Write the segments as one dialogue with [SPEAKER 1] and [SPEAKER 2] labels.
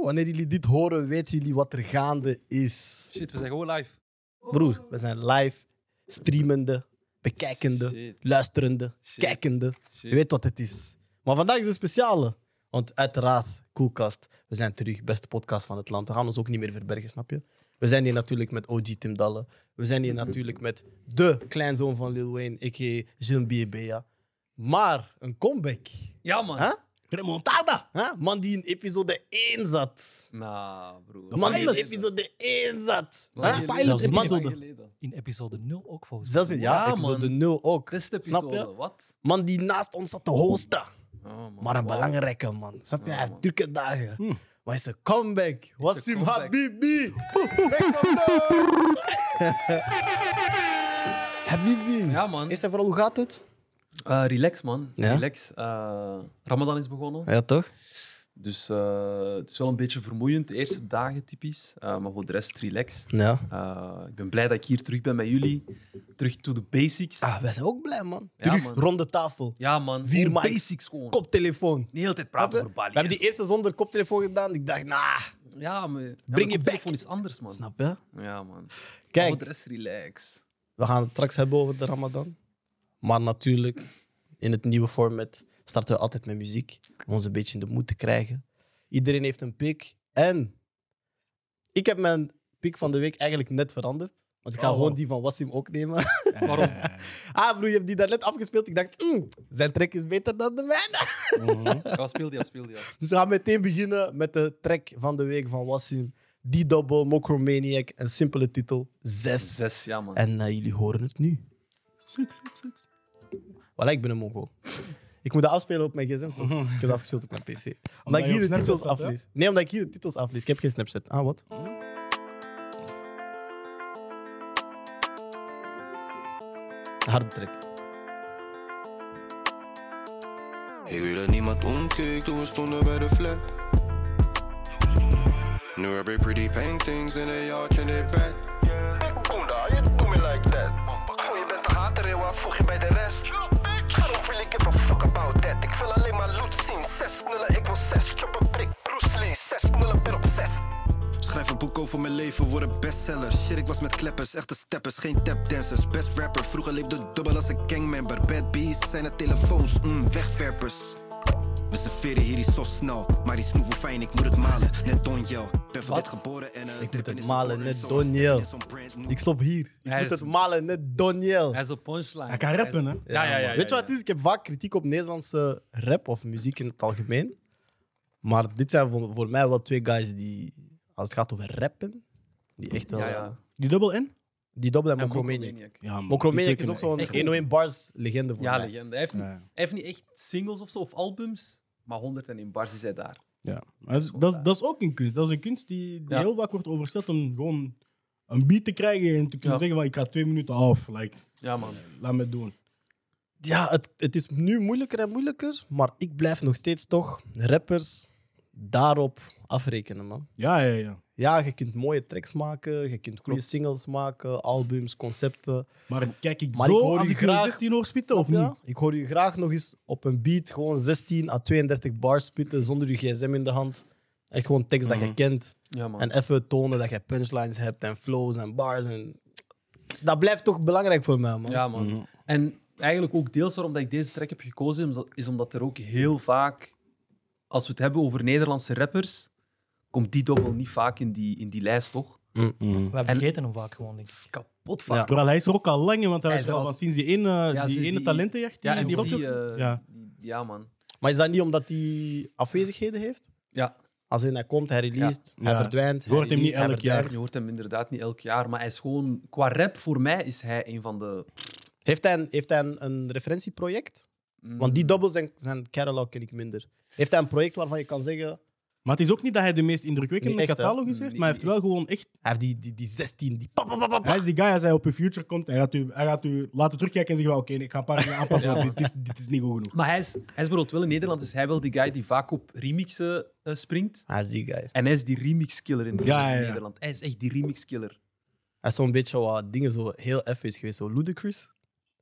[SPEAKER 1] Wanneer jullie dit horen, weten jullie wat er gaande is.
[SPEAKER 2] Shit, we zijn gewoon live.
[SPEAKER 1] Broer, we zijn live, streamende, bekijkende,
[SPEAKER 2] Shit.
[SPEAKER 1] luisterende,
[SPEAKER 2] Shit.
[SPEAKER 1] kijkende. Je
[SPEAKER 2] Shit.
[SPEAKER 1] weet wat het is. Maar vandaag is een speciale. Want uiteraard, Coolcast, we zijn terug. Beste podcast van het land. We gaan ons ook niet meer verbergen, snap je? We zijn hier natuurlijk met OG Tim Dalle. We zijn hier natuurlijk met de kleinzoon van Lil Wayne, a.k.a. Jean Biebea. Maar een comeback.
[SPEAKER 2] Ja, man.
[SPEAKER 1] Huh? Remontada. Huh? Man die in episode 1 zat.
[SPEAKER 2] Nou, broer.
[SPEAKER 1] De man die in
[SPEAKER 3] Pilot.
[SPEAKER 1] episode 1 zat.
[SPEAKER 2] Lang
[SPEAKER 1] Huh?
[SPEAKER 3] een
[SPEAKER 2] geleden,
[SPEAKER 3] pilot
[SPEAKER 2] lang
[SPEAKER 3] episode.
[SPEAKER 2] geleden.
[SPEAKER 3] In episode 0 ook volgens mij.
[SPEAKER 1] Zelfs in ja,
[SPEAKER 2] Ja,
[SPEAKER 1] episode
[SPEAKER 2] man. Dus-
[SPEAKER 1] 0 ook.
[SPEAKER 2] Beste
[SPEAKER 1] Snap je?
[SPEAKER 2] episode, wat?
[SPEAKER 1] Man die naast ons zat te hosten.
[SPEAKER 2] Oh, man.
[SPEAKER 1] Maar een
[SPEAKER 2] Wauw.
[SPEAKER 1] belangrijke man. Snap je? Hij
[SPEAKER 2] Ja,
[SPEAKER 1] heeft
[SPEAKER 2] man. Hm.
[SPEAKER 1] drukke dagen. Maar hij is een comeback.
[SPEAKER 2] een
[SPEAKER 1] Wasim
[SPEAKER 2] comeback.
[SPEAKER 1] Habibi. Back some noise. Habibi.
[SPEAKER 2] Ja, man.
[SPEAKER 1] Eerst en vooral, hoe gaat het?
[SPEAKER 2] Eh, relax, man.
[SPEAKER 1] Ja?
[SPEAKER 2] Relax. Eh, Ramadan is begonnen.
[SPEAKER 1] Ja, toch?
[SPEAKER 2] Dus eh, het is wel een beetje vermoeiend. De eerste dagen typisch. Eh, maar voor de rest, relax.
[SPEAKER 1] Ja.
[SPEAKER 2] Eh, ik ben blij dat ik hier terug ben met jullie. Terug to the basics.
[SPEAKER 1] Ah, wij zijn ook blij, man.
[SPEAKER 2] Ja,
[SPEAKER 1] Terug
[SPEAKER 2] man.
[SPEAKER 1] rond de tafel.
[SPEAKER 2] Ja, man.
[SPEAKER 1] Vier
[SPEAKER 2] Gewoon
[SPEAKER 1] mics.
[SPEAKER 2] basics gewoon.
[SPEAKER 1] Koptelefoon.
[SPEAKER 2] Niet de hele tijd
[SPEAKER 1] Snap je?
[SPEAKER 2] praten voor
[SPEAKER 1] We
[SPEAKER 2] Bali.
[SPEAKER 1] hebben die eerste zonder koptelefoon gedaan. Ik dacht, nah.
[SPEAKER 2] Ja, maar... ja,
[SPEAKER 1] Bring
[SPEAKER 2] maar
[SPEAKER 1] it
[SPEAKER 2] telefoon
[SPEAKER 1] back.
[SPEAKER 2] is anders, man.
[SPEAKER 1] Snap je?
[SPEAKER 2] Ja, man. Maar Voor Oh, de
[SPEAKER 1] Kijk,
[SPEAKER 2] rest, relax.
[SPEAKER 1] we gaan het straks hebben over de Ramadan. Maar natuurlijk, in het nieuwe format starten we altijd met muziek. Om ons een beetje in de moed te krijgen. Iedereen heeft een pick. En ik heb mijn pick van de week eigenlijk net veranderd. Want ik ga
[SPEAKER 2] Oh,
[SPEAKER 1] gewoon
[SPEAKER 2] wow.
[SPEAKER 1] die van Wassim ook nemen.
[SPEAKER 2] Waarom?
[SPEAKER 1] ah, broer, je hebt die daarnet afgespeeld. Ik dacht, mm, zijn track is beter dan de mijne.
[SPEAKER 2] Ja, speel die af, speel die af.
[SPEAKER 1] Dus we gaan meteen beginnen met de track van de week van Wassim. Die double Mocromaniac, een simpele titel, 6.
[SPEAKER 2] Zes, ja, man.
[SPEAKER 1] En eh, jullie horen het nu. Voilà, ik ben een mongool. Ik moet dat afspelen op mijn gsm, toch? Ik heb dat afgespeeld op mijn pc. Omdat,
[SPEAKER 3] Omdat
[SPEAKER 1] ik
[SPEAKER 3] je
[SPEAKER 1] hier
[SPEAKER 3] op
[SPEAKER 1] de
[SPEAKER 3] Snapchat
[SPEAKER 1] titels
[SPEAKER 3] staat, hè?
[SPEAKER 1] aflees. Nee, omdat ik hier de titels aflees. Ik heb geen Snapchat. Ah, wat? Harde track.
[SPEAKER 4] Ik weet dat niemand omkeek toen we stonden bij de flat. Nu heb ik pretty pink things in a yacht in their back. Oenda, je doet me like that. Voel je bent een hater, heel wat voeg je bij de rest. Waarom wil ik even fuck about that? Ik wil alleen maar loot zien. Zes nullen, ik wil zes. Chop een prik, Bruce Lee. Zes nullen, ben op zes. Schrijf een boek over mijn leven, word een bestseller. Shit, ik was met kleppers, echte steppers, geen tapdancers. Best rapper, vroeger leefde dubbel als een gangmember. Bad bees zijn het telefoons, mm, wegwerpers. We serveren hier iets zo snel, maar die snoevel fijn, ik moet het malen. Net Donjel, ben van
[SPEAKER 2] Wat?
[SPEAKER 4] dit geboren en... eh,
[SPEAKER 1] moet
[SPEAKER 4] drippen
[SPEAKER 1] het
[SPEAKER 4] is
[SPEAKER 1] malen,
[SPEAKER 4] geboren,
[SPEAKER 1] net
[SPEAKER 4] zo'n
[SPEAKER 1] Donjel.
[SPEAKER 4] is zo'n brand new-
[SPEAKER 1] Ik stop hier. Ik
[SPEAKER 2] Hij
[SPEAKER 1] moet
[SPEAKER 2] is-
[SPEAKER 1] het malen, net Doniel.
[SPEAKER 2] Hij is op punchline.
[SPEAKER 3] Hij kan rappen, hè?
[SPEAKER 2] Ja, ja, ja.
[SPEAKER 1] Weet je wat het is? Ik heb vaak kritiek op Nederlandse rap of muziek in het algemeen. Maar dit zijn voor, voor mij wel twee guys die, als het gaat over rappen, die echt wel...
[SPEAKER 2] Ja, ja.
[SPEAKER 3] Die dubbel in?
[SPEAKER 1] Die dubbel en
[SPEAKER 2] En
[SPEAKER 1] Mokromaniac.
[SPEAKER 2] Mokromaniac.
[SPEAKER 3] Ja, man.
[SPEAKER 1] Mokromaniac is ook zo'n
[SPEAKER 2] echt.
[SPEAKER 1] 101 bars legende voor
[SPEAKER 2] Ja,
[SPEAKER 1] mij.
[SPEAKER 2] legende. Hij heeft, niet, hij heeft niet echt singles of zo, of albums, maar 101 bars is hij daar.
[SPEAKER 3] Ja. Maar dat, is, dat, is, dat is ook een kunst. Dat is een kunst die, die
[SPEAKER 2] Ja.
[SPEAKER 3] heel vaak wordt overzet om gewoon een beat te krijgen en te kunnen
[SPEAKER 2] Ja.
[SPEAKER 3] zeggen van ik ga twee minuten af. Like,
[SPEAKER 2] Ja, man.
[SPEAKER 3] laat me doen.
[SPEAKER 1] Ja, het, het is nu moeilijker en moeilijker, maar ik blijf nog steeds toch rappers daarop afrekenen, man.
[SPEAKER 3] Ja, ja, ja.
[SPEAKER 1] Ja, je kunt mooie tracks maken, je kunt goede singles maken, albums, concepten.
[SPEAKER 3] Maar kijk ik
[SPEAKER 1] Maar
[SPEAKER 3] zo
[SPEAKER 1] ik hoor
[SPEAKER 3] als
[SPEAKER 1] je
[SPEAKER 3] ik een
[SPEAKER 1] graag-
[SPEAKER 3] 16 hoor spitten
[SPEAKER 1] Snap
[SPEAKER 3] of
[SPEAKER 1] je?
[SPEAKER 3] niet?
[SPEAKER 1] Ik hoor u graag nog eens op een beat gewoon 16 à 32 bars spitten zonder je gsm in de hand. Echt gewoon tekst dat
[SPEAKER 3] Mhm.
[SPEAKER 1] je kent.
[SPEAKER 2] Ja, man.
[SPEAKER 1] En even tonen dat je punchlines hebt en flows en bars. En... Dat blijft toch belangrijk voor mij, man.
[SPEAKER 2] Ja, man.
[SPEAKER 1] Mhm.
[SPEAKER 2] En eigenlijk ook deels waarom dat ik deze track heb gekozen, is omdat- is omdat er ook heel vaak, als we het hebben over Nederlandse rappers, komt die dobbel niet vaak in die, in die lijst, toch?
[SPEAKER 3] Mhm.
[SPEAKER 5] Wij vergeten hem vaak gewoon, denk
[SPEAKER 2] Dat
[SPEAKER 5] ik.
[SPEAKER 2] is kapot
[SPEAKER 1] Ja.
[SPEAKER 2] vaak.
[SPEAKER 3] Bro, hij is er ook al lang in, want hij
[SPEAKER 2] Hij
[SPEAKER 3] is
[SPEAKER 2] is
[SPEAKER 3] er
[SPEAKER 2] al-
[SPEAKER 3] al van sinds die ene,
[SPEAKER 2] Ja,
[SPEAKER 3] die
[SPEAKER 2] sinds
[SPEAKER 3] ene
[SPEAKER 2] die-
[SPEAKER 3] talentenjacht.
[SPEAKER 2] Ja,
[SPEAKER 3] die-
[SPEAKER 2] en
[SPEAKER 3] die
[SPEAKER 2] MC,
[SPEAKER 3] rock-
[SPEAKER 2] eh,
[SPEAKER 3] ja.
[SPEAKER 2] die- ja, man.
[SPEAKER 1] Maar is dat niet omdat hij afwezigheden heeft?
[SPEAKER 2] Ja,
[SPEAKER 1] Als hij komt, hij released, hij
[SPEAKER 3] Ja.
[SPEAKER 1] verdwijnt.
[SPEAKER 3] Je hoort hem niet elk jaar.
[SPEAKER 2] je hoort hem inderdaad niet elk jaar, maar hij is gewoon, qua rap voor mij is hij een van de.
[SPEAKER 1] Heeft hij, een, heeft hij een, een referentieproject?
[SPEAKER 2] mm.
[SPEAKER 1] Want die doubles en zijn catalog ken ik minder. Heeft hij een project waarvan je kan zeggen...
[SPEAKER 3] Maar het is ook niet dat hij de meest indrukwekkende
[SPEAKER 1] Niet echt, hè?
[SPEAKER 3] catalogus heeft, maar hij heeft wel gewoon echt
[SPEAKER 1] Hij heeft die, die, die 16, die... pap, pap, pap, pap,
[SPEAKER 3] Hij is die guy, als hij op je future komt, hij gaat u, hij gaat u laten terugkijken en zeggen: van, Oké, nee, ik ga een paar dingen aanpassen, want dit is, dit is niet goed genoeg.
[SPEAKER 2] Maar hij is, hij is bijvoorbeeld wel in Nederland, is hij wel die guy die vaak op remixen eh, springt.
[SPEAKER 1] Hij is die Ah, guy.
[SPEAKER 2] En hij is die remix-killer in
[SPEAKER 3] Ja, ja, ja.
[SPEAKER 2] Nederland. Hij is echt die remix-killer.
[SPEAKER 1] Hij is zo'n beetje wat dingen zo heel eff is geweest. Zo ludicrous.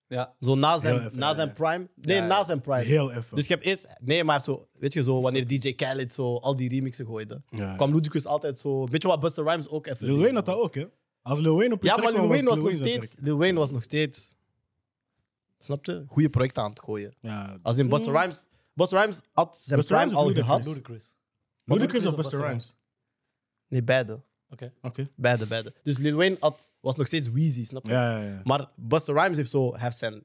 [SPEAKER 2] Ja.
[SPEAKER 1] Zo na zijn,
[SPEAKER 3] Heel even,
[SPEAKER 1] na
[SPEAKER 3] ja,
[SPEAKER 1] zijn
[SPEAKER 3] ja.
[SPEAKER 1] prime. Nee,
[SPEAKER 2] Ja, ja.
[SPEAKER 1] na zijn prime.
[SPEAKER 3] Heel even.
[SPEAKER 1] Dus ik heb eerst... Nee, maar hij heeft zo... Weet je, zo wanneer DJ Khaled zo al die remixen gooide,
[SPEAKER 3] Ja.
[SPEAKER 1] kwam Ludacris altijd zo... Weet je wat Buster Rhymes ook even...
[SPEAKER 3] Lil
[SPEAKER 1] deed?
[SPEAKER 3] Wayne had dat ook, hè? Als Lil Wayne op je
[SPEAKER 1] Ja,
[SPEAKER 3] track
[SPEAKER 1] maar Lil
[SPEAKER 3] kwam,
[SPEAKER 1] Wayne was nog
[SPEAKER 3] zijn
[SPEAKER 1] steeds...
[SPEAKER 3] track.
[SPEAKER 1] Lil Wayne was nog steeds... Snap je? Goede projecten aan het gooien.
[SPEAKER 3] Ja.
[SPEAKER 1] Als in Buster Rhymes... Buster Rhymes had zijn
[SPEAKER 3] Mm. Busta
[SPEAKER 1] prime
[SPEAKER 3] Rhymes of
[SPEAKER 1] al gehad.
[SPEAKER 3] Ludacris?
[SPEAKER 5] Ludacris.
[SPEAKER 3] Ludacris of
[SPEAKER 5] Ludacris of
[SPEAKER 3] Busta
[SPEAKER 5] Busta
[SPEAKER 3] Rhymes?
[SPEAKER 1] Nee, beide.
[SPEAKER 5] Oké.
[SPEAKER 3] Oké.
[SPEAKER 1] Beide, beide. Dus Lil Wayne had, was nog steeds Weezy, snap je?
[SPEAKER 3] Ja, ja, ja.
[SPEAKER 1] Maar Buster Rhymes heeft, zo, heeft zijn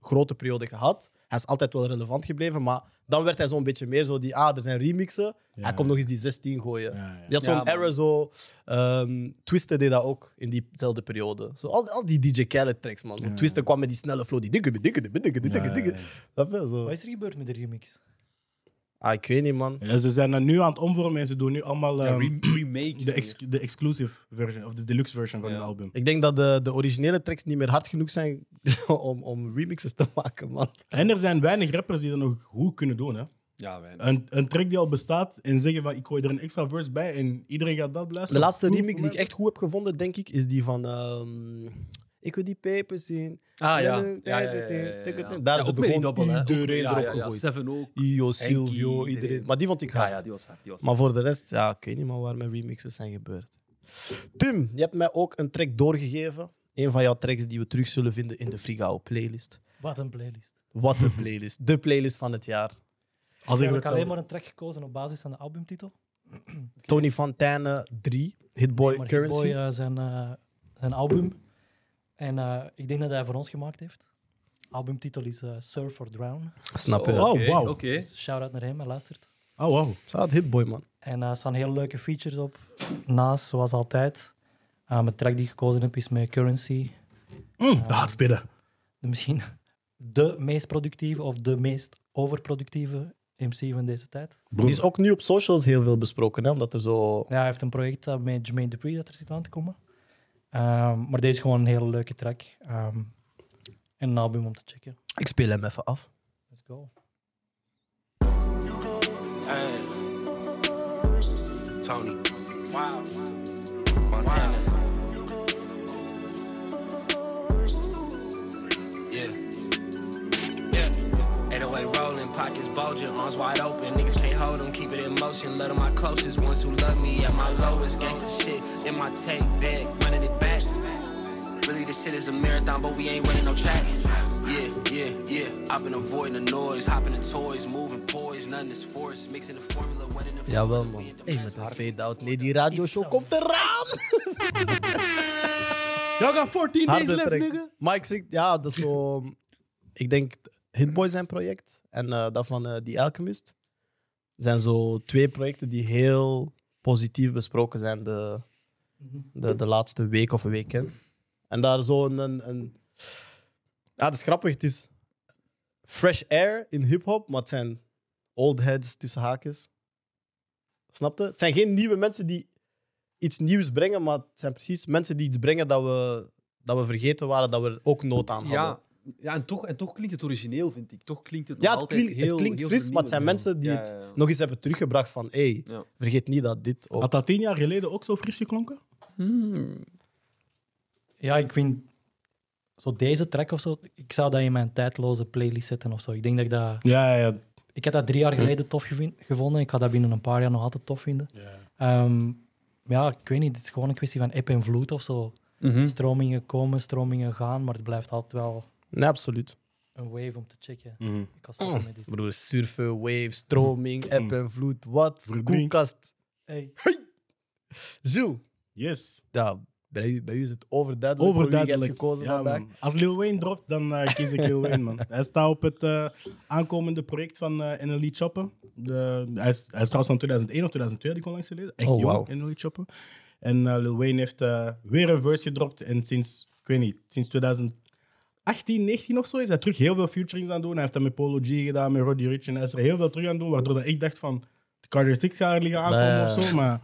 [SPEAKER 1] grote periode gehad. Hij is altijd wel relevant gebleven, maar dan werd hij zo'n beetje meer zo die, ah, er zijn remixen.
[SPEAKER 3] Ja.
[SPEAKER 1] Hij komt nog eens die 16 gooien.
[SPEAKER 3] Ja, ja.
[SPEAKER 1] Die had
[SPEAKER 2] Ja,
[SPEAKER 1] zo'n
[SPEAKER 2] man.
[SPEAKER 1] era zo. ehm Twister deed dat ook in diezelfde periode. Zo, al, al die DJ Khaled tracks, man. Zo,
[SPEAKER 3] Ja.
[SPEAKER 1] Twister kwam met die snelle flow, die dikke, dikke, dikke, dikke, dikke,
[SPEAKER 3] Ja, ja,
[SPEAKER 1] dikke.
[SPEAKER 3] ja.
[SPEAKER 1] Snap je? Zo.
[SPEAKER 5] Wat is er gebeurd met de remix?
[SPEAKER 1] Ah, ik weet niet, man.
[SPEAKER 3] Ja, ze zijn dat nu aan het omvormen en ze doen nu allemaal ehm,
[SPEAKER 2] re- remakes.
[SPEAKER 3] de, ex- de exclusive version of de deluxe version van
[SPEAKER 2] Ja.
[SPEAKER 3] het album.
[SPEAKER 1] Ik denk dat de, de originele tracks niet meer hard genoeg zijn om, om remixes te maken, man.
[SPEAKER 3] En er zijn weinig rappers die dat nog goed kunnen doen. Hè.
[SPEAKER 2] ja, wij.
[SPEAKER 3] Een, een track die al bestaat en zeggen van ik gooi er een extra verse bij en iedereen gaat dat luisteren.
[SPEAKER 1] De laatste
[SPEAKER 3] Goed
[SPEAKER 1] remix die ik
[SPEAKER 3] voor mij.
[SPEAKER 1] echt goed heb gevonden, denk ik, is die van. ehm, ik wil die papers zien.
[SPEAKER 2] Ah ja.
[SPEAKER 1] Ja,
[SPEAKER 2] ja, ja, ja, ja, ja,
[SPEAKER 1] Daar
[SPEAKER 2] ja.
[SPEAKER 1] is
[SPEAKER 2] Ja,
[SPEAKER 1] het
[SPEAKER 2] ook met die
[SPEAKER 1] begon
[SPEAKER 2] dobbel, hè. Ook-
[SPEAKER 1] iedereen
[SPEAKER 2] ja,
[SPEAKER 1] erop
[SPEAKER 2] ja, ja,
[SPEAKER 1] gegooid.
[SPEAKER 2] Seven ook.
[SPEAKER 1] Io,
[SPEAKER 2] Henkie,
[SPEAKER 1] Silvio,
[SPEAKER 2] iedereen.
[SPEAKER 1] iedereen. Maar die vond ik
[SPEAKER 2] Ja,
[SPEAKER 1] hard.
[SPEAKER 2] ja, die was hard. Die was
[SPEAKER 1] Maar voor de rest, ja, ik weet niet meer waar mijn remixes zijn gebeurd. Tim, je hebt mij ook een track doorgegeven. Een van jouw tracks die we terug zullen vinden in de Frigao playlist.
[SPEAKER 5] Wat een playlist.
[SPEAKER 1] Wat een playlist. De playlist van het jaar.
[SPEAKER 3] Als
[SPEAKER 5] Ik
[SPEAKER 3] ik
[SPEAKER 5] heb
[SPEAKER 3] het
[SPEAKER 5] alleen
[SPEAKER 3] zelf.
[SPEAKER 5] maar een track gekozen op basis van de albumtitel.
[SPEAKER 1] Tony Fontane 3, Hitboy
[SPEAKER 5] maar
[SPEAKER 1] Currency.
[SPEAKER 5] Hitboy, eh, zijn, eh, zijn album. En eh, ik denk dat hij voor ons gemaakt heeft. Albumtitel is eh, Surf or Drown.
[SPEAKER 1] Snap je?
[SPEAKER 3] Oh,
[SPEAKER 2] Oké,
[SPEAKER 3] wauw.
[SPEAKER 2] Oké.
[SPEAKER 5] Dus shout-out naar hem, hij luistert.
[SPEAKER 3] Oh, wow.
[SPEAKER 1] Staat Hitboy, man.
[SPEAKER 5] En eh, er staan hele leuke features op. Naast, zoals altijd. Eh, mijn track die ik gekozen heb is met Currency.
[SPEAKER 3] Mm, dat gaat spitten.
[SPEAKER 5] De misschien de meest productieve of de meest overproductieve MC van deze tijd.
[SPEAKER 1] Die is ook nu op socials heel veel besproken, hè, omdat er zo...
[SPEAKER 5] Ja, hij heeft een project eh, met Jermaine Dupri dat er zit aan te komen. Ehm, maar deze is gewoon een hele leuke track. ehm, en een album om te checken.
[SPEAKER 1] Ik speel hem even af.
[SPEAKER 5] Let's go.
[SPEAKER 6] Hey. Tony. Wow. Montana. Yeah. Yeah. 808 rolling, pockets bulging, arms wide open. Niggas can't hold them, keep it in motion. Love to my closest ones who love me at my lowest. Gangsta shit in my tape deck, running it back. Really, this shit is a marathon, but we ain't running no track. Yeah, yeah, yeah. I've been avoiding the noise, hopping the toys, moving poise. Nothing is forced, mixing the formula, what in the
[SPEAKER 1] Jawel,
[SPEAKER 6] formula, we
[SPEAKER 1] man.
[SPEAKER 6] in the
[SPEAKER 1] Hey,
[SPEAKER 6] master
[SPEAKER 1] met een
[SPEAKER 6] plan.
[SPEAKER 1] fade-out. Nee, die radioshow
[SPEAKER 5] Is zo-
[SPEAKER 1] komt eraan!
[SPEAKER 3] Y'all got 14 days
[SPEAKER 1] Harde
[SPEAKER 3] left,
[SPEAKER 1] track.
[SPEAKER 3] nigga.
[SPEAKER 1] Maar ik zeg, ja, dat is zo. ehm, ik denk Hitboy zijn project en eh, dat van eh The Alchemist zijn zo twee projecten die heel positief besproken zijn de, de, de laatste week of weken. En daar zo een. een, een- ja, dat is grappig. Het is fresh air in hip-hop, maar het zijn old heads tussen haakjes. Snap je? Het zijn geen nieuwe mensen die iets nieuws brengen, maar het zijn precies mensen die iets brengen dat we, dat we vergeten waren, dat we er ook nood aan hadden.
[SPEAKER 2] Ja, ja en, toch, en toch klinkt het origineel, vind ik. Toch klinkt het nog
[SPEAKER 1] Ja, het
[SPEAKER 2] altijd
[SPEAKER 1] klinkt, het
[SPEAKER 2] heel,
[SPEAKER 1] klinkt
[SPEAKER 2] heel
[SPEAKER 1] fris, maar het zijn
[SPEAKER 2] vernieuwend.
[SPEAKER 1] mensen die
[SPEAKER 2] Ja,
[SPEAKER 1] het
[SPEAKER 2] ja, ja.
[SPEAKER 1] nog eens hebben teruggebracht van hey,
[SPEAKER 2] Ja.
[SPEAKER 1] vergeet niet dat dit ook...
[SPEAKER 3] Had dat tien jaar geleden ook zo fris geklonken?
[SPEAKER 5] Ja, ik vind zo deze track of zo. Ik zou dat in mijn tijdloze playlist zetten of zo. Ik denk dat ik dat.
[SPEAKER 3] Ja, ja.
[SPEAKER 5] Ik heb dat drie jaar geleden tof gevin- gevonden. Ik ga dat binnen een paar jaar nog altijd tof vinden. Ehm, ja, ik weet niet. Het is gewoon een kwestie van eb en vloed of zo.
[SPEAKER 3] Mhm.
[SPEAKER 5] Stromingen komen, stromingen gaan, maar het blijft altijd wel
[SPEAKER 1] Nee, absoluut.
[SPEAKER 5] een wave om te checken. Ik was
[SPEAKER 3] Oh.
[SPEAKER 5] stoppen met dit.
[SPEAKER 1] Broer, surfen, wave,
[SPEAKER 3] Mm.
[SPEAKER 1] stroming, eb en vloed, wat?
[SPEAKER 3] Verdrink.
[SPEAKER 1] Koelkast.
[SPEAKER 5] Hey.
[SPEAKER 1] Jules,
[SPEAKER 3] Yes.
[SPEAKER 1] ja, bij, bij u is het overduidelijk, voor
[SPEAKER 3] Overduidelijk.
[SPEAKER 1] wie je hebt gekozen
[SPEAKER 3] Ja,
[SPEAKER 1] vandaag.
[SPEAKER 3] man. Als Lil Wayne dropt, dan eh, kies ik Lil Wayne, man. Hij staat op het eh, aankomende project van eh NLE Choppen. De, hij, is, hij is trouwens van 2001 of 2002, die kon langs geleden. Echt
[SPEAKER 1] Oh,
[SPEAKER 3] jong,
[SPEAKER 1] wauw.
[SPEAKER 3] NLE Choppen. En eh, Lil Wayne heeft eh, weer een verse gedropt. En sinds, ik weet niet, sinds 2018, 19 of zo is hij terug heel veel featurings aan het doen. Hij heeft dat met Polo G gedaan, met Roddy Rich. En hij is er heel veel terug aan het doen, waardoor dat ik dacht van... De Carter Six gaat er liggen aankomen
[SPEAKER 1] Nee.
[SPEAKER 3] of zo, maar...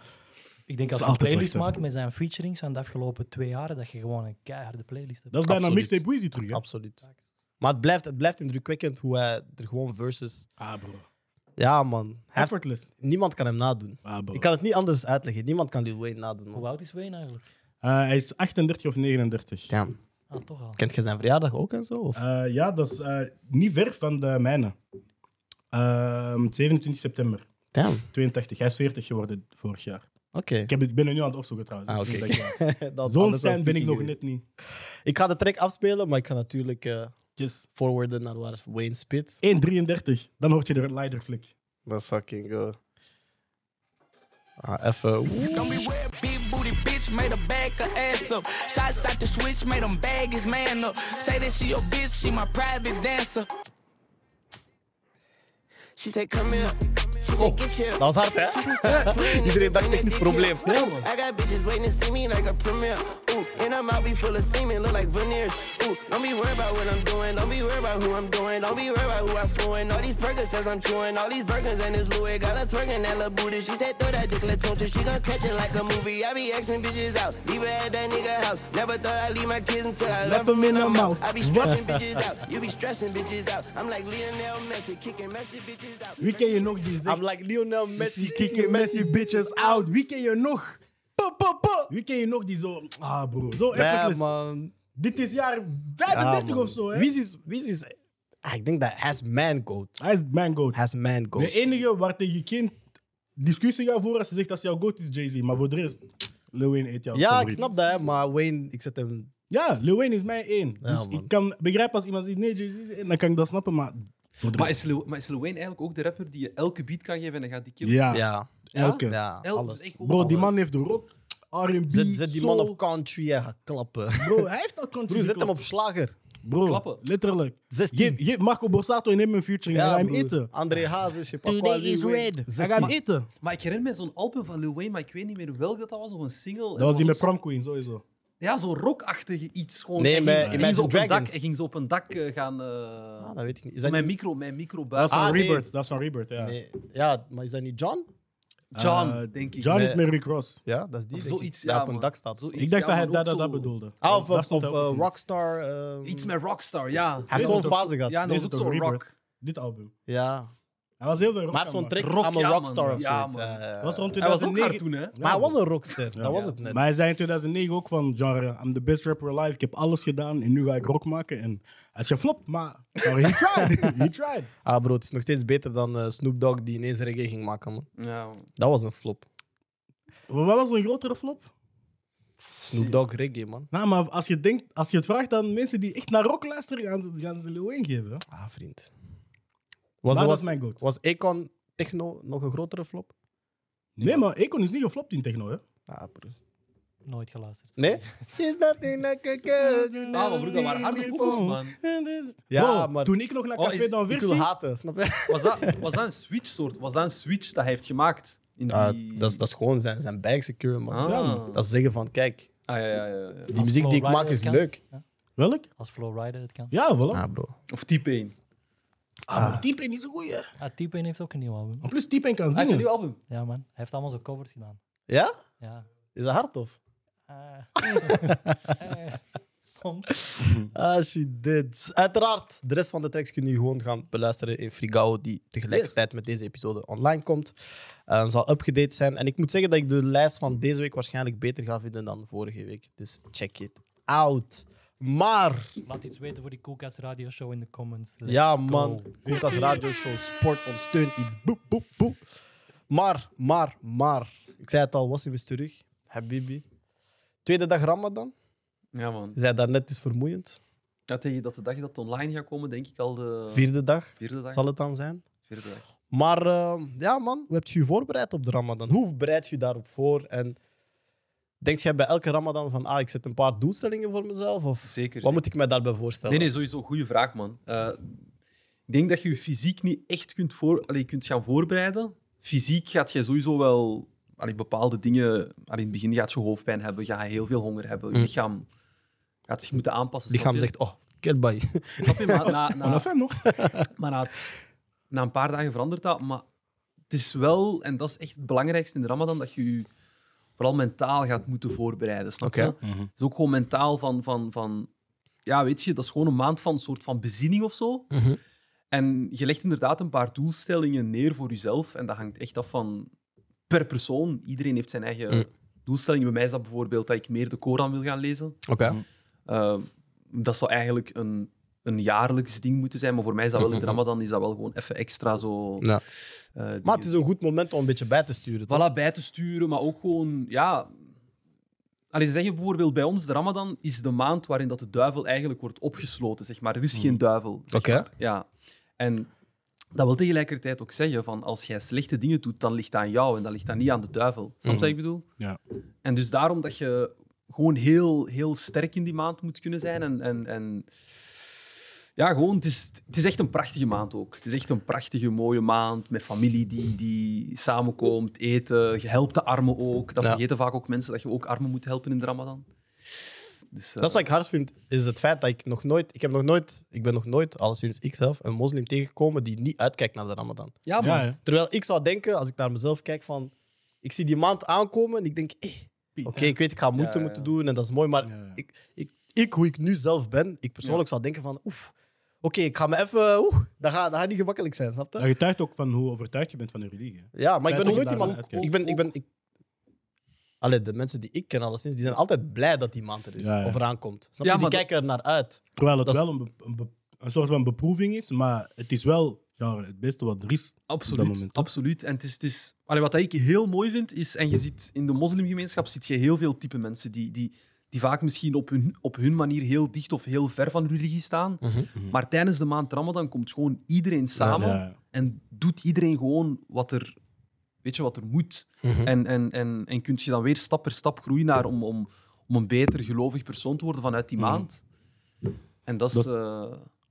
[SPEAKER 5] Ik denk als
[SPEAKER 3] is
[SPEAKER 5] je een
[SPEAKER 3] altijd
[SPEAKER 5] playlist
[SPEAKER 3] wachten.
[SPEAKER 5] maakt met zijn featurings van de afgelopen twee jaren, dat je gewoon een keiharde playlist hebt.
[SPEAKER 3] Dat is bijna
[SPEAKER 1] Absoluut.
[SPEAKER 3] mixtape Weezy terug, hè?
[SPEAKER 1] Absoluut. Maar het blijft, het blijft indrukwekkend hoe hij er gewoon versus...
[SPEAKER 3] Ah, bro.
[SPEAKER 1] Ja, man. Hij heeft-
[SPEAKER 3] Effortless.
[SPEAKER 1] niemand kan hem nadoen.
[SPEAKER 3] Ah, bro.
[SPEAKER 1] Ik kan het niet anders uitleggen. Niemand kan Lil Wayne nadoen, man.
[SPEAKER 5] Hoe oud is Wayne eigenlijk?
[SPEAKER 3] Eh, hij is 38 of 39.
[SPEAKER 1] Damn.
[SPEAKER 5] Ah, toch al.
[SPEAKER 1] Kent je zijn verjaardag ook en zo? Of?
[SPEAKER 3] Eh, ja, dat is eh, niet ver van de mijne. Ehm, 27 september
[SPEAKER 1] Damn,
[SPEAKER 3] 82. Hij is 40 geworden vorig jaar.
[SPEAKER 1] oké.
[SPEAKER 3] Ik, heb, het- ik ben er nu aan het opzoeken trouwens.
[SPEAKER 1] Ah,
[SPEAKER 3] dus
[SPEAKER 1] oké.
[SPEAKER 3] dat is waar.
[SPEAKER 1] Dat is
[SPEAKER 3] Zo'n
[SPEAKER 1] anders dan
[SPEAKER 3] fan ben ik nog
[SPEAKER 1] Viking
[SPEAKER 3] net
[SPEAKER 1] geweest.
[SPEAKER 3] niet.
[SPEAKER 1] Ik ga de track afspelen, maar ik ga natuurlijk eh, forwarden naar waar Wayne spit.
[SPEAKER 3] 1,33. Dan hoort je de lighter flick.
[SPEAKER 1] Dat is fucking... eh, Ah, even...
[SPEAKER 6] Don't beware, big booty bitch made her back her ass up. Shots out the switch made him bag his man up. Say that she your bitch, she my private dancer. She said, come here. She said, get here.
[SPEAKER 1] Dat was hard, hè? Iedereen dacht technisch probleem.
[SPEAKER 6] I got bitches waiting to see me like a premiere. Ooh, and I'm out be full of semen, look like veneers. Ooh, don't be worried about what I'm doing, don't be worried about who I'm doing, don't be worried about who I fooling. All these burgers as I'm chewing, all these burgers and this Louis got her twerking that little booty. She said throw that dick latunta, she gon' catch it like a movie. I be asking bitches out, leave her at that nigga house. Never thought I'd leave my kids until I left them in the mouth. I be stressing bitches out, you be stressing bitches out. I'm like Lionel Messi, kicking messy bitches out.
[SPEAKER 3] Wie ken je nog die zegt...
[SPEAKER 1] I'm like Lionel Messi.
[SPEAKER 3] kicking messy bitches out. Wie ken je nog? Pa, pa, pa. Wie ken je nog die zo... Ah, bro. Zo
[SPEAKER 1] Ja,
[SPEAKER 3] effortless.
[SPEAKER 1] man.
[SPEAKER 3] Dit is jaar
[SPEAKER 1] Ja,
[SPEAKER 3] 35
[SPEAKER 1] man.
[SPEAKER 3] of zo, hè?
[SPEAKER 1] Wie is... Wie is ah, ik denk dat Has Man Goat.
[SPEAKER 3] Hij is mijn goat.
[SPEAKER 1] Has Man Goat.
[SPEAKER 3] De enige waar tegen kind discussie gaat voeren als ze zegt dat ze jouw goat is Jay-Z. Maar voor de rest, Lil Wayne eet jou.
[SPEAKER 1] Ja, ik snap dat, hè, maar Wayne, ik zet hem...
[SPEAKER 3] Ja, Lil Wayne is mijn één. dus
[SPEAKER 1] man.
[SPEAKER 3] ik kan begrijpen als iemand zegt nee, Jay-Z is één, dan kan ik dat snappen, maar voor de
[SPEAKER 2] Maar
[SPEAKER 3] rest-
[SPEAKER 2] is, Lil, maar is Lil Wayne eigenlijk ook de rapper die je elke beat kan geven en dan gaat die killen?
[SPEAKER 3] ja,
[SPEAKER 1] Ja,
[SPEAKER 3] elke.
[SPEAKER 1] ja,
[SPEAKER 2] El-
[SPEAKER 1] alles.
[SPEAKER 2] dus echt gewoon
[SPEAKER 3] Bro, die
[SPEAKER 2] alles.
[SPEAKER 3] man heeft de rock, R&B,
[SPEAKER 1] Zet, zet die man
[SPEAKER 3] soul.
[SPEAKER 1] op country en ga klappen.
[SPEAKER 3] Bro, hij heeft al country
[SPEAKER 1] Broer, zet
[SPEAKER 3] geklapt.
[SPEAKER 1] hem op slager.
[SPEAKER 3] Bro,
[SPEAKER 2] klappen.
[SPEAKER 3] letterlijk.
[SPEAKER 1] 16.
[SPEAKER 3] Geef, geef Marco Borsato en hem een featuring en hij hem
[SPEAKER 1] broer.
[SPEAKER 3] eten.
[SPEAKER 1] André Hazes, je pakt wel wie weet.
[SPEAKER 3] Hij gaat hem eten.
[SPEAKER 2] Maar ik herinner me zo'n album van Lil Wayne, maar ik weet niet meer welk dat dat was, of een single. En
[SPEAKER 3] Dat was die
[SPEAKER 2] ook
[SPEAKER 3] met
[SPEAKER 2] zo-
[SPEAKER 3] Prom Queen, sowieso.
[SPEAKER 2] Ja, zo'n rockachtige iets. Gewoon.
[SPEAKER 1] Nee,
[SPEAKER 2] Hij
[SPEAKER 1] maar
[SPEAKER 2] ging- hij ging,
[SPEAKER 1] Imagine
[SPEAKER 2] ze op een dak,
[SPEAKER 1] Dragons.
[SPEAKER 2] hij ging ze op een dak eh, gaan... eh,
[SPEAKER 1] Ah, dat weet ik niet. Is
[SPEAKER 2] zo
[SPEAKER 1] dat
[SPEAKER 2] mijn
[SPEAKER 1] niet-
[SPEAKER 2] micro, mijn micro
[SPEAKER 3] Dat is
[SPEAKER 2] buis.
[SPEAKER 3] van
[SPEAKER 1] Ah, nee.
[SPEAKER 3] Rebirth, dat is van Rebirth, ja.
[SPEAKER 1] Nee. Ja, maar is dat niet John?
[SPEAKER 2] John,
[SPEAKER 3] Eh,
[SPEAKER 2] denk ik.
[SPEAKER 3] John
[SPEAKER 1] Nee.
[SPEAKER 3] is met Rick Ross.
[SPEAKER 1] Ja, dat is die.
[SPEAKER 2] Of
[SPEAKER 1] denk ik,
[SPEAKER 2] zoiets,
[SPEAKER 1] die
[SPEAKER 2] ja,
[SPEAKER 1] op een
[SPEAKER 2] man.
[SPEAKER 1] dak staat.
[SPEAKER 2] Zoiets.
[SPEAKER 3] Ik dacht
[SPEAKER 2] Ja,
[SPEAKER 3] dat
[SPEAKER 2] maar
[SPEAKER 3] hij
[SPEAKER 2] ook
[SPEAKER 3] dat, dat, dat
[SPEAKER 2] zo-
[SPEAKER 3] bedoelde.
[SPEAKER 1] Ah, of,
[SPEAKER 3] Dat
[SPEAKER 1] of,
[SPEAKER 3] stond
[SPEAKER 1] of
[SPEAKER 3] hij ook
[SPEAKER 1] eh,
[SPEAKER 3] in.
[SPEAKER 1] Rockstar. ehm,
[SPEAKER 2] Iets met Rockstar, ja.
[SPEAKER 1] Hij heeft
[SPEAKER 3] Dit
[SPEAKER 1] zo'n
[SPEAKER 3] is ook-
[SPEAKER 1] fase gehad.
[SPEAKER 2] Ja, dat
[SPEAKER 3] Dit
[SPEAKER 2] is
[SPEAKER 3] is
[SPEAKER 2] ook
[SPEAKER 3] ook
[SPEAKER 2] zo'n
[SPEAKER 3] Rebirth.
[SPEAKER 2] rock.
[SPEAKER 3] Dit album.
[SPEAKER 1] Ja.
[SPEAKER 3] Hij was heel veel rock.
[SPEAKER 1] Maar hij heeft zo'n
[SPEAKER 3] aan het
[SPEAKER 1] track,
[SPEAKER 2] Rock,
[SPEAKER 1] I'm a
[SPEAKER 2] ja,
[SPEAKER 1] rockstar
[SPEAKER 2] man.
[SPEAKER 1] of
[SPEAKER 2] Ja,
[SPEAKER 1] zoiets.
[SPEAKER 2] man.
[SPEAKER 1] Ja, ja, ja.
[SPEAKER 3] maken. was rond
[SPEAKER 2] eh, Hij was ook
[SPEAKER 3] 2009.
[SPEAKER 2] hard toen, hè.
[SPEAKER 1] Maar hij was een rockster, dat was het net.
[SPEAKER 3] Maar hij zei in 2009 ook van genre, I'm the best rapper alive. Ik heb alles gedaan en nu ga ik rock maken. En hij is geflopt, maar maar he tried. he tried.
[SPEAKER 1] Ah bro, het is nog steeds beter dan eh, Snoop Dogg die ineens reggae ging maken, man.
[SPEAKER 2] Ja.
[SPEAKER 1] Dat was een flop.
[SPEAKER 3] Maar Wat was een grotere flop?
[SPEAKER 1] Snoop Dogg reggae, man.
[SPEAKER 3] Nou, maar als je, denkt, als je het vraagt aan mensen die echt naar rock luisteren, gaan ze, gaan ze Lil Wayne geven. hè.
[SPEAKER 1] Ah, vriend. Was,
[SPEAKER 3] Maar dat
[SPEAKER 1] was,
[SPEAKER 3] is mijn goat.
[SPEAKER 1] was Econ Techno nog een grotere flop?
[SPEAKER 3] Nee, maar Econ is niet geflopt in techno, hè?
[SPEAKER 1] Ah, broer.
[SPEAKER 5] Nooit geluisterd.
[SPEAKER 1] Nee? She's nothing like a girl you
[SPEAKER 2] Ah, maar broer, dat waren
[SPEAKER 1] never
[SPEAKER 2] harde
[SPEAKER 1] seen
[SPEAKER 2] pokkels,
[SPEAKER 1] before.
[SPEAKER 2] man.
[SPEAKER 1] Ja,
[SPEAKER 3] dus- Bro,
[SPEAKER 1] maar
[SPEAKER 3] toen ik nog naar
[SPEAKER 2] Oh,
[SPEAKER 3] Café
[SPEAKER 2] is-
[SPEAKER 3] dan
[SPEAKER 1] ik
[SPEAKER 3] weer
[SPEAKER 1] wil haten, snap je?
[SPEAKER 2] Was dat, was dat een switch soort? Was dat een switch dat hij heeft gemaakt? In die...
[SPEAKER 1] Ja, Ah, dat, is, dat is gewoon zijn, zijn bijsecure, man.
[SPEAKER 2] Ah.
[SPEAKER 1] Ja, man. Dat is zeggen van, kijk,
[SPEAKER 2] Ah, ja, ja, ja, ja.
[SPEAKER 1] die muziek die ik maak is leuk.
[SPEAKER 3] Welk?
[SPEAKER 5] Als Flowrider het kan.
[SPEAKER 3] Ja, voilà.
[SPEAKER 1] Ah, bro.
[SPEAKER 2] Of T-Pain.
[SPEAKER 3] Ah, Type is een goeie.
[SPEAKER 5] Ah, T-Pain heeft ook een nieuw album.
[SPEAKER 3] En plus, Type kan
[SPEAKER 2] Hij heeft een
[SPEAKER 3] zingen.
[SPEAKER 2] nieuw album.
[SPEAKER 5] Ja, man. Hij heeft allemaal zo covers gedaan.
[SPEAKER 1] Ja?
[SPEAKER 5] Ja.
[SPEAKER 1] Is dat hard, of?
[SPEAKER 5] Eh, eh, soms.
[SPEAKER 1] Ah, she did. Uiteraard, de rest van de tracks kun je gewoon gaan beluisteren in Frigao, die tegelijkertijd met deze episode online komt. Eh, zal upgedate zijn. En ik moet zeggen dat ik de lijst van deze week waarschijnlijk beter ga vinden dan vorige week. Dus check it out. Maar,
[SPEAKER 5] Laat iets weten voor die Koelkast Radio Show in de comments. Let's
[SPEAKER 1] ja
[SPEAKER 5] go.
[SPEAKER 1] man, Koelkast Radio Show, sport, ondersteun iets. Boep, boep, boep. Maar, maar, maar. Ik zei het al, Wassim is terug. Habibi. Tweede dag Ramadan.
[SPEAKER 2] Ja, man.
[SPEAKER 1] Je zei daarnet, het is vermoeiend.
[SPEAKER 2] Ja, tegen dat de dag dat het online gaat komen, denk ik al de
[SPEAKER 1] Vierde dag
[SPEAKER 2] vierde dag.
[SPEAKER 1] zal het dan zijn.
[SPEAKER 2] Vierde dag.
[SPEAKER 1] Maar eh, ja, man, hoe heb je je voorbereid op de Ramadan? Hoe bereid je je daarop voor? En denkt jij bij elke Ramadan van, ah, ik zet een paar doelstellingen voor mezelf? Of
[SPEAKER 2] Zeker.
[SPEAKER 1] wat moet ik mij daarbij voorstellen?
[SPEAKER 2] Nee, nee, sowieso. Goede vraag, man. Eh, ik denk dat je je fysiek niet echt kunt, voor... Allee, kunt gaan voorbereiden. Fysiek gaat je sowieso wel allee, bepaalde dingen. Allee, in het begin gaat je hoofdpijn hebben, ga je heel veel honger hebben. Je
[SPEAKER 1] Mm.
[SPEAKER 2] lichaam gaat zich moeten aanpassen.
[SPEAKER 1] lichaam
[SPEAKER 2] snap
[SPEAKER 1] zegt, oh, goodbye.
[SPEAKER 2] je? Snap je? Maar na,
[SPEAKER 3] Maar
[SPEAKER 2] na,
[SPEAKER 3] dat fijn nog.
[SPEAKER 1] Ah,
[SPEAKER 2] maar na, na een paar dagen verandert dat. Maar het is wel, en dat is echt het belangrijkste in de Ramadan, dat je je vooral mentaal gaat moeten voorbereiden. Snap je?
[SPEAKER 1] Oké. Mhm.
[SPEAKER 2] Het is ook gewoon mentaal van, van, van. Ja, weet je, dat is gewoon een maand van een soort van bezinning of zo.
[SPEAKER 1] Mhm.
[SPEAKER 2] En je legt inderdaad een paar doelstellingen neer voor jezelf. En dat hangt echt af van per persoon. Iedereen heeft zijn eigen
[SPEAKER 1] Mm.
[SPEAKER 2] doelstelling. Bij mij is dat bijvoorbeeld dat ik meer de Koran wil gaan lezen.
[SPEAKER 1] Oké.
[SPEAKER 2] Eh, dat zou eigenlijk een, een jaarlijks ding moeten zijn. Maar voor mij is dat wel in de Ramadan is dat wel gewoon even extra zo.
[SPEAKER 1] Ja.
[SPEAKER 2] eh,
[SPEAKER 1] Maar
[SPEAKER 2] dingen.
[SPEAKER 1] het is een goed moment om een beetje bij te sturen. toch?
[SPEAKER 2] voilà, bij te sturen, maar ook gewoon, ja... Allee, ze zeggen bijvoorbeeld bij ons, de Ramadan is de maand waarin dat de duivel eigenlijk wordt opgesloten, zeg maar. Er is geen duivel. zeg
[SPEAKER 1] Oké.
[SPEAKER 2] maar. Ja. En dat wil tegelijkertijd ook zeggen van, als jij slechte dingen doet, dan ligt dat aan jou en dat ligt dan niet aan de duivel. Snap je wat ik bedoel?
[SPEAKER 3] Ja.
[SPEAKER 2] En dus daarom dat je gewoon heel, heel sterk in die maand moet kunnen zijn en... en, en ja, gewoon, het is, het is echt een prachtige maand ook. Het is echt een prachtige, mooie maand met familie die, die samenkomt, eten. Je helpt de armen ook. Dat
[SPEAKER 1] Ja.
[SPEAKER 2] vergeten vaak ook mensen, dat je ook armen moet helpen in de ramadan. Dus, eh,
[SPEAKER 1] Dat is wat ik hard vind, is het feit dat ik nog nooit... Ik, heb nog nooit, ik ben nog nooit, alleszins ik zelf, een moslim tegengekomen die niet uitkijkt naar de ramadan.
[SPEAKER 2] Ja, man.
[SPEAKER 3] Ja, ja.
[SPEAKER 1] Terwijl ik zou denken, als ik naar mezelf kijk, van... Ik zie die maand aankomen en ik denk... eh, Oké, ik weet, ik ga moeite
[SPEAKER 2] Ja, ja.
[SPEAKER 1] moeten doen en dat is mooi, maar
[SPEAKER 3] Ja, ja.
[SPEAKER 1] Ik, ik, ik, hoe ik nu zelf ben, ik persoonlijk zou denken van... Oef, oké, ik ga me even... eh, Oeh, dat gaat dat gaat niet gemakkelijk zijn, snap
[SPEAKER 3] Dat
[SPEAKER 1] je?
[SPEAKER 3] getuigt ook van hoe overtuigd je bent van je religie. hè.
[SPEAKER 1] Ja, maar ik ben nog nooit
[SPEAKER 3] Ook-
[SPEAKER 1] iemand...
[SPEAKER 3] ook-
[SPEAKER 1] Ik ben... Ik ben ik, Allee, de mensen die ik ken alleszins, die zijn altijd blij dat die maand er is,
[SPEAKER 3] Ja, ja.
[SPEAKER 1] of eraan komt. Snap je?
[SPEAKER 2] Ja,
[SPEAKER 1] die
[SPEAKER 2] maar dat-
[SPEAKER 1] kijken er naar uit.
[SPEAKER 3] Terwijl het
[SPEAKER 1] Dat is-
[SPEAKER 3] wel een, be- een, be- een soort van beproeving is, maar het is wel genre, het beste wat er is. op dat
[SPEAKER 2] Absoluut,
[SPEAKER 3] moment, toch?
[SPEAKER 2] absoluut. En het is, het is... Allee, wat ik heel mooi vind, is... En je ziet in de moslimgemeenschap ziet je heel veel type mensen die, die, die vaak misschien op hun, op hun manier heel dicht of heel ver van hun religie staan.
[SPEAKER 1] Mhm,
[SPEAKER 2] Maar tijdens de maand Ramadan komt gewoon iedereen
[SPEAKER 1] Ah,
[SPEAKER 2] samen
[SPEAKER 3] Ja.
[SPEAKER 2] en doet iedereen gewoon wat er, weet je, wat er moet.
[SPEAKER 1] Mhm.
[SPEAKER 2] En, en, en, en kun je dan weer stap per stap groeien naar om, om, om een beter gelovig persoon te worden vanuit die
[SPEAKER 1] Mhm.
[SPEAKER 2] maand. En dat is...
[SPEAKER 3] Dat is-
[SPEAKER 2] eh,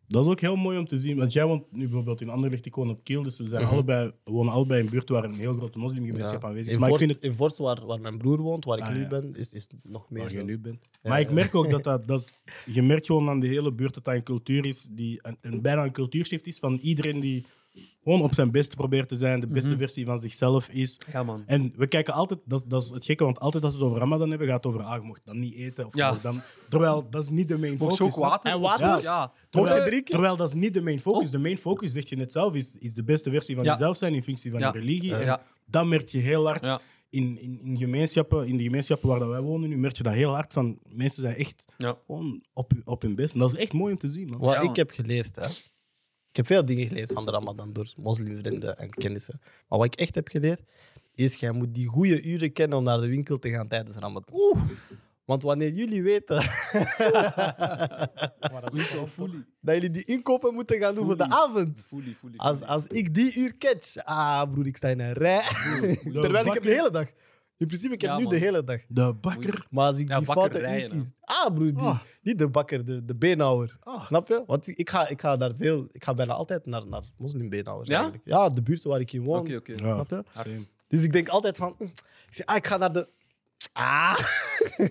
[SPEAKER 3] Dat is ook heel mooi om te zien, want jij woont nu bijvoorbeeld in Anderlecht, ik woon op Kiel, dus we, zijn
[SPEAKER 1] Mhm.
[SPEAKER 3] allebei, we wonen allebei in een buurt waar een heel grote moslimgemeenschap aanwezig is.
[SPEAKER 1] In
[SPEAKER 3] Maar ik
[SPEAKER 1] Vorst,
[SPEAKER 3] vind het...
[SPEAKER 1] in Vorst waar, waar mijn broer woont, waar ik
[SPEAKER 3] Ah,
[SPEAKER 1] nu
[SPEAKER 3] ja.
[SPEAKER 1] ben, is, is nog meer.
[SPEAKER 3] Waar je
[SPEAKER 1] zelfs.
[SPEAKER 3] nu bent. maar ik merk ook dat, dat, dat is, je merkt gewoon aan de hele buurt dat dat een cultuur is, die een, een- bijna een cultuurshift is van iedereen die gewoon op zijn best probeert te zijn, de beste versie van zichzelf is.
[SPEAKER 2] Mhm. ja, man.
[SPEAKER 3] En we kijken altijd, dat, is- dat is het gekke, want altijd als we het over Ramadan hebben, gaat het over, ah, je mocht dan niet eten. Of je
[SPEAKER 2] Ja.
[SPEAKER 3] mag dan, terwijl dat is niet de main
[SPEAKER 2] Mocht
[SPEAKER 3] focus.
[SPEAKER 2] je ook
[SPEAKER 3] snap je?
[SPEAKER 2] water?
[SPEAKER 1] En water?
[SPEAKER 2] Ja. Oh.
[SPEAKER 1] Mocht je
[SPEAKER 3] Terwijl,
[SPEAKER 1] drinken?
[SPEAKER 3] terwijl dat is niet de main focus. De main focus, zeg je net zelf, is, is de beste versie van
[SPEAKER 2] Ja.
[SPEAKER 3] jezelf zijn in functie van
[SPEAKER 2] Ja.
[SPEAKER 3] je religie. En
[SPEAKER 2] Ja.
[SPEAKER 3] dat merk je heel hard
[SPEAKER 2] Ja.
[SPEAKER 3] in, in, in, gemeenschappen, in de gemeenschappen waar dat wij wonen nu. Merk je dat heel hard van mensen zijn echt
[SPEAKER 2] Ja.
[SPEAKER 3] gewoon op, op hun best. En dat is echt mooi om te zien. Man.
[SPEAKER 1] Wat
[SPEAKER 2] Ja,
[SPEAKER 1] ik
[SPEAKER 2] man.
[SPEAKER 1] heb geleerd, hè. Ik heb veel dingen geleerd van de Ramadan door moslimvrienden en kennissen. Maar wat ik echt heb geleerd, is jij moet die goede uren kennen om naar de winkel te gaan tijdens Ramadan. Oeh. Want wanneer jullie weten
[SPEAKER 5] Maar dat is ook wel
[SPEAKER 2] Fully,
[SPEAKER 1] dat jullie die inkopen moeten gaan doen voor de
[SPEAKER 2] Oei.
[SPEAKER 1] avond,
[SPEAKER 2] fully, fully.
[SPEAKER 1] als, als ik die uur catch, ah broer, ik sta in een rij.
[SPEAKER 3] De
[SPEAKER 1] Terwijl ik heb de
[SPEAKER 3] bakker-
[SPEAKER 1] hele dag. In principe, ik heb
[SPEAKER 2] Ja,
[SPEAKER 1] nu
[SPEAKER 2] man.
[SPEAKER 1] de hele dag.
[SPEAKER 3] De bakker.
[SPEAKER 1] Maar als ik
[SPEAKER 2] Ja,
[SPEAKER 1] die fouten
[SPEAKER 2] bakkerijen,
[SPEAKER 1] niet kies... Ah, broer, die,
[SPEAKER 3] Ah.
[SPEAKER 1] niet de bakker, de, de beenhouwer.
[SPEAKER 3] Oh.
[SPEAKER 1] Snap je? Want ik ga, ik ga daar veel... Ik ga bijna altijd naar, naar moslimbeenhouwers
[SPEAKER 2] Ja?
[SPEAKER 1] eigenlijk. Ja, de buurt waar ik in woon.
[SPEAKER 2] Oké, oké.
[SPEAKER 3] Ja,
[SPEAKER 1] Snap je?
[SPEAKER 3] same.
[SPEAKER 1] Dus ik denk altijd van... mm, Ik zeg, ah, ik ga naar de... Ah!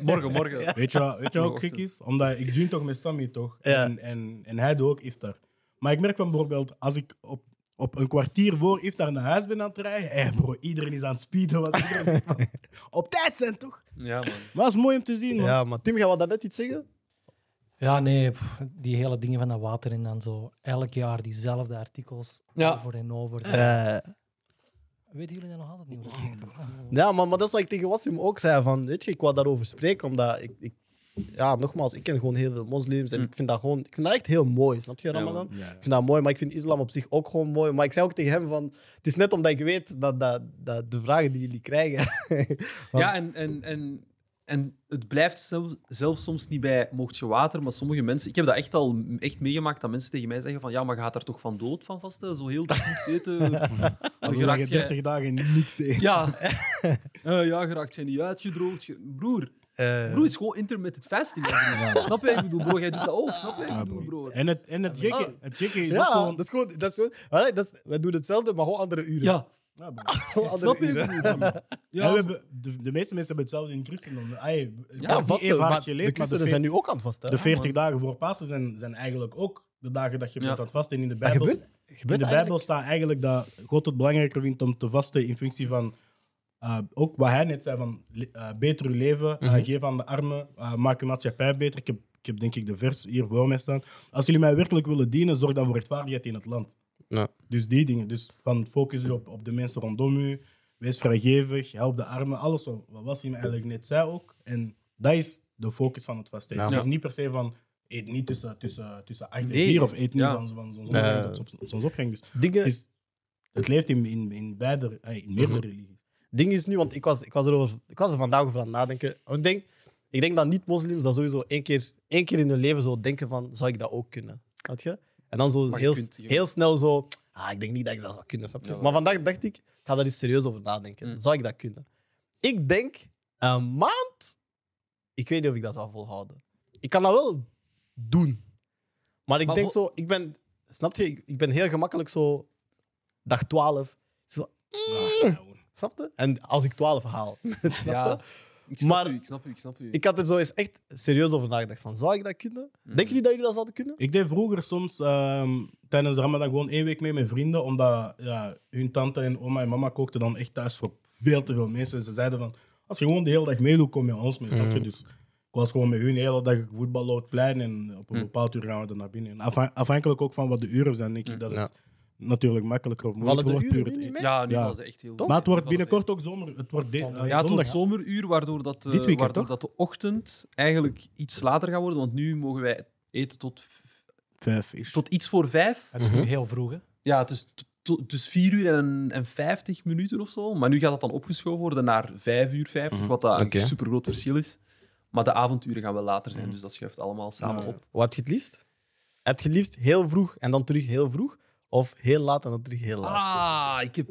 [SPEAKER 2] Morgen, morgen.
[SPEAKER 3] Weet je, wat- weet je wat ook
[SPEAKER 2] Morgenochtend.
[SPEAKER 3] gek is? Omdat ik join toch met Sammy, toch?
[SPEAKER 1] Ja.
[SPEAKER 3] En, en, en hij doet ook iftar. Maar ik merk van bijvoorbeeld, als ik op, op een kwartier voor iftar naar huis ben aan het rijden, hé bro, iedereen is aan het speeden. Want iedereen zegt van, op tijd zijn, toch?
[SPEAKER 2] Ja, man.
[SPEAKER 3] Maar dat is mooi om te zien, man.
[SPEAKER 1] Ja, maar Tim, jij wou net iets zeggen?
[SPEAKER 5] Ja, nee, pff, die hele dingen van dat water en dan zo elk jaar diezelfde artikels
[SPEAKER 2] Ja.
[SPEAKER 5] over en over. Zo.
[SPEAKER 1] Eh,
[SPEAKER 5] Weten jullie dat nog altijd niet? hoe dat zit?
[SPEAKER 1] ja, maar, maar dat is wat ik tegen Wassim ook zei. Van, weet je, ik wou daarover spreken, omdat ik... ik ja, nogmaals, ik ken gewoon heel veel moslims en ik vind dat gewoon... Ik vind dat echt heel mooi, snap je,
[SPEAKER 2] Ja, man.
[SPEAKER 1] Ramadan?
[SPEAKER 3] Mm. Ja, ja.
[SPEAKER 1] Ik vind dat mooi, maar ik vind islam op zich ook gewoon mooi. Maar ik zei ook tegen hem van... Het is net omdat ik weet dat, dat, dat de vragen die jullie krijgen... Want-
[SPEAKER 2] Ja, en, en, en, en het blijft zelf, zelfs soms niet bij mocht je water, maar sommige mensen... Ik heb dat echt al m- echt meegemaakt, dat mensen tegen mij zeggen van ja, maar gaat daar toch van dood van vasten? Zo heel diep zitten.
[SPEAKER 3] Als
[SPEAKER 2] Geraakt
[SPEAKER 3] je
[SPEAKER 2] jij-
[SPEAKER 3] 30 dagen niks eet.
[SPEAKER 2] Ja. Eh, ja, geraakt zijn niet uitgedroogd. Je- Broer,
[SPEAKER 1] eh,
[SPEAKER 2] broer is gewoon intermittent fasting. hè, broer. Snap je? Ik bedoel, bro, jij doet dat ook. Snap je? Ik
[SPEAKER 3] Ja,
[SPEAKER 2] bedoel,
[SPEAKER 3] bro.
[SPEAKER 2] broer.
[SPEAKER 3] En het, en het, gekke, het gekke is ook
[SPEAKER 1] ja,
[SPEAKER 3] gewoon...
[SPEAKER 1] dat is gewoon... Dat is gewoon allee, dat is- wij doen hetzelfde, maar gewoon andere uren.
[SPEAKER 2] Ja,
[SPEAKER 3] Ja, bro.
[SPEAKER 1] Gewoon andere
[SPEAKER 2] snap je?
[SPEAKER 1] uren.
[SPEAKER 2] broer?
[SPEAKER 3] En we
[SPEAKER 2] Ja,
[SPEAKER 3] hebben, de, de meeste mensen hebben hetzelfde in christendom. Ai,
[SPEAKER 1] Ja, vasten.
[SPEAKER 3] even
[SPEAKER 1] Maar
[SPEAKER 3] hard
[SPEAKER 1] de
[SPEAKER 3] geleefd, maar
[SPEAKER 1] christenen
[SPEAKER 3] de
[SPEAKER 1] zijn nu ook aan het vasten. hè?
[SPEAKER 3] De 40
[SPEAKER 2] man.
[SPEAKER 3] dagen voor Pasen zijn, zijn eigenlijk ook de dagen dat je
[SPEAKER 2] Ja.
[SPEAKER 3] bent aan het vasten. En in de
[SPEAKER 1] Dat
[SPEAKER 3] Bijbel,
[SPEAKER 1] gebeurt-
[SPEAKER 3] in
[SPEAKER 1] gebeurt
[SPEAKER 3] de Bijbel
[SPEAKER 1] eigenlijk.
[SPEAKER 3] staat eigenlijk dat God het belangrijker vindt om te vasten in functie van eh, ook wat hij net zei: van le- eh, beter uw leven, eh,
[SPEAKER 1] Mhm.
[SPEAKER 3] geef aan de armen, eh, maak uw maatschappij beter. Ik heb, ik heb denk ik de vers hier voor mij staan. Als jullie mij werkelijk willen dienen, zorg dan voor rechtvaardigheid in het land.
[SPEAKER 1] Ja.
[SPEAKER 3] Dus die dingen. Dus van focus u op, op de mensen rondom u, wees vrijgevig, help de armen, alles wat wat Wassim eigenlijk net zei ook. En dat is de focus van het vasten.
[SPEAKER 1] Ja.
[SPEAKER 3] Het is niet per se van Eet niet tussen, tussen, tussen 8
[SPEAKER 2] Nee.
[SPEAKER 3] en 4 of eet niet
[SPEAKER 2] Ja.
[SPEAKER 3] van, van zo'n
[SPEAKER 1] Nee.
[SPEAKER 3] opgang tot zo'n- zo'n opgang. Dus
[SPEAKER 1] Dingen,
[SPEAKER 3] het, is, het leeft in, in, in, beide, eh, in
[SPEAKER 1] Mhm.
[SPEAKER 3] meerdere religies.
[SPEAKER 1] ding is nu, want ik was, ik was, erover, ik was er vandaag over aan het nadenken. Ik denk, ik denk dat niet-moslims dat sowieso één keer, één keer in hun leven zo denken van, zou ik dat ook kunnen? Snap je? En dan zo
[SPEAKER 2] Maar je
[SPEAKER 1] heel,
[SPEAKER 2] kunt- je-
[SPEAKER 1] heel snel zo, ah, ik denk niet dat ik dat zou kunnen. Snap je?
[SPEAKER 2] Ja.
[SPEAKER 1] maar vandaag dacht ik, ik ga daar eens serieus over nadenken.
[SPEAKER 2] Mm.
[SPEAKER 1] Zou ik dat kunnen? Ik denk, een maand, ik weet niet of ik dat zou volhouden. Ik kan dat wel doen. Maar ik
[SPEAKER 2] Maar
[SPEAKER 1] denk
[SPEAKER 2] vol-
[SPEAKER 1] zo, ik ben, snap je? Ik, ik ben heel gemakkelijk zo, dag 12.
[SPEAKER 3] Maar, Ah, ja, gewoon.
[SPEAKER 1] Snap je? En als ik 12 haal.
[SPEAKER 2] Ja, ik snap
[SPEAKER 1] Maar-
[SPEAKER 2] u, ik snap u, ik snap u.
[SPEAKER 1] Ik had er zo eens echt serieus over nagedacht. Van, zou ik dat kunnen?
[SPEAKER 2] Mhm.
[SPEAKER 1] Denken jullie dat jullie dat zouden kunnen?
[SPEAKER 3] Ik deed vroeger soms ehm, tijdens de Ramadan gewoon één week mee met vrienden, omdat ja, hun tante en oma en mama kookten dan echt thuis voor veel te veel mensen. Ze zeiden van, als je gewoon de hele dag meedoet, kom je aan ons mee, snap
[SPEAKER 1] Mhm.
[SPEAKER 3] je? Dus ik was gewoon met hun de hele dag voetballen op het plein en op
[SPEAKER 1] Mhm.
[SPEAKER 3] een
[SPEAKER 2] Mm.
[SPEAKER 3] bepaald uur gaan we dan naar binnen. En afhan- afhankelijk ook van wat de uren zijn, denk ik dat het
[SPEAKER 1] Mhm. Ja.
[SPEAKER 3] natuurlijk makkelijker of
[SPEAKER 1] Vallen
[SPEAKER 3] moeilijker
[SPEAKER 1] de
[SPEAKER 3] wordt.
[SPEAKER 1] uren nu
[SPEAKER 3] puur het
[SPEAKER 1] niet
[SPEAKER 3] e-
[SPEAKER 1] mee?
[SPEAKER 2] Ja, nu
[SPEAKER 3] Ja.
[SPEAKER 2] was het echt heel...
[SPEAKER 3] Maar het wordt
[SPEAKER 2] Nu was echt-
[SPEAKER 3] binnenkort ook zomer. Het wordt de, eh,
[SPEAKER 5] Ja, het
[SPEAKER 2] Ja, het wordt
[SPEAKER 3] zondag.
[SPEAKER 2] zomeruur, waardoor, dat, eh,
[SPEAKER 3] Dit weekend,
[SPEAKER 2] waardoor
[SPEAKER 3] toch?
[SPEAKER 2] dat de ochtend eigenlijk iets later gaat worden. Want nu mogen wij eten tot, v-
[SPEAKER 3] Vijf is.
[SPEAKER 2] tot iets voor vijf.
[SPEAKER 5] Het is nu heel vroeg, hè?
[SPEAKER 2] Ja, het is t- to- dus vier uur en, en vijftig minuten of zo. Maar nu gaat dat dan opgeschoven worden naar vijf uur vijftig,
[SPEAKER 3] Mhm.
[SPEAKER 2] wat daar
[SPEAKER 1] Oké.
[SPEAKER 2] een super groot verschil is. Maar de avonduren gaan wel later zijn, dus dat schuift allemaal samen op.
[SPEAKER 1] Wat heb je het liefst? Heb je het liefst heel vroeg en dan terug heel vroeg? Of heel laat en dan terug heel laat?
[SPEAKER 2] Ah, ik heb...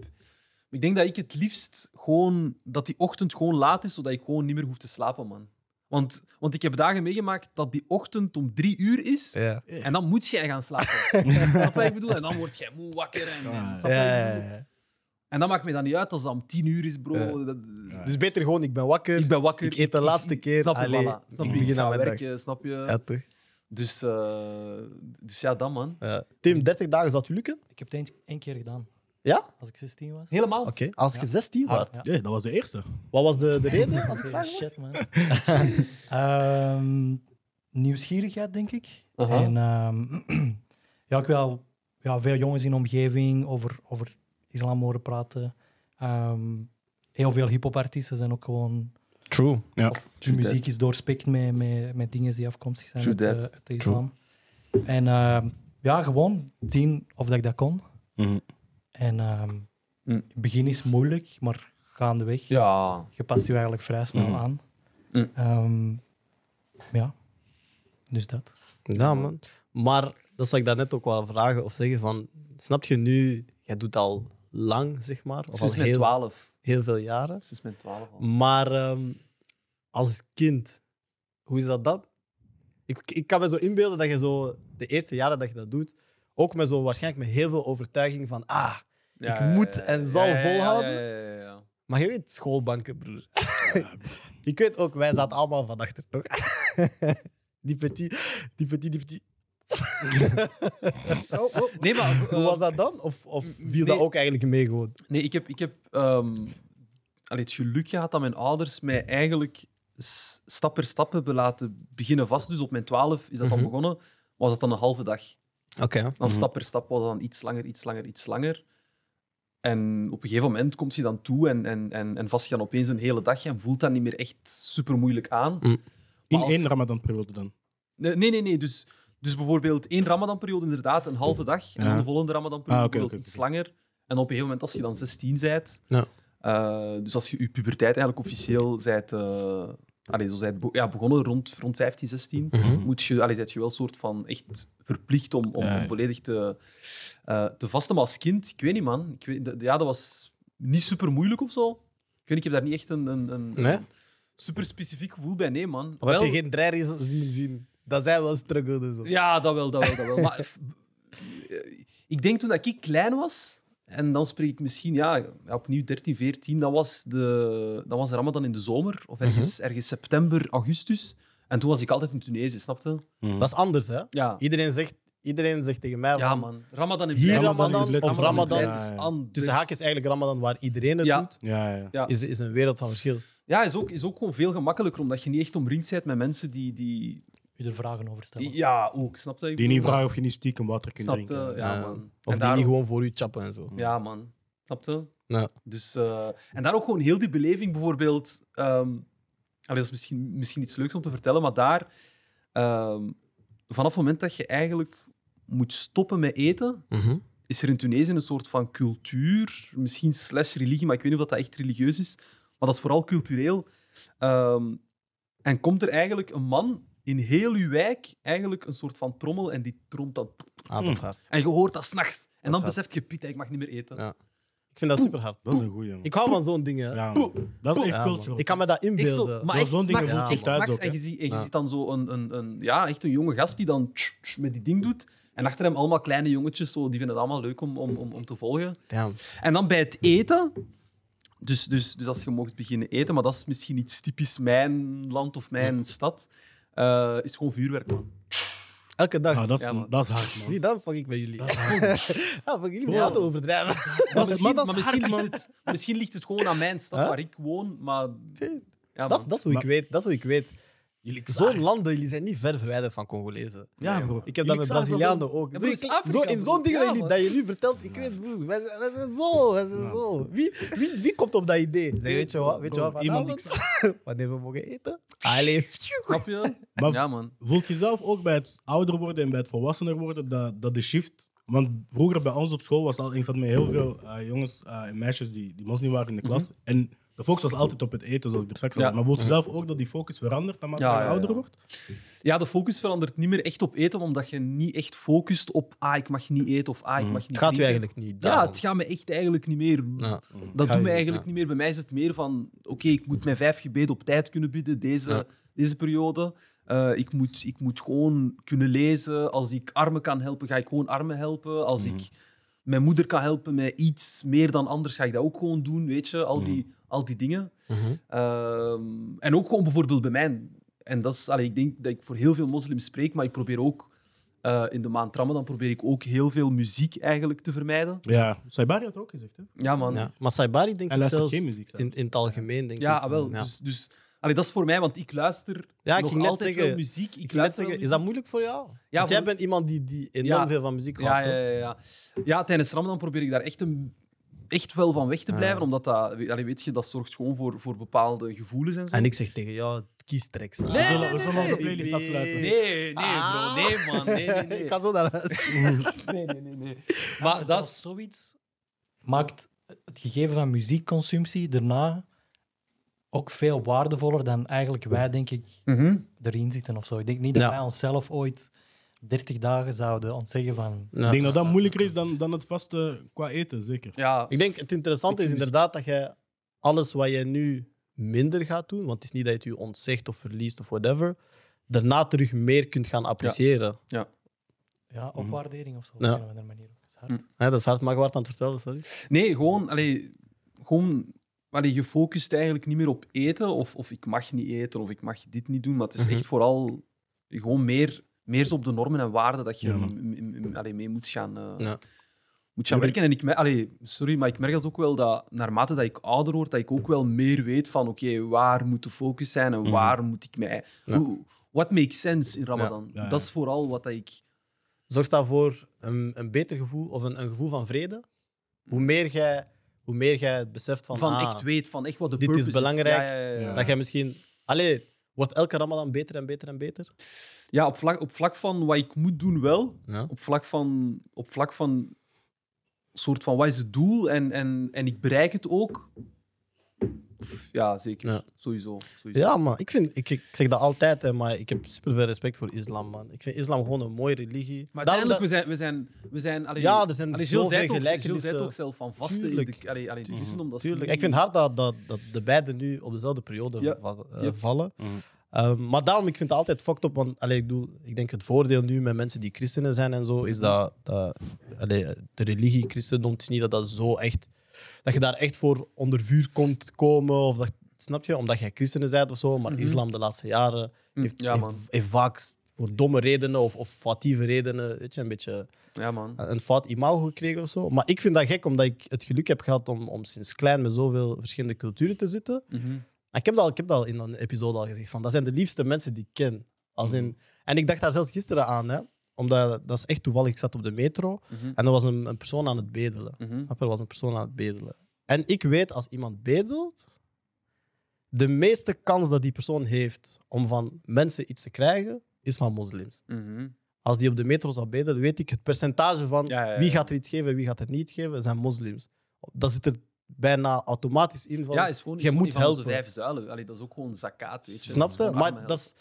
[SPEAKER 2] Ik denk dat ik het liefst gewoon... Dat die ochtend gewoon laat is, zodat ik gewoon niet meer hoef te slapen, man. Want, want ik heb dagen meegemaakt dat die ochtend om drie uur is.
[SPEAKER 1] Ja.
[SPEAKER 2] En dan moet jij gaan slapen. Snap je wat ik bedoel? En dan word jij moe wakker. En, en, snap je wat ik
[SPEAKER 1] Ja, ja,
[SPEAKER 2] bedoel?
[SPEAKER 1] ja.
[SPEAKER 2] en dan maakt me dan niet uit als het om tien uur is, bro.
[SPEAKER 1] Ja.
[SPEAKER 2] Dat-
[SPEAKER 1] Dus beter gewoon, ik ben wakker.
[SPEAKER 2] Ik ben wakker.
[SPEAKER 1] Ik eet de laatste keer,
[SPEAKER 2] Snap je,
[SPEAKER 1] allee,
[SPEAKER 2] voilà. Snap
[SPEAKER 1] ik
[SPEAKER 2] je,
[SPEAKER 1] begin
[SPEAKER 2] ga
[SPEAKER 1] aan mijn
[SPEAKER 2] werken, snap je?
[SPEAKER 1] Ja, toch?
[SPEAKER 2] Dus, eh, dus ja, dat man.
[SPEAKER 1] Ja. Tim, 30 dagen zou het u lukken?
[SPEAKER 5] Ik heb het eens- één keer gedaan.
[SPEAKER 1] Ja?
[SPEAKER 5] Als ik 16 was.
[SPEAKER 2] Helemaal.
[SPEAKER 1] Oké. Als je 16 was.
[SPEAKER 5] Ja.
[SPEAKER 3] Ja, dat was de eerste.
[SPEAKER 1] Wat was de, de reden? Als ik
[SPEAKER 5] Holy
[SPEAKER 1] vraag mag?
[SPEAKER 5] shit, man. Ehm, nieuwsgierigheid, denk ik.
[SPEAKER 2] Aha.
[SPEAKER 5] En ehm, ja, ik wil ja, veel jongens in de omgeving over, over islam horen praten. Ehm, heel veel hip-hop-artiesten zijn ook gewoon.
[SPEAKER 1] True.
[SPEAKER 3] Ja.
[SPEAKER 5] Of de
[SPEAKER 2] True
[SPEAKER 5] muziek is doorspekt met, met, met dingen die afkomstig zijn
[SPEAKER 2] True
[SPEAKER 5] uit, de-
[SPEAKER 2] that.
[SPEAKER 5] uit de islam. En ehm, ja, gewoon zien of dat ik dat kon.
[SPEAKER 3] Mhm.
[SPEAKER 5] En ehm,
[SPEAKER 2] Mm.
[SPEAKER 5] het begin is moeilijk, maar gaandeweg
[SPEAKER 2] Ja.
[SPEAKER 5] je past je eigenlijk vrij snel
[SPEAKER 3] Mhm.
[SPEAKER 5] aan.
[SPEAKER 2] Mm.
[SPEAKER 5] Ehm, ja, dus dat.
[SPEAKER 1] Ja, man. Maar dat zou ik daarnet ook wel vragen of zeggen van... Snap je nu, jij doet al lang, zeg maar. Of al
[SPEAKER 2] Sinds mijn
[SPEAKER 1] heel,
[SPEAKER 2] twaalf.
[SPEAKER 1] heel veel jaren.
[SPEAKER 2] Sinds mijn twaalf al.
[SPEAKER 1] Maar ehm, als kind, hoe is dat dan? Ik, ik kan me zo inbeelden dat je zo de eerste jaren dat je dat doet, ook met zo waarschijnlijk met heel veel overtuiging van ah, Ik moet en zal volhouden.
[SPEAKER 2] Ja, ja, ja, ja.
[SPEAKER 1] maar je weet schoolbanken, broer. ik weet ook, wij zaten allemaal van achter, toch? die petit, die petit, die petit.
[SPEAKER 2] Nee, maar... eh,
[SPEAKER 1] Hoe was dat dan? Of, of viel dat
[SPEAKER 2] nee.
[SPEAKER 1] ook eigenlijk mee gewoon?
[SPEAKER 2] Nee, ik heb, ik heb ehm, allee, het geluk gehad dat mijn ouders mij eigenlijk s- stap per stap hebben laten beginnen vast. Dus op mijn twaalf is dat dan
[SPEAKER 1] Mhm.
[SPEAKER 2] begonnen. Was dat dan een halve dag?
[SPEAKER 1] Oké.
[SPEAKER 2] Dan stap per stap wordt dan iets langer, iets langer, iets langer. En op een gegeven moment komt je dan toe en, en, en, en vast je dan opeens een hele dag en voelt dat niet meer echt super moeilijk aan.
[SPEAKER 1] Mm.
[SPEAKER 3] In
[SPEAKER 2] Maar als-
[SPEAKER 3] één Ramadan-periode dan.
[SPEAKER 2] Nee, nee, nee. nee. Dus, dus bijvoorbeeld één Ramadanperiode inderdaad, een halve dag. En
[SPEAKER 3] Ja.
[SPEAKER 2] dan de volgende Ramadanperiode
[SPEAKER 3] Ah, oké,
[SPEAKER 2] bijvoorbeeld
[SPEAKER 3] oké,
[SPEAKER 2] iets
[SPEAKER 3] oké.
[SPEAKER 2] langer. En op een gegeven moment, als je dan 16 bent,
[SPEAKER 1] Ja.
[SPEAKER 2] eh, dus als je je puberteit eigenlijk officieel zijt, eh, allee, zo zijt be- ja, begonnen rond, rond 15, 16,
[SPEAKER 3] Mhm.
[SPEAKER 2] moet je, allee, zijt je wel soort van echt verplicht om, om,
[SPEAKER 3] Ja.
[SPEAKER 2] om volledig te, eh, te vasten. Maar als kind, ik weet niet, man. Ik weet, dat- ja, dat was niet super moeilijk of zo. Ik weet niet, ik heb daar niet echt een, een, een,
[SPEAKER 1] Nee?
[SPEAKER 2] super specifiek gevoel bij. Nee, man.
[SPEAKER 1] Of heb
[SPEAKER 2] Wel-
[SPEAKER 1] je geen dreiging zien zien? Dat zij wel struggelden zo.
[SPEAKER 2] ja, dat wel, dat wel, dat wel. Maar f- eh, ik denk toen dat ik klein was, en dan spreek ik misschien, ja, opnieuw 13, 14, dat was, de, dat was Ramadan in de zomer, of ergens,
[SPEAKER 1] Mhm.
[SPEAKER 2] ergens september, augustus. En toen was ik altijd in Tunesië, snapte?
[SPEAKER 1] Dat is anders, hè?
[SPEAKER 2] Mm. Ja,
[SPEAKER 1] Iedereen zegt, iedereen zegt tegen mij
[SPEAKER 2] ja
[SPEAKER 1] van,
[SPEAKER 2] man. Ramadan in
[SPEAKER 1] Hier
[SPEAKER 2] België.
[SPEAKER 1] Ramadan of Ramadan Dus
[SPEAKER 2] België is
[SPEAKER 3] Ja, ja.
[SPEAKER 2] anders.
[SPEAKER 1] Tussen haakjes eigenlijk Ramadan, waar iedereen het
[SPEAKER 2] Dus- Ja.
[SPEAKER 1] doet,
[SPEAKER 3] Ja, ja.
[SPEAKER 2] Ja.
[SPEAKER 1] is, is een wereld van verschil.
[SPEAKER 2] Ja, is ook, is ook gewoon veel gemakkelijker, omdat je niet echt omringd bent met mensen die... die,
[SPEAKER 5] U er vragen over
[SPEAKER 2] die-
[SPEAKER 5] stellen.
[SPEAKER 2] ja, ook, snap je?
[SPEAKER 3] Die niet vragen of je niet stiekem water kunt
[SPEAKER 2] Snapte?
[SPEAKER 3] drinken.
[SPEAKER 2] eh, Ja,
[SPEAKER 1] Ja.
[SPEAKER 2] man. En
[SPEAKER 1] Of die
[SPEAKER 2] daarom-
[SPEAKER 1] niet gewoon voor u chappen en zo.
[SPEAKER 2] Ja, man. Snapte?
[SPEAKER 1] Mm. Ja.
[SPEAKER 2] Dus, eh, en daar ook gewoon heel die beleving bijvoorbeeld. ehm allee, dat is misschien, misschien iets leuks om te vertellen, maar daar. ehm, vanaf het moment dat je eigenlijk moet stoppen met eten,
[SPEAKER 1] Mhm.
[SPEAKER 2] is er in Tunesië een soort van cultuur, misschien slash religie, maar ik weet niet of dat echt religieus is, maar dat is vooral cultureel. Ehm, en komt er eigenlijk een man in heel uw wijk, eigenlijk een soort van trommel, en die tromt dat.
[SPEAKER 1] Ah, dat is hard.
[SPEAKER 2] En je hoort dat s'nachts. En
[SPEAKER 1] Dat
[SPEAKER 2] dan
[SPEAKER 1] is
[SPEAKER 2] beseft je, Piet, ik mag niet meer eten.
[SPEAKER 1] Ja. Ik vind dat super hard.
[SPEAKER 3] Dat is een goeie, man.
[SPEAKER 1] Ik hou van zo'n dingen. hè.
[SPEAKER 3] Ja, man. Dat is echt
[SPEAKER 1] Ja, man.
[SPEAKER 3] cultural.
[SPEAKER 1] Ik kan me dat
[SPEAKER 2] Echt zo,
[SPEAKER 1] inbeelden.
[SPEAKER 2] maar
[SPEAKER 3] Ja,
[SPEAKER 2] echt
[SPEAKER 3] zo'n dingen
[SPEAKER 2] s'nachts,
[SPEAKER 1] voel ik
[SPEAKER 2] echt
[SPEAKER 3] thuis
[SPEAKER 2] s'nachts.
[SPEAKER 3] ook,
[SPEAKER 2] En
[SPEAKER 3] hè.
[SPEAKER 2] je, ziet, en je
[SPEAKER 1] Ja.
[SPEAKER 2] ziet dan zo een, een, een, ja, echt een jonge gast die dan tsch, tsch, met die ding doet. En achter hem allemaal kleine jongetjes, zo, die vinden het allemaal leuk om, om, om, om te volgen.
[SPEAKER 1] Damn.
[SPEAKER 2] En dan bij het eten. Dus, dus, dus als je mocht beginnen eten, maar dat is misschien iets typisch mijn land of mijn stad, eh, is gewoon vuurwerk, man.
[SPEAKER 1] Elke dag.
[SPEAKER 3] Ja, Nou, dat, is,
[SPEAKER 2] Ja, man.
[SPEAKER 3] dat is hard, man.
[SPEAKER 1] Zie, dan fuck ik bij jullie. Ja, fuck jullie hadden overdrijven.
[SPEAKER 2] Ah. Maar misschien,
[SPEAKER 3] dat is
[SPEAKER 2] maar misschien,
[SPEAKER 3] hard,
[SPEAKER 2] ligt het, misschien ligt het gewoon aan mijn stad
[SPEAKER 1] Huh?
[SPEAKER 2] waar ik woon, maar... Ja,
[SPEAKER 1] Dat is,
[SPEAKER 2] man.
[SPEAKER 1] dat is hoe ik weet. Dat is hoe ik weet. Zo'n landen, jullie zijn niet ver verwijderd van Congolezen.
[SPEAKER 3] Ja, bro.
[SPEAKER 1] Ik heb dat met
[SPEAKER 3] Jullie zagen
[SPEAKER 1] Brazilianen ook.
[SPEAKER 2] Ja,
[SPEAKER 1] Zie,
[SPEAKER 2] maar dat is
[SPEAKER 1] kijk, zo,
[SPEAKER 2] Afrika,
[SPEAKER 1] in zo'n
[SPEAKER 2] broer.
[SPEAKER 1] ding
[SPEAKER 2] Ja,
[SPEAKER 1] dat, jullie,
[SPEAKER 2] man.
[SPEAKER 1] dat je nu vertelt, ik weet, broer, wij zijn, wij zijn zo, wij zijn zo. Wie, wie, wie komt op dat idee? Zeg, weet je wat, weet je wat
[SPEAKER 3] Bro, iemand die-
[SPEAKER 1] vanavond? Wanneer we mogen eten? Allee, phew.
[SPEAKER 2] Snap je?
[SPEAKER 3] Maar-
[SPEAKER 2] Ja, man.
[SPEAKER 3] Voelt je zelf ook bij het ouder worden en bij het volwassener worden dat, dat de shift. Want vroeger bij ons op school was al. Ik zat met heel veel eh, jongens eh, en meisjes die, die moslim waren in de klas. En de focus was altijd op het eten, zoals ik er straks al
[SPEAKER 2] Mhm. Ja. Mhm.
[SPEAKER 3] zei. Maar voelt je zelf ook dat die focus verandert naarmate
[SPEAKER 2] Ja,
[SPEAKER 3] je
[SPEAKER 2] ja,
[SPEAKER 3] ouder
[SPEAKER 2] ja.
[SPEAKER 3] wordt?
[SPEAKER 2] Ja, de focus verandert niet meer echt op eten, omdat je niet echt focust op ah, ik mag niet eten of ah, ik mag niet
[SPEAKER 1] Mm. Het gaat u
[SPEAKER 2] drinken.
[SPEAKER 1] eigenlijk niet.
[SPEAKER 2] Ja,
[SPEAKER 1] daarom.
[SPEAKER 2] het gaat me echt eigenlijk niet meer.
[SPEAKER 1] Ja.
[SPEAKER 2] Dat
[SPEAKER 1] Ga
[SPEAKER 2] doen we
[SPEAKER 1] je-
[SPEAKER 2] eigenlijk
[SPEAKER 1] ja.
[SPEAKER 2] niet meer. Bij mij is het meer van: oké, ik moet mijn vijf gebeden op tijd kunnen bidden deze,
[SPEAKER 1] Ja.
[SPEAKER 2] deze periode. Eh, ik, moet, ik moet gewoon kunnen lezen. Als ik armen kan helpen, ga ik gewoon armen helpen. Als
[SPEAKER 1] Mhm.
[SPEAKER 2] ik mijn moeder kan helpen met iets meer dan anders, ga ik dat ook gewoon doen. Weet je, al die, al die dingen.
[SPEAKER 1] Mhm.
[SPEAKER 2] Ehm, en ook gewoon bijvoorbeeld bij mij. En dat is, allee, ik denk dat ik voor heel veel moslims spreek, maar ik probeer ook eh, in de maand Ramadan probeer ik ook heel veel muziek eigenlijk te vermijden.
[SPEAKER 3] Ja, Saibari had ook gezegd. Hè?
[SPEAKER 2] Ja, man.
[SPEAKER 1] Ja. Maar Saibari denk
[SPEAKER 3] Hij
[SPEAKER 1] ik
[SPEAKER 3] luistert
[SPEAKER 1] zelfs
[SPEAKER 3] geen muziek. zelfs.
[SPEAKER 1] in, in het algemeen. Denk
[SPEAKER 2] Ja,
[SPEAKER 1] ik,
[SPEAKER 2] wel. Dus, dus allee, dat is voor mij, want ik luister
[SPEAKER 1] Ja, ik
[SPEAKER 2] nog
[SPEAKER 1] ging net
[SPEAKER 2] altijd
[SPEAKER 1] zeggen-
[SPEAKER 2] wel muziek. Ik,
[SPEAKER 1] ik wil net
[SPEAKER 2] luister wel
[SPEAKER 1] zeggen, is dat
[SPEAKER 2] muziek.
[SPEAKER 1] moeilijk voor jou?
[SPEAKER 2] Ja,
[SPEAKER 1] Want jij
[SPEAKER 2] voor-
[SPEAKER 1] bent iemand die, die enorm
[SPEAKER 2] Ja.
[SPEAKER 1] veel van muziek
[SPEAKER 2] Ja,
[SPEAKER 1] houdt.
[SPEAKER 2] ja,
[SPEAKER 1] toch?
[SPEAKER 2] ja, ja. ja, tijdens Ramadan probeer ik daar echt, een, echt wel van weg te blijven, omdat dat, we- allee, weet je, dat zorgt gewoon voor, voor bepaalde gevoelens en zo.
[SPEAKER 1] En ik zeg tegen jou, kies tracks.
[SPEAKER 3] we
[SPEAKER 2] nee,
[SPEAKER 3] zullen,
[SPEAKER 2] nee,
[SPEAKER 3] we zullen
[SPEAKER 2] nee,
[SPEAKER 3] onze playlist
[SPEAKER 1] baby.
[SPEAKER 3] afsluiten.
[SPEAKER 2] Nee, nee, bro. Nee, man. Nee, nee, nee.
[SPEAKER 1] Ik ga zo naar huis.
[SPEAKER 2] nee, nee, nee, nee.
[SPEAKER 5] Maar
[SPEAKER 2] Maar dat
[SPEAKER 5] zelfs
[SPEAKER 2] is...
[SPEAKER 5] zoiets maakt het gegeven van muziekconsumptie daarna ook veel waardevoller dan eigenlijk wij, denk ik,
[SPEAKER 2] Mhm.
[SPEAKER 5] erin zitten of zo. Ik denk niet dat
[SPEAKER 1] Ja.
[SPEAKER 5] wij onszelf ooit 30 dagen zouden ontzeggen van...
[SPEAKER 3] Ik denk dat dat moeilijker is dan, dan het vaste qua eten, zeker.
[SPEAKER 2] Ja,
[SPEAKER 1] Ik denk het interessante
[SPEAKER 2] Ik
[SPEAKER 1] is
[SPEAKER 2] mis-
[SPEAKER 1] inderdaad dat jij alles wat jij nu minder gaat doen, want het is niet dat je het je ontzegt of verliest of whatever, daarna terug meer kunt gaan appreciëren.
[SPEAKER 5] Ja, opwaardering of zo.
[SPEAKER 1] Mhm. Ja.
[SPEAKER 5] Op een of andere manier. Dat is hard.
[SPEAKER 1] Hè, dat is hard, maar je wordt aan het vertellen, sorry.
[SPEAKER 2] Nee, gewoon, allee, gewoon allee, je focust eigenlijk niet meer op eten. Of, of ik mag niet eten, of ik mag dit niet doen. Maar het
[SPEAKER 3] Mhm.
[SPEAKER 2] is echt vooral gewoon meer, meer zo op de normen en waarden dat je
[SPEAKER 3] Ja, man.
[SPEAKER 2] m- m- m- allee, mee moet gaan, eh,
[SPEAKER 1] Ja.
[SPEAKER 2] moet gaan werken. En ik, mer- allee, sorry, maar ik merk dat ook wel dat naarmate dat ik ouder word, dat ik ook wel meer weet van oké, waar moet de focus zijn en waar moet ik mij... Hoe, what makes sense in Ramadan?
[SPEAKER 3] Mhm. Ja, ja.
[SPEAKER 2] Dat is vooral wat dat ik...
[SPEAKER 1] Zorgt dat voor een, een beter gevoel of een, een gevoel van vrede? Hoe meer jij, hoe meer jij het beseft van,
[SPEAKER 2] Van,
[SPEAKER 1] ah,
[SPEAKER 2] echt weet, van echt wat de
[SPEAKER 1] dit is
[SPEAKER 2] purpose
[SPEAKER 1] belangrijk.
[SPEAKER 2] Ja, ja, ja, ja.
[SPEAKER 1] dat jij misschien... Allee, wordt elke ramadan beter en beter en beter?
[SPEAKER 2] Ja, op vlak, op vlak van wat ik moet doen wel.
[SPEAKER 1] Ja.
[SPEAKER 2] Op vlak van, op vlak van soort van wat is het doel en, en, en ik bereik het ook. Pff, Ja, zeker.
[SPEAKER 1] Ja.
[SPEAKER 2] Sowieso. sowieso.
[SPEAKER 1] Ja, man. Ik, vind, ik, ik zeg dat altijd, hè, maar ik heb superveel respect voor islam, man. Ik vind islam gewoon een mooie religie.
[SPEAKER 2] Maar
[SPEAKER 1] Daarom
[SPEAKER 2] uiteindelijk, we zijn... We zijn, we zijn allee,
[SPEAKER 1] Ja, er zijn
[SPEAKER 2] Gilles
[SPEAKER 1] zoveel
[SPEAKER 2] zei het ook-
[SPEAKER 1] gelijkenissen.
[SPEAKER 2] Gilles zei het ook zelf van vasten. in
[SPEAKER 1] Tuurlijk.
[SPEAKER 2] de- Allee, allee, in de christendom, dat is
[SPEAKER 1] Tuurlijk.
[SPEAKER 2] niet-
[SPEAKER 1] Ik vind het hard dat, dat, dat de beide nu op dezelfde periode
[SPEAKER 2] Ja.
[SPEAKER 1] va- eh,
[SPEAKER 2] Ja. Mhm.
[SPEAKER 1] vallen. Um, maar daarom, ik vind het altijd fucked up. Want allee, ik, bedoel, ik denk het voordeel nu met mensen die christenen zijn en zo, is dat, dat allee, de religie, christendom, het is niet dat dat zo echt... Dat je daar echt voor onder vuur komt komen. Of dat, snap je? Omdat jij christenen bent of zo. Maar islam de laatste jaren
[SPEAKER 2] Mm,
[SPEAKER 1] heeft,
[SPEAKER 2] Mhm. ja,
[SPEAKER 1] heeft,
[SPEAKER 2] man.
[SPEAKER 1] heeft vaak voor domme redenen of, of foutieve redenen weet je, een beetje
[SPEAKER 2] Ja, man.
[SPEAKER 1] een fout imago gekregen of zo. Maar ik vind dat gek, omdat ik het geluk heb gehad om, om sinds klein met zoveel verschillende culturen te zitten.
[SPEAKER 2] Mhm.
[SPEAKER 1] En ik heb dat, al- ik heb dat al in een episode al gezegd, van, dat zijn de liefste mensen die ik ken. Als in, en ik dacht daar zelfs gisteren aan, hè, omdat dat is echt toevallig. Ik zat op de metro
[SPEAKER 2] Mhm.
[SPEAKER 1] en er was een, een persoon aan het bedelen.
[SPEAKER 2] Mhm.
[SPEAKER 1] Snap je? Er was een persoon aan het bedelen. En ik weet, als iemand bedelt, de meeste kans dat die persoon heeft om van mensen iets te krijgen, is van moslims.
[SPEAKER 2] Mhm.
[SPEAKER 1] Als die op de metro zou bidden, dan weet ik het percentage van
[SPEAKER 2] Ja, ja, ja.
[SPEAKER 1] wie gaat er iets geven en wie gaat het niet geven, zijn moslims. Dat zit er bijna automatisch in van,
[SPEAKER 2] Ja, is gewoon, is
[SPEAKER 1] je
[SPEAKER 2] gewoon
[SPEAKER 1] moet
[SPEAKER 2] een van onze
[SPEAKER 1] helpen.
[SPEAKER 2] vijf zuilen. Allee, dat is ook gewoon zakaat, weet je.
[SPEAKER 1] Snap je?
[SPEAKER 2] gewoon
[SPEAKER 1] Maar
[SPEAKER 2] armen
[SPEAKER 1] dat, is,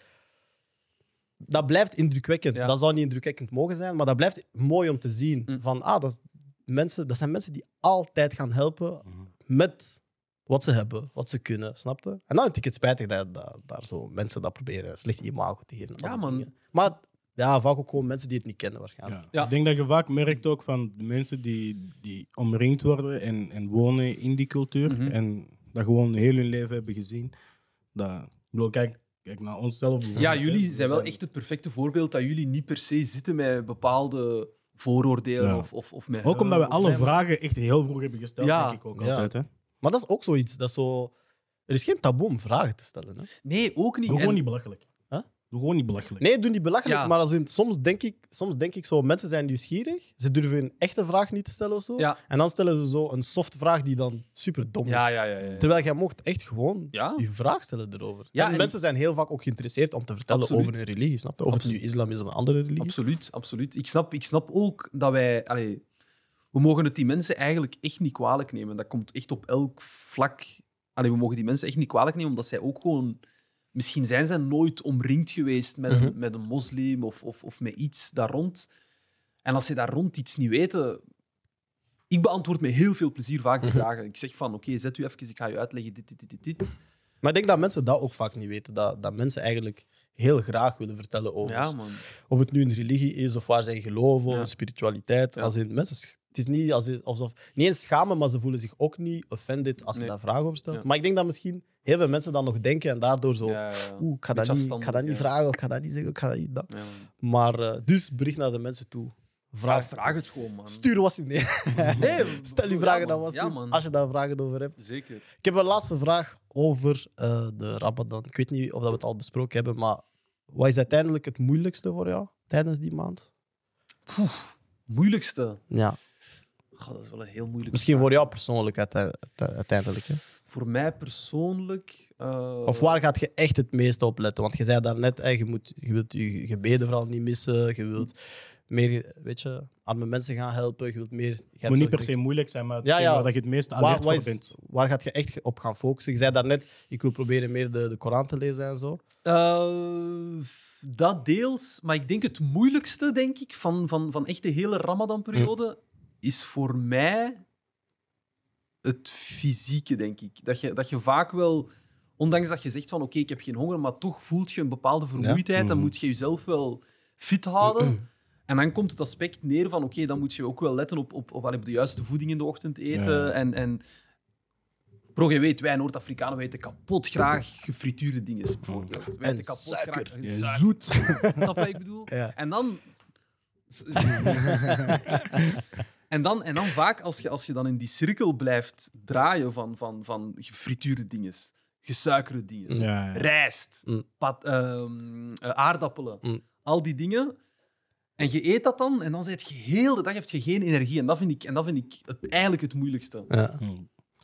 [SPEAKER 1] dat blijft indrukwekkend.
[SPEAKER 2] Ja.
[SPEAKER 1] Dat zou niet indrukwekkend mogen zijn, maar dat blijft mooi om te zien.
[SPEAKER 2] Mm.
[SPEAKER 1] Van, ah, dat, is mensen, dat zijn mensen die altijd gaan helpen met wat ze hebben, wat ze kunnen, snap je? En dan vind ik het spijtig dat, dat daar zo mensen dat proberen slecht imago te geven. en
[SPEAKER 2] Ja,
[SPEAKER 1] alle
[SPEAKER 2] man.
[SPEAKER 1] dingen. Maar ja, vaak ook gewoon mensen die het niet kennen waarschijnlijk.
[SPEAKER 3] Ja.
[SPEAKER 2] Ja.
[SPEAKER 3] Ik denk dat je vaak merkt ook van de mensen die, die omringd worden en, en wonen in die cultuur.
[SPEAKER 2] Mhm.
[SPEAKER 3] En dat gewoon heel hun leven hebben gezien. Dat, ik bedoel, kijk, kijk naar onszelf.
[SPEAKER 2] Ja,
[SPEAKER 3] bijvoorbeeld, hè.
[SPEAKER 2] jullie
[SPEAKER 3] We
[SPEAKER 2] zijn wel echt het perfecte voorbeeld dat jullie niet per se zitten met bepaalde vooroordelen
[SPEAKER 3] Ja.
[SPEAKER 2] of, of, of met...
[SPEAKER 3] Eh, Ook omdat we
[SPEAKER 2] of
[SPEAKER 3] alle
[SPEAKER 2] met-
[SPEAKER 3] vragen echt heel vroeg hebben gesteld,
[SPEAKER 2] eh, Ja.
[SPEAKER 3] denk ik ook
[SPEAKER 1] Ja.
[SPEAKER 3] altijd. Hè.
[SPEAKER 1] Maar dat is ook zoiets. Dat is zo... Er is geen taboe om vragen te stellen. Hè?
[SPEAKER 2] Nee, ook niet.
[SPEAKER 3] Doe
[SPEAKER 2] En-
[SPEAKER 3] gewoon niet belachelijk.
[SPEAKER 1] Huh?
[SPEAKER 3] Doe gewoon niet belachelijk.
[SPEAKER 1] Nee, doe niet belachelijk,
[SPEAKER 2] Ja.
[SPEAKER 1] maar als in, soms, denk ik, soms denk ik zo, mensen zijn nieuwsgierig, ze durven hun echte vraag niet te stellen of zo.
[SPEAKER 2] Ja.
[SPEAKER 1] En dan stellen ze zo een soft vraag die dan super dom is.
[SPEAKER 2] Ja, ja, ja. ja.
[SPEAKER 1] Terwijl jij mocht echt gewoon
[SPEAKER 2] Ja.
[SPEAKER 1] je vraag stellen erover.
[SPEAKER 2] Ja,
[SPEAKER 1] en,
[SPEAKER 2] en-
[SPEAKER 1] mensen zijn heel vaak ook geïnteresseerd om te vertellen
[SPEAKER 2] Absoluut.
[SPEAKER 1] over hun religie, snap je? Of het nu islam is of een andere religie.
[SPEAKER 2] Absoluut, absoluut. Ik snap, ik snap ook dat wij... allee, we mogen het die mensen eigenlijk echt niet kwalijk nemen. Dat komt echt op elk vlak. Allee, we mogen die mensen echt niet kwalijk nemen, omdat zij ook gewoon... Misschien zijn zij nooit omringd geweest met, een, met een moslim of, of, of met iets daar rond. En als ze daar rond iets niet weten... Ik beantwoord met heel veel plezier vaak de vragen. Ik zeg van, oké, zet u even, ik ga u uitleggen dit, dit, dit, dit, dit.
[SPEAKER 1] Maar ik denk dat mensen dat ook vaak niet weten, dat, dat mensen eigenlijk heel graag willen vertellen over
[SPEAKER 2] Ja, man.
[SPEAKER 1] of het nu een religie is of waar zij geloven
[SPEAKER 2] Ja.
[SPEAKER 1] of een spiritualiteit.
[SPEAKER 2] Ja.
[SPEAKER 1] Als in, mensen, sch- het is niet als in- alsof niet eens schamen, maar ze voelen zich ook niet offended als
[SPEAKER 2] Nee.
[SPEAKER 1] je daar vragen over stelt.
[SPEAKER 2] Ja.
[SPEAKER 1] Maar ik denk dat misschien heel veel mensen dan nog denken en daardoor zo.
[SPEAKER 2] Ja, ja, ja.
[SPEAKER 1] Oeh, ik ga dat
[SPEAKER 2] Beetje
[SPEAKER 1] niet, ik ga dat
[SPEAKER 2] afstandelijk,
[SPEAKER 1] niet
[SPEAKER 2] ja.
[SPEAKER 1] vragen, of ik ga dat niet zeggen, ik ga dat niet. Dat.
[SPEAKER 2] Ja, man.
[SPEAKER 1] Maar eh, dus bericht naar de mensen toe.
[SPEAKER 2] Vraag,
[SPEAKER 1] Vraag.
[SPEAKER 2] vraag het gewoon, man.
[SPEAKER 1] Stuur was in. Nee.
[SPEAKER 2] Nee,
[SPEAKER 1] Stel
[SPEAKER 2] ja,
[SPEAKER 1] uw vragen
[SPEAKER 2] man.
[SPEAKER 1] dan was
[SPEAKER 2] Ja, man.
[SPEAKER 1] Als je daar vragen over hebt.
[SPEAKER 2] Zeker.
[SPEAKER 1] Ik heb een laatste vraag over eh, de Ramadan. Ik weet niet of dat we het al besproken hebben, maar wat is uiteindelijk het moeilijkste voor jou tijdens die maand?
[SPEAKER 2] Moeilijkste.
[SPEAKER 1] Ja.
[SPEAKER 2] Goh, dat is wel een heel moeilijk.
[SPEAKER 1] Misschien voor jou persoonlijk uite- uite- uiteindelijk. Hè?
[SPEAKER 2] Voor mij persoonlijk. eh,
[SPEAKER 1] Of waar gaat je echt het meeste op letten? Want je zei daarnet, hè, je, moet, je wilt je gebeden vooral niet missen. Je wilt meer weet je, arme mensen gaan helpen. Je wilt meer... je hebt
[SPEAKER 3] moet
[SPEAKER 1] zo
[SPEAKER 3] niet per se
[SPEAKER 1] gezegd,
[SPEAKER 3] moeilijk zijn, maar
[SPEAKER 1] Ja,
[SPEAKER 3] ja,
[SPEAKER 1] ja.
[SPEAKER 3] dat je het meest
[SPEAKER 1] waar,
[SPEAKER 3] alert
[SPEAKER 1] waar,
[SPEAKER 3] voor
[SPEAKER 1] is,
[SPEAKER 3] bent.
[SPEAKER 1] waar gaat je echt op gaan focussen? Je zei daarnet, ik wil proberen meer de, de Koran te lezen en zo.
[SPEAKER 2] eh, f- dat deels, maar ik denk het moeilijkste, denk ik, van, van, van echt de hele Ramadan-periode,
[SPEAKER 1] Hm.
[SPEAKER 2] is voor mij het fysieke, denk ik. Dat je, dat je vaak wel, ondanks dat je zegt van oké, ik heb geen honger, maar toch voelt je een bepaalde vermoeidheid,
[SPEAKER 1] Mhm.
[SPEAKER 2] dan moet je jezelf wel fit houden. En dan komt het aspect neer van oké, dan moet je ook wel letten op, op, op, op de juiste voeding in de ochtend eten.
[SPEAKER 3] Ja.
[SPEAKER 2] En, en bro, je weet, wij Noord-Afrikanen weten kapot graag gefrituurde dingen, bijvoorbeeld. Wij
[SPEAKER 1] En
[SPEAKER 2] eten kapot
[SPEAKER 1] suiker.
[SPEAKER 2] graag-
[SPEAKER 3] Ja,
[SPEAKER 2] suiker.
[SPEAKER 3] Mm. zoet.
[SPEAKER 2] Snap je wat ik bedoel?
[SPEAKER 1] Ja.
[SPEAKER 2] En dan... en dan... En dan vaak, als je, als je dan in die cirkel blijft draaien van, van, van gefrituurde dingen, gesuikerde dingen,
[SPEAKER 3] Ja, ja.
[SPEAKER 2] rijst,
[SPEAKER 1] Mm.
[SPEAKER 2] pat- ehm, eh, aardappelen,
[SPEAKER 1] Mm.
[SPEAKER 2] al die dingen... En je eet dat dan, en dan zit je heel de dag heb je geen energie. En dat vind ik, en dat vind ik het, eigenlijk het moeilijkste.
[SPEAKER 1] Ja.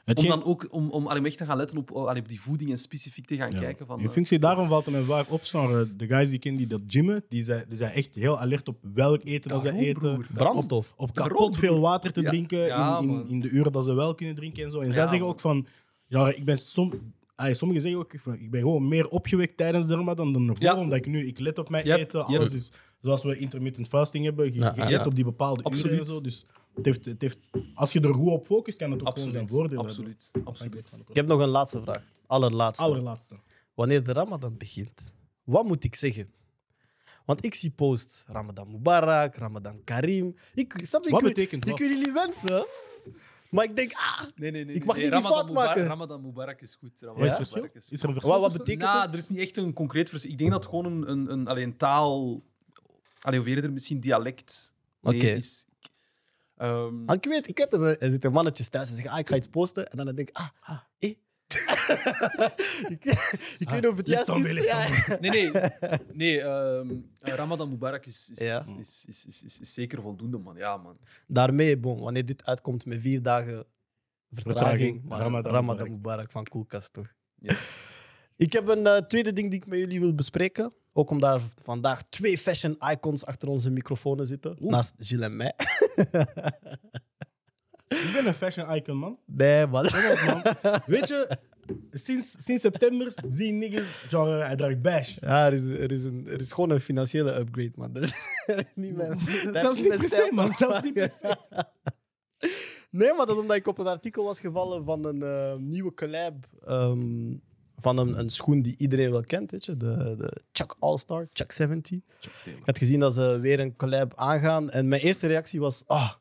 [SPEAKER 3] Hetgeen-
[SPEAKER 2] Om dan ook om, om allee, om echt te gaan letten op, oh, allee, op die voeding en specifiek te gaan
[SPEAKER 3] Ja.
[SPEAKER 2] kijken. Van,
[SPEAKER 3] In
[SPEAKER 2] eh,
[SPEAKER 3] functie daarvan valt het me vaak op, genre, de guys die ik ken die dat gymmen, die zijn, die zijn echt heel alert op welk eten dat ze
[SPEAKER 2] daarom,
[SPEAKER 3] eten.
[SPEAKER 2] broer.
[SPEAKER 1] Brandstof.
[SPEAKER 3] Op
[SPEAKER 2] Daarom,
[SPEAKER 3] kapot veel
[SPEAKER 2] broer.
[SPEAKER 3] water te
[SPEAKER 2] Ja.
[SPEAKER 3] drinken
[SPEAKER 2] Ja,
[SPEAKER 3] in, in,
[SPEAKER 2] man.
[SPEAKER 3] in de uren dat ze wel kunnen drinken en zo. En zij
[SPEAKER 2] Ja,
[SPEAKER 3] zeggen
[SPEAKER 2] man.
[SPEAKER 3] ook van, genre, ik ben som, ah, sommigen zeggen ook, van, ik ben gewoon meer opgewekt tijdens de ramadan dan ervoor,
[SPEAKER 2] Ja.
[SPEAKER 3] omdat ik nu, ik let op mijn
[SPEAKER 2] Yep,
[SPEAKER 3] eten,
[SPEAKER 2] yep.
[SPEAKER 3] alles is zoals we intermittent fasting hebben, je,
[SPEAKER 1] Ja,
[SPEAKER 3] je
[SPEAKER 1] ja,
[SPEAKER 3] let
[SPEAKER 1] ja.
[SPEAKER 3] op die bepaalde uren en
[SPEAKER 2] Absoluut.
[SPEAKER 3] zo. Dus het heeft, het heeft, als je er goed op focust, kan het ook gewoon zijn voordeel hebben.
[SPEAKER 2] Absoluut, absoluut.
[SPEAKER 1] Ik heb nog een laatste vraag. Allerlaatste.
[SPEAKER 3] Allerlaatste.
[SPEAKER 1] wanneer de Ramadan begint, wat moet ik zeggen? Want ik zie post Ramadan Mubarak, Ramadan Karim. Ik, snap, je,
[SPEAKER 3] Wat
[SPEAKER 1] ik wil-
[SPEAKER 3] betekent wat?
[SPEAKER 1] Ik wil jullie wensen, maar ik denk, ah,
[SPEAKER 2] Nee, nee, nee.
[SPEAKER 1] Ik mag
[SPEAKER 2] nee,
[SPEAKER 1] niet die
[SPEAKER 2] Ramadan
[SPEAKER 1] fout
[SPEAKER 2] Mubarak-
[SPEAKER 1] maken.
[SPEAKER 2] Ramadan Mubarak is goed. Ramadan
[SPEAKER 3] Wat is het
[SPEAKER 2] Mubarak
[SPEAKER 3] verschil?
[SPEAKER 2] is goed.
[SPEAKER 3] Is er een verschil?
[SPEAKER 1] wat, wat
[SPEAKER 3] tussen?
[SPEAKER 1] betekent
[SPEAKER 2] Nou,
[SPEAKER 1] het?
[SPEAKER 2] er is niet echt een concreet verschil. Ik denk dat het gewoon een, een, een, allee, een taal, allee, of eerder misschien dialect nee,
[SPEAKER 1] Oké.
[SPEAKER 2] is. Ik- Ehm,
[SPEAKER 1] Want ik weet, ik weet er, zijn- er zitten mannetjes thuis en zeggen, ah, ik ga iets posten. En dan denk ik, ah, ah eh. ik, ik weet niet of het
[SPEAKER 3] Ah,
[SPEAKER 1] juist
[SPEAKER 3] Istanbul,
[SPEAKER 1] is.
[SPEAKER 3] Istanbul.
[SPEAKER 1] Ja.
[SPEAKER 2] nee, nee. nee ehm, eh, Ramadan Mubarak is, is,
[SPEAKER 1] Ja.
[SPEAKER 2] is, is, is, is, is zeker voldoende, man. Ja, man.
[SPEAKER 1] Daarmee, bon, wanneer dit uitkomt met vier dagen vertraging,
[SPEAKER 3] Vertraging,
[SPEAKER 1] maar Ramadan,
[SPEAKER 3] Ramadan
[SPEAKER 1] Mubarak.
[SPEAKER 3] Mubarak.
[SPEAKER 1] van Koelkast, toch?
[SPEAKER 2] Ja.
[SPEAKER 1] Ik heb een eh, tweede ding die ik met jullie wil bespreken. Ook om daar vandaag twee fashion icons achter onze microfoons zitten. Naast Gilles en mij.
[SPEAKER 3] Ik ben een fashion icon, man.
[SPEAKER 1] Nee, maar...
[SPEAKER 3] Weet je, sinds, sinds september zien niggas, genre, hij draagt bash.
[SPEAKER 1] Ja, er is, er, is een, er is gewoon een financiële upgrade, man. Dat is niet mijn, dat heeft
[SPEAKER 3] Zelfs niet
[SPEAKER 1] mijn
[SPEAKER 3] per se,
[SPEAKER 1] stijl,
[SPEAKER 3] man. Zelfs niet per se.
[SPEAKER 1] Nee, maar dat is omdat ik op een artikel was gevallen van een eh, nieuwe collab. ehm, van een, een schoen die iedereen wel kent, weet je? De, de Chuck All-Star, Chuck 70. Ik had gezien dat ze weer een collab aangaan. En mijn eerste reactie was: ah,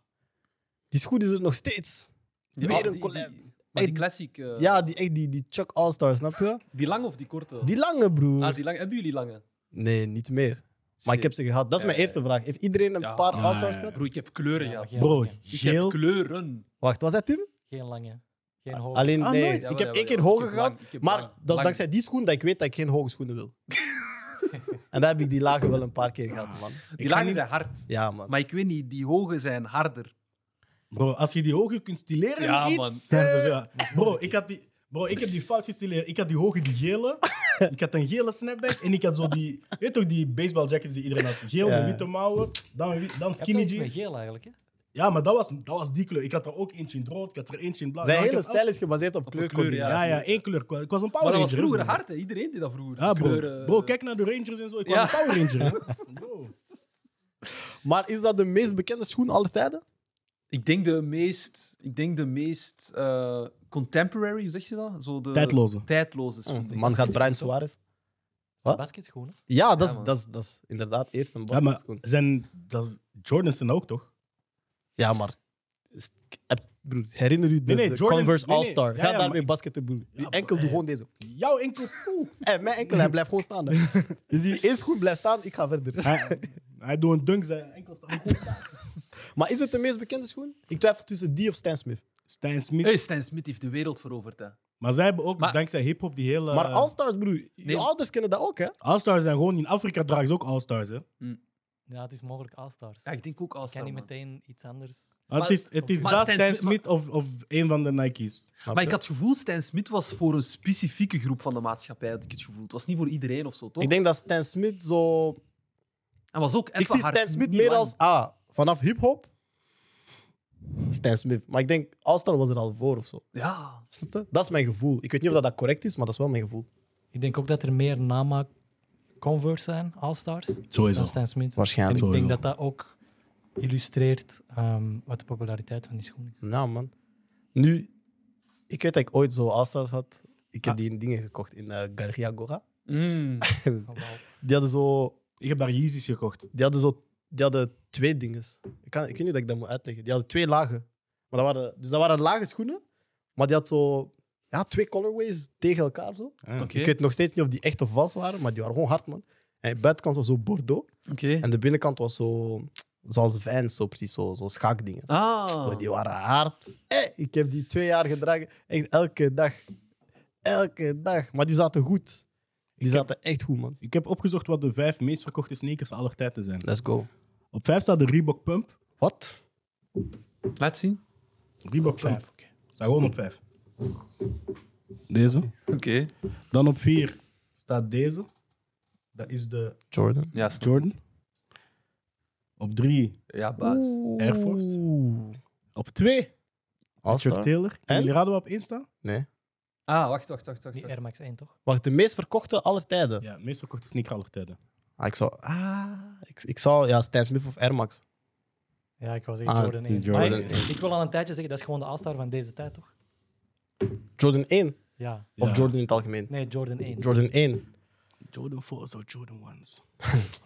[SPEAKER 1] die schoen is er nog steeds.
[SPEAKER 2] Ja,
[SPEAKER 1] weer
[SPEAKER 2] die-
[SPEAKER 1] een collab.
[SPEAKER 2] Die, maar die classic. eh,
[SPEAKER 1] ja, die, echt die, die Chuck All-Star, snap je?
[SPEAKER 2] Die lange of die korte?
[SPEAKER 1] Die lange, broer.
[SPEAKER 2] Ah, die lange. Hebben jullie lange?
[SPEAKER 1] Nee, niet meer. Maar ik heb ze gehad. Dat is
[SPEAKER 2] Ja,
[SPEAKER 1] mijn eerste vraag. Heeft iedereen een
[SPEAKER 2] Ja.
[SPEAKER 1] paar
[SPEAKER 3] Ja,
[SPEAKER 1] All-Stars
[SPEAKER 3] ja, ja.
[SPEAKER 1] gehad?
[SPEAKER 2] Bro, ik heb kleuren, ja.
[SPEAKER 5] maar geen
[SPEAKER 3] Bro,
[SPEAKER 5] lange.
[SPEAKER 2] Ik
[SPEAKER 3] geel.
[SPEAKER 2] heb kleuren.
[SPEAKER 1] Wacht, was dat Tim?
[SPEAKER 5] Geen lange. Geen hoge.
[SPEAKER 1] Alleen,
[SPEAKER 3] Ah,
[SPEAKER 1] nee.
[SPEAKER 3] nooit.
[SPEAKER 1] Ik
[SPEAKER 2] Jawel,
[SPEAKER 1] heb één
[SPEAKER 2] jawel,
[SPEAKER 1] keer
[SPEAKER 2] jawel.
[SPEAKER 1] hoger
[SPEAKER 2] Ik heb lang-
[SPEAKER 1] gehad.
[SPEAKER 2] ik heb
[SPEAKER 1] maar
[SPEAKER 2] lang-
[SPEAKER 1] dat is
[SPEAKER 2] lang-
[SPEAKER 1] dankzij die schoen dat ik weet dat ik geen hoge schoenen wil. en daar heb ik die lage wel een paar keer gehad, man.
[SPEAKER 2] Die lange zijn hard.
[SPEAKER 1] Ja, man.
[SPEAKER 2] Maar ik weet niet, die hoge zijn harder.
[SPEAKER 3] Bro, als je die hoge kunt stileren
[SPEAKER 2] Ja,
[SPEAKER 3] met iets...
[SPEAKER 2] man.
[SPEAKER 3] zijn ze veel. Bro, ik had die... Bro, ik heb die fout gestileerd. Ik had die hoge, die gele. ik had een gele snapback. En ik had zo die... Weet toch, die baseball jackets die iedereen had. Geel,
[SPEAKER 1] Ja.
[SPEAKER 3] met witte mouwen. Dan, wi- dan
[SPEAKER 5] Je hebt wel
[SPEAKER 3] skinny
[SPEAKER 5] iets met
[SPEAKER 3] jeans.
[SPEAKER 5] geel eigenlijk, hè?
[SPEAKER 3] Ja, maar dat was, dat was die kleur. Ik had er ook eentje in het rood. Ik had er eentje in blauw.
[SPEAKER 1] Zijn
[SPEAKER 3] Ja, ik
[SPEAKER 1] hele
[SPEAKER 3] had
[SPEAKER 1] stijl is gebaseerd op,
[SPEAKER 2] kleur,
[SPEAKER 1] kleurcoördinatie.
[SPEAKER 3] Ja, ja, één kleur. Ik was- Ik was een Power
[SPEAKER 2] Maar dat
[SPEAKER 3] Ranger.
[SPEAKER 2] was
[SPEAKER 3] hè,
[SPEAKER 2] vroeger
[SPEAKER 3] bro.
[SPEAKER 2] hard, hè. Iedereen deed dat vroeger.
[SPEAKER 3] Ja,
[SPEAKER 2] Die
[SPEAKER 3] bro.
[SPEAKER 2] kleuren,
[SPEAKER 3] bro,
[SPEAKER 2] eh,
[SPEAKER 3] kijk naar de Rangers en zo. Ik
[SPEAKER 2] Ja.
[SPEAKER 3] was een Power Ranger. hè. Bro.
[SPEAKER 1] Maar is dat de meest bekende schoen aller tijden?
[SPEAKER 2] Ik denk de meest, ik denk de meest eh, contemporary, hoe zeg je dat? Zo de
[SPEAKER 3] Tijdloze.
[SPEAKER 2] Tijdloze schoen.
[SPEAKER 1] De man gaat Brian Suarez. Wat?
[SPEAKER 5] Basketschoenen.
[SPEAKER 1] Ja, dat
[SPEAKER 2] Ja,
[SPEAKER 1] is,
[SPEAKER 2] man.
[SPEAKER 1] dat is, dat is inderdaad eerst een
[SPEAKER 3] Ja, maar
[SPEAKER 1] basketschoen.
[SPEAKER 3] zijn, dat is, Jordans zijn ook toch?
[SPEAKER 1] Ja, maar... is- heb- broer, herinner u de,
[SPEAKER 3] Nee, nee,
[SPEAKER 1] de
[SPEAKER 3] Jordan-
[SPEAKER 1] Converse
[SPEAKER 3] nee, nee.
[SPEAKER 1] All-Star?
[SPEAKER 3] Ja,
[SPEAKER 1] Ga
[SPEAKER 3] ja, maar
[SPEAKER 1] daarmee
[SPEAKER 3] ik-
[SPEAKER 1] basketten, broer. Die
[SPEAKER 3] Ja,
[SPEAKER 1] enkel doe
[SPEAKER 3] maar-
[SPEAKER 1] gewoon deze.
[SPEAKER 3] Jouw enkel. poeh.
[SPEAKER 1] Hé, Eh, mijn enkel, hij blijft gewoon staan. hè. Dus die eerst goed blijft staan, ik ga verder.
[SPEAKER 3] hij, hij doet een dunk, zijn enkel staat goed.
[SPEAKER 1] Maar is het de meest bekende schoen? Ik twijfel tussen die of Stan Smith.
[SPEAKER 3] Stijn Smit.
[SPEAKER 2] Hey, Stan Smith heeft de wereld veroverd, hè.
[SPEAKER 3] Maar zij hebben ook,
[SPEAKER 2] Maar-
[SPEAKER 3] dankzij hip-hop, die hele.
[SPEAKER 1] Maar All-Stars, broer, je
[SPEAKER 2] Eh, Nee.
[SPEAKER 1] ouders kennen dat ook, hè?
[SPEAKER 3] All-Stars zijn gewoon in Afrika dragen ze ook All-Stars. Hè?
[SPEAKER 5] Ja, het is mogelijk All-Stars.
[SPEAKER 2] Ja, ik denk ook
[SPEAKER 5] Ik
[SPEAKER 2] als
[SPEAKER 5] ken niet meteen iets anders.
[SPEAKER 3] het is, het is
[SPEAKER 2] maar
[SPEAKER 3] dat
[SPEAKER 2] Stan
[SPEAKER 3] Stan
[SPEAKER 2] Smit-
[SPEAKER 3] Smith of, of een van de Nike's.
[SPEAKER 2] Maar ik had het gevoel, Stan Smith was voor een specifieke groep van de maatschappij, had ik het gevoel. Het was niet voor iedereen of zo, toch?
[SPEAKER 1] Ik denk dat Stan Smith zo.
[SPEAKER 2] Hij was ook
[SPEAKER 1] ik
[SPEAKER 2] effe
[SPEAKER 1] zie
[SPEAKER 2] hard,
[SPEAKER 1] Stan Smith
[SPEAKER 2] niet
[SPEAKER 1] meer
[SPEAKER 2] lang.
[SPEAKER 1] als. Ah, vanaf hip-hop. Stan Smith. Maar ik denk, All-Star was er al voor of zo.
[SPEAKER 2] Ja.
[SPEAKER 1] Snap je? Dat is mijn gevoel. Ik weet niet of dat, dat correct is, maar dat is wel mijn gevoel.
[SPEAKER 5] Ik denk ook dat er meer namaak Converse zijn, All-Stars,
[SPEAKER 3] Sowieso.
[SPEAKER 5] dan Stan Smith.
[SPEAKER 1] Waarschijnlijk.
[SPEAKER 5] En ik denk
[SPEAKER 3] Sowieso.
[SPEAKER 5] dat dat ook illustreert ehm, wat de populariteit van die schoen is.
[SPEAKER 1] Nou, man. Nu, ik weet dat ik ooit zo All-Stars had. Ik
[SPEAKER 2] Ah.
[SPEAKER 1] heb die in dingen gekocht in eh, Galeria Gora.
[SPEAKER 2] Mm.
[SPEAKER 5] Oh, wauw.
[SPEAKER 1] Die hadden zo
[SPEAKER 3] Ik heb daar Yeezys gekocht.
[SPEAKER 1] Die hadden, zo, die hadden twee dingen. Ik, kan, ik weet niet of ik dat moet uitleggen. Die hadden twee lagen. Maar dat waren, dus dat waren lage schoenen, maar die had zo ja, twee colorways tegen elkaar. Zo.
[SPEAKER 3] Ja.
[SPEAKER 2] Oké.
[SPEAKER 1] Ik weet nog steeds niet of die echt of vals waren, maar die waren gewoon hard, man. En de buitenkant was zo bordeaux
[SPEAKER 2] Oké.
[SPEAKER 1] en de binnenkant was zo zoals Vans, zo precies, zo, zo schaakdingen. Maar
[SPEAKER 2] Ah.
[SPEAKER 1] die waren hard. Eh, ik heb die twee jaar gedragen, echt elke dag. Elke dag. Maar die zaten goed. Die zaten echt goed, man.
[SPEAKER 3] Ik heb opgezocht wat de vijf meest verkochte sneakers aller tijden zijn.
[SPEAKER 1] Let's go.
[SPEAKER 3] Op vijf staat de Reebok Pump.
[SPEAKER 1] Wat?
[SPEAKER 2] Laat zien.
[SPEAKER 3] Reebok Pump. Staat gewoon op vijf. Deze.
[SPEAKER 2] Oké.
[SPEAKER 3] Dan op vier staat deze. Dat is de
[SPEAKER 1] Jordan.
[SPEAKER 2] Ja, snap.
[SPEAKER 3] Jordan. Op drie
[SPEAKER 2] ja, baas.
[SPEAKER 3] Air Force. Op twee Chuck Taylor.
[SPEAKER 1] En?
[SPEAKER 3] En jullie raden wat op één staat?
[SPEAKER 1] Nee.
[SPEAKER 2] Ah, wacht, wacht, wacht. wacht,
[SPEAKER 5] Die
[SPEAKER 2] wacht.
[SPEAKER 5] Air Max 1, toch?
[SPEAKER 1] Wacht, de meest verkochte aller tijden.
[SPEAKER 3] Ja, meest verkochte sneaker aller tijden.
[SPEAKER 1] Ah, ik zou... Ah, ik, ik zou... Ja, Stan Smith of Air Max.
[SPEAKER 5] Ja, ik wou zeggen
[SPEAKER 1] Ah,
[SPEAKER 5] Jordan 1.
[SPEAKER 3] Jordan
[SPEAKER 5] Maar ik,
[SPEAKER 1] 1.
[SPEAKER 5] ik wil al een tijdje zeggen, dat is gewoon de All-Star van deze tijd, toch?
[SPEAKER 1] Jordan 1.
[SPEAKER 5] Ja.
[SPEAKER 1] Of
[SPEAKER 3] Ja.
[SPEAKER 1] Jordan in het algemeen.
[SPEAKER 5] Nee, Jordan 1.
[SPEAKER 1] Jordan 1.
[SPEAKER 3] Jordan 4's of Jordan 1's.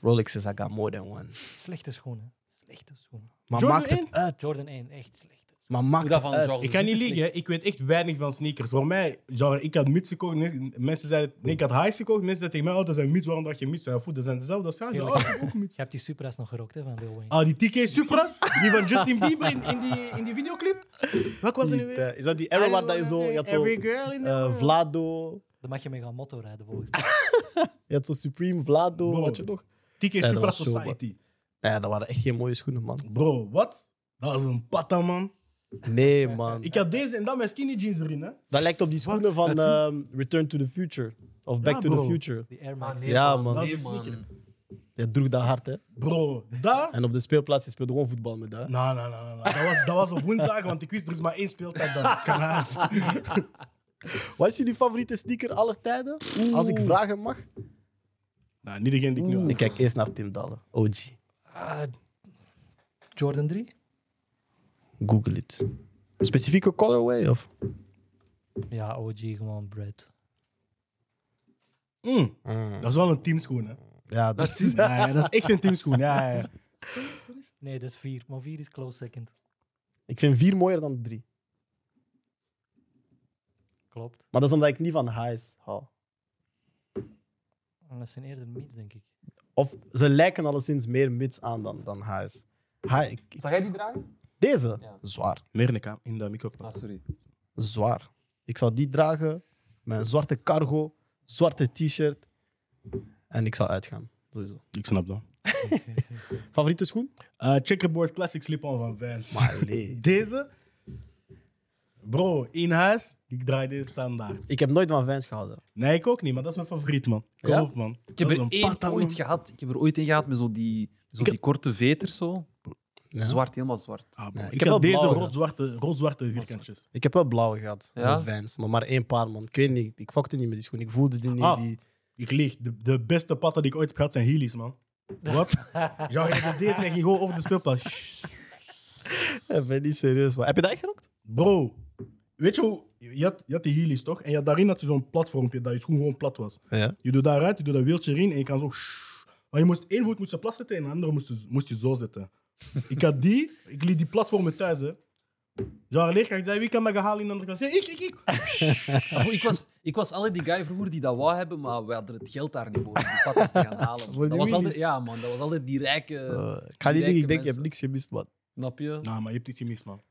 [SPEAKER 1] Rolex is I got more than one.
[SPEAKER 5] Slechte schoenen. Slechte schoenen.
[SPEAKER 1] Maar
[SPEAKER 3] Jordan
[SPEAKER 1] maakt het
[SPEAKER 3] 1?
[SPEAKER 1] uit.
[SPEAKER 5] Jordan 1, echt slecht.
[SPEAKER 1] Maar maakt
[SPEAKER 2] Hoe
[SPEAKER 1] het
[SPEAKER 2] dat van
[SPEAKER 1] uit.
[SPEAKER 2] Jordan?
[SPEAKER 3] Ik ga niet liegen, hè. ik weet echt weinig van sneakers. Voor mij, genre, ik had muts gekocht, nee, mensen zeiden, nee, ik had highs gekocht, mensen zeiden tegen mij, oh, dat zijn muts, waarom draag je muts? Ja, goed, dat zijn dezelfde als jou. Oh, dat is ook een muts.
[SPEAKER 5] Je hebt die Supra's nog gerookt, hè, van Lil Wayne.
[SPEAKER 3] Ah, die TK Supras, die van Justin Bieber in, in, die, in die videoclip. Welk was het nu
[SPEAKER 1] Niet,
[SPEAKER 3] weer?
[SPEAKER 1] eh, Is dat die era
[SPEAKER 3] I
[SPEAKER 1] waar dat je
[SPEAKER 3] wanna
[SPEAKER 1] zo... Je
[SPEAKER 3] be
[SPEAKER 1] had zo
[SPEAKER 3] every girl in the
[SPEAKER 1] eh,
[SPEAKER 3] world.
[SPEAKER 1] Vlado...
[SPEAKER 5] Daar mag je mee gaan motto rijden, volgens mij.
[SPEAKER 1] Je had zo Supreme, Vlado,
[SPEAKER 3] Bro.
[SPEAKER 1] wat je nog?
[SPEAKER 3] TK
[SPEAKER 1] dat was
[SPEAKER 3] Supras
[SPEAKER 1] zo,
[SPEAKER 3] Society.
[SPEAKER 1] Nee, dat waren echt geen mooie schoenen, man.
[SPEAKER 3] Bro, wat? Dat was een patta, man.
[SPEAKER 1] Nee, man.
[SPEAKER 3] Ik had deze en dan mijn skinny jeans erin, hè.
[SPEAKER 1] Dat lijkt op die schoenen van
[SPEAKER 2] Laat zien.
[SPEAKER 1] ehm, Return to the Future. Of Back
[SPEAKER 3] Ja,
[SPEAKER 1] to the
[SPEAKER 3] bro.
[SPEAKER 1] Future.
[SPEAKER 5] Die Air Max.
[SPEAKER 1] Ja, man.
[SPEAKER 3] Dat
[SPEAKER 1] Hij
[SPEAKER 3] is een
[SPEAKER 2] man.
[SPEAKER 3] sneaker.
[SPEAKER 1] droeg dat hard, hè.
[SPEAKER 3] Bro, dat...
[SPEAKER 1] En op de speelplaats, hij speelde gewoon voetbal met dat. hè.
[SPEAKER 3] Nou, nou, nou, nou, nou. Dat, was, dat was op woensdag, want ik wist, er is maar één speeltijd dan. Kanaas.
[SPEAKER 1] Wat is jullie favoriete sneaker aller tijden? Als ik vragen mag.
[SPEAKER 3] nou, niet degene die ik nu aan-
[SPEAKER 1] Ik kijk eerst naar Tim Dallen. OG.
[SPEAKER 5] Ah, Jordan 3?
[SPEAKER 1] Google it. Specifieke colorway of?
[SPEAKER 5] Ja, OG gewoon bread.
[SPEAKER 3] Mm. Dat is wel een teamschoen, hè.
[SPEAKER 1] Ja, dat is...
[SPEAKER 3] Ja, ja, dat is echt een teamschoen, ja, ja.
[SPEAKER 5] Nee, dat is 4. Maar 4 is close second.
[SPEAKER 1] Ik vind vier mooier dan drie.
[SPEAKER 5] Klopt.
[SPEAKER 1] Maar dat is omdat ik niet van highs hou.
[SPEAKER 5] En dat zijn eerder mids, denk ik.
[SPEAKER 1] Of ze lijken alleszins meer mids aan dan, dan highs. High, ik-
[SPEAKER 2] Zag jij die dragen?
[SPEAKER 1] deze?
[SPEAKER 2] Ja.
[SPEAKER 1] Zwaar.
[SPEAKER 3] Meer in de kamer, in de microfoon.
[SPEAKER 2] Ah, sorry.
[SPEAKER 1] Zwaar. Ik zou die dragen met een zwarte cargo, zwarte t-shirt. En ik zou uitgaan. Sowieso.
[SPEAKER 3] Ik snap dat.
[SPEAKER 1] Favoriete schoen?
[SPEAKER 3] Eh, checkerboard Classic Slip-on van Vans.
[SPEAKER 1] Allee.
[SPEAKER 3] Deze... Bro, in huis, ik draai deze standaard.
[SPEAKER 1] Ik heb nooit van Vans gehouden.
[SPEAKER 3] Nee, ik ook niet, maar dat is mijn favoriet, man.
[SPEAKER 1] Ja?
[SPEAKER 3] Koop, man.
[SPEAKER 2] Ik heb er één ooit gehad. Ik heb er ooit een gehad met zo die, zo die korte veters zo. Zwart, helemaal zwart.
[SPEAKER 1] Nee,
[SPEAKER 3] Ah, ik,
[SPEAKER 1] ik heb
[SPEAKER 3] heb,
[SPEAKER 1] wel
[SPEAKER 3] deze
[SPEAKER 1] blauwe.
[SPEAKER 3] rood-zwarte rood vierkantjes.
[SPEAKER 1] Ik heb wel blauwe gehad,
[SPEAKER 2] Ja?
[SPEAKER 1] zo'n Vans. Maar maar één paar, man. Ik weet niet, ik fokte niet met die schoen. Ik voelde die niet.
[SPEAKER 3] Ah.
[SPEAKER 1] Die...
[SPEAKER 3] Ik lieg. De, de beste patten die ik ooit heb gehad zijn heelys, man. Wat? Ja, ik heb deze en ging gewoon over de speelplaats. Shh.
[SPEAKER 1] Ik ben niet serieus, man. Heb je dat echt gerokt?
[SPEAKER 3] Bro, weet je hoe... Je had, je had die heelys, toch? En je had daarin had je zo'n platformpje dat je schoen gewoon plat was.
[SPEAKER 1] Ja.
[SPEAKER 3] Je doet daaruit, je doet dat wieltje erin en je kan zo... shh. Maar je moest één voet moest je plat zetten en de andere moest je, moest je zo zetten. ik had die, ik liet die platformen thuis, hè. Ja, leerkracht zei, wie kan dat gaan halen in de andere klas? Ja, ik, ik, ik.
[SPEAKER 1] Ah.
[SPEAKER 2] Maar Ah, ik was, ik was altijd die guy vroeger die dat wou hebben, maar we hadden het geld daar niet voor om die patas te gaan halen.
[SPEAKER 1] Voor die
[SPEAKER 2] Dat was altijd,
[SPEAKER 1] wheelies.
[SPEAKER 2] ja, man, dat was altijd die rijke...
[SPEAKER 1] Eh, ik ga niet
[SPEAKER 2] die
[SPEAKER 1] liegen, ik denk,
[SPEAKER 2] rijke
[SPEAKER 1] je hebt
[SPEAKER 2] mensen.
[SPEAKER 1] niks gemist, man.
[SPEAKER 2] Snap je?
[SPEAKER 3] Nou, maar je hebt iets gemist, man.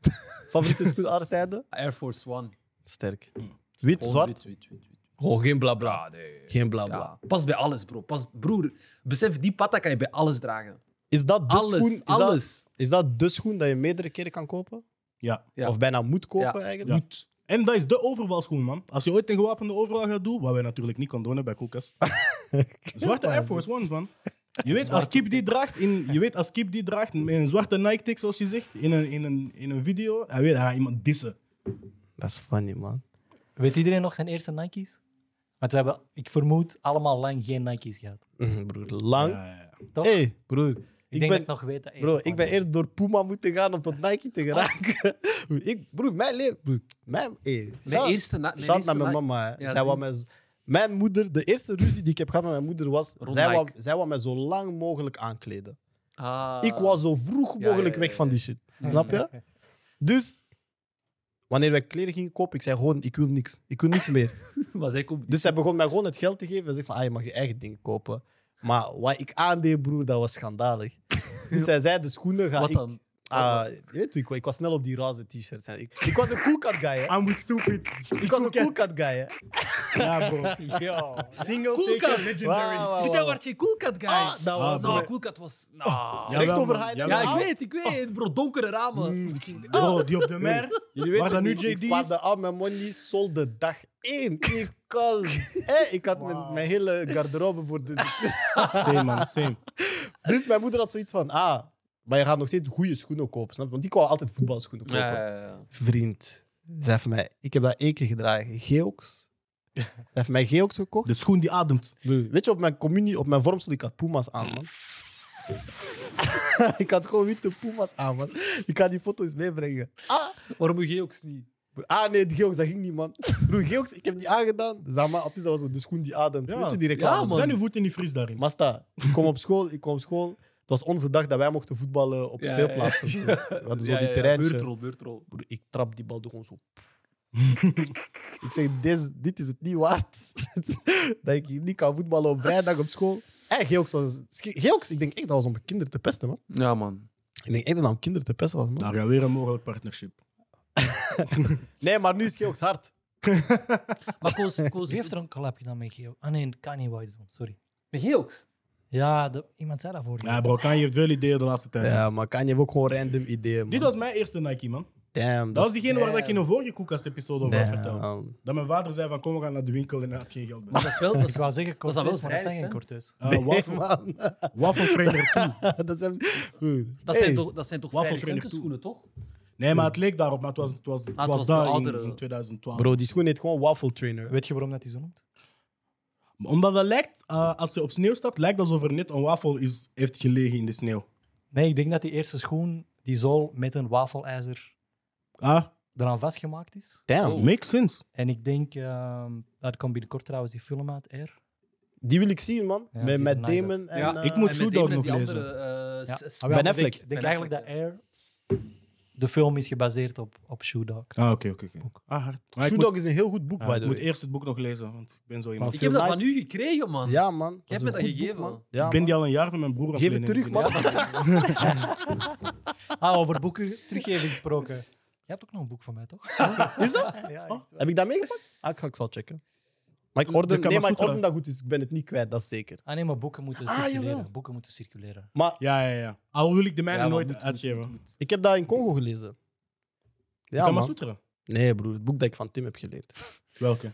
[SPEAKER 1] Favoriete schoen aller tijden?
[SPEAKER 2] Air Force One.
[SPEAKER 1] Sterk. Wit,
[SPEAKER 2] Gewoon
[SPEAKER 1] zwart?
[SPEAKER 2] wit, wit, wit, wit.
[SPEAKER 1] Gewoon geen blabla.
[SPEAKER 2] Ah, nee.
[SPEAKER 1] Geen blabla.
[SPEAKER 2] Ja, pas bij alles, bro. Pas, broer, besef, die patta kan je bij alles dragen.
[SPEAKER 1] Is dat de
[SPEAKER 2] Alles,
[SPEAKER 1] schoen? Is Dat,
[SPEAKER 2] alles.
[SPEAKER 1] is dat de schoen dat je meerdere keren kan kopen?
[SPEAKER 3] Ja.
[SPEAKER 2] Ja.
[SPEAKER 1] Of bijna moet kopen
[SPEAKER 2] Ja.
[SPEAKER 1] eigenlijk? Moet.
[SPEAKER 3] En dat is de overvalschoen, man. Als je ooit een gewapende overval gaat doen, wat wij natuurlijk niet condonen bij Koelkast. zwarte Air Force Ones, man. Je weet, als Kip die draagt, in, je weet, als Kip die draagt met een zwarte Nike-tik, zoals je zegt, in een, in een, in een video, hij weet, hij gaat iemand dissen.
[SPEAKER 1] Dat is funny, man.
[SPEAKER 5] Weet iedereen nog zijn eerste Nike's? Want we hebben, ik vermoed, allemaal lang geen Nike's gehad.
[SPEAKER 1] Mhm, broer, lang.
[SPEAKER 3] Ja, ja, ja.
[SPEAKER 5] Toch?
[SPEAKER 1] Hé, hey, broer.
[SPEAKER 5] ik
[SPEAKER 1] Ik,
[SPEAKER 5] denk dat
[SPEAKER 1] ben,
[SPEAKER 5] ik nog weet dat
[SPEAKER 1] bro,
[SPEAKER 5] eerste
[SPEAKER 1] ik ben
[SPEAKER 5] paar
[SPEAKER 1] eerst door Puma moeten gaan om tot Nike te geraken. ik, broer, mijn leven... Broer, mijn... Hey,
[SPEAKER 2] Mijn eerste na- mijn
[SPEAKER 1] Shout
[SPEAKER 2] eerste
[SPEAKER 1] naar mijn
[SPEAKER 2] na-
[SPEAKER 1] mama. hè.
[SPEAKER 2] Ja,
[SPEAKER 1] zij
[SPEAKER 2] doe.
[SPEAKER 1] wou mij z- mijn moeder, de eerste ruzie die ik heb gehad met mijn moeder was...
[SPEAKER 2] Rond
[SPEAKER 1] Zij wou,
[SPEAKER 2] Nike.
[SPEAKER 1] zij wou mij zo lang mogelijk aankleden.
[SPEAKER 2] Ah.
[SPEAKER 1] Ik was zo vroeg
[SPEAKER 2] ja,
[SPEAKER 1] mogelijk
[SPEAKER 2] ja,
[SPEAKER 1] weg
[SPEAKER 2] ja,
[SPEAKER 1] van
[SPEAKER 2] ja.
[SPEAKER 1] die shit. Snap je? Dus, wanneer wij kleren gingen kopen, ik zei gewoon, ik wil niks. Ik wil niks meer.
[SPEAKER 2] Maar zij komt...
[SPEAKER 1] Dus hij begon mij gewoon het geld te geven. Hij zegt van, ah, je mag je eigen dingen kopen. Maar wat ik aandeed, broer, dat was schandalig. Dus hij zei, de schoenen ga
[SPEAKER 2] Wat
[SPEAKER 1] ik...
[SPEAKER 2] dan?
[SPEAKER 1] Ah, je weet ik, ik was snel op die roze t-shirts. hè. Ik, ik was een cool cat guy, hè.
[SPEAKER 3] I'm with stupid.
[SPEAKER 1] Ik was een cool cat guy, hè.
[SPEAKER 3] Ja, bro. Single
[SPEAKER 2] Cool
[SPEAKER 3] taker,
[SPEAKER 2] cat.
[SPEAKER 3] legendary.
[SPEAKER 1] Wauw, wauw,
[SPEAKER 2] Dit
[SPEAKER 1] wauw.
[SPEAKER 2] werd je Cool Cat guy.
[SPEAKER 1] Ah, dat was...
[SPEAKER 2] nou,
[SPEAKER 3] maar-
[SPEAKER 2] Cool Cat was... Nou.
[SPEAKER 3] Ja,
[SPEAKER 2] Ja,
[SPEAKER 1] Recht
[SPEAKER 3] Jawel,
[SPEAKER 1] over
[SPEAKER 3] man.
[SPEAKER 1] hij.
[SPEAKER 3] Jawel.
[SPEAKER 2] ik weet, ik weet. Bro, donkere ramen.
[SPEAKER 3] Bro, die op de mer.
[SPEAKER 1] Jullie weten
[SPEAKER 3] Waar dan nu
[SPEAKER 1] niet, ik
[SPEAKER 3] JD's?
[SPEAKER 1] spaarde al mijn money sol de dag één. Ik, kan- hè, ik had mijn, mijn hele garderobe voor de...
[SPEAKER 3] Same, man, same.
[SPEAKER 1] Dus mijn moeder had zoiets van, ah, maar je gaat nog steeds goede schoenen kopen, snap je? Want ik wou altijd voetbalschoenen kopen. Vriend, ze heeft mij, ik heb dat één keer gedragen, Geox. Ze heeft mij Geox gekocht.
[SPEAKER 3] De schoen die ademt.
[SPEAKER 1] Weet je, op mijn communie, op mijn vormsel, ik had Puma's aan, man. ik had gewoon witte Puma's aan, man. Ik kan die foto's meebrengen. Ah,
[SPEAKER 2] Waarom moet je ook niet?
[SPEAKER 1] Broer, Ah nee, die Geox, dat ging niet, man. Broer, Geox, ik heb die aangedaan. Zeg maar, op is dat was zo de schoen die ademt.
[SPEAKER 3] Ja.
[SPEAKER 1] Weet je die
[SPEAKER 2] Ja,
[SPEAKER 1] reclame?
[SPEAKER 2] man.
[SPEAKER 3] Zijn uw voeten niet fris daarin?
[SPEAKER 1] Masta, ik kom op school, ik kom op school. Het was onze dag dat wij mochten voetballen op
[SPEAKER 2] Ja,
[SPEAKER 1] speelplaats.
[SPEAKER 2] ja, ja.
[SPEAKER 1] broer. We hadden zo die terreintje.
[SPEAKER 2] Beurtrol, beurtrol.
[SPEAKER 1] Broer, ik trap die bal door gewoon zo. ik zeg, deze, dit is het niet waard. dat ik hier niet kan voetballen op vrijdag op school. Hé, Geox, was, Geox, ik denk echt dat was om kinderen te pesten, man.
[SPEAKER 2] Ja, man.
[SPEAKER 1] Ik denk echt dat het om kinderen te pesten was, man.
[SPEAKER 3] Daar gaat weer een mogelijk partnership.
[SPEAKER 1] Nee, maar nu is Geox hard.
[SPEAKER 2] Maar Koos... Koos
[SPEAKER 5] Wie heeft er een collab gedaan met Geo? Ah nee, Kanye West doen, sorry.
[SPEAKER 2] Met Geox?
[SPEAKER 5] Ja, de- iemand zei dat voor
[SPEAKER 3] Ja, bro, kan je heeft wel ideeën de laatste tijd.
[SPEAKER 1] Ja, maar kan je ook gewoon random ideeën, man.
[SPEAKER 3] Dit was mijn eerste Nike, man.
[SPEAKER 1] Damn.
[SPEAKER 3] Dat was diegene waar dat ik in een vorige koelkastepisode over had verteld.
[SPEAKER 1] Damn.
[SPEAKER 3] Dat mijn vader zei van kom, we gaan naar de winkel en hij had geen geld bij.
[SPEAKER 2] Dat is wel... dat is-
[SPEAKER 5] Ik wou zeggen
[SPEAKER 2] dat
[SPEAKER 5] Cortez,
[SPEAKER 2] wel
[SPEAKER 5] maar dat
[SPEAKER 2] vrij
[SPEAKER 5] zijn geen
[SPEAKER 2] recent?
[SPEAKER 5] Cortez.
[SPEAKER 3] Eh,
[SPEAKER 1] Nee,
[SPEAKER 3] wafel-
[SPEAKER 1] Ah, man.
[SPEAKER 3] Wafeltrainer 2.
[SPEAKER 1] dat zijn... Goed.
[SPEAKER 2] Dat,
[SPEAKER 1] Hey.
[SPEAKER 2] zijn toch, dat zijn toch vrij
[SPEAKER 3] Wafeltrainer
[SPEAKER 2] recente
[SPEAKER 3] toe.
[SPEAKER 2] schoenen, toch?
[SPEAKER 3] Nee, maar het leek daarop, maar het was, het was, het
[SPEAKER 2] Ah, het was
[SPEAKER 3] was,
[SPEAKER 2] de
[SPEAKER 3] daar in,
[SPEAKER 2] oudere.
[SPEAKER 3] in 2012.
[SPEAKER 1] Bro, die schoen heet gewoon Waffle
[SPEAKER 3] Oh.
[SPEAKER 1] Trainer.
[SPEAKER 5] Weet je waarom dat hij zo noemt?
[SPEAKER 3] Omdat dat lijkt, eh, als je op sneeuw stapt, lijkt alsof er net een wafel is, heeft gelegen in de sneeuw.
[SPEAKER 5] Nee, ik denk dat die eerste schoen, die zool met een wafelijzer
[SPEAKER 3] Ah,
[SPEAKER 5] eraan vastgemaakt is.
[SPEAKER 1] Damn.
[SPEAKER 3] makes sense.
[SPEAKER 5] En ik denk, ehm daar komt binnenkort trouwens die film uit, Air.
[SPEAKER 1] Die wil ik zien, man.
[SPEAKER 5] Ja,
[SPEAKER 1] met
[SPEAKER 5] ziet
[SPEAKER 1] met
[SPEAKER 5] er nice
[SPEAKER 1] Damon en...
[SPEAKER 2] Ja,
[SPEAKER 1] eh,
[SPEAKER 3] ik moet
[SPEAKER 2] en
[SPEAKER 3] Shoe
[SPEAKER 2] met
[SPEAKER 3] Dog
[SPEAKER 2] Damon en
[SPEAKER 3] nog
[SPEAKER 2] die
[SPEAKER 3] lezen.
[SPEAKER 2] andere, eh,
[SPEAKER 5] Ja.
[SPEAKER 2] s- s-
[SPEAKER 5] Ah, wel,
[SPEAKER 1] Ben
[SPEAKER 5] dus ik-
[SPEAKER 1] Affleck.
[SPEAKER 5] Ik,
[SPEAKER 2] Ben
[SPEAKER 5] denk eigenlijk dat
[SPEAKER 2] Affleck,
[SPEAKER 5] Air, de film is gebaseerd op, op Shoe Dog.
[SPEAKER 3] Ah, oké, oké. oké. Ah, hard. Maar ik
[SPEAKER 1] Shoe
[SPEAKER 3] moet-
[SPEAKER 1] Dog is een heel goed boek,
[SPEAKER 3] ah,
[SPEAKER 1] by
[SPEAKER 3] ik
[SPEAKER 1] the
[SPEAKER 3] moet
[SPEAKER 1] way.
[SPEAKER 3] eerst het boek nog lezen, want ik ben zo iemand.
[SPEAKER 2] Ik
[SPEAKER 1] Phil
[SPEAKER 2] heb dat van
[SPEAKER 1] Knight.
[SPEAKER 2] u gekregen, man.
[SPEAKER 1] Ja, man.
[SPEAKER 2] Jij hebt
[SPEAKER 1] is
[SPEAKER 2] me
[SPEAKER 1] een
[SPEAKER 2] dat
[SPEAKER 1] goed
[SPEAKER 2] gegeven.
[SPEAKER 1] boek, man. Ja,
[SPEAKER 3] ik ben die
[SPEAKER 1] man.
[SPEAKER 3] al een jaar met mijn broer aan
[SPEAKER 1] Geef het
[SPEAKER 3] lenen.
[SPEAKER 1] terug,
[SPEAKER 3] Ik
[SPEAKER 1] man.
[SPEAKER 3] ben-
[SPEAKER 5] Ah, over boeken teruggeven gesproken. Je hebt ook nog een boek van mij, toch?
[SPEAKER 1] Is dat?
[SPEAKER 5] Ja,
[SPEAKER 1] Oh, heb ik dat meegepakt? Ah, ik, ga, ik zal checken. Maar ik orden,
[SPEAKER 3] de
[SPEAKER 1] nee, maar ik
[SPEAKER 3] Kamasutra.
[SPEAKER 1] orden dat goed, dus ik ben het niet kwijt, dat is zeker.
[SPEAKER 5] Ah nee, maar boeken moeten
[SPEAKER 1] Ah,
[SPEAKER 5] circuleren.
[SPEAKER 1] jawel.
[SPEAKER 5] boeken moeten circuleren.
[SPEAKER 1] Maar
[SPEAKER 3] Ja, ja, ja. Al wil ik de mijne
[SPEAKER 2] Ja, maar
[SPEAKER 3] nooit
[SPEAKER 2] moet- moet-
[SPEAKER 3] uitgeven.
[SPEAKER 2] moet- moet.
[SPEAKER 1] ik heb dat in Congo gelezen. Ja,
[SPEAKER 3] Kama
[SPEAKER 1] man.
[SPEAKER 3] Sutra.
[SPEAKER 1] Nee, broer. Het boek dat ik van Tim heb geleerd.
[SPEAKER 3] Welke?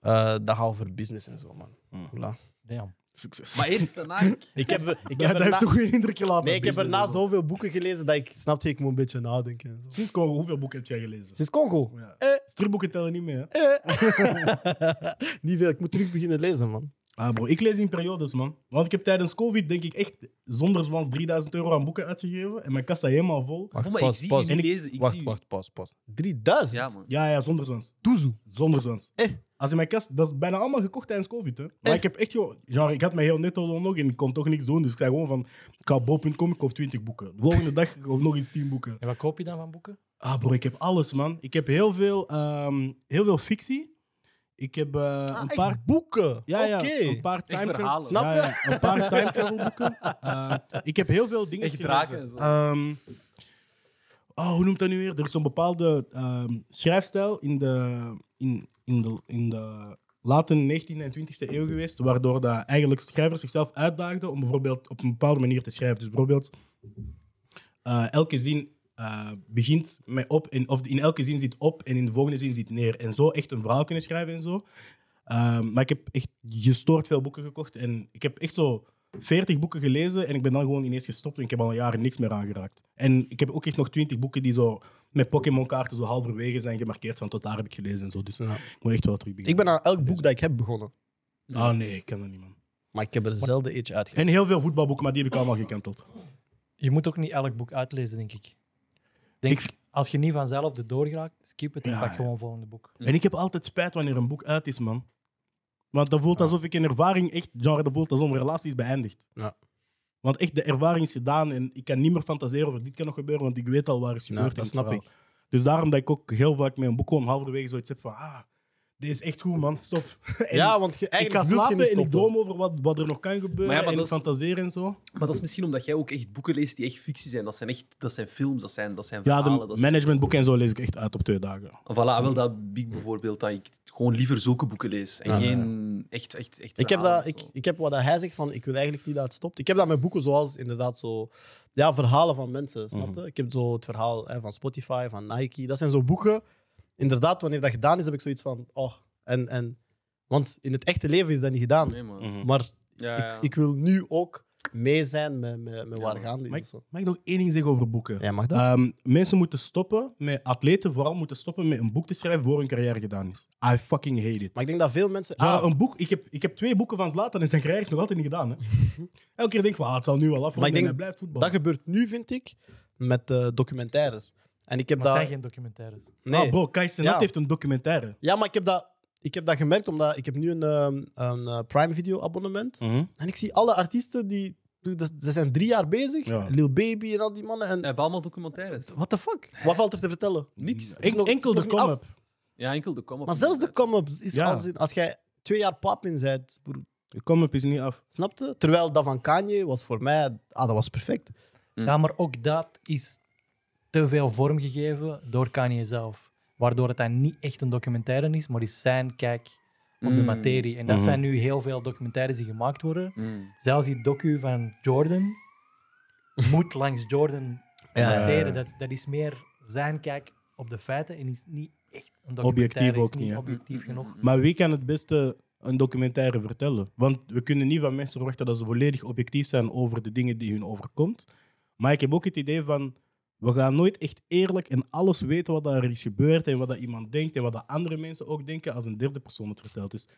[SPEAKER 1] Eh dat gaat over business en zo, man.
[SPEAKER 2] Hmm.
[SPEAKER 3] Mm.
[SPEAKER 1] Voilà.
[SPEAKER 5] Damn.
[SPEAKER 3] Succes.
[SPEAKER 2] Maar eerst de Nike.
[SPEAKER 1] Ik heb, ik heb
[SPEAKER 3] ja, dat heeft
[SPEAKER 1] erna,
[SPEAKER 3] toch geen indruk gelaten.
[SPEAKER 1] nee, ik heb
[SPEAKER 3] business
[SPEAKER 1] erna
[SPEAKER 3] en zo.
[SPEAKER 1] zoveel boeken gelezen dat ik snapte, ik moet een beetje nadenken. en zo.
[SPEAKER 3] Sinds Congo, hoeveel boeken heb jij gelezen?
[SPEAKER 1] Sinds Congo.
[SPEAKER 3] Ja.
[SPEAKER 1] Eh.
[SPEAKER 3] Stripboeken tellen niet meer. hè?
[SPEAKER 1] niet veel, ik moet terug beginnen lezen, man.
[SPEAKER 3] Ah, bro, ik lees in periodes, man. Want ik heb tijdens COVID, denk ik, echt zonder zwans 3000 euro aan boeken uitgegeven. En mijn kassa helemaal vol.
[SPEAKER 1] Wacht,
[SPEAKER 2] Oh, maar ik
[SPEAKER 1] pause,
[SPEAKER 2] zie
[SPEAKER 1] pause.
[SPEAKER 2] je niet lezen. Ik
[SPEAKER 1] Wacht,
[SPEAKER 2] zie
[SPEAKER 1] wacht, pas, pas. 3000?
[SPEAKER 2] Je. Ja, man.
[SPEAKER 3] Ja, ja, zonder zwans.
[SPEAKER 1] Toezoe.
[SPEAKER 3] Zonder zwans.
[SPEAKER 1] Eh.
[SPEAKER 3] Als in mijn kast, dat is bijna allemaal gekocht tijdens COVID. Hè. Maar
[SPEAKER 1] Eh.
[SPEAKER 3] ik heb echt, joh, genre, ik had mijn heel netto dan nog en ik kon toch niks doen. Dus ik zei gewoon van, ik ga op bol.com, ik koop 20 boeken. De volgende dag koop ik nog eens 10 boeken.
[SPEAKER 5] En wat koop je dan van boeken?
[SPEAKER 3] Ah, bro, ik heb alles, man. Ik heb heel veel, ehm, heel veel fictie. Ik heb eh,
[SPEAKER 1] Ah,
[SPEAKER 3] een
[SPEAKER 1] echt
[SPEAKER 3] paar...
[SPEAKER 1] boeken?
[SPEAKER 3] Ja, ja,
[SPEAKER 1] Oké.
[SPEAKER 3] een paar time travel-
[SPEAKER 2] verhalen.
[SPEAKER 1] Snap
[SPEAKER 3] Ja,
[SPEAKER 1] je?
[SPEAKER 3] ja, een paar time travel boeken. Eh, ik heb heel veel dingen
[SPEAKER 2] Echt draken
[SPEAKER 3] gelezen.
[SPEAKER 2] en zo.
[SPEAKER 3] Ehm, oh, hoe noemt dat nu weer? Er is een bepaalde ehm, schrijfstijl in de, in, in de, in de late 19e en 20e eeuw geweest, waardoor dat eigenlijk schrijvers zichzelf uitdaagden om bijvoorbeeld op een bepaalde manier te schrijven. Dus bijvoorbeeld, eh, elke zin eh, begint met op, en, of in elke zin zit op en in de volgende zin zit neer. En zo echt een verhaal kunnen schrijven en zo. Ehm, maar ik heb echt gestoord veel boeken gekocht. En ik heb echt zo 40 boeken gelezen. En ik ben dan gewoon ineens gestopt. En ik heb al jaren niks meer aangeraakt. En ik heb ook echt nog 20 boeken die zo met Pokémon-kaarten zo halverwege zijn gemarkeerd. Van tot daar heb ik gelezen en zo. Dus
[SPEAKER 1] Ja.
[SPEAKER 3] ik moet echt wel terug
[SPEAKER 1] Ik
[SPEAKER 3] beginnen.
[SPEAKER 1] ben aan elk boek dat ik heb begonnen.
[SPEAKER 3] Ah nee, ik ken dat niet, man.
[SPEAKER 1] Maar ik heb er zelden eentje uitgegeven.
[SPEAKER 3] En heel veel voetbalboeken, maar die heb ik allemaal gekanteld.
[SPEAKER 5] Je moet ook niet elk boek uitlezen, denk ik. Denk, Als je niet vanzelf de doorgaat, skip het en
[SPEAKER 3] Ja,
[SPEAKER 5] pak
[SPEAKER 3] ja.
[SPEAKER 5] gewoon het volgende boek.
[SPEAKER 3] En ik heb altijd spijt wanneer een boek uit is, man. Want dat voelt alsof ik een ervaring echt, genre, dat voelt alsof een relatie is beëindigd.
[SPEAKER 1] Ja.
[SPEAKER 3] Want echt, de ervaring is gedaan en ik kan niet meer fantaseren over dit kan nog gebeuren, want ik weet al waar het
[SPEAKER 1] Ja,
[SPEAKER 3] gebeurd in
[SPEAKER 1] dat
[SPEAKER 3] het
[SPEAKER 1] snap
[SPEAKER 3] verhaal.
[SPEAKER 1] ik.
[SPEAKER 3] Dus daarom dat ik ook heel vaak met een boek gewoon halverwege zoiets heb van, ah, dit is echt goed, man, stop. En
[SPEAKER 1] ja, want je,
[SPEAKER 3] ik ga
[SPEAKER 1] eigenlijk wil je
[SPEAKER 3] slapen
[SPEAKER 1] niet
[SPEAKER 3] en ik
[SPEAKER 1] stoppen.
[SPEAKER 3] droom over wat, wat er nog kan gebeuren
[SPEAKER 2] Maar ja, maar
[SPEAKER 3] en
[SPEAKER 2] dat
[SPEAKER 3] ik
[SPEAKER 2] is-
[SPEAKER 3] fantaseer en zo.
[SPEAKER 2] Maar dat is misschien omdat jij ook echt boeken leest die echt fictie zijn. Dat zijn, echt, dat zijn films, dat zijn, dat zijn
[SPEAKER 3] Ja,
[SPEAKER 2] verhalen.
[SPEAKER 3] de
[SPEAKER 2] Ah, dat zijn-
[SPEAKER 3] managementboeken en zo lees ik echt uit op twee dagen.
[SPEAKER 2] Voilà, ah, wel dat ik bijvoorbeeld, dat ik gewoon liever zulke boeken lees. En geen echt, echt, echt
[SPEAKER 1] Ik heb, dat,
[SPEAKER 2] verhalen of
[SPEAKER 1] ik,
[SPEAKER 2] zo.
[SPEAKER 1] ik heb wat dat hij zegt van ik wil eigenlijk niet dat het stopt. Ik heb dat met boeken zoals inderdaad zo. Ja, verhalen van mensen, snap je? Ik heb zo het verhaal hè, van Spotify, van Nike. Dat zijn zo boeken. Inderdaad, wanneer dat gedaan is, heb ik zoiets van. Oh, en, en, want in het echte leven is dat niet gedaan.
[SPEAKER 2] Nee, man.
[SPEAKER 1] Maar
[SPEAKER 2] Ja, ja.
[SPEAKER 1] ik, ik wil nu ook mee zijn met, met, met waar
[SPEAKER 2] maar-
[SPEAKER 1] gaande is.
[SPEAKER 3] Maar
[SPEAKER 1] of
[SPEAKER 3] ik,
[SPEAKER 1] zo.
[SPEAKER 3] mag ik nog één ding zeggen over boeken?
[SPEAKER 1] Ja, mag dat?
[SPEAKER 3] Ehm, mensen moeten stoppen, met, atleten vooral moeten stoppen met een boek te schrijven voor hun carrière gedaan is. I fucking hate it.
[SPEAKER 1] maar ik denk dat veel mensen.
[SPEAKER 3] Genre,
[SPEAKER 1] Ah,
[SPEAKER 3] een boek, ik, heb, ik heb twee boeken van Zlatan en zijn carrière is nog altijd niet gedaan. Hè. Elke keer denk ik van, ah, het zal nu wel af,
[SPEAKER 1] Maar ik
[SPEAKER 3] en
[SPEAKER 1] denk
[SPEAKER 3] hij blijft voetballen.
[SPEAKER 1] dat gebeurt nu, vind ik, met eh, documentaires. En ik heb
[SPEAKER 5] Maar
[SPEAKER 1] dat.
[SPEAKER 5] zijn geen documentaires.
[SPEAKER 1] Nee.
[SPEAKER 3] Ah, bro, Kai Cenat
[SPEAKER 1] Ja.
[SPEAKER 3] heeft een documentaire.
[SPEAKER 1] Ja, maar ik heb dat, ik heb dat gemerkt omdat ik heb nu een, ehm, een eh, Prime Video abonnement.
[SPEAKER 3] Hm.
[SPEAKER 1] En ik zie alle artiesten die. dude, dat- Ze zijn drie jaar bezig.
[SPEAKER 3] Ja.
[SPEAKER 1] Lil Baby en al die mannen. En
[SPEAKER 2] We hebben allemaal documentaires.
[SPEAKER 1] what the fuck? Wat valt er te vertellen?
[SPEAKER 2] Niks.
[SPEAKER 1] is
[SPEAKER 3] En-
[SPEAKER 1] nog-
[SPEAKER 3] enkel
[SPEAKER 1] is
[SPEAKER 3] de
[SPEAKER 1] nog niet af.
[SPEAKER 3] come-up.
[SPEAKER 2] Ja, enkel de kom
[SPEAKER 1] Maar zelfs de come-up is
[SPEAKER 3] Ja.
[SPEAKER 1] als, in- als jij twee jaar pap in bent, broer,
[SPEAKER 3] De come-up is niet af.
[SPEAKER 1] snapte? Terwijl dat van Kanye was voor mij, ah, dat was perfect. Hm.
[SPEAKER 5] Ja, maar ook dat is te veel vormgegeven door Kanye zelf. Waardoor het dan niet echt een documentaire is, maar is zijn kijk op de
[SPEAKER 1] Hm.
[SPEAKER 2] Mm.
[SPEAKER 5] materie. En dat zijn nu heel veel documentaires die gemaakt worden.
[SPEAKER 1] Hm.
[SPEAKER 2] Mm.
[SPEAKER 5] Zelfs die docu van Jordan moet langs Jordan
[SPEAKER 1] Ja, ja, ja.
[SPEAKER 5] passeren. Dat, dat is meer zijn kijk op de feiten en is niet echt een documentaire.
[SPEAKER 3] Objectief
[SPEAKER 5] is
[SPEAKER 3] ook niet, hè?
[SPEAKER 1] Hm,
[SPEAKER 5] objectief genoeg.
[SPEAKER 3] Maar wie kan het beste een documentaire vertellen? Want we kunnen niet van mensen verwachten dat ze volledig objectief zijn over de dingen die hun overkomt. Maar ik heb ook het idee van, we gaan nooit echt eerlijk en alles weten wat daar is gebeurd en wat dat iemand denkt en wat dat andere mensen ook denken als een derde persoon het vertelt. Dus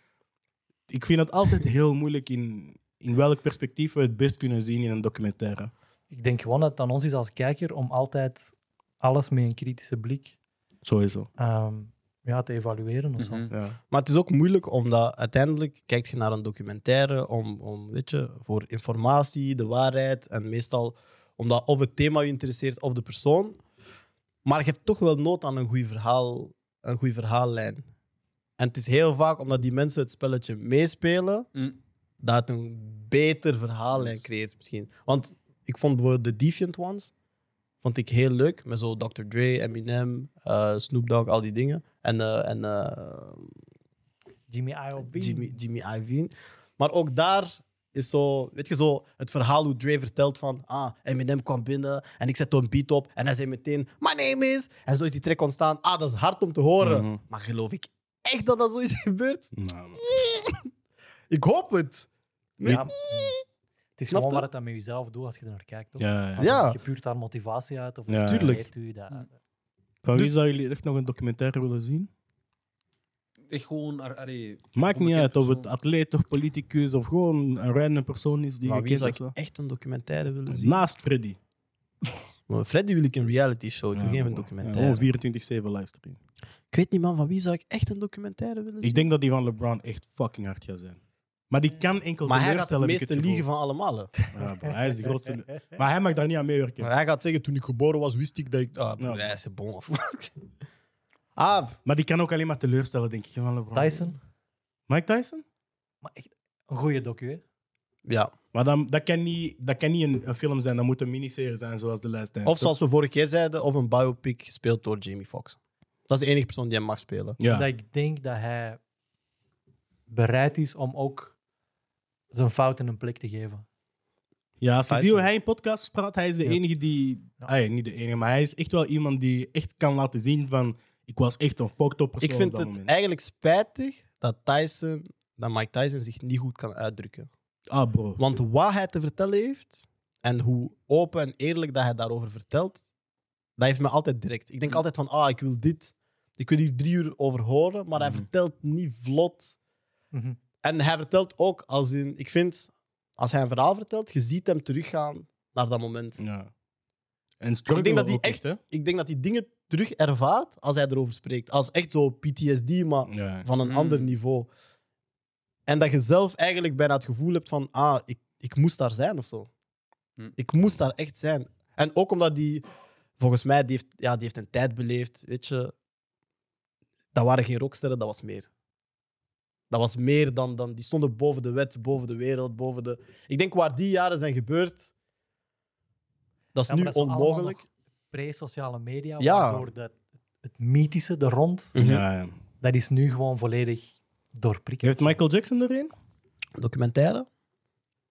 [SPEAKER 3] ik vind het altijd heel moeilijk in, in welk perspectief we het best kunnen zien in een documentaire.
[SPEAKER 1] hm.
[SPEAKER 5] Ik denk gewoon dat het aan ons is als kijker om altijd alles met een kritische blik
[SPEAKER 3] Sowieso.
[SPEAKER 5] ehm, ja, te evalueren of zo.
[SPEAKER 2] Mhm.
[SPEAKER 3] Ja.
[SPEAKER 1] Maar het is ook moeilijk omdat uiteindelijk kijk je naar een documentaire om, om weet je, voor informatie, de waarheid en meestal omdat of het thema je interesseert of de persoon. Maar je hebt toch wel nood aan een goed verhaal, een goede verhaallijn. En het is heel vaak omdat die mensen het spelletje meespelen,
[SPEAKER 2] Mm.
[SPEAKER 1] dat het een beter verhaallijn creëert misschien. Want ik vond bijvoorbeeld The Defiant Ones vond ik heel leuk, met zo Dr. Dre, Eminem, eh, Snoop Dogg, al die dingen. En, eh, en eh,
[SPEAKER 5] Jimmy IOB.
[SPEAKER 1] Jimmy, Jimmy Iovine. Maar ook daar is zo, weet je, zo het verhaal hoe Dre vertelt van ah, Eminem kwam binnen en ik zette een beat op en hij zei meteen my name is en zo is die track ontstaan. Ah, dat is hard om te horen.
[SPEAKER 3] Mhm.
[SPEAKER 1] Maar geloof ik echt dat dat zo is gebeurd?
[SPEAKER 3] Nou, man.
[SPEAKER 1] Ik hoop het.
[SPEAKER 5] Ja. mm. Het is
[SPEAKER 1] Snap
[SPEAKER 5] gewoon
[SPEAKER 1] je?
[SPEAKER 5] wat het dan met jezelf doet als je er naar kijkt. Toch?
[SPEAKER 3] Ja, ja.
[SPEAKER 5] Als
[SPEAKER 1] Ja.
[SPEAKER 5] Je puurt daar motivatie uit of
[SPEAKER 3] Ja, ja.
[SPEAKER 5] inspireert u dat.
[SPEAKER 3] Van wie
[SPEAKER 1] Dus-
[SPEAKER 3] zou jullie echt nog een documentaire willen zien?
[SPEAKER 2] Echt gewoon... ar- Allee,
[SPEAKER 3] Maakt niet
[SPEAKER 2] onbekend
[SPEAKER 3] uit of het
[SPEAKER 2] persoon.
[SPEAKER 3] atleet of politicus of gewoon een random persoon is die
[SPEAKER 1] Maar
[SPEAKER 3] je
[SPEAKER 1] wie
[SPEAKER 3] kent
[SPEAKER 1] zou
[SPEAKER 3] of
[SPEAKER 1] ik
[SPEAKER 3] zo.
[SPEAKER 1] echt een documentaire willen zien?
[SPEAKER 3] Naast Freddy.
[SPEAKER 1] Maar Freddy wil ik een reality show, ik wil geen
[SPEAKER 3] Ja,
[SPEAKER 1] documentaire.
[SPEAKER 3] Gewoon 24-7 livestream.
[SPEAKER 1] Oh, ik weet niet man, van wie zou ik echt een documentaire willen zien?
[SPEAKER 3] Ik denk dat die van LeBron echt fucking hard gaat zijn. Maar die kan enkel
[SPEAKER 1] maar hij gaat de
[SPEAKER 3] teleurstellen, heb ik
[SPEAKER 1] meeste
[SPEAKER 3] het
[SPEAKER 1] liegen
[SPEAKER 3] gevoel.
[SPEAKER 1] van allemaal. hè.
[SPEAKER 3] Ja, bro, hij is de grootste. Maar hij mag daar niet aan meewerken.
[SPEAKER 1] Maar hij gaat zeggen, toen ik geboren was, wist ik dat ik... Ah,
[SPEAKER 3] Ja.
[SPEAKER 1] hij is een bon of Ah,
[SPEAKER 3] Maar die kan ook alleen maar teleurstellen, denk ik. Van LeBron.
[SPEAKER 5] Tyson,
[SPEAKER 3] Mike Tyson?
[SPEAKER 5] maar echt een goede docu. Hè?
[SPEAKER 1] ja.
[SPEAKER 3] Maar dan, dat kan niet, dat kan niet een, een film zijn. Dat moet een miniserie zijn, zoals The Last Dance.
[SPEAKER 1] Of zoals we vorige keer zeiden, of een biopic gespeeld door Jamie Foxx. Dat is de enige persoon die hem mag spelen.
[SPEAKER 3] Ja.
[SPEAKER 5] Dat ik denk dat hij bereid is om ook zijn fouten een plek te geven.
[SPEAKER 3] Ja, als je
[SPEAKER 1] Tyson.
[SPEAKER 3] ziet hoe hij in podcasts praat, hij is de enige die...
[SPEAKER 5] Ja.
[SPEAKER 3] Ah, ja, niet de enige, maar hij is echt wel iemand die echt kan laten zien van... Ik was echt een fucked up persoon
[SPEAKER 1] Ik vind
[SPEAKER 3] op dat
[SPEAKER 1] het
[SPEAKER 3] moment.
[SPEAKER 1] eigenlijk spijtig dat, Tyson, dat Mike Tyson zich niet goed kan uitdrukken.
[SPEAKER 3] Ah, bro.
[SPEAKER 1] Want wat hij te vertellen heeft en hoe open en eerlijk dat hij daarover vertelt, dat heeft mij altijd direct. Ik
[SPEAKER 3] Mm.
[SPEAKER 1] denk altijd van, ah, ik wil dit. Ik wil hier drie uur over horen, maar hij
[SPEAKER 3] Mm.
[SPEAKER 1] vertelt niet vlot.
[SPEAKER 5] Mhm.
[SPEAKER 1] En hij vertelt ook, als in, ik vind, als hij een verhaal vertelt, je ziet hem teruggaan naar dat moment.
[SPEAKER 3] Ja. En
[SPEAKER 1] Maar
[SPEAKER 3] struggle
[SPEAKER 1] ik denk dat hij
[SPEAKER 3] ook
[SPEAKER 1] echt,
[SPEAKER 3] hè?
[SPEAKER 1] ik denk dat hij dingen terug ervaart als hij erover spreekt. Als echt zo PTSD, maar
[SPEAKER 3] Ja.
[SPEAKER 1] van een
[SPEAKER 2] Mm.
[SPEAKER 1] ander niveau. En dat je zelf eigenlijk bijna het gevoel hebt van, ah, ik, ik moest daar zijn of zo.
[SPEAKER 2] Mm.
[SPEAKER 1] Ik moest daar echt zijn. En ook omdat die, volgens mij, die heeft, ja, die heeft een tijd beleefd, weet je. Dat waren geen rocksterren, dat was meer. Dat was meer dan, dan... Die stonden boven de wet, boven de wereld, boven de... Ik denk waar die jaren zijn gebeurd, dat is
[SPEAKER 5] Ja,
[SPEAKER 1] nu
[SPEAKER 5] maar dat allemaal
[SPEAKER 1] onmogelijk.
[SPEAKER 5] nog Pre-sociale media,
[SPEAKER 1] Ja.
[SPEAKER 5] waardoor dat- het mythische, de rond,
[SPEAKER 3] Ja, ja.
[SPEAKER 5] dat is nu gewoon volledig doorprikt.
[SPEAKER 3] Heeft Michael Jackson er een?
[SPEAKER 1] Documentaire?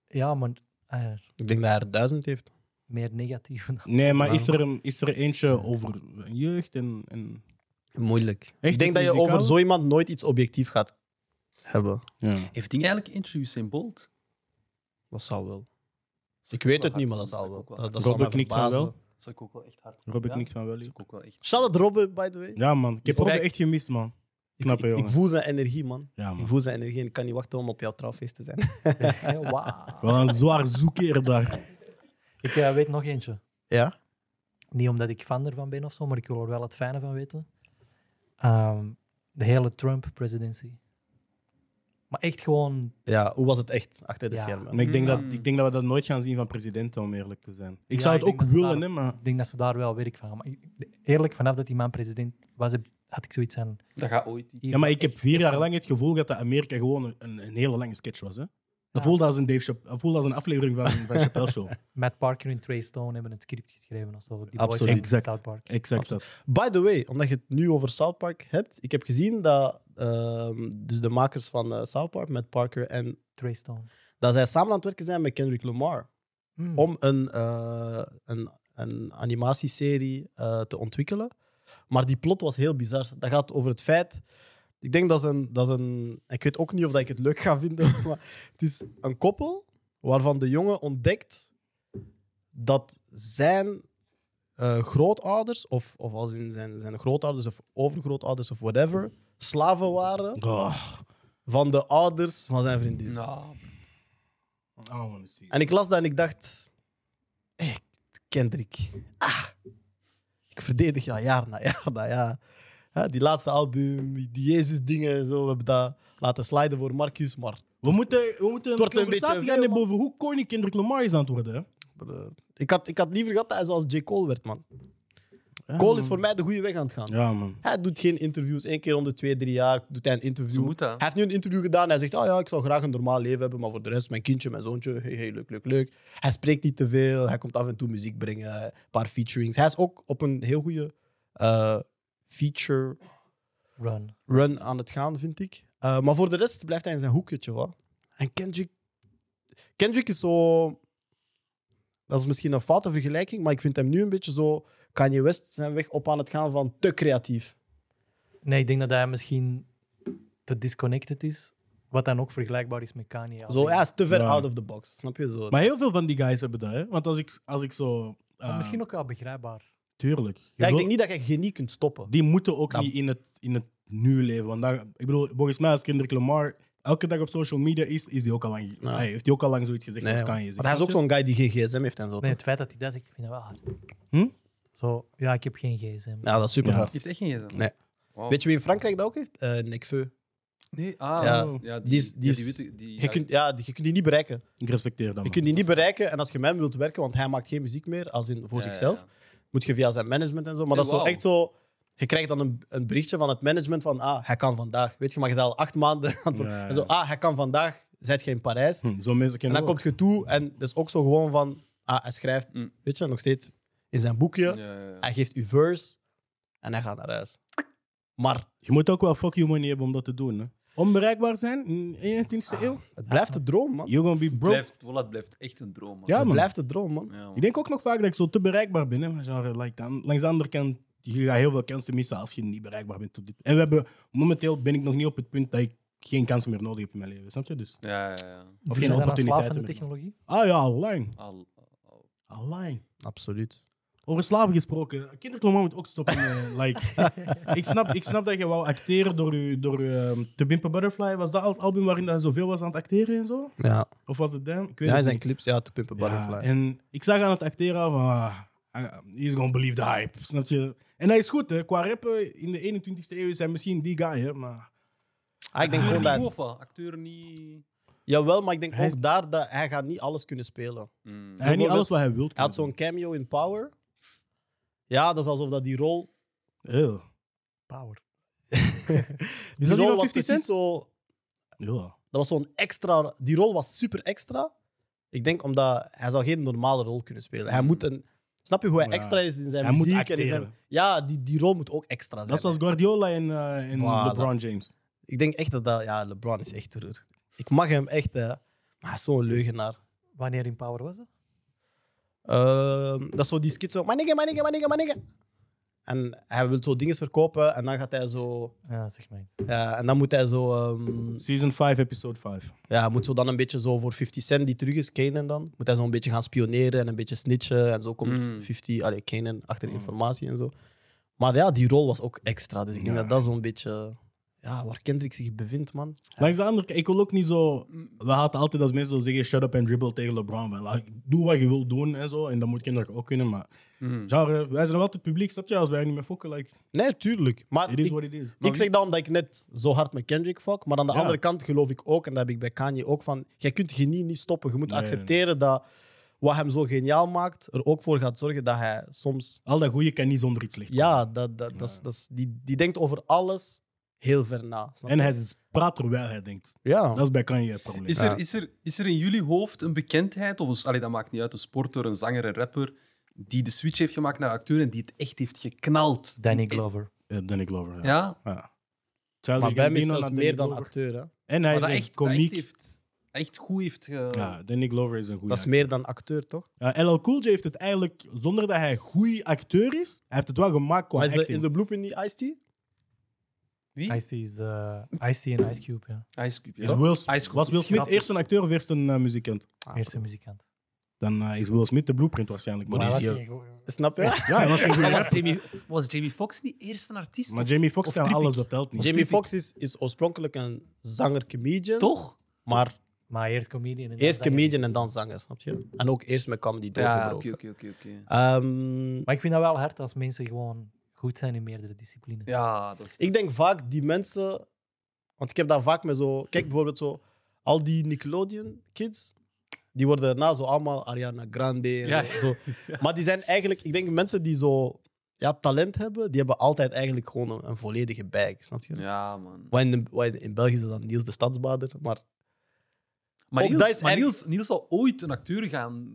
[SPEAKER 5] Ja, maar eh,
[SPEAKER 1] Ik denk dat hij er duizend heeft.
[SPEAKER 5] meer negatief. dan-
[SPEAKER 3] Nee, maar is er, een, is er eentje over jeugd en... en...
[SPEAKER 1] Moeilijk.
[SPEAKER 3] Echt
[SPEAKER 1] ik denk dat je
[SPEAKER 3] muzikaal?
[SPEAKER 1] over zo iemand nooit iets objectief gaat hebben.
[SPEAKER 3] Ja.
[SPEAKER 2] Heeft hij eigenlijk interviews in Bolt?
[SPEAKER 1] Dat zou wel. Ik weet het niet, maar dat
[SPEAKER 2] zou
[SPEAKER 1] zou wel.
[SPEAKER 2] ik ook wel.
[SPEAKER 1] Dat, dat zou
[SPEAKER 3] Robbe
[SPEAKER 1] mij
[SPEAKER 3] knikt van
[SPEAKER 1] verbazen.
[SPEAKER 3] wel.
[SPEAKER 2] Dat zou ik ook wel echt hard
[SPEAKER 3] Rob, ik
[SPEAKER 2] Ja.
[SPEAKER 3] niks van wel.
[SPEAKER 2] Dat
[SPEAKER 3] hier.
[SPEAKER 2] zou ik ook wel echt...
[SPEAKER 1] Shout out Robbe, by the way.
[SPEAKER 3] Ja, man. Ik heb Rob
[SPEAKER 2] Kijk.
[SPEAKER 3] echt gemist, man.
[SPEAKER 1] ik,
[SPEAKER 3] knappe
[SPEAKER 1] ik, ik
[SPEAKER 3] jongen.
[SPEAKER 1] voel zijn energie, man.
[SPEAKER 3] Ja,
[SPEAKER 1] Ik
[SPEAKER 3] man.
[SPEAKER 1] voel zijn energie en ik kan niet wachten om op jouw trouwfeest te zijn.
[SPEAKER 5] Wauw.
[SPEAKER 3] Wel een zwaar zoekeer daar.
[SPEAKER 5] Ik eh, weet nog eentje.
[SPEAKER 1] Ja?
[SPEAKER 5] Niet omdat ik fan ervan ben of zo, maar ik wil er wel het fijne van weten. Ehm, de hele Trump-presidentie. Maar echt gewoon.
[SPEAKER 1] Ja, hoe was het echt achter de
[SPEAKER 5] Ja.
[SPEAKER 1] schermen?
[SPEAKER 3] Maar ik denk, dat,
[SPEAKER 2] Mm.
[SPEAKER 3] ik denk dat we dat nooit gaan zien van presidenten, om eerlijk te zijn. Ik
[SPEAKER 5] Ja,
[SPEAKER 3] zou het
[SPEAKER 5] ik denk
[SPEAKER 3] ook
[SPEAKER 5] dat ze
[SPEAKER 3] willen,
[SPEAKER 5] daar-
[SPEAKER 3] hè, maar...
[SPEAKER 5] Ik denk dat ze daar wel werk van gaan. Maar ik- eerlijk, vanaf dat die man president was, heb- had ik zoiets aan.
[SPEAKER 2] Dat gaat ooit iets.
[SPEAKER 3] Ja, maar ik heb vier jaar lang het gevoel dat dat Amerika gewoon een- een, een hele lange sketch was. Hè? Dat,
[SPEAKER 5] Ja.
[SPEAKER 3] voelde als een Dave Chap- dat voelde als een aflevering van, van Chappelle Show.
[SPEAKER 5] Matt Parker en Trey Stone hebben het script geschreven of zo. Die boys
[SPEAKER 1] Absoluut.
[SPEAKER 5] van
[SPEAKER 3] Exact.
[SPEAKER 5] South Park.
[SPEAKER 3] Exact dat.
[SPEAKER 1] By the way, omdat je het nu over South Park hebt, ik heb gezien dat ehm, dus de makers van eh, South Park, met Parker en...
[SPEAKER 5] Trey Stone.
[SPEAKER 1] Dat zij samen aan het werken zijn met Kendrick Lamar.
[SPEAKER 5] Mm.
[SPEAKER 1] om een, eh, een, een animatieserie eh, te ontwikkelen. Maar die plot was heel bizar. Dat gaat over het feit. Ik denk dat is een. Dat is een ik weet ook niet of dat ik het leuk ga vinden. Maar het is een koppel waarvan de jongen ontdekt dat zijn eh, grootouders, of, of als in zijn, zijn grootouders of overgrootouders of whatever, slaven waren
[SPEAKER 3] Oh,
[SPEAKER 1] van de ouders van zijn vriendin.
[SPEAKER 2] Nou,
[SPEAKER 3] I
[SPEAKER 1] Oh,
[SPEAKER 3] don't want to see. it.
[SPEAKER 1] En ik las dat en ik dacht... Hey, Kendrick. Ah. Ik verdedig jou jaar na jaar na jaar. Hè, die laatste album, die Jezus-dingen en zo. We hebben dat laten sliden voor Marcus, maar...
[SPEAKER 3] We moeten, we moeten een
[SPEAKER 1] wordt een
[SPEAKER 3] conversatie
[SPEAKER 1] beetje
[SPEAKER 3] gaan
[SPEAKER 1] veel,
[SPEAKER 3] hebben over hoe koning Kendrick Lamar is aan het worden. hè.
[SPEAKER 1] eh, Ik had, ik had liever gehad dat hij zoals J. Cole werd, man.
[SPEAKER 3] Ja,
[SPEAKER 1] Cole
[SPEAKER 3] man.
[SPEAKER 1] is voor mij de goede weg aan het gaan.
[SPEAKER 3] Ja, man.
[SPEAKER 1] Hij doet geen interviews. Eén keer om de twee, drie jaar doet hij een interview.
[SPEAKER 2] Zo moet dat.
[SPEAKER 1] Hij heeft nu een interview gedaan. Hij zegt, oh ja, ik zou graag een normaal leven hebben, maar voor de rest, mijn kindje, mijn zoontje, hey, hey, leuk, leuk, leuk. Hij spreekt niet te veel. Hij komt af en toe muziek brengen, een paar featurings. Hij is ook op een heel goede eh, feature
[SPEAKER 5] Run.
[SPEAKER 1] run aan het gaan, vind ik. Eh, maar voor de rest blijft hij in zijn hoekje. Wat? En Kendrick... Kendrick is zo... Dat is misschien een foute vergelijking, maar ik vind hem nu een beetje zo... Kanye West zijn weg op aan het gaan van te creatief.
[SPEAKER 5] Nee, ik denk dat hij misschien te disconnected is. Wat dan ook vergelijkbaar is met Kanye.
[SPEAKER 1] Zo, hij is te ver
[SPEAKER 3] Ja.
[SPEAKER 1] out of the box. Snap je? Zo,
[SPEAKER 3] Maar heel veel van die guys hebben dat, hè? Want als ik, als ik zo.
[SPEAKER 5] Maar
[SPEAKER 3] eh,
[SPEAKER 5] misschien ook wel begrijpbaar.
[SPEAKER 3] Tuurlijk. Je
[SPEAKER 1] Ja, ik
[SPEAKER 3] wil-
[SPEAKER 1] denk niet dat je genie kunt stoppen.
[SPEAKER 3] Die moeten ook
[SPEAKER 1] Dat-
[SPEAKER 3] niet in het, in het nu leven. Want dan, ik bedoel, volgens mij, als Kendrick Lamar elke dag op social media is, is hij ook al lang,
[SPEAKER 1] Ja.
[SPEAKER 3] hij heeft hij ook al lang zoiets gezegd als
[SPEAKER 1] want
[SPEAKER 3] Kanye.
[SPEAKER 1] hij is ook zo'n guy die geen gsm heeft en zo.
[SPEAKER 5] Nee,
[SPEAKER 1] toch?
[SPEAKER 5] het feit dat hij dat zegt, ik vind dat wel hard.
[SPEAKER 3] Hm?
[SPEAKER 5] Zo, ja, ik heb geen gsm.
[SPEAKER 1] Ja, dat is super
[SPEAKER 3] Ja.
[SPEAKER 1] hard.
[SPEAKER 2] Die heeft echt geen gsm.
[SPEAKER 1] Nee.
[SPEAKER 2] Wauw.
[SPEAKER 1] Weet je wie in Frankrijk dat ook heeft? Eh Nick Feu.
[SPEAKER 2] Nee, ah,
[SPEAKER 1] Ja,
[SPEAKER 2] ja,
[SPEAKER 1] die is- die
[SPEAKER 2] ja,
[SPEAKER 1] is-
[SPEAKER 2] witte- die- Ah,
[SPEAKER 1] Je kunt, ja, die- je kunt die niet bereiken.
[SPEAKER 3] Ik respecteer dat.
[SPEAKER 1] Je
[SPEAKER 3] man.
[SPEAKER 1] kunt die niet bereiken en als je met hem wilt werken, want hij maakt geen muziek meer, als in voor
[SPEAKER 2] Ja,
[SPEAKER 1] zichzelf,
[SPEAKER 2] ja,
[SPEAKER 1] moet je via zijn management en zo. Maar
[SPEAKER 2] Ja,
[SPEAKER 1] dat is zo
[SPEAKER 2] wauw.
[SPEAKER 1] echt zo... Je krijgt dan een, een berichtje van het management van, ah, hij kan vandaag. Weet je, maar je bent al acht maanden aan het-
[SPEAKER 3] Ja.
[SPEAKER 1] En zo, ah, hij kan vandaag. Zet je in Parijs.
[SPEAKER 3] Hm, Zo'n mensen
[SPEAKER 1] En
[SPEAKER 3] kennen
[SPEAKER 2] Oh.
[SPEAKER 1] dan
[SPEAKER 3] we
[SPEAKER 1] komt je toe en dat is ook zo gewoon van, ah, hij schrijft,
[SPEAKER 2] Mm.
[SPEAKER 1] weet je, nog steeds in zijn boekje.
[SPEAKER 2] ja. Ja, ja, ja.
[SPEAKER 1] Hij geeft u verse en hij gaat naar huis. Maar
[SPEAKER 3] ook. Je moet ook wel fuck you money hebben om dat te doen. Hè? Onbereikbaar zijn in de 21ste eeuw?
[SPEAKER 1] het blijft de droom, man.
[SPEAKER 3] You're gonna be broke.
[SPEAKER 2] Blijft, voilà, het blijft echt een droom. man.
[SPEAKER 3] Ja,
[SPEAKER 1] Het
[SPEAKER 3] man.
[SPEAKER 1] blijft de droom, man.
[SPEAKER 2] Ja, man.
[SPEAKER 3] Ik denk ook nog vaak dat ik zo te bereikbaar ben. Hè? Maar genre, like, dan, langs de andere kant, je gaat heel veel kansen missen als je niet bereikbaar bent. Tot dit. En we hebben, momenteel ben ik nog niet op het punt dat ik geen kansen meer nodig heb in mijn leven. Snap je dus?
[SPEAKER 2] ja, ja, ja.
[SPEAKER 5] Of geen
[SPEAKER 3] geen
[SPEAKER 5] zijn aan
[SPEAKER 3] opportuniteiten
[SPEAKER 5] slaaf van de
[SPEAKER 3] meer.
[SPEAKER 5] technologie.
[SPEAKER 3] Ah ja, online.
[SPEAKER 2] Al- al-
[SPEAKER 3] Online.
[SPEAKER 1] Absoluut.
[SPEAKER 3] Over slaven gesproken. Kinderklommer moet ook stoppen. eh, like. ik, snap, ik snap dat je wou acteren door, je, door je, The Bimp a Butterfly. Was dat al het album waarin hij zoveel was aan het acteren en zo?
[SPEAKER 1] Ja,
[SPEAKER 3] Of was het Damn? Ik weet
[SPEAKER 1] ja
[SPEAKER 3] het
[SPEAKER 1] zijn
[SPEAKER 3] niet.
[SPEAKER 1] clips, ja, To Pimp a Butterfly.
[SPEAKER 3] Ja, en ik zag aan het acteren al van... Ah, ah, he's gonna believe the hype. Snap je? En hij is goed, hè. Qua rappen in de 21ste eeuw is hij misschien die guy, hè. Maar
[SPEAKER 1] Ah, ik denk
[SPEAKER 2] Acteur
[SPEAKER 1] gewoon
[SPEAKER 2] niet goed,
[SPEAKER 1] dat...
[SPEAKER 2] of wat? Acteur niet...
[SPEAKER 1] Jawel, maar ik denk
[SPEAKER 3] Hij-
[SPEAKER 1] ook daar dat hij gaat niet alles kunnen spelen.
[SPEAKER 2] Mm.
[SPEAKER 3] hij heeft niet alles wat hij wil.
[SPEAKER 1] Hij had zo'n cameo in Power. Ja, dat is alsof dat die rol...
[SPEAKER 3] Ew.
[SPEAKER 5] Power.
[SPEAKER 1] Die
[SPEAKER 3] Is dat die
[SPEAKER 1] rol
[SPEAKER 3] van
[SPEAKER 1] was
[SPEAKER 3] 50
[SPEAKER 1] precies
[SPEAKER 3] Cent?
[SPEAKER 1] zo...
[SPEAKER 3] Ja.
[SPEAKER 1] Dat was zo'n extra. Die rol was super extra. Ik denk omdat hij zou geen normale rol kunnen spelen. Hij moet een. Snap je hoe hij
[SPEAKER 3] Mm. Ja.
[SPEAKER 1] extra is in zijn
[SPEAKER 3] Hij moet
[SPEAKER 1] muziek en in zijn.
[SPEAKER 3] acteren.
[SPEAKER 1] Ja, die, die rol moet ook extra zijn.
[SPEAKER 3] Dat is zoals Guardiola en, eh, en
[SPEAKER 1] Voilà.
[SPEAKER 3] LeBron James.
[SPEAKER 1] Ik denk echt dat, dat ja, LeBron is echt terreur. Ik mag hem echt, hè. maar hij is zo'n leugenaar.
[SPEAKER 5] Wanneer in Power was dat?
[SPEAKER 1] Ehm, dat is zo die skit zo. Manige, manige, manige, manige. En hij wil zo dingen verkopen en dan gaat hij zo.
[SPEAKER 5] Ja, zeg maar iets.
[SPEAKER 1] Ja, en dan moet hij zo. ehm,
[SPEAKER 3] Season 5, episode 5.
[SPEAKER 1] Ja, hij moet zo dan een beetje zo voor 50 Cent, die terug is, Kanan dan. Moet hij zo een beetje gaan spioneren en een beetje snitchen. En zo komt
[SPEAKER 2] Mm.
[SPEAKER 1] 50, allee, Kanan achter informatie en zo. Maar ja, die rol was ook extra. Dus ik denk dat dat zo'n beetje... Ja, waar Kendrick zich bevindt, man.
[SPEAKER 3] Langs de andere kant, ik wil ook niet zo. We hadden altijd als mensen zo zeggen: shut up en dribble tegen LeBron. Van, like, doe wat je wilt doen en zo. En dat moet kinderen ook kunnen. Maar
[SPEAKER 2] Mm.
[SPEAKER 3] genre, wij zijn wel het publiek, snap je? Als wij er niet meer fokken, like,
[SPEAKER 1] Nee, tuurlijk. Maar
[SPEAKER 3] it is
[SPEAKER 1] ik,
[SPEAKER 3] what it is.
[SPEAKER 1] ik zeg dat omdat ik net zo hard met Kendrick fuck. Maar aan de
[SPEAKER 3] Ja.
[SPEAKER 1] andere kant geloof ik ook, en dat heb ik bij Kanye ook, van... Jij kunt genie niet stoppen. Je moet
[SPEAKER 3] Nee, nee, nee.
[SPEAKER 1] accepteren dat wat hem zo geniaal maakt, er ook voor gaat zorgen dat hij soms...
[SPEAKER 3] Al dat goede kan niet zonder iets slecht.
[SPEAKER 1] Ja, dat, dat, dat, is- dat is- die, die denkt over alles heel ver na. snap
[SPEAKER 3] En
[SPEAKER 1] je?
[SPEAKER 3] hij is- praat terwijl hij denkt.
[SPEAKER 1] ja.
[SPEAKER 3] Dat is bij Kanye het probleem.
[SPEAKER 2] Is, er, is, er, is er in jullie hoofd een bekendheid, of een, allee, dat maakt niet uit, een sporter, een zanger, een rapper, die de switch heeft gemaakt naar acteur en die het echt heeft geknald?
[SPEAKER 5] Danny Glover.
[SPEAKER 3] Ja, Eh, Danny Glover. Ja.
[SPEAKER 2] Ja?
[SPEAKER 3] Ja. Childish
[SPEAKER 1] maar bij mij is
[SPEAKER 3] Gambino
[SPEAKER 1] zelfs
[SPEAKER 3] naar
[SPEAKER 1] meer
[SPEAKER 3] Danny
[SPEAKER 1] dan
[SPEAKER 3] Glover.
[SPEAKER 1] acteur. Hè?
[SPEAKER 3] En hij
[SPEAKER 2] Maar
[SPEAKER 3] is
[SPEAKER 2] dat
[SPEAKER 3] een
[SPEAKER 2] echt, dat echt
[SPEAKER 3] komiek.
[SPEAKER 2] heeft... echt goed heeft. ge-
[SPEAKER 3] Ja, de Nick Glover is een goede
[SPEAKER 1] eh, Dat is meer dan acteur, toch?
[SPEAKER 3] Eh, LL Cool J heeft het eigenlijk, zonder dat hij een goede acteur is, hij heeft het wel gemaakt qua
[SPEAKER 1] Maar is, de,
[SPEAKER 3] acting.
[SPEAKER 1] is de bloep in die Ice-T?
[SPEAKER 2] Wie?
[SPEAKER 5] Ice-T is de... Ice-T en Ice Cube, ja.
[SPEAKER 2] Ice Cube.
[SPEAKER 3] Is
[SPEAKER 2] Ja.
[SPEAKER 3] Will-
[SPEAKER 2] Ice Cube
[SPEAKER 3] was Will
[SPEAKER 2] is
[SPEAKER 3] Smith
[SPEAKER 2] grappig.
[SPEAKER 3] eerst een acteur of eerst een eh, muzikant?
[SPEAKER 5] Eerste muzikant.
[SPEAKER 3] Dan eh, is Will Smith de blueprint waarschijnlijk.
[SPEAKER 5] Maar
[SPEAKER 3] Maar-
[SPEAKER 5] was hij goed?
[SPEAKER 1] Snap je?
[SPEAKER 3] Ja, hij was een goede
[SPEAKER 2] Maar Ah, was,
[SPEAKER 3] rapper.
[SPEAKER 2] Jamie, was Jamie Foxx niet eerst een artiest?
[SPEAKER 3] Maar Jamie Foxx
[SPEAKER 2] Of
[SPEAKER 3] kan
[SPEAKER 2] typisch.
[SPEAKER 3] alles, dat telt niet.
[SPEAKER 1] Jamie Foxx is, is oorspronkelijk een zanger-comedian.
[SPEAKER 2] Toch?
[SPEAKER 1] Maar
[SPEAKER 5] Maar eerst comedian. en dan
[SPEAKER 1] eerst
[SPEAKER 5] zanger.
[SPEAKER 1] comedian en dan zanger, snap je? En ook eerst met comedy
[SPEAKER 2] Ja,
[SPEAKER 1] doorgebroken.
[SPEAKER 2] oké, oké, oké. oké.
[SPEAKER 1] Ehm,
[SPEAKER 5] Maar ik vind dat wel hard als mensen gewoon goed zijn in meerdere disciplines.
[SPEAKER 2] Ja, dat is.
[SPEAKER 1] ik denk vaak die mensen... Want ik heb dat vaak met zo... Kijk, bijvoorbeeld zo... Al die Nickelodeon-kids, die worden daarna zo allemaal Ariana Grande en
[SPEAKER 2] Ja.
[SPEAKER 1] zo. Maar die zijn eigenlijk... Ik denk mensen die zo ja, talent hebben, die hebben altijd eigenlijk gewoon een, een volledige bag, snap je?
[SPEAKER 2] Ja, man.
[SPEAKER 1] Wat in, de- wat in- in België is dat dan Niels de Stadsbader, maar
[SPEAKER 2] Maar,
[SPEAKER 1] Ook
[SPEAKER 2] Niels,
[SPEAKER 1] dat is
[SPEAKER 2] maar
[SPEAKER 1] erg-
[SPEAKER 2] Niels, Niels zal ooit een acteur gaan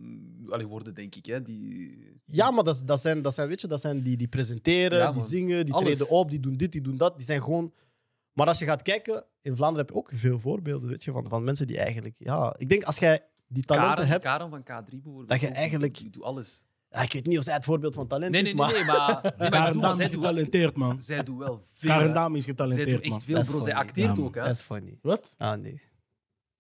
[SPEAKER 2] allee, worden, denk ik. Hè? Die...
[SPEAKER 1] Ja, maar dat, is- dat zijn, dat zijn, weet je, dat zijn die, die presenteren,
[SPEAKER 2] Ja,
[SPEAKER 1] die
[SPEAKER 2] man.
[SPEAKER 1] zingen, die
[SPEAKER 2] Alles.
[SPEAKER 1] treden op, die doen dit, die doen dat. Die zijn gewoon... Maar als je gaat kijken, in Vlaanderen heb je ook veel voorbeelden weet je, van, van mensen die eigenlijk... Ja, ik denk als jij die talenten
[SPEAKER 2] Karen,
[SPEAKER 1] hebt...
[SPEAKER 2] Karen van K3 bijvoorbeeld.
[SPEAKER 1] Dat je
[SPEAKER 2] ook,
[SPEAKER 1] eigenlijk-
[SPEAKER 2] Die, doet alles.
[SPEAKER 1] Ja, ik weet niet of zij het voorbeeld van talent
[SPEAKER 2] Nee,
[SPEAKER 1] is,
[SPEAKER 2] nee,
[SPEAKER 1] maar...
[SPEAKER 2] nee, nee, maar, nee, maar ik
[SPEAKER 3] Karen
[SPEAKER 2] bedoel,
[SPEAKER 3] Dam
[SPEAKER 2] zij
[SPEAKER 3] is
[SPEAKER 2] doet wel-
[SPEAKER 3] getalenteerd, man.
[SPEAKER 2] Zij doet wel veel.
[SPEAKER 3] Karen
[SPEAKER 2] hè.
[SPEAKER 3] Dam is
[SPEAKER 2] Zij doet
[SPEAKER 3] getalenteerd, man.
[SPEAKER 2] echt veel,
[SPEAKER 1] Dat is
[SPEAKER 2] bro. Zij
[SPEAKER 1] funny.
[SPEAKER 2] acteert
[SPEAKER 3] Ja,
[SPEAKER 2] ook, hè.
[SPEAKER 1] Dat is funny.
[SPEAKER 3] Wat?
[SPEAKER 1] Ah, nee.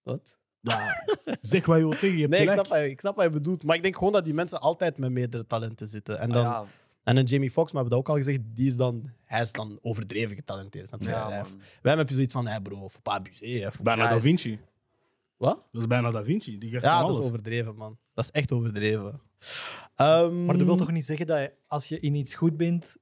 [SPEAKER 1] Wat?
[SPEAKER 3] Ja, zeg wat je wilt zeggen, je hebt
[SPEAKER 1] Nee, ik
[SPEAKER 3] gelijk.
[SPEAKER 1] snap, wat je- ik snap wat je bedoelt. Maar ik denk gewoon dat die mensen altijd met meerdere talenten zitten. En
[SPEAKER 2] Ah,
[SPEAKER 1] dan,
[SPEAKER 2] ja,
[SPEAKER 1] en dan Jamie Foxx, maar we hebben dat ook al gezegd, die is dan, hij is dan overdreven getalenteerd. Snap je?
[SPEAKER 2] Ja,
[SPEAKER 1] Hij
[SPEAKER 2] man.
[SPEAKER 1] heeft- Wij hebben zoiets van, hey bro, voor pas abuser. hè, faut
[SPEAKER 3] Bijna
[SPEAKER 2] Ja,
[SPEAKER 3] Da
[SPEAKER 2] is-
[SPEAKER 3] Vinci.
[SPEAKER 1] Wat?
[SPEAKER 3] Dat is bijna Da Vinci. Die gast
[SPEAKER 1] Ja,
[SPEAKER 3] van
[SPEAKER 1] dat is
[SPEAKER 3] alles.
[SPEAKER 1] overdreven, man. Dat is echt overdreven. Ehm,
[SPEAKER 5] Maar dat wil toch niet zeggen dat je, als je in iets goed bent,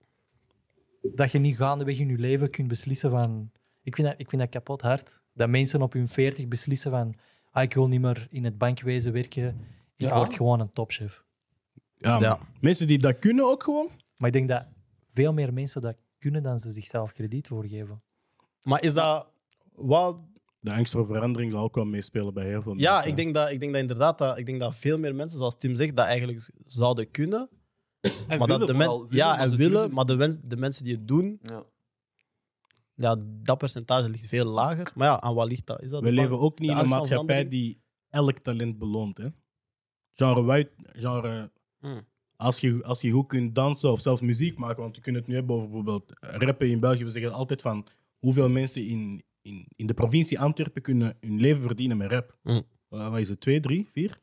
[SPEAKER 5] dat je niet gaandeweg in je leven kunt beslissen van... Ik vind dat, ik vind dat kapot hard. Dat mensen op hun 40 beslissen van... Ah, ik wil niet meer in het bankwezen werken. Ik
[SPEAKER 2] Ja.
[SPEAKER 5] word gewoon een topchef.
[SPEAKER 3] Ja,
[SPEAKER 1] Ja.
[SPEAKER 3] man. Mensen die dat kunnen ook gewoon.
[SPEAKER 5] Maar ik denk dat veel meer mensen dat kunnen dan ze zichzelf krediet voor geven.
[SPEAKER 1] Maar is dat... Wat,
[SPEAKER 3] De angst voor verandering zal ook wel meespelen bij heel veel
[SPEAKER 1] ja,
[SPEAKER 3] mensen.
[SPEAKER 1] ik denk dat, ik denk dat inderdaad dat, ik denk dat veel meer mensen, zoals Tim zegt, dat eigenlijk zouden kunnen.
[SPEAKER 2] En
[SPEAKER 1] maar dat
[SPEAKER 2] willen
[SPEAKER 1] de
[SPEAKER 2] vooral,
[SPEAKER 1] men-
[SPEAKER 2] willen,
[SPEAKER 1] ja,
[SPEAKER 2] maar
[SPEAKER 1] en
[SPEAKER 2] ze
[SPEAKER 1] willen,
[SPEAKER 2] durven-
[SPEAKER 1] maar de, wens- de mensen die het doen,
[SPEAKER 2] Ja.
[SPEAKER 1] ja, dat percentage ligt veel lager. Maar ja, aan wat ligt dat? Is dat
[SPEAKER 3] We
[SPEAKER 1] de-
[SPEAKER 3] leven ook niet
[SPEAKER 1] de
[SPEAKER 3] in
[SPEAKER 1] angst
[SPEAKER 3] een
[SPEAKER 1] van
[SPEAKER 3] maatschappij
[SPEAKER 1] verandering.
[SPEAKER 3] die elk talent beloont. Hè? Genre, white, genre
[SPEAKER 1] Hmm.
[SPEAKER 3] als, je, als je goed kunt dansen of zelfs muziek maken, want we kunnen het nu hebben over bijvoorbeeld rappen in België. We zeggen altijd van hoeveel mensen in, in, in de provincie Antwerpen kunnen hun leven verdienen met rap.
[SPEAKER 1] Hmm.
[SPEAKER 3] Wa- wat is het, twee, drie, vier?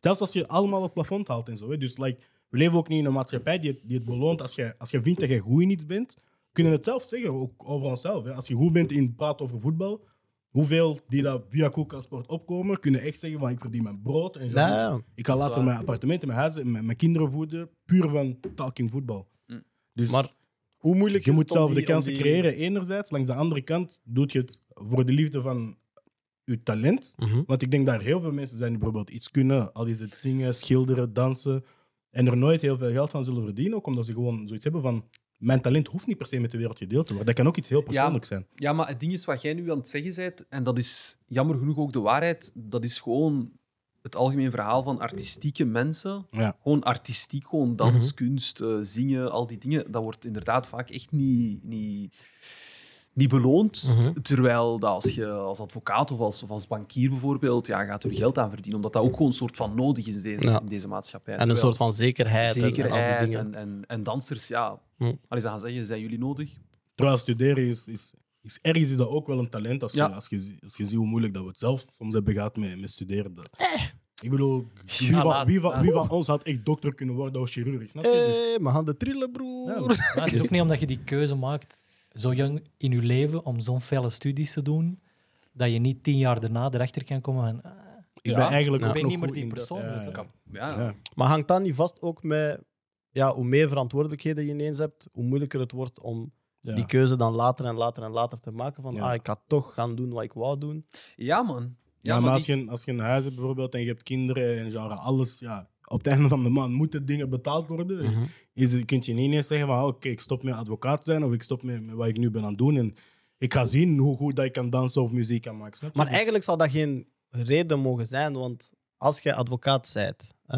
[SPEAKER 3] Zelfs als je allemaal op het plafond haalt en zo. Hè? Dus like, we leven ook niet in een maatschappij die het, die het beloont als je, als je vindt dat je goed in iets bent. We kunnen het zelf zeggen, ook over onszelf. Hè? Als je goed bent in praten over voetbal, hoeveel die dat via Koelkast Sport opkomen, kunnen echt zeggen van ik verdien mijn brood. En zo.
[SPEAKER 1] Ja, ja.
[SPEAKER 3] Ik
[SPEAKER 2] Dat is
[SPEAKER 3] kan later
[SPEAKER 2] waar.
[SPEAKER 3] mijn appartementen, mijn huizen, mijn, mijn kinderen voeden, puur van talking voetbal.
[SPEAKER 2] Mm.
[SPEAKER 3] Dus
[SPEAKER 1] Maar hoe moeilijk
[SPEAKER 3] je
[SPEAKER 1] Hm. is
[SPEAKER 3] moet
[SPEAKER 1] het om
[SPEAKER 3] zelf
[SPEAKER 1] die-
[SPEAKER 3] de
[SPEAKER 1] om
[SPEAKER 3] kansen
[SPEAKER 1] die-
[SPEAKER 3] creëren enerzijds. Langs de andere kant doe je het voor de liefde van je talent.
[SPEAKER 1] Mhm.
[SPEAKER 3] Want ik denk dat er heel veel mensen zijn die bijvoorbeeld iets kunnen. Al is het zingen, schilderen, dansen. En er nooit heel veel geld van zullen verdienen. Ook omdat ze gewoon zoiets hebben van... Mijn talent hoeft niet per se met de wereld gedeeld te worden. Dat kan ook iets heel persoonlijks zijn.
[SPEAKER 2] Ja, maar het ding is wat jij nu aan het zeggen bent, en dat is jammer genoeg ook de waarheid, dat is gewoon het algemeen verhaal van artistieke mensen.
[SPEAKER 3] Ja.
[SPEAKER 2] Gewoon artistiek, gewoon dans, kunst,
[SPEAKER 1] Mhm.
[SPEAKER 2] eh, zingen, al die dingen. Dat wordt inderdaad vaak echt niet, niet, niet beloond.
[SPEAKER 1] Mhm.
[SPEAKER 2] T- Terwijl dat als je als advocaat of als, of als bankier bijvoorbeeld, ja, gaat er geld aan verdienen. Omdat dat ook gewoon een soort van nodig is in, de-
[SPEAKER 1] Ja.
[SPEAKER 2] in deze maatschappij.
[SPEAKER 1] En een
[SPEAKER 2] Terwijl-
[SPEAKER 1] soort van zekerheid, en-
[SPEAKER 2] zekerheid
[SPEAKER 1] en al die dingen.
[SPEAKER 2] en, en, en dansers, ja.
[SPEAKER 1] Hm.
[SPEAKER 2] Allee, ze gaan zeggen, zijn jullie nodig?
[SPEAKER 3] Terwijl studeren is, is, is... Ergens is dat ook wel een talent. Als,
[SPEAKER 2] Ja.
[SPEAKER 3] je, als, je, zie- als je ziet hoe moeilijk dat we het zelf soms hebben gehad met, met studeren. Dat. Ik bedoel, wie,
[SPEAKER 2] Ja,
[SPEAKER 3] van,
[SPEAKER 2] laat,
[SPEAKER 3] wie, van,
[SPEAKER 2] laat.
[SPEAKER 3] wie van ons had echt dokter kunnen worden of chirurg? Snap je? Dus-
[SPEAKER 1] Hé, mijn handen trillen, broer.
[SPEAKER 3] Ja,
[SPEAKER 5] Maar het is ook niet omdat je die keuze maakt zo jong in je leven om zo'n felle studies te doen, dat je niet tien jaar daarna erachter kan komen van... ah,
[SPEAKER 3] ik
[SPEAKER 2] Ja.
[SPEAKER 3] ben eigenlijk
[SPEAKER 1] Ja.
[SPEAKER 3] ook
[SPEAKER 5] Ik ben niet
[SPEAKER 3] nog
[SPEAKER 5] meer
[SPEAKER 3] goed
[SPEAKER 5] die
[SPEAKER 3] in dat.
[SPEAKER 5] persoon,
[SPEAKER 3] Ja,
[SPEAKER 5] weet je.
[SPEAKER 3] ja.
[SPEAKER 2] Ja,
[SPEAKER 3] Ja.
[SPEAKER 1] Maar hangt dat niet vast ook met ja, hoe meer verantwoordelijkheden je ineens hebt, hoe moeilijker het wordt om
[SPEAKER 3] Ja.
[SPEAKER 1] die keuze dan later en later en later te maken? Van
[SPEAKER 3] Ja.
[SPEAKER 1] ah, ik ga toch gaan doen wat ik wou doen.
[SPEAKER 2] ja man.
[SPEAKER 3] Ja,
[SPEAKER 2] Ja,
[SPEAKER 3] maar
[SPEAKER 2] man.
[SPEAKER 3] als je, als je een huis hebt bijvoorbeeld en je hebt kinderen en genre, alles, ja, op het einde van de maand moeten dingen betaald worden.
[SPEAKER 1] Mhm.
[SPEAKER 3] Is het, kun je niet eens zeggen van, oh, oké, ik stop met advocaat zijn of ik stop met, met wat ik nu ben aan het doen en ik ga zien hoe goed dat ik kan dansen of muziek kan maken. snap je?
[SPEAKER 1] Maar
[SPEAKER 3] Dus-
[SPEAKER 1] eigenlijk zou dat geen reden mogen zijn, want als jij advocaat bent, hè,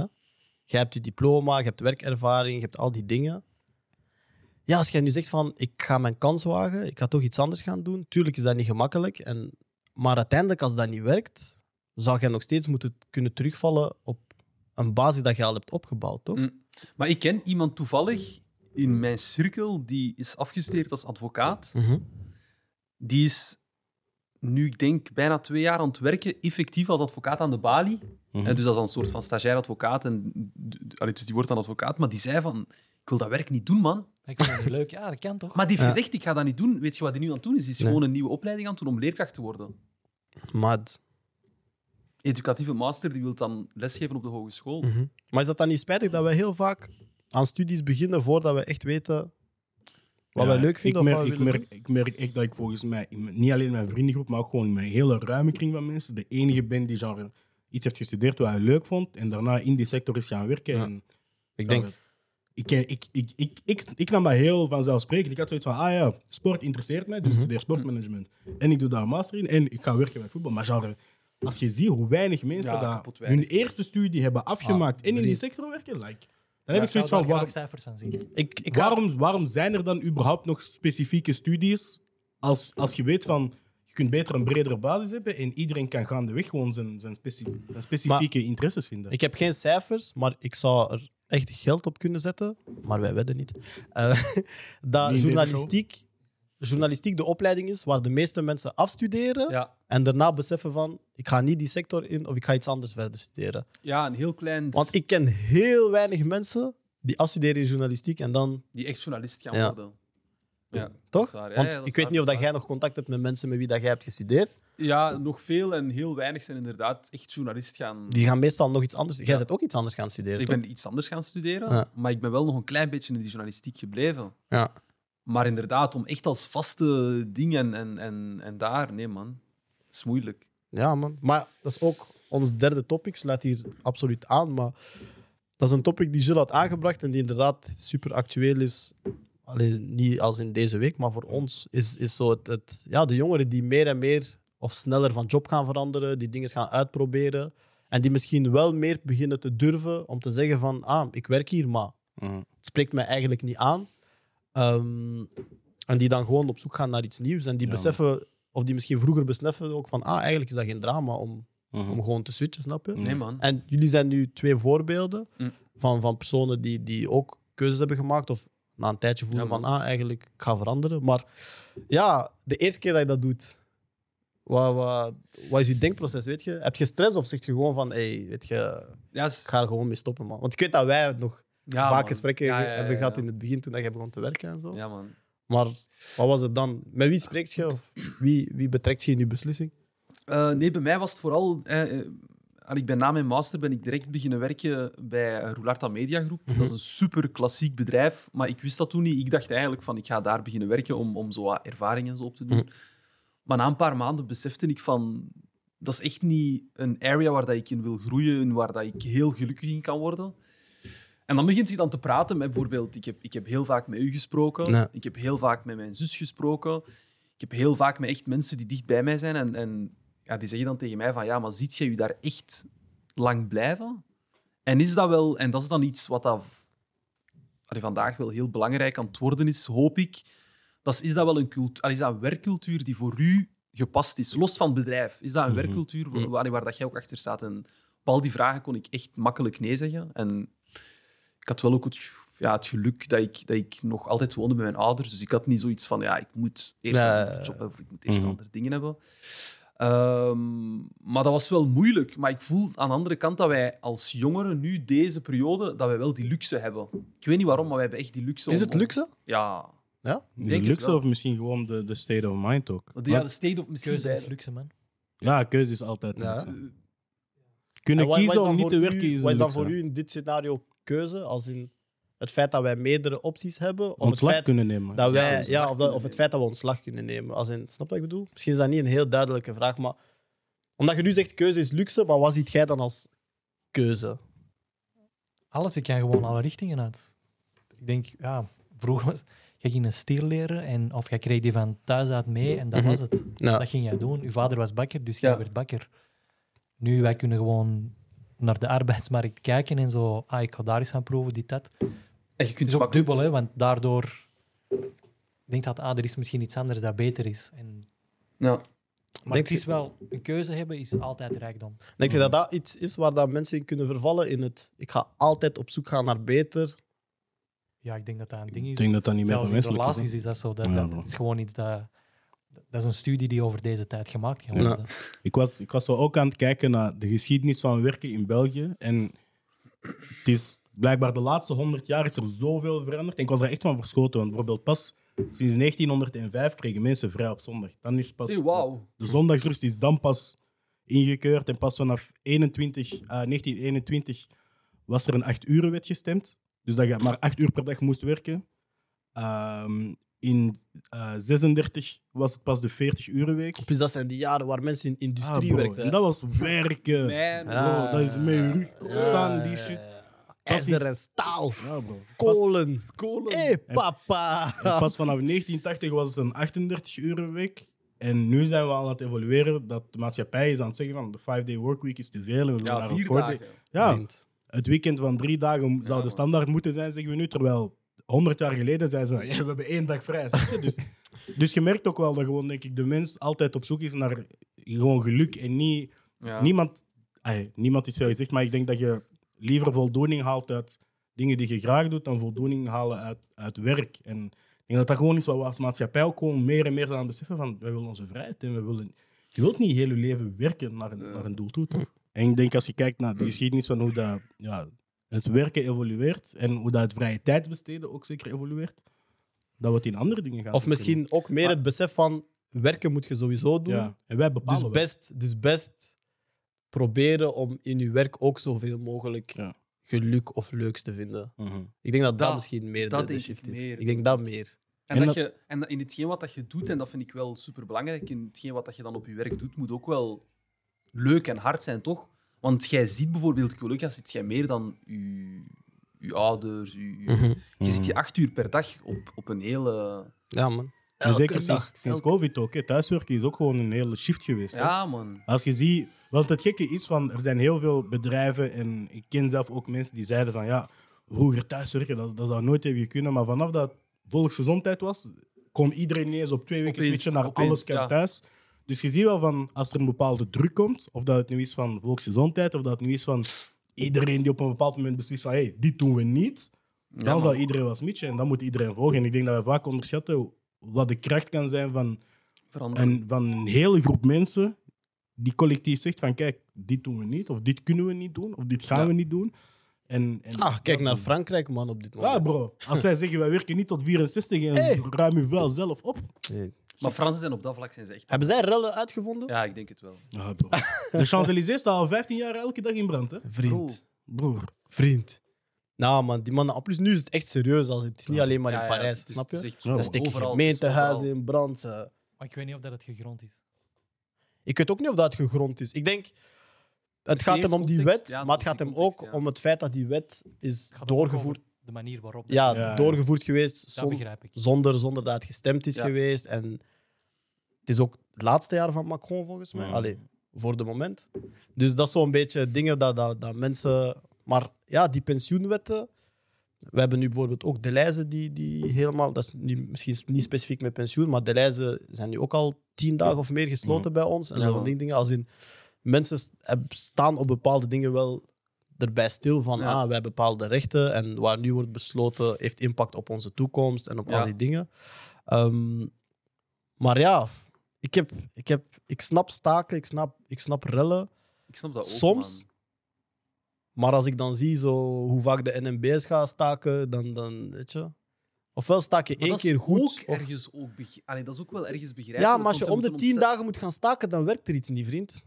[SPEAKER 1] jij hebt je diploma, je hebt werkervaring, je hebt al die dingen. Ja, als jij nu zegt van ik ga mijn kans wagen, ik ga toch iets anders gaan doen, tuurlijk is dat niet gemakkelijk. En, maar uiteindelijk, als dat niet werkt, zou jij nog steeds moeten kunnen terugvallen op een basis dat je al hebt opgebouwd, toch?
[SPEAKER 2] Mm. Maar ik ken iemand toevallig in mijn cirkel die is afgestudeerd als advocaat.
[SPEAKER 1] Mhm.
[SPEAKER 2] Die is nu, ik denk, bijna twee jaar aan het werken, effectief als advocaat aan de balie.
[SPEAKER 3] Mhm.
[SPEAKER 2] Eh, Dus dat is een soort van stagiair advocaat. En, d- d- allee, dus die wordt dan advocaat. Maar die zei van, ik wil dat werk niet doen, man.
[SPEAKER 5] Ik vind het leuk. Ja, dat kan toch?
[SPEAKER 2] Maar die heeft
[SPEAKER 1] Ja.
[SPEAKER 2] gezegd, ik ga dat niet doen. Weet je wat die nu aan het doen is? Die is
[SPEAKER 1] Nee.
[SPEAKER 2] gewoon een nieuwe opleiding aan het doen om leerkracht te worden.
[SPEAKER 1] Mad.
[SPEAKER 2] Educatieve master, die wil dan lesgeven op de hogeschool.
[SPEAKER 1] Mhm. Maar is dat dan niet spijtig dat we heel vaak aan studies beginnen voordat we echt weten wat
[SPEAKER 3] Ja,
[SPEAKER 1] wij leuk vinden?
[SPEAKER 3] Ik
[SPEAKER 1] of
[SPEAKER 3] merk,
[SPEAKER 1] wat we
[SPEAKER 3] ik,
[SPEAKER 1] willen
[SPEAKER 3] merk, ik merk echt dat ik volgens mij, in mijn- niet alleen in mijn vriendengroep, maar ook gewoon in mijn hele ruime kring van mensen, de enige ben die genre iets heeft gestudeerd wat hij leuk vond en daarna in die sector is gaan werken.
[SPEAKER 1] Ja.
[SPEAKER 3] En,
[SPEAKER 1] doen. Ik denk,
[SPEAKER 3] ik, eh, ik, ik, ik, ik, ik nam dat heel vanzelfsprekend. Ik had zoiets van, ah ja, sport interesseert mij, dus
[SPEAKER 2] Mhm.
[SPEAKER 3] ik studeer sportmanagement. En ik doe daar een master in en ik ga werken met voetbal. Maar genre, als je ziet hoe weinig mensen
[SPEAKER 2] Ja,
[SPEAKER 3] dat
[SPEAKER 2] kapot weinig. Ah,
[SPEAKER 3] hun eerste studie hebben afgemaakt en in die
[SPEAKER 1] precies.
[SPEAKER 3] sector werken, like,
[SPEAKER 5] Ja,
[SPEAKER 3] dan heb ik zoiets van,
[SPEAKER 5] daar
[SPEAKER 3] waar-
[SPEAKER 5] ook cijfers van zien.
[SPEAKER 1] ik, ik ga-
[SPEAKER 3] waarom, waarom zijn er dan überhaupt nog specifieke studies als, als je weet van, je kunt beter een bredere basis hebben en iedereen kan gaandeweg gewoon zijn, zijn, specif- zijn specifieke interesses vinden.
[SPEAKER 1] Ik heb geen cijfers, maar ik zou er echt geld op kunnen zetten. Maar wij wedden niet. Eh, dat
[SPEAKER 3] deze
[SPEAKER 1] journalistiek, journalistiek de opleiding is waar de meeste mensen afstuderen.
[SPEAKER 2] Ja.
[SPEAKER 1] En daarna beseffen van, ik ga niet die sector in of ik ga iets anders verder studeren.
[SPEAKER 2] ja, een heel klein...
[SPEAKER 1] Want ik ken heel weinig mensen die afstuderen in journalistiek en dan...
[SPEAKER 2] Die echt journalist gaan
[SPEAKER 1] Ja.
[SPEAKER 2] worden. Ja, dat
[SPEAKER 1] Toch?
[SPEAKER 2] is waar. Ja,
[SPEAKER 1] Want
[SPEAKER 2] ja, dat is
[SPEAKER 1] ik weet
[SPEAKER 2] waar,
[SPEAKER 1] niet of dat
[SPEAKER 2] dat is
[SPEAKER 1] jij nog contact hebt met mensen met wie dat jij hebt gestudeerd.
[SPEAKER 2] Ja, nog veel en heel weinig zijn inderdaad echt journalist gaan...
[SPEAKER 1] Die gaan meestal nog iets anders... Jij bent ook iets anders gaan studeren,
[SPEAKER 2] Ik
[SPEAKER 1] toch?
[SPEAKER 2] ben iets anders gaan studeren,
[SPEAKER 1] Ja.
[SPEAKER 2] maar ik ben wel nog een klein beetje in die journalistiek gebleven.
[SPEAKER 1] Ja.
[SPEAKER 2] Maar inderdaad, om echt als vaste ding en, en, en, en daar... Nee, man. Dat is moeilijk.
[SPEAKER 1] Ja, man. Maar dat is ook ons derde topic, sluit hier absoluut aan. Maar dat is een topic die Jill had aangebracht en die inderdaad super actueel is. Alleen niet als in deze week, maar voor ons is, is zo het, het- ja, de jongeren die meer en meer of sneller van job gaan veranderen, die dingen gaan uitproberen en die misschien wel meer beginnen te durven om te zeggen van ah, ik werk hier, maar het spreekt mij eigenlijk niet aan. Ehm, en die dan gewoon op zoek gaan naar iets nieuws. En die
[SPEAKER 3] Ja.
[SPEAKER 1] beseffen, of die misschien vroeger beseffen ook van, ah, eigenlijk is dat geen drama om, om gewoon te switchen, snap je?
[SPEAKER 2] Nee, man.
[SPEAKER 1] Mm. En jullie zijn nu twee voorbeelden
[SPEAKER 2] Mm.
[SPEAKER 1] van, van personen die, die ook keuzes hebben gemaakt of na een tijdje voelen
[SPEAKER 2] Ja,
[SPEAKER 1] van,
[SPEAKER 2] man.
[SPEAKER 1] ah, eigenlijk, ik ga veranderen. Maar ja, de eerste keer dat je dat doet, wat, wat, wat is je denkproces, weet je? Heb je stress of zeg je gewoon van, hey, weet je,
[SPEAKER 2] Ja, is-
[SPEAKER 1] ik ga er gewoon mee stoppen, man. Want ik weet dat wij het nog
[SPEAKER 2] ja,
[SPEAKER 1] vaak
[SPEAKER 2] man.
[SPEAKER 1] gesprekken
[SPEAKER 2] Ja, ja, ja,
[SPEAKER 1] hebben
[SPEAKER 2] ja.
[SPEAKER 1] gehad in het begin toen dat je begon te werken en zo.
[SPEAKER 2] Ja, man.
[SPEAKER 1] Maar wat was het dan? Met wie spreekt je of wie, wie betrekt je in je beslissing?
[SPEAKER 2] Eh, nee, bij mij was het vooral... eh, eh, al ik ben na mijn master ben ik direct beginnen werken bij eh, Roularta Media Groep. Dat is een super klassiek bedrijf, maar ik wist dat toen niet. Ik dacht eigenlijk van, ik ga daar beginnen werken om, om zo wat ervaring en zo op te doen. Maar na een paar maanden besefte ik van, dat is echt niet een area waar dat ik in wil groeien en waar dat ik heel gelukkig in kan worden. En dan begint hij dan te praten met bijvoorbeeld, ik heb, ik heb heel vaak met u gesproken,
[SPEAKER 1] Nee.
[SPEAKER 2] ik heb heel vaak met mijn zus gesproken, ik heb heel vaak met echt mensen die dicht bij mij zijn en, en ja, die zeggen dan tegen mij van, ja, maar ziet jij je daar echt lang blijven? En is dat wel, en dat is dan iets wat dat, allee, vandaag wel heel belangrijk aan het worden is, hoop ik, dat is, is dat wel een cultu- allee, is dat een werkcultuur die voor u gepast is, los van het bedrijf? Is dat een werkcultuur wa- waar, waar dat jij ook achter staat? En op al die vragen kon ik echt makkelijk nee zeggen. En ik had wel ook het, ja, het geluk dat ik, dat ik nog altijd woonde bij mijn ouders. Dus ik had niet zoiets van, ja, ik moet eerst
[SPEAKER 1] Nee.
[SPEAKER 2] een andere job hebben of ik moet eerst andere dingen hebben. Ehm, maar dat was wel moeilijk. Maar ik voel aan de andere kant dat wij als jongeren nu deze periode, dat wij wel die luxe hebben. Ik weet niet waarom, maar wij hebben echt die luxe.
[SPEAKER 1] Is
[SPEAKER 2] om-
[SPEAKER 1] het luxe?
[SPEAKER 2] Ja.
[SPEAKER 1] Ja?
[SPEAKER 2] Ik
[SPEAKER 3] Is
[SPEAKER 2] denk
[SPEAKER 3] het
[SPEAKER 2] het
[SPEAKER 3] luxe
[SPEAKER 2] wel.
[SPEAKER 3] of misschien gewoon de, de state of mind ook?
[SPEAKER 2] Want Ja, de steden op misschien
[SPEAKER 5] Keuze is
[SPEAKER 2] beide.
[SPEAKER 5] luxe, man.
[SPEAKER 3] Ja, keuze is altijd
[SPEAKER 1] Ja.
[SPEAKER 3] luxe.
[SPEAKER 2] Eh,
[SPEAKER 3] Kunnen
[SPEAKER 1] En wat- wat is
[SPEAKER 3] kiezen
[SPEAKER 1] dan
[SPEAKER 3] om niet
[SPEAKER 1] voor
[SPEAKER 3] te
[SPEAKER 1] u-
[SPEAKER 3] werken is,
[SPEAKER 1] Wat is
[SPEAKER 3] een
[SPEAKER 1] dan
[SPEAKER 3] luxe.
[SPEAKER 1] voor u in dit scenario keuze? Als in het feit dat wij meerdere opties hebben? Of het
[SPEAKER 3] Ontslag
[SPEAKER 1] feit
[SPEAKER 3] kunnen nemen.
[SPEAKER 1] dat wij, ja,
[SPEAKER 2] ontslag
[SPEAKER 1] of, dat,
[SPEAKER 2] kunnen
[SPEAKER 1] of het
[SPEAKER 2] nemen.
[SPEAKER 1] feit dat we ontslag kunnen nemen. Als in, snap je wat ik bedoel? Misschien is dat niet een heel duidelijke vraag, maar omdat je nu zegt keuze is luxe, maar wat ziet jij dan als keuze?
[SPEAKER 5] Alles, ik kan gewoon alle richtingen uit. Ik denk, ja, vroeger was... Jij ging een stil leren, en, of jij kreeg die van thuis uit mee, en dat was het.
[SPEAKER 1] Ja.
[SPEAKER 5] Dat ging jij doen. Uw vader was bakker, dus jij
[SPEAKER 2] Ja.
[SPEAKER 5] werd bakker. Nu, wij kunnen gewoon naar de arbeidsmarkt kijken en zo... Ah, ik ga daar eens gaan proeven, dit, dat.
[SPEAKER 2] En je kunt
[SPEAKER 5] Het is ook
[SPEAKER 2] pakken.
[SPEAKER 5] dubbel, hè, want daardoor... Ik denk dat, ah, er is misschien iets anders dat beter is. En
[SPEAKER 2] Ja.
[SPEAKER 5] Maar
[SPEAKER 1] Denk
[SPEAKER 5] het is
[SPEAKER 1] je-
[SPEAKER 5] wel, een keuze hebben is altijd rijkdom.
[SPEAKER 1] Denk je dat dat iets is waar dat mensen in kunnen vervallen? In het, ik ga altijd op zoek gaan naar beter.
[SPEAKER 5] Ja, ik denk dat dat een ding is.
[SPEAKER 3] Ik denk dat dat niet meer
[SPEAKER 5] Zelfs in
[SPEAKER 3] menselijk is. hè.
[SPEAKER 5] relaties is dat zo. Dat,
[SPEAKER 3] Ja,
[SPEAKER 5] dat,
[SPEAKER 3] bro.
[SPEAKER 5] dat is gewoon iets dat... Dat is een studie die over deze tijd gemaakt gaat worden.
[SPEAKER 3] Ik was, ik was zo ook aan het kijken naar de geschiedenis van werken in België. En het is blijkbaar de laatste 100 jaar is er zoveel veranderd. En ik was er echt van verschoten. Want bijvoorbeeld pas sinds 1905 kregen mensen vrij op zondag. Dan is pas
[SPEAKER 2] Hey, Wauw.
[SPEAKER 3] de zondagsrust is dan pas ingekeurd. En pas vanaf 21, eh, 1921 was er een 8 uur wet gestemd. Dus dat je maar 8 uur per dag moest werken. Ehm, in eh 36 was het pas de 40 uur week.
[SPEAKER 1] Plus, dat zijn die jaren waar mensen in industrie
[SPEAKER 3] Ah, bro,
[SPEAKER 1] werken.
[SPEAKER 3] en
[SPEAKER 1] hè.
[SPEAKER 3] dat was werken.
[SPEAKER 2] Mijn
[SPEAKER 1] Ah,
[SPEAKER 3] Bro, dat is mee rug
[SPEAKER 1] ja,
[SPEAKER 3] staan, die
[SPEAKER 1] ja,
[SPEAKER 3] shit.
[SPEAKER 1] ja. IJzer en staal.
[SPEAKER 3] Ja, bro. Pas,
[SPEAKER 1] Kolen.
[SPEAKER 2] kolen.
[SPEAKER 1] Hé,
[SPEAKER 3] Eh,
[SPEAKER 1] papa.
[SPEAKER 3] en pas vanaf 1980 was het een 38 uur week. En nu zijn we aan het evolueren dat de maatschappij is aan het zeggen van de 5-day workweek is te veel. En we willen
[SPEAKER 2] Ja,
[SPEAKER 3] naar een
[SPEAKER 2] vier
[SPEAKER 3] 4
[SPEAKER 2] dagen.
[SPEAKER 3] Ja, het weekend van drie dagen zou
[SPEAKER 2] man.
[SPEAKER 3] de standaard moeten zijn, zeggen we nu. Terwijl 100 jaar geleden zeiden ze, "Ja, we hebben één dag vrij. snap je? Dus, dus je merkt ook wel dat gewoon, denk ik, de mens altijd op zoek is naar gewoon geluk en niet
[SPEAKER 2] Ja.
[SPEAKER 3] Niemand, ay, niemand is zo gezegd, maar ik denk dat je liever voldoening haalt uit dingen die je graag doet dan voldoening halen uit, uit werk. En ik denk dat dat gewoon is wat we als maatschappij ook gewoon meer en meer zijn aan het beseffen van wij willen onze vrijheid en we willen... Je wilt niet heel je leven werken naar een, naar een doel toe. toch? En ik denk als je kijkt naar de geschiedenis van hoe dat, ja, het werken evolueert en hoe dat het vrije tijd besteden ook zeker evolueert, dat we het in andere dingen gaan
[SPEAKER 1] Of
[SPEAKER 3] zoeken.
[SPEAKER 1] misschien ook meer het besef van werken moet je sowieso doen.
[SPEAKER 3] Ja, en wij bepalen
[SPEAKER 1] Dus
[SPEAKER 3] wel.
[SPEAKER 1] best, dus best proberen om in je werk ook zoveel mogelijk
[SPEAKER 3] Ja.
[SPEAKER 1] geluk of leuks te vinden.
[SPEAKER 3] Mhm.
[SPEAKER 1] Ik denk dat dat,
[SPEAKER 2] Dat-
[SPEAKER 1] misschien meer
[SPEAKER 2] dat
[SPEAKER 1] de, de
[SPEAKER 2] denk
[SPEAKER 1] shift
[SPEAKER 2] ik
[SPEAKER 1] is.
[SPEAKER 2] meer.
[SPEAKER 1] Ik denk dat meer.
[SPEAKER 2] En,
[SPEAKER 3] En
[SPEAKER 2] dat
[SPEAKER 3] dat-
[SPEAKER 2] je, en dat in hetgeen wat dat je doet, en dat vind ik wel superbelangrijk, in hetgeen wat dat je dan op je werk doet, moet ook wel leuk en hard zijn, toch? Want jij ziet bijvoorbeeld collega's, zit jij meer dan je, je ouders. Je, je-
[SPEAKER 1] Mhm.
[SPEAKER 2] je zit je acht uur per dag op, op een hele...
[SPEAKER 1] Ja, man.
[SPEAKER 3] En zeker
[SPEAKER 1] Elke
[SPEAKER 3] sinds,
[SPEAKER 1] dag.
[SPEAKER 3] sinds COVID ook. Hè. Thuiswerken is ook gewoon een hele shift geweest. hè.
[SPEAKER 2] Ja, man.
[SPEAKER 3] Als je ziet, want het gekke is van, er zijn heel veel bedrijven en ik ken zelf ook mensen die zeiden van ja, vroeger thuiswerken, dat, dat zou nooit hebben kunnen, maar vanaf dat volksgezondheid was, kon iedereen ineens op twee weken
[SPEAKER 2] Opeens,
[SPEAKER 3] switchen naar
[SPEAKER 2] opeens,
[SPEAKER 3] alles kan
[SPEAKER 2] ja.
[SPEAKER 3] thuis. Dus je ziet wel van, als er een bepaalde druk komt, of dat het nu is van volksgezondheid, of dat het nu is van iedereen die op een bepaald moment beslist van hé, hey, dit doen we niet,
[SPEAKER 2] Ja,
[SPEAKER 3] dan
[SPEAKER 2] man.
[SPEAKER 3] zal iedereen wel switchen en dan moet iedereen volgen. En ik denk dat we vaak onderschatten wat de kracht kan zijn van
[SPEAKER 2] Veranderen.
[SPEAKER 3] en van een hele groep mensen die collectief zegt van kijk, dit doen we niet, of dit kunnen we niet doen, of dit gaan
[SPEAKER 2] Ja.
[SPEAKER 3] we niet doen. En, en
[SPEAKER 1] Ah, kijk naar Frankrijk, man, op dit moment.
[SPEAKER 3] Ja, bro. Als zij zeggen, wij werken niet tot 64 en ruim je wel zelf op.
[SPEAKER 1] Nee.
[SPEAKER 2] Maar Fransen zijn op dat vlak zijn ze echt...
[SPEAKER 1] Hebben zij rellen uitgevonden?
[SPEAKER 2] Ja, ik denk het wel.
[SPEAKER 3] Ja, Ah, bro. De Champs-Élysées staan al 15 jaar elke dag in brand, hè?
[SPEAKER 1] Vriend.
[SPEAKER 2] Bro.
[SPEAKER 3] Broer.
[SPEAKER 1] Vriend. Nou, man, die mannen. Plus, nu is het echt serieus. Als het is niet alleen maar in
[SPEAKER 2] Ja, ja,
[SPEAKER 1] Parijs,
[SPEAKER 2] het is-
[SPEAKER 1] snap je?
[SPEAKER 2] het is echt
[SPEAKER 1] Dan
[SPEAKER 2] overal,
[SPEAKER 1] steken
[SPEAKER 2] het is
[SPEAKER 1] gemeentehuizen
[SPEAKER 2] overal.
[SPEAKER 1] in brand. ze-
[SPEAKER 5] Maar ik weet niet of dat het gegrond is.
[SPEAKER 1] Ik weet ook niet of dat gegrond is. Ik denk, het
[SPEAKER 2] Dus
[SPEAKER 1] gaat
[SPEAKER 2] die
[SPEAKER 1] hem om die
[SPEAKER 2] context,
[SPEAKER 1] wet,
[SPEAKER 2] ja,
[SPEAKER 1] maar het
[SPEAKER 2] dus
[SPEAKER 1] gaat
[SPEAKER 2] die
[SPEAKER 1] hem ook
[SPEAKER 2] context, ja.
[SPEAKER 1] om het feit dat die wet is
[SPEAKER 5] Het gaat ook
[SPEAKER 1] doorgevoerd,
[SPEAKER 5] over De manier waarop. dat-
[SPEAKER 1] ja,
[SPEAKER 3] Ja, ja.
[SPEAKER 1] doorgevoerd geweest
[SPEAKER 5] dat
[SPEAKER 1] zon-
[SPEAKER 5] begrijp ik.
[SPEAKER 1] zonder, zonder dat het gestemd is
[SPEAKER 2] Ja.
[SPEAKER 1] geweest. En het is ook het laatste jaar van Macron, volgens mij. Allee, voor de moment. Dus dat is zo'n beetje dingen dat, dat, dat mensen... Maar ja, die pensioenwetten... We hebben nu bijvoorbeeld ook de lijzen die, die helemaal... Dat is niet, misschien niet specifiek met pensioen, maar de lijzen zijn nu ook al tien dagen of meer gesloten bij ons. En
[SPEAKER 2] Ja,
[SPEAKER 1] zo'n
[SPEAKER 2] man.
[SPEAKER 1] ding- dingen als in... Mensen s- heb- staan op bepaalde dingen wel erbij stil van
[SPEAKER 2] Ja.
[SPEAKER 1] ah, wij hebben bepaalde rechten en waar nu wordt besloten heeft impact op onze toekomst en op
[SPEAKER 2] Ja.
[SPEAKER 1] al die dingen. Ehm, maar ja, ik, heb, ik, heb, ik snap staken, ik snap, ik snap rellen.
[SPEAKER 2] Ik snap dat ook,
[SPEAKER 1] Soms
[SPEAKER 2] man.
[SPEAKER 1] Maar als ik dan zie zo, hoe vaak de NMB's gaan staken, dan, dan weet je... Ofwel staak je
[SPEAKER 2] Maar
[SPEAKER 1] één
[SPEAKER 2] dat is
[SPEAKER 1] keer goed.
[SPEAKER 2] Ook
[SPEAKER 1] of-
[SPEAKER 2] ergens ook bege- Allee, dat is ook wel ergens begrijpelijk.
[SPEAKER 1] ja, maar als
[SPEAKER 2] want
[SPEAKER 1] je
[SPEAKER 2] we
[SPEAKER 1] om de
[SPEAKER 2] moeten
[SPEAKER 1] tien
[SPEAKER 2] ontzettend-
[SPEAKER 1] dagen moet gaan staken, dan werkt er iets niet, vriend.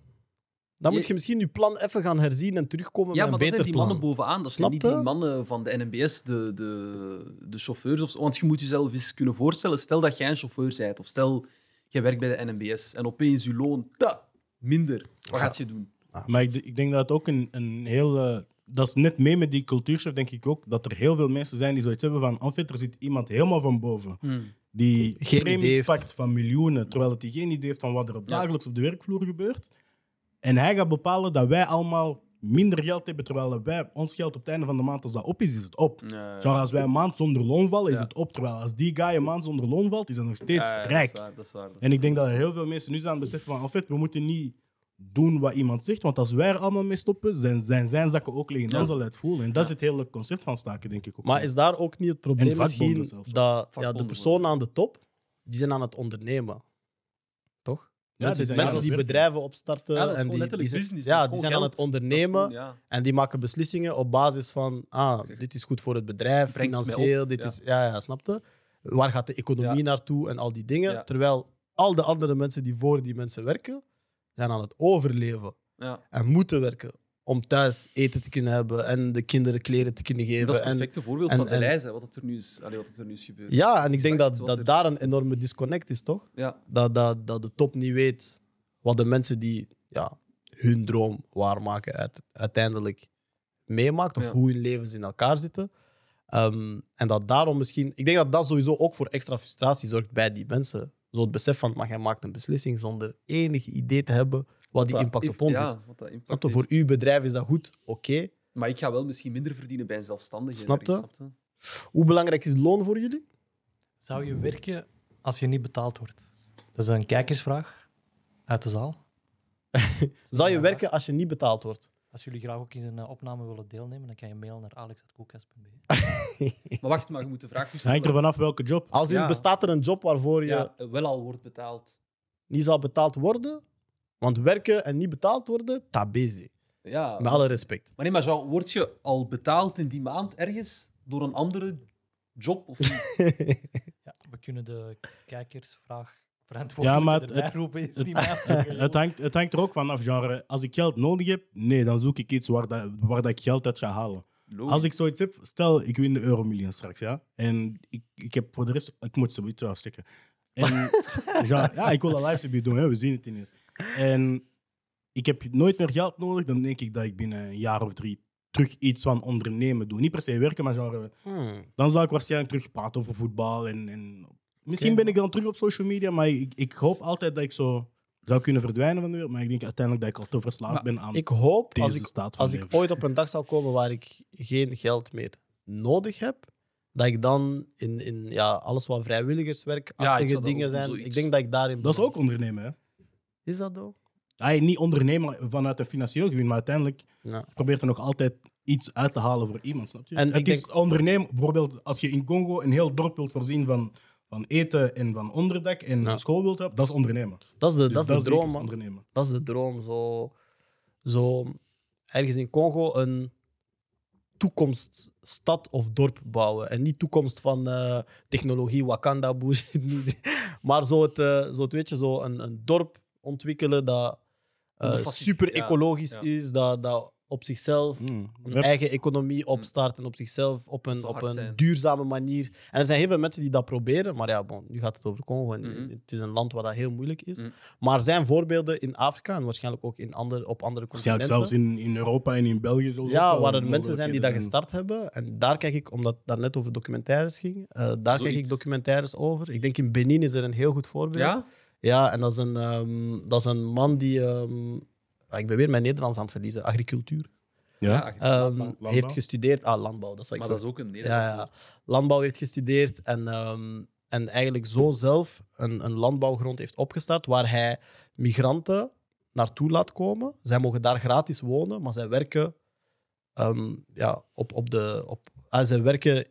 [SPEAKER 1] Dan
[SPEAKER 2] Je-
[SPEAKER 1] moet je misschien je plan even gaan herzien en terugkomen
[SPEAKER 2] Ja,
[SPEAKER 1] met een
[SPEAKER 2] maar dat
[SPEAKER 1] beter
[SPEAKER 2] zijn die
[SPEAKER 1] plan.
[SPEAKER 2] mannen bovenaan. Dat
[SPEAKER 1] Snap
[SPEAKER 2] zijn niet
[SPEAKER 1] je?
[SPEAKER 2] die mannen van de NMBS, de, de, de chauffeurs. Of zo. Want je moet jezelf eens kunnen voorstellen. Stel dat jij een chauffeur bent. Of stel, jij werkt bij de NMBS. En opeens je loon ta, minder. Wat gaat je doen?
[SPEAKER 3] Maar ik, ik denk dat het ook een, een heel... eh, dat is net mee met die cultuurshift, denk ik ook, dat er heel veel mensen zijn die zoiets hebben van, en fait, er zit iemand helemaal van boven.
[SPEAKER 2] Hmm.
[SPEAKER 3] die
[SPEAKER 1] Geen idee
[SPEAKER 3] premies
[SPEAKER 1] heeft.
[SPEAKER 3] pakt van miljoenen, terwijl het hij geen idee heeft van wat er op
[SPEAKER 2] Ja.
[SPEAKER 3] dagelijks op de werkvloer gebeurt. En hij gaat bepalen dat wij allemaal minder geld hebben, terwijl dat wij ons geld op het einde van de maand, als dat op is, is het op.
[SPEAKER 2] Ja, ja.
[SPEAKER 3] Genre, als wij een maand zonder loon vallen, is het op. Terwijl als die guy een maand zonder loon valt, is hij nog steeds
[SPEAKER 2] Ja, ja,
[SPEAKER 3] rijk.
[SPEAKER 2] Dat is waar, dat is waar. dat is
[SPEAKER 3] En ik denk dat heel veel mensen nu zijn aan het beseffen van, Alfred, we moeten niet doen wat iemand zegt, want als wij er allemaal mee stoppen, zijn zijn, zijn zakken ook liggen. Dan zal hij het voelen. En dat is het hele concept van staken, denk ik ook.
[SPEAKER 1] Maar is daar ook niet het probleem
[SPEAKER 3] vakbonden
[SPEAKER 1] misschien
[SPEAKER 3] zelfs.
[SPEAKER 1] dat ja, de
[SPEAKER 2] Vakbonden
[SPEAKER 1] personen aan de top, die zijn aan het ondernemen. Toch?
[SPEAKER 3] die
[SPEAKER 1] mensen
[SPEAKER 3] zijn
[SPEAKER 1] mensen
[SPEAKER 3] aan
[SPEAKER 1] die
[SPEAKER 3] het werken.
[SPEAKER 1] bedrijven
[SPEAKER 2] waar.
[SPEAKER 1] opstarten.
[SPEAKER 2] Ja, dat is
[SPEAKER 1] eh, en
[SPEAKER 2] gewoon
[SPEAKER 1] die,
[SPEAKER 2] letterlijk
[SPEAKER 1] die zijn-
[SPEAKER 2] business.
[SPEAKER 1] Ja,
[SPEAKER 2] dat
[SPEAKER 1] die
[SPEAKER 2] is
[SPEAKER 1] zijn
[SPEAKER 2] gewoon
[SPEAKER 1] aan het
[SPEAKER 2] geld. Dat is
[SPEAKER 1] ondernemen
[SPEAKER 2] gewoon, ja.
[SPEAKER 1] en die maken beslissingen op basis van ah, dit is goed voor het bedrijf,
[SPEAKER 2] Brengt het mij
[SPEAKER 1] financieel,
[SPEAKER 2] op,
[SPEAKER 1] dit
[SPEAKER 2] ja.
[SPEAKER 1] is... Ja, ja, snapte? Waar gaat de economie
[SPEAKER 2] Ja.
[SPEAKER 1] naartoe en al die dingen.
[SPEAKER 2] Ja.
[SPEAKER 1] Terwijl al de andere mensen die voor die mensen werken, zijn aan het overleven
[SPEAKER 2] Ja.
[SPEAKER 1] en moeten werken om thuis eten te kunnen hebben en de kinderen kleren te kunnen geven.
[SPEAKER 2] Dat is het
[SPEAKER 1] en-
[SPEAKER 2] perfecte voorbeeld
[SPEAKER 1] en-
[SPEAKER 2] van de
[SPEAKER 1] en-
[SPEAKER 2] reis, hè, wat het er nu is, allee, wat het er nu is gebeurd.
[SPEAKER 1] Ja, en ik denk
[SPEAKER 2] Exact
[SPEAKER 1] dat,
[SPEAKER 2] wat
[SPEAKER 1] dat
[SPEAKER 2] er-
[SPEAKER 1] daar een enorme disconnect is, toch?
[SPEAKER 2] Ja,
[SPEAKER 1] Dat, dat, dat de top niet weet wat de mensen die ja, hun droom waarmaken uit, uiteindelijk meemaakt, of
[SPEAKER 2] Ja.
[SPEAKER 1] hoe hun levens in elkaar zitten. Ehm, en dat daarom misschien... Ik denk dat dat sowieso ook voor extra frustratie zorgt bij die mensen. Zo het besef van, maar jij maakt een beslissing zonder enig idee te hebben wat die impact op ons
[SPEAKER 2] ja,
[SPEAKER 1] is.
[SPEAKER 2] wat dat impact
[SPEAKER 1] Snap je?
[SPEAKER 2] heeft.
[SPEAKER 1] Voor uw bedrijf is dat goed, oké.
[SPEAKER 2] Maar ik ga wel misschien minder verdienen bij een zelfstandige.
[SPEAKER 1] Snap je?
[SPEAKER 2] ergens, snap je?
[SPEAKER 1] Hoe belangrijk is loon voor jullie?
[SPEAKER 5] Zou je werken als je niet betaald wordt? Dat is een kijkersvraag uit de zaal.
[SPEAKER 1] Zou je
[SPEAKER 5] Ja.
[SPEAKER 1] werken als je niet betaald wordt?
[SPEAKER 5] Als jullie graag ook in een eh, opname willen deelnemen, dan kan je mailen naar alex.koekas.be.
[SPEAKER 2] Maar wacht, maar je moet de vraag goed
[SPEAKER 3] Het hangt er
[SPEAKER 2] stellen.
[SPEAKER 3] vanaf welke job.
[SPEAKER 1] Als in,
[SPEAKER 2] Ja.
[SPEAKER 1] bestaat er een job waarvoor je...
[SPEAKER 2] Ja, wel al wordt betaald.
[SPEAKER 1] niet zal betaald worden. Want werken en niet betaald worden, tabezi.
[SPEAKER 2] Ja.
[SPEAKER 1] Met alle respect.
[SPEAKER 2] Maar nee, maar Jean, word je al betaald in die maand ergens door een andere job? Of niet?
[SPEAKER 5] Ja, we kunnen de kijkersvraag
[SPEAKER 3] Ja, maar
[SPEAKER 5] verantwoordelijk
[SPEAKER 3] het-
[SPEAKER 5] erbij roepen. Is die mij afgelopen.
[SPEAKER 3] Het hangt, het hangt er ook vanaf, genre, als ik geld nodig heb, nee, dan zoek ik iets waar, dat, waar dat ik geld uit ga halen.
[SPEAKER 2] Logisch.
[SPEAKER 3] Als ik zoiets heb, stel ik win de Euromillion straks, ja. En ik, ik heb voor de rest, ik moet zoiets afstikken. En, ja, ja, ik wil dat live stream doen, hè, we zien het ineens. En ik heb nooit meer geld nodig, dan denk ik dat ik binnen een jaar of drie terug iets van ondernemen doe. Niet per se werken, maar genre,
[SPEAKER 2] Hmm.
[SPEAKER 3] dan zal ik waarschijnlijk terug praten over voetbal. En, en... Misschien ben ik dan terug op social media, maar ik, ik hoop altijd dat ik zo zou kunnen verdwijnen van de wereld. Maar ik denk uiteindelijk dat ik al te verslaafd
[SPEAKER 2] Maar
[SPEAKER 3] ben aan
[SPEAKER 1] Ik hoop,
[SPEAKER 3] deze
[SPEAKER 1] als ik,
[SPEAKER 3] staat van
[SPEAKER 1] als ik
[SPEAKER 3] leven.
[SPEAKER 1] ooit op een dag zou komen waar ik geen geld meer nodig heb, dat ik dan in, in ja, alles wat vrijwilligerswerk,
[SPEAKER 2] Ja, ik
[SPEAKER 1] achtige
[SPEAKER 2] zou dat
[SPEAKER 1] dingen
[SPEAKER 2] ook doen,
[SPEAKER 1] zijn,
[SPEAKER 2] zoiets.
[SPEAKER 1] ik denk dat ik daarin...
[SPEAKER 3] Dat is ook
[SPEAKER 1] beland.
[SPEAKER 3] ondernemen, hè.
[SPEAKER 1] Is dat ook?
[SPEAKER 3] Hij niet ondernemen vanuit een financieel gewin, maar uiteindelijk
[SPEAKER 1] Ja.
[SPEAKER 3] probeert er nog altijd iets uit te halen voor iemand, snap je?
[SPEAKER 1] En ik
[SPEAKER 3] het is
[SPEAKER 1] denk-
[SPEAKER 3] ondernemen, bijvoorbeeld als je in Congo een heel dorp wilt voorzien van, van eten en van onderdak en
[SPEAKER 1] Ja.
[SPEAKER 3] school wilt hebben, dat is ondernemen.
[SPEAKER 1] Dat is de,
[SPEAKER 3] Dus
[SPEAKER 1] dat is de
[SPEAKER 3] zie ik
[SPEAKER 1] droom,
[SPEAKER 3] als
[SPEAKER 1] man.
[SPEAKER 3] ondernemen.
[SPEAKER 1] Dat is de droom. Zo, zo ergens in Congo een toekomststad of dorp bouwen. En niet toekomst van eh, technologie, Wakanda, bullshit. niet. maar zo het, eh, zo het weet je, zo een, een dorp ontwikkelen dat eh,
[SPEAKER 2] Onder fascisme,
[SPEAKER 1] super
[SPEAKER 2] ja,
[SPEAKER 1] ecologisch
[SPEAKER 2] ja.
[SPEAKER 1] is, dat, dat op zichzelf
[SPEAKER 3] Mm.
[SPEAKER 1] een
[SPEAKER 3] Rep-
[SPEAKER 1] eigen economie opstart en op zichzelf op een,
[SPEAKER 2] zou
[SPEAKER 1] op
[SPEAKER 2] hard
[SPEAKER 1] een
[SPEAKER 2] zijn.
[SPEAKER 1] duurzame manier. En er zijn heel veel mensen die dat proberen, maar ja, bon, nu gaat het over Congo en
[SPEAKER 2] Mhm.
[SPEAKER 1] het is een land waar dat heel moeilijk is.
[SPEAKER 2] Mhm.
[SPEAKER 1] Maar er zijn voorbeelden in Afrika en waarschijnlijk ook in andere, op andere
[SPEAKER 3] Waarschijnlijk
[SPEAKER 1] continenten.
[SPEAKER 3] zelfs in, eh, in Europa en in België. zullen ook
[SPEAKER 1] ja,
[SPEAKER 3] wel
[SPEAKER 1] waar er mensen zijn die dat
[SPEAKER 3] mogelijkheden
[SPEAKER 1] gestart hebben. En daar kijk ik, omdat het net over documentaires ging, eh, daar kijk ik
[SPEAKER 2] Zoiets.
[SPEAKER 1] documentaires over. Ik denk in Benin is er een heel goed voorbeeld.
[SPEAKER 2] Ja?
[SPEAKER 1] Ja, en dat is een, ehm, dat is een man die... ehm, ah, ik ben weer mijn Nederlands aan het verliezen. Agricultuur.
[SPEAKER 3] Ja.
[SPEAKER 2] ach,
[SPEAKER 1] Ehm,
[SPEAKER 3] Landbouw.
[SPEAKER 1] Heeft gestudeerd... Ah, landbouw, dat is wat ik
[SPEAKER 2] maar
[SPEAKER 1] zo
[SPEAKER 2] dat is ook een
[SPEAKER 1] ja,
[SPEAKER 2] Nederlands
[SPEAKER 1] ja.
[SPEAKER 2] woord.
[SPEAKER 1] landbouw heeft gestudeerd en, ehm, en eigenlijk zo zelf een, een landbouwgrond heeft opgestart waar hij migranten naartoe laat komen. Zij mogen daar gratis wonen, maar zij werken, ehm, ja, op, op de, op, ah, zij werken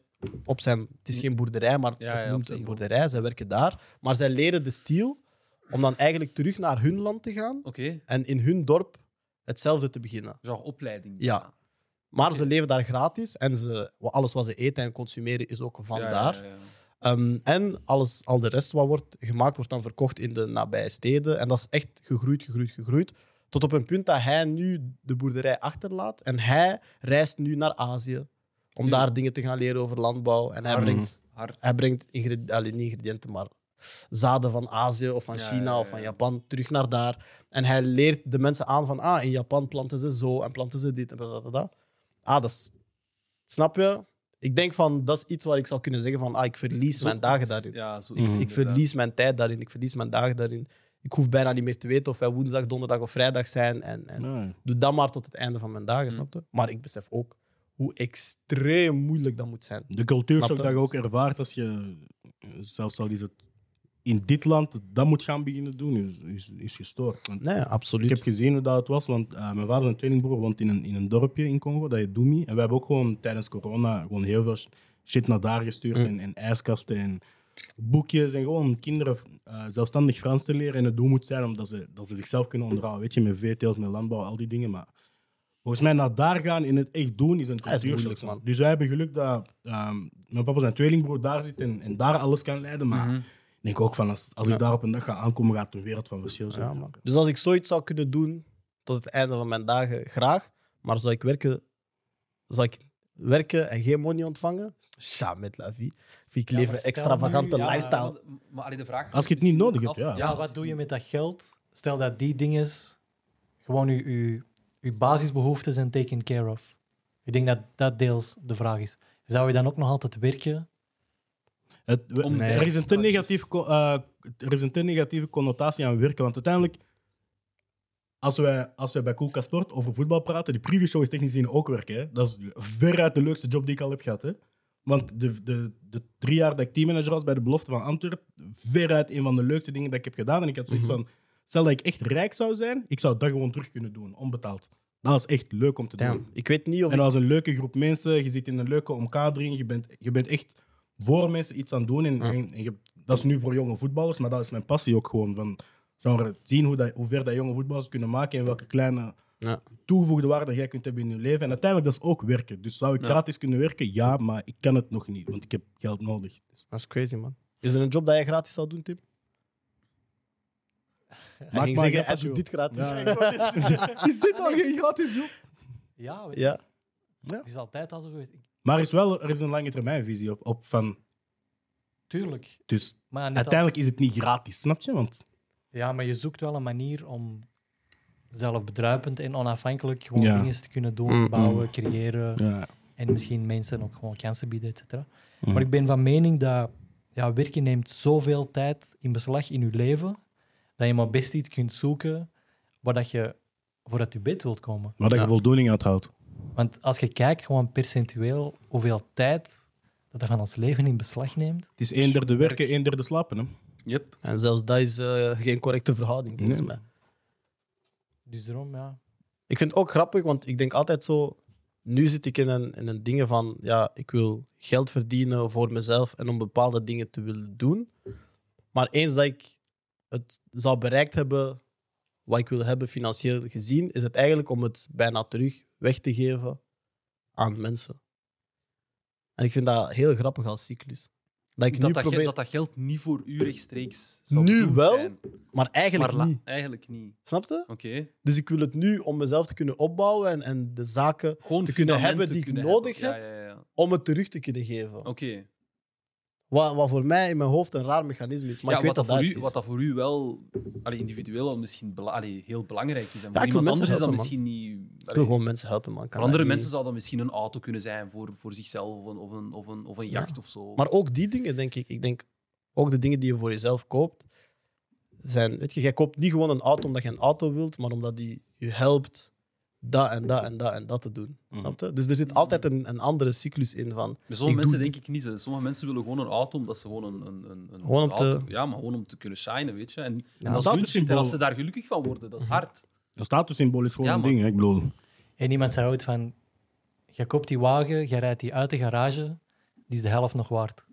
[SPEAKER 1] op zijn... Het is geen boerderij, maar
[SPEAKER 2] Hm. Ja, ja,
[SPEAKER 1] het
[SPEAKER 2] op
[SPEAKER 1] noemt
[SPEAKER 2] zich
[SPEAKER 1] een
[SPEAKER 2] wel.
[SPEAKER 1] boerderij. Zij werken daar, maar zij leren de stiel om dan eigenlijk terug naar hun land te gaan
[SPEAKER 2] Oké,
[SPEAKER 1] en in hun dorp hetzelfde te beginnen.
[SPEAKER 2] genre opleiding.
[SPEAKER 1] Ja. Maar ze leven daar gratis en ze, alles wat ze eten en consumeren is ook van
[SPEAKER 2] Ja, ja,
[SPEAKER 1] daar.
[SPEAKER 2] ja, ja.
[SPEAKER 1] Ehm, en alles, al de rest wat wordt gemaakt, wordt dan verkocht in de nabije steden. En dat is echt gegroeid, gegroeid, gegroeid. Tot op een punt dat hij nu de boerderij achterlaat. En hij reist nu naar Azië om
[SPEAKER 2] Ja. Mhm.
[SPEAKER 1] daar dingen te gaan leren over landbouw. En hij
[SPEAKER 2] Hard,
[SPEAKER 1] brengt,
[SPEAKER 2] hard.
[SPEAKER 1] hij brengt ingredi- allee, niet ingrediënten, maar zaden van Azië of van
[SPEAKER 2] Ja,
[SPEAKER 1] China
[SPEAKER 2] ja,
[SPEAKER 1] of van
[SPEAKER 2] ja.
[SPEAKER 1] Japan terug naar daar. En hij leert de mensen aan van, ah, in Japan planten ze zo en planten ze dit en blablabla. Ah, dat is... Snap je? Ik denk van, dat is iets waar ik zou kunnen zeggen van, ah, ik verlies mijn dagen daarin.
[SPEAKER 2] Ja, zo
[SPEAKER 1] Ik, ik verlies mijn tijd daarin, ik verlies mijn dagen daarin. ik hoef bijna niet meer te weten of wij woensdag, donderdag of vrijdag zijn. En, en
[SPEAKER 3] Nee.
[SPEAKER 1] doe dat maar tot het einde van mijn dagen, snap je? Maar ik besef ook hoe extreem moeilijk dat moet zijn.
[SPEAKER 3] De cultuurshock
[SPEAKER 1] Snap
[SPEAKER 3] dat
[SPEAKER 1] je?
[SPEAKER 3] je ook ervaart als je, eh, zelfs al is het in dit land, dat moet gaan beginnen doen, is, is, is gestoord. Want
[SPEAKER 1] Nee, absoluut.
[SPEAKER 3] Ik heb gezien hoe dat het was, want eh, mijn vader en tweelingbroer woont in een, in een dorpje in Congo, dat heet Doumi. En we hebben ook gewoon tijdens corona gewoon heel veel shit naar daar gestuurd.
[SPEAKER 1] Mm.
[SPEAKER 3] En, en ijskasten en boekjes. En gewoon kinderen eh, zelfstandig Frans te leren en het doel moet zijn omdat ze, dat ze zichzelf kunnen onderhouden. Weet je, met veeteelt, met landbouw, al die dingen. Maar volgens mij naar daar gaan en het echt doen is een
[SPEAKER 1] Dat is
[SPEAKER 3] cultuurshock.
[SPEAKER 1] moeilijk, man.
[SPEAKER 3] Dus wij hebben geluk dat ehm, mijn papa zijn tweelingbroer daar zit en, en daar alles kan leiden. Maar
[SPEAKER 1] Mhm.
[SPEAKER 3] ik denk ook van als, als ik daar op een dag ga aankomen, gaat het een wereld van verschil zijn.
[SPEAKER 1] Ja, man. Dus als ik zoiets zou kunnen doen tot het einde van mijn dagen, graag. Maar zou ik werken, zou ik werken en geen money ontvangen? Ja, met la vie. Vind ik
[SPEAKER 5] Ja,
[SPEAKER 1] leven
[SPEAKER 5] maar
[SPEAKER 1] een
[SPEAKER 5] stel
[SPEAKER 1] extravagante
[SPEAKER 5] nu, ja,
[SPEAKER 1] lifestyle.
[SPEAKER 2] Maar allee, de vraag
[SPEAKER 3] Als je het
[SPEAKER 2] is
[SPEAKER 3] niet
[SPEAKER 2] ook
[SPEAKER 3] nodig hebt,
[SPEAKER 2] af-
[SPEAKER 3] ja.
[SPEAKER 5] Ja, wat doe je met dat geld? Stel dat die dingen, gewoon je, je, je basisbehoeften zijn taken care of. Ik denk dat dat deels de vraag is. Zou je dan ook nog altijd werken?
[SPEAKER 3] Het, we-
[SPEAKER 2] Om-
[SPEAKER 1] Nee.
[SPEAKER 3] er, is een te
[SPEAKER 2] Straatjes.
[SPEAKER 3] negatief, co- eh, er is een te negatieve connotatie aan werken. Want uiteindelijk, als wij, als wij bij Koelka Sport over voetbal praten, die preview-show is technisch gezien ook werken. Hè. Dat is veruit de leukste job die ik al heb gehad. Hè. Want de, de, de drie jaar dat ik teammanager was bij de belofte van Antwerpen, veruit een van de leukste dingen dat ik heb gedaan. En ik had zoiets van, stel dat ik echt rijk zou zijn, ik zou dat gewoon terug kunnen doen, onbetaald. Dat was echt leuk om te doen.
[SPEAKER 1] Damn. Ik weet niet of
[SPEAKER 3] En
[SPEAKER 1] ik...
[SPEAKER 3] dat was een leuke groep mensen. Je zit in een leuke omkadering. Je bent, je bent echt voor mensen iets aan het doen. En, en- en je- dat is nu voor jonge voetballers, maar dat is mijn passie ook gewoon. Van, genre, zien hoe, dat, hoe ver dat jonge voetballers kunnen maken en welke kleine
[SPEAKER 1] Ja.
[SPEAKER 3] toegevoegde waarde dat jij kunt hebben in je leven. En uiteindelijk, dat is ook werken. Dus zou ik gratis kunnen werken? Ja, maar ik kan het nog niet, want ik heb geld nodig. Dus
[SPEAKER 1] Dat is crazy, man. Is er een job dat jij gratis zou doen, Tim? Hij
[SPEAKER 3] maar
[SPEAKER 1] ging
[SPEAKER 3] een
[SPEAKER 1] zeggen, hij
[SPEAKER 3] grappig
[SPEAKER 1] doet
[SPEAKER 3] job.
[SPEAKER 1] dit gratis.
[SPEAKER 3] Ja,
[SPEAKER 1] is dit al geen gratis
[SPEAKER 5] Ja, weet je,
[SPEAKER 1] Ja.
[SPEAKER 5] het is altijd al zo geweest. Ik-
[SPEAKER 3] Maar er is wel er is een lange termijnvisie op, op van...
[SPEAKER 5] Tuurlijk.
[SPEAKER 3] Dus
[SPEAKER 5] Maar net
[SPEAKER 3] uiteindelijk
[SPEAKER 5] als-
[SPEAKER 3] is het niet gratis, snap je? Want
[SPEAKER 5] Ja, maar je zoekt wel een manier om zelfbedruipend en onafhankelijk gewoon
[SPEAKER 3] Ja. Mm,
[SPEAKER 5] dingen te kunnen doen, bouwen, creëren.
[SPEAKER 3] ja,
[SPEAKER 5] En misschien mensen ook gewoon kansen bieden, et cetera.
[SPEAKER 2] Mhm.
[SPEAKER 5] Maar ik ben van mening dat ja, werken neemt zoveel tijd in beslag in je leven, dat je maar best iets kunt zoeken waar dat je vooruit je bed wilt komen.
[SPEAKER 3] waar dat je voldoening uit houdt.
[SPEAKER 5] Want als je kijkt gewoon percentueel hoeveel tijd dat er van ons leven in beslag neemt,
[SPEAKER 3] Het is één derde werken, één derde slapen. Hè?
[SPEAKER 2] Yep.
[SPEAKER 1] En zelfs dat is eh, geen correcte verhouding, volgens mij.
[SPEAKER 5] dus daarom, ja.
[SPEAKER 1] Ik vind het ook grappig, want ik denk altijd zo. Nu zit ik in een, in een dingen van. Ja, ik wil geld verdienen voor mezelf en om bepaalde dingen te willen doen. Maar eens dat ik het zou bereikt hebben. wat ik wil hebben financieel gezien. is het eigenlijk om het bijna terug weg te geven aan mensen. En ik vind dat heel grappig als cyclus. Dat ik nu
[SPEAKER 2] Dat dat, ge-
[SPEAKER 1] probeer.
[SPEAKER 2] dat dat geld niet voor u rechtstreeks zou
[SPEAKER 1] Nu
[SPEAKER 2] bedoeld
[SPEAKER 1] wel,
[SPEAKER 2] zijn.
[SPEAKER 1] Maar eigenlijk
[SPEAKER 2] maar la-
[SPEAKER 1] niet.
[SPEAKER 2] eigenlijk niet.
[SPEAKER 1] Snap je?
[SPEAKER 2] Oké.
[SPEAKER 1] Dus ik wil het nu om mezelf te kunnen opbouwen en, en de zaken
[SPEAKER 2] Gewoon
[SPEAKER 1] te kunnen
[SPEAKER 2] fundament
[SPEAKER 1] hebben
[SPEAKER 2] te
[SPEAKER 1] die ik
[SPEAKER 2] kunnen
[SPEAKER 1] nodig
[SPEAKER 2] hebben.
[SPEAKER 1] heb.
[SPEAKER 2] Ja, ja, ja.
[SPEAKER 1] om het terug te kunnen geven.
[SPEAKER 2] Oké.
[SPEAKER 1] Wat, wat voor mij in mijn hoofd een raar mechanisme is. Maar
[SPEAKER 2] ja,
[SPEAKER 1] ik weet
[SPEAKER 2] wat,
[SPEAKER 1] dat
[SPEAKER 2] dat
[SPEAKER 1] dat
[SPEAKER 2] voor
[SPEAKER 1] het
[SPEAKER 2] u,
[SPEAKER 1] is.
[SPEAKER 2] wat dat voor u wel allee, individueel al misschien bela- allee, heel belangrijk is. En
[SPEAKER 1] Ja,
[SPEAKER 2] voor
[SPEAKER 1] ik wil
[SPEAKER 2] iemand
[SPEAKER 1] mensen
[SPEAKER 2] anders is dat
[SPEAKER 1] helpen,
[SPEAKER 2] misschien niet.
[SPEAKER 1] Ik
[SPEAKER 2] allee,
[SPEAKER 1] wil gewoon mensen helpen, man. Kan
[SPEAKER 2] voor andere
[SPEAKER 1] dat niet.
[SPEAKER 2] mensen zou dat misschien een auto kunnen zijn voor, voor zichzelf of een, of een, of een, of een jacht of zo.
[SPEAKER 1] Maar ook die dingen, denk ik. Ik denk, ook de dingen die je voor jezelf koopt, zijn... Weet je, jij koopt niet gewoon een auto omdat je een auto wilt, maar omdat die je helpt dat en dat en dat en dat te doen.
[SPEAKER 2] Mhm.
[SPEAKER 1] Snap je? Dus er zit altijd een, een andere cyclus in van...
[SPEAKER 2] Bij sommige
[SPEAKER 1] ik
[SPEAKER 2] mensen
[SPEAKER 1] doe
[SPEAKER 2] denk ik niet. hè. Sommige mensen willen gewoon een auto omdat ze gewoon een, een, een, een
[SPEAKER 1] Gewoon om te-
[SPEAKER 2] auto- Ja, maar gewoon om te kunnen shinen, weet je. En, en dat is
[SPEAKER 3] dat
[SPEAKER 2] hun
[SPEAKER 3] is
[SPEAKER 2] shit. En
[SPEAKER 3] wel-
[SPEAKER 2] als ze daar gelukkig van worden, dat is
[SPEAKER 1] Mhm.
[SPEAKER 2] hard.
[SPEAKER 3] Dat statussymbool is gewoon
[SPEAKER 2] Ja,
[SPEAKER 3] een
[SPEAKER 2] man.
[SPEAKER 3] ding, hè? ik bedoel.
[SPEAKER 5] En iemand zei ooit van, jij koopt die wagen, jij rijdt die uit de garage, die is de helft nog waard.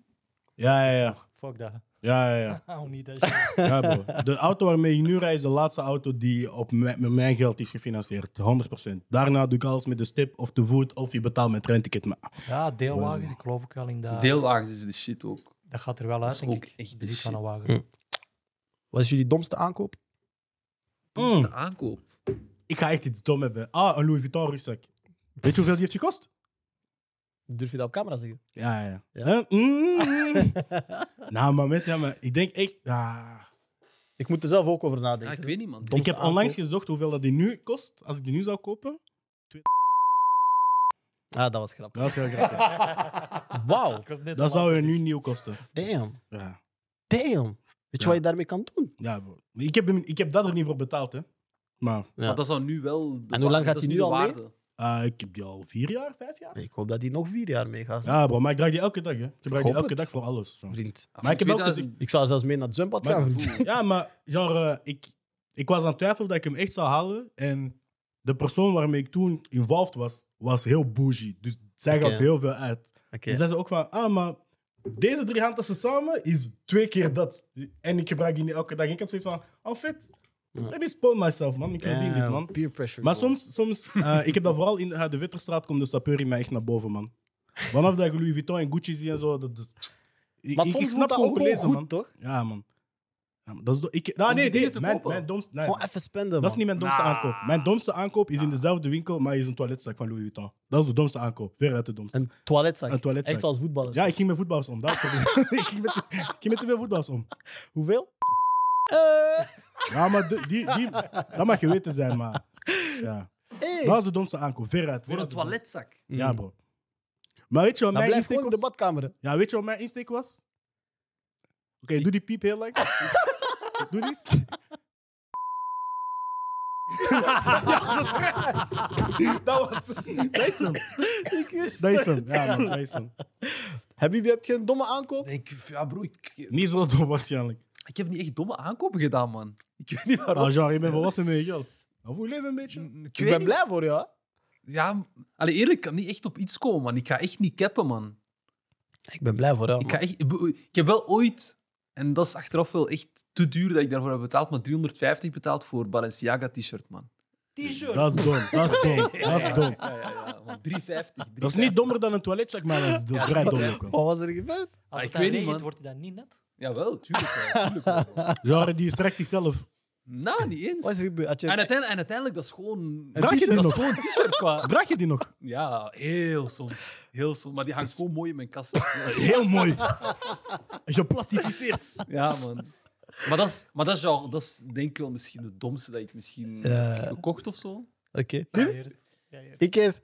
[SPEAKER 3] Ja, ja, ja.
[SPEAKER 5] Fuck dat.
[SPEAKER 3] Ja, ja, ja.
[SPEAKER 5] Hou niet dat shit.
[SPEAKER 3] ja bro. De auto waarmee ik nu rijd is de laatste auto die op mijn, met mijn geld is gefinancierd. 100%. Daarna doe ik alles met de stip of te voet of je betaalt met treinticket. Maar
[SPEAKER 5] Ja, deelwagens, ik geloof ook wel in dat.
[SPEAKER 2] Deelwagens is de shit ook.
[SPEAKER 5] Dat gaat er wel uit,
[SPEAKER 2] is
[SPEAKER 5] denk
[SPEAKER 2] ook
[SPEAKER 5] ik.
[SPEAKER 2] echt de
[SPEAKER 5] bezit van
[SPEAKER 2] shit. Mhm.
[SPEAKER 5] een wagen.
[SPEAKER 1] Hm. Wat is jullie domste aankoop?
[SPEAKER 2] Dat is
[SPEAKER 3] Mm.
[SPEAKER 2] de aankoop.
[SPEAKER 3] ik ga echt iets dom hebben. Ah, een Louis Vuitton rugzak. Weet je hoeveel die heeft gekost?
[SPEAKER 1] Durf je dat op camera zeggen?
[SPEAKER 3] Ja, ja.
[SPEAKER 1] Ja.
[SPEAKER 3] ja. Hè? Mm. nou, maar mensen, ja, maar ik denk echt... ah.
[SPEAKER 1] Ik moet er zelf ook over
[SPEAKER 2] Ja,
[SPEAKER 1] nadenken.
[SPEAKER 2] ik weet niet, man.
[SPEAKER 1] Dom-
[SPEAKER 3] Ik heb onlangs
[SPEAKER 1] aankoop.
[SPEAKER 3] gezocht hoeveel dat die nu kost, als ik die nu zou kopen.
[SPEAKER 1] Ah, dat was grappig.
[SPEAKER 3] Dat is heel grappig.
[SPEAKER 1] Wauw.
[SPEAKER 3] dat zou je nu nieuw kosten.
[SPEAKER 1] Damn.
[SPEAKER 3] Ja.
[SPEAKER 1] Damn. Weet je
[SPEAKER 3] Ja.
[SPEAKER 1] wat je daarmee kan doen?
[SPEAKER 3] Ja, bro. Maar Ik heb, hem- ik heb dat er niet voor betaald, hè. Maar
[SPEAKER 1] Ja.
[SPEAKER 2] Maar dat zou nu wel. de
[SPEAKER 1] En hoe lang
[SPEAKER 2] waarde-
[SPEAKER 1] gaat
[SPEAKER 2] dat
[SPEAKER 1] die nu
[SPEAKER 2] is de
[SPEAKER 1] al mee?
[SPEAKER 2] waarde.
[SPEAKER 3] eh, ik heb die al vier jaar, vijf jaar.
[SPEAKER 1] Ik hoop dat die nog vier jaar meegaat.
[SPEAKER 3] Ja, bro, maar ik gebruik die elke dag, hè. Ik gebruik die
[SPEAKER 1] hoop
[SPEAKER 3] elke
[SPEAKER 1] het.
[SPEAKER 3] dag voor alles. zo.
[SPEAKER 1] Vriend.
[SPEAKER 2] Ah,
[SPEAKER 3] Maar ik heb ook
[SPEAKER 2] 2000
[SPEAKER 1] Ik zou zelfs mee naar het zwembad
[SPEAKER 3] Maar-
[SPEAKER 1] gaan. vriend.
[SPEAKER 3] Ja, maar genre, eh, ik, ik was aan het twijfelen dat ik hem echt zou halen. En de persoon waarmee ik toen involved was, was heel bougie. Dus zij gaf
[SPEAKER 1] Oké.
[SPEAKER 3] heel veel uit.
[SPEAKER 1] Oké.
[SPEAKER 3] En zij zei ook van, ah, maar deze drie handtassen samen is twee keer dat. En ik gebruik die niet elke dag. En ik had zoiets van, oh vet,
[SPEAKER 1] Ja.
[SPEAKER 3] let me spoil myself, man. Ik verdien dit,
[SPEAKER 1] Damn,
[SPEAKER 3] man.
[SPEAKER 1] Peer pressure.
[SPEAKER 3] Maar
[SPEAKER 1] gewoon.
[SPEAKER 3] soms, soms eh, ik heb dat vooral in eh, de Witterstraat, komt de sapeur in mij echt naar boven, man. Vanaf dat ik Louis Vuitton en Gucci zie en zo. Dat, dat- Ik-
[SPEAKER 1] Maar
[SPEAKER 3] ik- ik
[SPEAKER 1] soms
[SPEAKER 3] snap
[SPEAKER 1] moet dat
[SPEAKER 3] gewoon
[SPEAKER 1] ook wel
[SPEAKER 3] gelezen,
[SPEAKER 1] goed,
[SPEAKER 3] man.
[SPEAKER 1] toch?
[SPEAKER 3] Ja, man. Ja, maar dat is do- ik, nou,
[SPEAKER 2] Om die
[SPEAKER 3] nee,
[SPEAKER 2] dingen
[SPEAKER 3] nee,
[SPEAKER 2] te
[SPEAKER 3] mijn,
[SPEAKER 2] kopen.
[SPEAKER 3] mijn domste... nee,
[SPEAKER 1] Gewoon even spenden,
[SPEAKER 3] dat is niet mijn domste
[SPEAKER 2] Nah.
[SPEAKER 3] aankoop. Mijn domste aankoop is in dezelfde winkel, maar is een toiletzak van Louis Vuitton. Dat is de domste aankoop. Veruit de domste.
[SPEAKER 1] Een toiletzak.
[SPEAKER 3] Een toiletzak.
[SPEAKER 1] Echt zoals voetballers.
[SPEAKER 3] ja, ik ging met voetballers om. Dat is het probleem. ik, ging met, te- ik ging met te veel voetballers om.
[SPEAKER 1] Hoeveel? Eh,
[SPEAKER 3] Ja, maar de- die, die, dat mag geweten zijn, maar... Ja.
[SPEAKER 1] hey.
[SPEAKER 3] Dat is de domste aankoop. Veruit.
[SPEAKER 2] Voor een
[SPEAKER 3] veruit de domste.
[SPEAKER 2] toiletzak.
[SPEAKER 3] Ja, bro. Maar weet je
[SPEAKER 1] Dan
[SPEAKER 3] wat mijn
[SPEAKER 1] blijf
[SPEAKER 3] insteek
[SPEAKER 1] gewoon in de
[SPEAKER 3] was?
[SPEAKER 1] badkamer. hè.
[SPEAKER 3] Ja, weet je wat mijn insteek was? Oké, doe die piep heel lang. doe dit. dat was... Dat is hem.
[SPEAKER 1] Ik wist
[SPEAKER 3] Dat is
[SPEAKER 1] het.
[SPEAKER 3] hem. Ja, man, dat is hem.
[SPEAKER 1] Heb je hebt geen domme aankoop?
[SPEAKER 2] Ik, ja, bro, ik,
[SPEAKER 3] Niet zo dom waarschijnlijk.
[SPEAKER 2] ik heb niet echt domme aankopen gedaan, man. Ik weet niet waarom.
[SPEAKER 3] Nou, genre, je bent volwassen met je geld. Dan voel je leven een beetje.
[SPEAKER 2] ik
[SPEAKER 1] Ik
[SPEAKER 2] weet
[SPEAKER 1] ben
[SPEAKER 2] niet.
[SPEAKER 1] blij voor jou.
[SPEAKER 2] Ja, allee, eerlijk, ik kan niet echt op iets komen, man. Ik ga echt niet cappen, man.
[SPEAKER 1] Ik ben blij voor jou.
[SPEAKER 2] Ik, ga echt, ik bedoel, ik heb wel ooit, en dat is achteraf wel echt te duur dat ik daarvoor heb betaald, maar 350 betaald voor Balenciaga t-shirt, man. T-shirt?
[SPEAKER 3] Dat is dom. Dat is dom. Dat is dom.
[SPEAKER 2] Ja, ja, ja, man. 350.
[SPEAKER 3] Dat is niet dommer dan een toiletzak, maar dat is, dat is vrij dom ook wel.
[SPEAKER 1] Wat was er gebeurd?
[SPEAKER 5] Als
[SPEAKER 2] ik
[SPEAKER 5] het
[SPEAKER 2] weet niet,
[SPEAKER 5] regent,
[SPEAKER 2] man.
[SPEAKER 5] wordt hij dan Ah, niet net.
[SPEAKER 2] Jawel, tuurlijk. Wel, tuurlijk wel.
[SPEAKER 3] Genre, die strekt zichzelf.
[SPEAKER 2] nou, niet eens.
[SPEAKER 1] Wat is er gebeurd? Had je-
[SPEAKER 2] En uiteindelijk, en uiteindelijk, Ah, dat is gewoon...
[SPEAKER 3] Draag je die
[SPEAKER 2] dat is
[SPEAKER 3] nog?
[SPEAKER 2] gewoon een t-shirt, qua...
[SPEAKER 3] Draag je die nog?
[SPEAKER 2] Ja, heel soms. Heel soms. Maar die hangt zo mooi in mijn kast.
[SPEAKER 3] Heel mooi. Geplastificeerd.
[SPEAKER 2] Ja, man. Maar dat is, maar dat is, jou- dat is denk ik wel misschien het domste dat ik misschien
[SPEAKER 1] Ja.
[SPEAKER 2] heb gekocht of zo.
[SPEAKER 1] Oké.
[SPEAKER 5] Ja, ja.
[SPEAKER 1] Hm? Ik, is-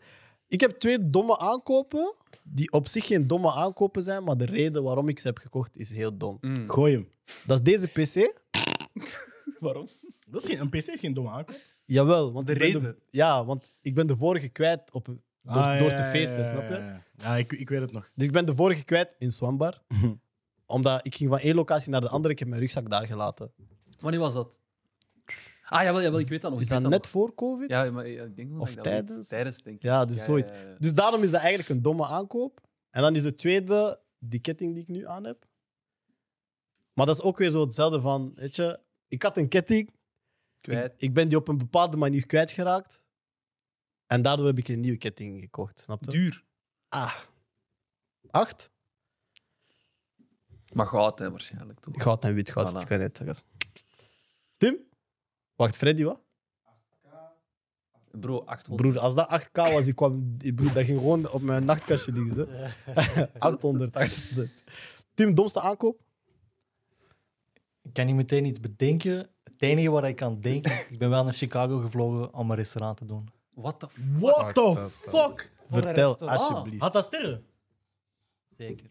[SPEAKER 1] ik heb twee domme aankopen, die op zich geen domme aankopen zijn, maar de reden waarom ik ze heb gekocht is heel dom.
[SPEAKER 3] Gooi hem.
[SPEAKER 1] Dat is deze PC.
[SPEAKER 2] Waarom?
[SPEAKER 3] Dat is geen, een PC is geen domme aankoop.
[SPEAKER 1] Jawel. Want
[SPEAKER 2] De
[SPEAKER 1] ik ben
[SPEAKER 2] reden?
[SPEAKER 1] ja, want ik ben de vorige kwijt op, een- door,
[SPEAKER 3] Ah,
[SPEAKER 1] door
[SPEAKER 3] ja,
[SPEAKER 1] te
[SPEAKER 3] ja,
[SPEAKER 1] feesten,
[SPEAKER 3] ja, ja,
[SPEAKER 1] snap je?
[SPEAKER 3] ja. Ja, ik, ik weet het nog.
[SPEAKER 1] Dus ik ben de vorige kwijt in Swambar. omdat ik ging van één locatie naar de andere, ik heb mijn rugzak daar gelaten.
[SPEAKER 2] Wanneer was dat? Ah, jawel, jawel, ik weet dat nog.
[SPEAKER 1] Is
[SPEAKER 2] ik weet
[SPEAKER 1] dat net voor COVID?
[SPEAKER 2] nog. Ja, maar ik denk wel dat
[SPEAKER 1] Of
[SPEAKER 2] ik dat
[SPEAKER 1] tijdens?
[SPEAKER 2] weet. Tijdens, denk ik.
[SPEAKER 1] Ja, dus zoiets.
[SPEAKER 2] ja, ja.
[SPEAKER 1] Dus daarom is dat eigenlijk een domme aankoop. En dan is de tweede, die ketting die ik nu aan heb. Maar dat is ook weer zo hetzelfde van, weet je, ik had een ketting, ik,
[SPEAKER 2] Kwijt.
[SPEAKER 1] ik ben die op een bepaalde manier kwijtgeraakt. En daardoor heb ik een nieuwe ketting gekocht, snap je?
[SPEAKER 2] Duur.
[SPEAKER 1] Ah. Acht?
[SPEAKER 2] Maar goud, hè, waarschijnlijk, toch?
[SPEAKER 1] Goud en wit goud,
[SPEAKER 2] Voilà.
[SPEAKER 1] het kan niet, gast. Tim? Wacht, Freddy, wat?
[SPEAKER 2] Bro, 800.
[SPEAKER 1] Broer, als dat 8k was, ik kwam, ik- broer, dat ging gewoon op mijn nachtkastje liggen. Hè. 800, 800. Tim, domste aankoop?
[SPEAKER 5] Ik kan niet meteen iets bedenken. Het enige waar ik aan denk, ik ben wel naar Chicago gevlogen om een restaurant te doen.
[SPEAKER 2] What the f...
[SPEAKER 3] What the fuck?
[SPEAKER 5] Voor een
[SPEAKER 1] Vertel,
[SPEAKER 5] restaurant.
[SPEAKER 1] alsjeblieft.
[SPEAKER 3] Had dat sterren?
[SPEAKER 5] Zeker,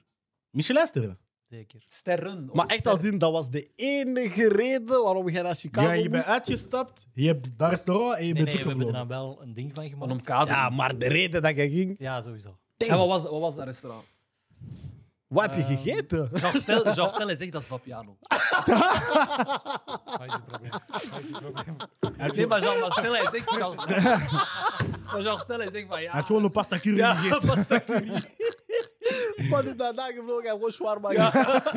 [SPEAKER 3] Michelin sterren?
[SPEAKER 5] zeker.
[SPEAKER 2] Sterren. of
[SPEAKER 1] Maar echt als in, dat was de enige reden waarom jij naar Chicago
[SPEAKER 3] Ja, je bent
[SPEAKER 1] moest.
[SPEAKER 3] uitgestapt, je hebt dat restaurant en je
[SPEAKER 5] Nee,
[SPEAKER 3] bent
[SPEAKER 5] nee, we hebben er
[SPEAKER 3] teruggevlogen.
[SPEAKER 5] dan wel een ding van
[SPEAKER 2] Van
[SPEAKER 5] gemaakt.
[SPEAKER 2] omkadering.
[SPEAKER 1] Ja, maar de reden dat je ging...
[SPEAKER 5] Ja, sowieso.
[SPEAKER 2] En wat was, wat was dat restaurant?
[SPEAKER 1] Wat heb je gegeten?
[SPEAKER 2] Jacques Stel- Jacques Stelle zegt dat is Vapiano.
[SPEAKER 5] Dat is het probleem. Dat is het probleem.
[SPEAKER 2] Nee, maar Jean Stel, hij zegt... Jean- Maar Jean Stel, hij zegt van
[SPEAKER 3] Hij
[SPEAKER 2] ja...
[SPEAKER 3] had gewoon een pasta curry
[SPEAKER 2] Ja,
[SPEAKER 3] gegeten.
[SPEAKER 2] pasta curry.
[SPEAKER 1] Man is daarna gevlogen en gewoon shawarma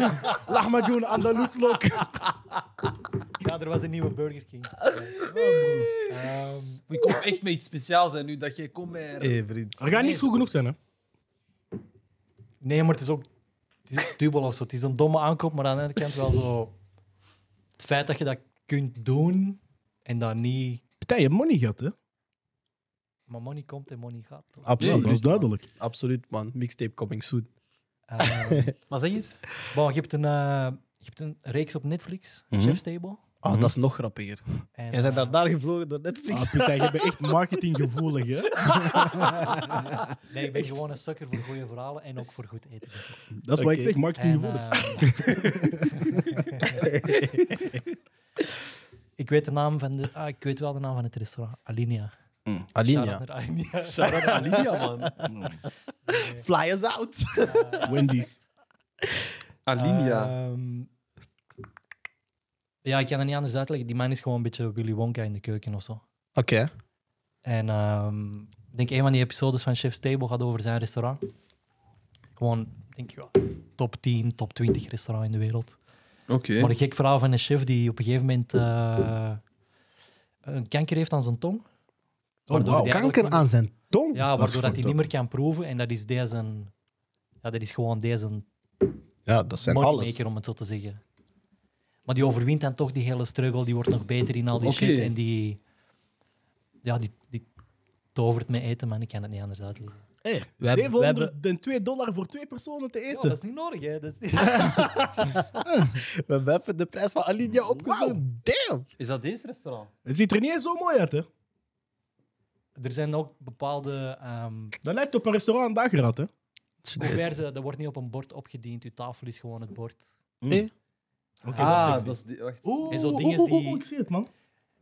[SPEAKER 3] Lahmacun, Andaluslook.
[SPEAKER 5] Ja, er was een nieuwe Burger King. Ehm,
[SPEAKER 2] Ik kom echt met iets speciaals en nu dat jij komt met...
[SPEAKER 1] Hé, vriend.
[SPEAKER 3] Er gaat niks goed genoeg zijn, hè?
[SPEAKER 5] nee, maar het is ook het is ook dubbel of zo. Het is een domme aankoop, maar aan de andere kant wel zo... Het feit dat je dat kunt doen en dat niet...
[SPEAKER 3] Partij, je hebt money gehad, hè?
[SPEAKER 5] Maar money komt en money gaat. toch?
[SPEAKER 3] Ja,
[SPEAKER 1] Absoluut.
[SPEAKER 3] dat is duidelijk.
[SPEAKER 1] Man. Absoluut, man. Mixtape coming soon.
[SPEAKER 5] Ehm,
[SPEAKER 2] Maar zeg eens.
[SPEAKER 5] bon, je, hebt een, eh, je hebt een reeks op Netflix, Chef's Table.
[SPEAKER 1] Ah, dat is nog grappiger.
[SPEAKER 5] En,
[SPEAKER 1] Jij bent daarna gevlogen door Netflix.
[SPEAKER 3] Ah, Partij, je bent echt marketinggevoelig, hè?
[SPEAKER 5] Nee, ik ben gewoon een sukker voor goede verhalen en ook voor goed eten.
[SPEAKER 3] Dat is wat ik zeg,
[SPEAKER 5] En,
[SPEAKER 3] marketinggevoelig.
[SPEAKER 5] ehm, eh, Ik weet, de naam van de, ah, ik weet wel de naam van het restaurant. Alinea.
[SPEAKER 1] Alinea.
[SPEAKER 5] Shout-out naar Alinea.
[SPEAKER 2] Shout-out Alinea, man.
[SPEAKER 1] Fly us out.
[SPEAKER 3] Wendy's.
[SPEAKER 2] Alinea.
[SPEAKER 5] Ehm, ja, ik kan het niet anders uitleggen. Die man is gewoon een beetje Willy Wonka in de keuken of zo.
[SPEAKER 1] Oké.
[SPEAKER 5] En ehm, ik denk een van die episodes van Chef's Table gaat over zijn restaurant. Gewoon, ik denk ja, top 10, top 20 restaurant in de wereld.
[SPEAKER 2] Oké.
[SPEAKER 5] Maar een gek verhaal van een chef die op een gegeven moment eh, een kanker heeft aan zijn tong. Waardoor
[SPEAKER 3] Oh, wauw.
[SPEAKER 5] die eigenlijk
[SPEAKER 1] Kanker aan zijn tong.
[SPEAKER 5] Ja, waardoor dat hij niet meer kan proeven. En dat is deze... Ja, dat is gewoon deze
[SPEAKER 1] Ja, dat zijn alles.
[SPEAKER 5] moneymaker, om het zo te zeggen. Maar die overwint dan toch die hele struggle. Die wordt nog beter in al die
[SPEAKER 2] Oké.
[SPEAKER 5] shit. En die... Ja, die, die tovert met eten, man. Ik kan het niet anders uitleggen.
[SPEAKER 3] Hey,
[SPEAKER 1] we hebben-
[SPEAKER 3] 702 dollar voor twee personen te eten.
[SPEAKER 5] is niet nodig, hè. Dat is,
[SPEAKER 1] We hebben even de prijs van Alinea opgezocht. Damn.
[SPEAKER 5] dat deze restaurant?
[SPEAKER 3] Het ziet er niet eens zo mooi uit, hè?
[SPEAKER 5] Er zijn ook bepaalde... ehm
[SPEAKER 3] Dat lijkt op een restaurant aan dageraad, hè?
[SPEAKER 5] hoe ver ze... Dat wordt niet op een bord opgediend. Uw tafel is gewoon het bord.
[SPEAKER 3] Oké,
[SPEAKER 2] Ah, dat is... die- wacht.
[SPEAKER 3] Oeh,
[SPEAKER 5] En zo
[SPEAKER 3] oeh,
[SPEAKER 5] dingen
[SPEAKER 3] oeh, oeh,
[SPEAKER 5] die-
[SPEAKER 3] ik zie het, man.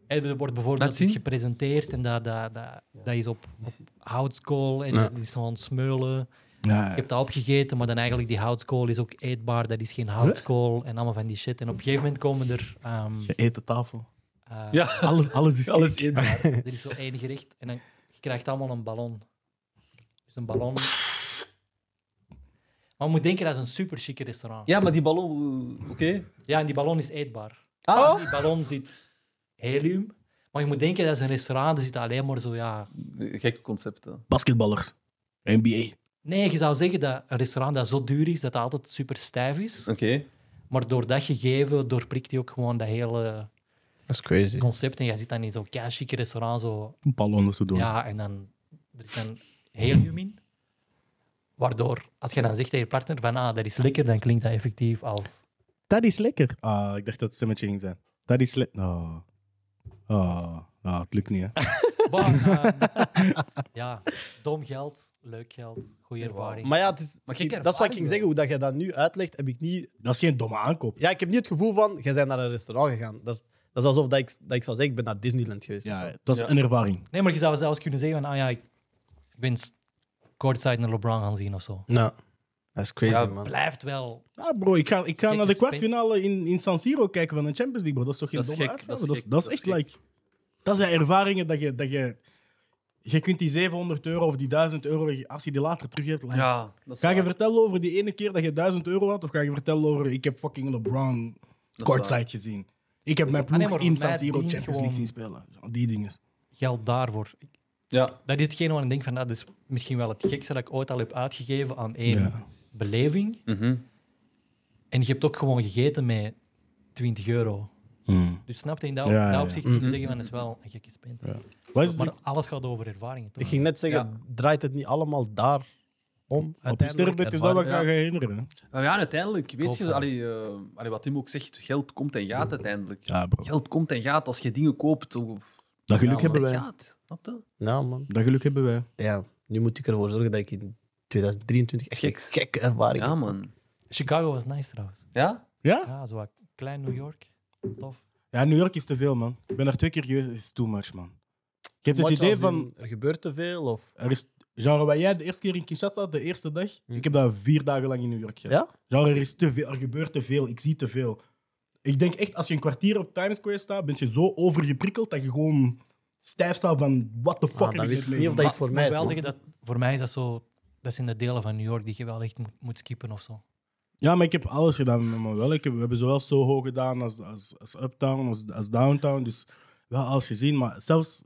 [SPEAKER 5] En Eh, Er wordt
[SPEAKER 2] Laat
[SPEAKER 5] bijvoorbeeld
[SPEAKER 2] zien.
[SPEAKER 5] iets gepresenteerd en dat, dat, dat, dat is op, op houtskool en dat is gewoon smeulen. Je hebt dat opgegeten, maar dan eigenlijk die houtskool is ook eetbaar. Dat is geen houtskool en allemaal van die shit. En op een gegeven moment komen er... ehm,
[SPEAKER 3] Je eet de tafel.
[SPEAKER 5] eh,
[SPEAKER 2] Ja,
[SPEAKER 3] Alles, alles is
[SPEAKER 2] alles in.
[SPEAKER 5] er is zo één gericht en dan, je krijgt allemaal een ballon. Dus een ballon... Maar je moet denken, dat is een super chique restaurant.
[SPEAKER 2] Ja, maar die ballon... eh, Oké.
[SPEAKER 5] Ja, en die ballon is eetbaar.
[SPEAKER 2] Ah.
[SPEAKER 5] In die ballon zit helium. Maar je moet denken, dat is een restaurant, er zit alleen maar zo, ja...
[SPEAKER 1] Oh.
[SPEAKER 2] Gekke concepten.
[SPEAKER 3] Basketballers. NBA.
[SPEAKER 5] Nee, je zou zeggen dat een restaurant dat zo duur is, dat het altijd super stijf is.
[SPEAKER 2] Oké.
[SPEAKER 5] Maar door dat gegeven doorprikt hij ook gewoon dat hele
[SPEAKER 1] Dat is crazy.
[SPEAKER 5] concept. En jij zit dan in zo'n chique restaurant zo.
[SPEAKER 3] Een ballon te doen.
[SPEAKER 5] Ja, en dan er is dan helium in. Waardoor, als je dan zegt tegen je partner van ah, dat is lekker, dan klinkt dat effectief als...
[SPEAKER 3] Dat is lekker. Ah, ik dacht dat het stemmetje ging zijn. Dat is lekker. Ah, ah, ah, het lukt niet, hè?
[SPEAKER 5] Bah, ehm, ja, dom geld, leuk geld, goede ervaring.
[SPEAKER 1] Maar ja, het is,
[SPEAKER 5] Maar gekke
[SPEAKER 1] dat is wat ik
[SPEAKER 5] ervaring,
[SPEAKER 1] ging zeggen. Hoe dat jij dat nu uitlegt, heb ik niet...
[SPEAKER 3] Dat is geen domme aankoop.
[SPEAKER 1] Ja, ik heb niet het gevoel van, jij bent naar een restaurant gegaan. Dat is, dat is alsof dat ik, dat ik zou zeggen, ik ben naar Disneyland geweest.
[SPEAKER 3] Ja, dat is
[SPEAKER 2] Ja.
[SPEAKER 3] een ervaring.
[SPEAKER 5] Nee, maar je zou zelfs kunnen zeggen van ah ja, ik ik ben courtside naar LeBron gaan zien of zo.
[SPEAKER 1] Ja. Dat is crazy,
[SPEAKER 2] Ja,
[SPEAKER 1] man.
[SPEAKER 5] Blijft wel
[SPEAKER 3] Ja, Ah, bro, ik ga, ik ga
[SPEAKER 5] Gekke
[SPEAKER 3] naar de
[SPEAKER 5] spin.
[SPEAKER 3] kwartfinale in, in San Siro kijken van de Champions League, bro. Dat is toch geen
[SPEAKER 2] Dat is
[SPEAKER 3] domme
[SPEAKER 2] gek,
[SPEAKER 3] uitgave?
[SPEAKER 2] dat is
[SPEAKER 3] Dat is,
[SPEAKER 2] gek,
[SPEAKER 3] dat is
[SPEAKER 2] dat is
[SPEAKER 3] echt, like... Dat zijn ervaringen dat je... Dat je, je kunt die 700 euro of die 1000 euro, als je die later terug hebt... like,
[SPEAKER 2] Ja, dat is
[SPEAKER 3] Ga je
[SPEAKER 2] waar.
[SPEAKER 3] vertellen over die ene keer dat je 1000 euro had? Of ga je vertellen over ik heb fucking LeBron
[SPEAKER 2] Dat is
[SPEAKER 3] courtside gezien? Ik heb mijn
[SPEAKER 5] Ah,
[SPEAKER 3] ploeg
[SPEAKER 5] nee, maar
[SPEAKER 3] in
[SPEAKER 5] voor
[SPEAKER 3] San
[SPEAKER 5] mij
[SPEAKER 3] Siro
[SPEAKER 5] dient
[SPEAKER 3] Champions League zien spelen. Zo, Die dingen.
[SPEAKER 5] geld daarvoor.
[SPEAKER 2] Ja,
[SPEAKER 5] Dat is hetgeen waar ik denk van, nou, dat is misschien wel het gekste dat ik ooit al heb uitgegeven aan één
[SPEAKER 3] Ja.
[SPEAKER 5] beleving.
[SPEAKER 1] Mhm.
[SPEAKER 5] En je hebt ook gewoon gegeten met 20 euro. Dus snap je, in dat,
[SPEAKER 3] Hmm. Ja, ja,
[SPEAKER 5] dat
[SPEAKER 3] ja.
[SPEAKER 5] opzicht kun
[SPEAKER 1] Mhm.
[SPEAKER 5] je zeggen van, dat is wel een gekke spin.
[SPEAKER 3] Wat is
[SPEAKER 5] Maar
[SPEAKER 3] het?
[SPEAKER 5] alles gaat over ervaringen.
[SPEAKER 1] Dus Ik
[SPEAKER 5] Toch?
[SPEAKER 1] ging net zeggen, draait het niet allemaal daar om?
[SPEAKER 3] Op je sterrenbed is dat wat ik
[SPEAKER 2] Ja.
[SPEAKER 3] ga herinneren.
[SPEAKER 2] Nou ja, en uiteindelijk, weet
[SPEAKER 5] Koop
[SPEAKER 2] je,
[SPEAKER 5] van.
[SPEAKER 2] allee, eh, allee, wat Tim ook zegt, geld komt en gaat uiteindelijk.
[SPEAKER 3] Ja, bro.
[SPEAKER 2] Geld komt en gaat als je dingen koopt. hoe-
[SPEAKER 3] Dat geluk
[SPEAKER 2] ja,
[SPEAKER 3] hebben
[SPEAKER 2] maar
[SPEAKER 3] wij.
[SPEAKER 2] het Gaat, snap je?
[SPEAKER 1] Ja, man.
[SPEAKER 3] Dat geluk hebben wij.
[SPEAKER 1] Ja, nu moet ik ervoor zorgen dat ik in 2023 echt een
[SPEAKER 2] Geks.
[SPEAKER 1] gekke ervaring
[SPEAKER 2] Ja,
[SPEAKER 1] heb.
[SPEAKER 2] man.
[SPEAKER 5] Chicago was nice trouwens.
[SPEAKER 2] Ja?
[SPEAKER 3] Ja?
[SPEAKER 5] Ja, zo wat klein New York. Tof.
[SPEAKER 3] Ja, New York is te veel, man. Ik ben daar twee keer geweest. is too much, man. Ik heb
[SPEAKER 1] Wat
[SPEAKER 3] het idee
[SPEAKER 1] als in,
[SPEAKER 3] van...
[SPEAKER 1] Er gebeurt te veel, of...
[SPEAKER 3] Er is, genre, wat jij de eerste keer in Kinshasa had, de eerste dag,
[SPEAKER 1] Hm.
[SPEAKER 3] ik heb dat vier dagen lang in New York gedaan. Genre, er is te veel, er gebeurt te veel, ik zie te veel. Ik denk echt, als je een kwartier op Times Square staat, ben je zo overgeprikkeld dat je gewoon stijf staat van what the fuck
[SPEAKER 1] Ah,
[SPEAKER 3] heb
[SPEAKER 1] dan
[SPEAKER 3] ik
[SPEAKER 1] weet
[SPEAKER 3] dit
[SPEAKER 1] ik niet
[SPEAKER 3] leven?
[SPEAKER 1] of dat iets
[SPEAKER 5] Maar
[SPEAKER 1] voor mij
[SPEAKER 5] ik moet
[SPEAKER 1] is,
[SPEAKER 5] wel
[SPEAKER 1] man.
[SPEAKER 5] zeggen dat voor mij is dat zo... Dat zijn de delen van New York die je wel echt moet, moet skippen of zo.
[SPEAKER 3] Ja, maar ik heb alles gedaan met mijn wel. Ik heb, we hebben zowel Soho gedaan als, als, als Uptown, als, als Downtown. Dus wel alles gezien. Maar zelfs,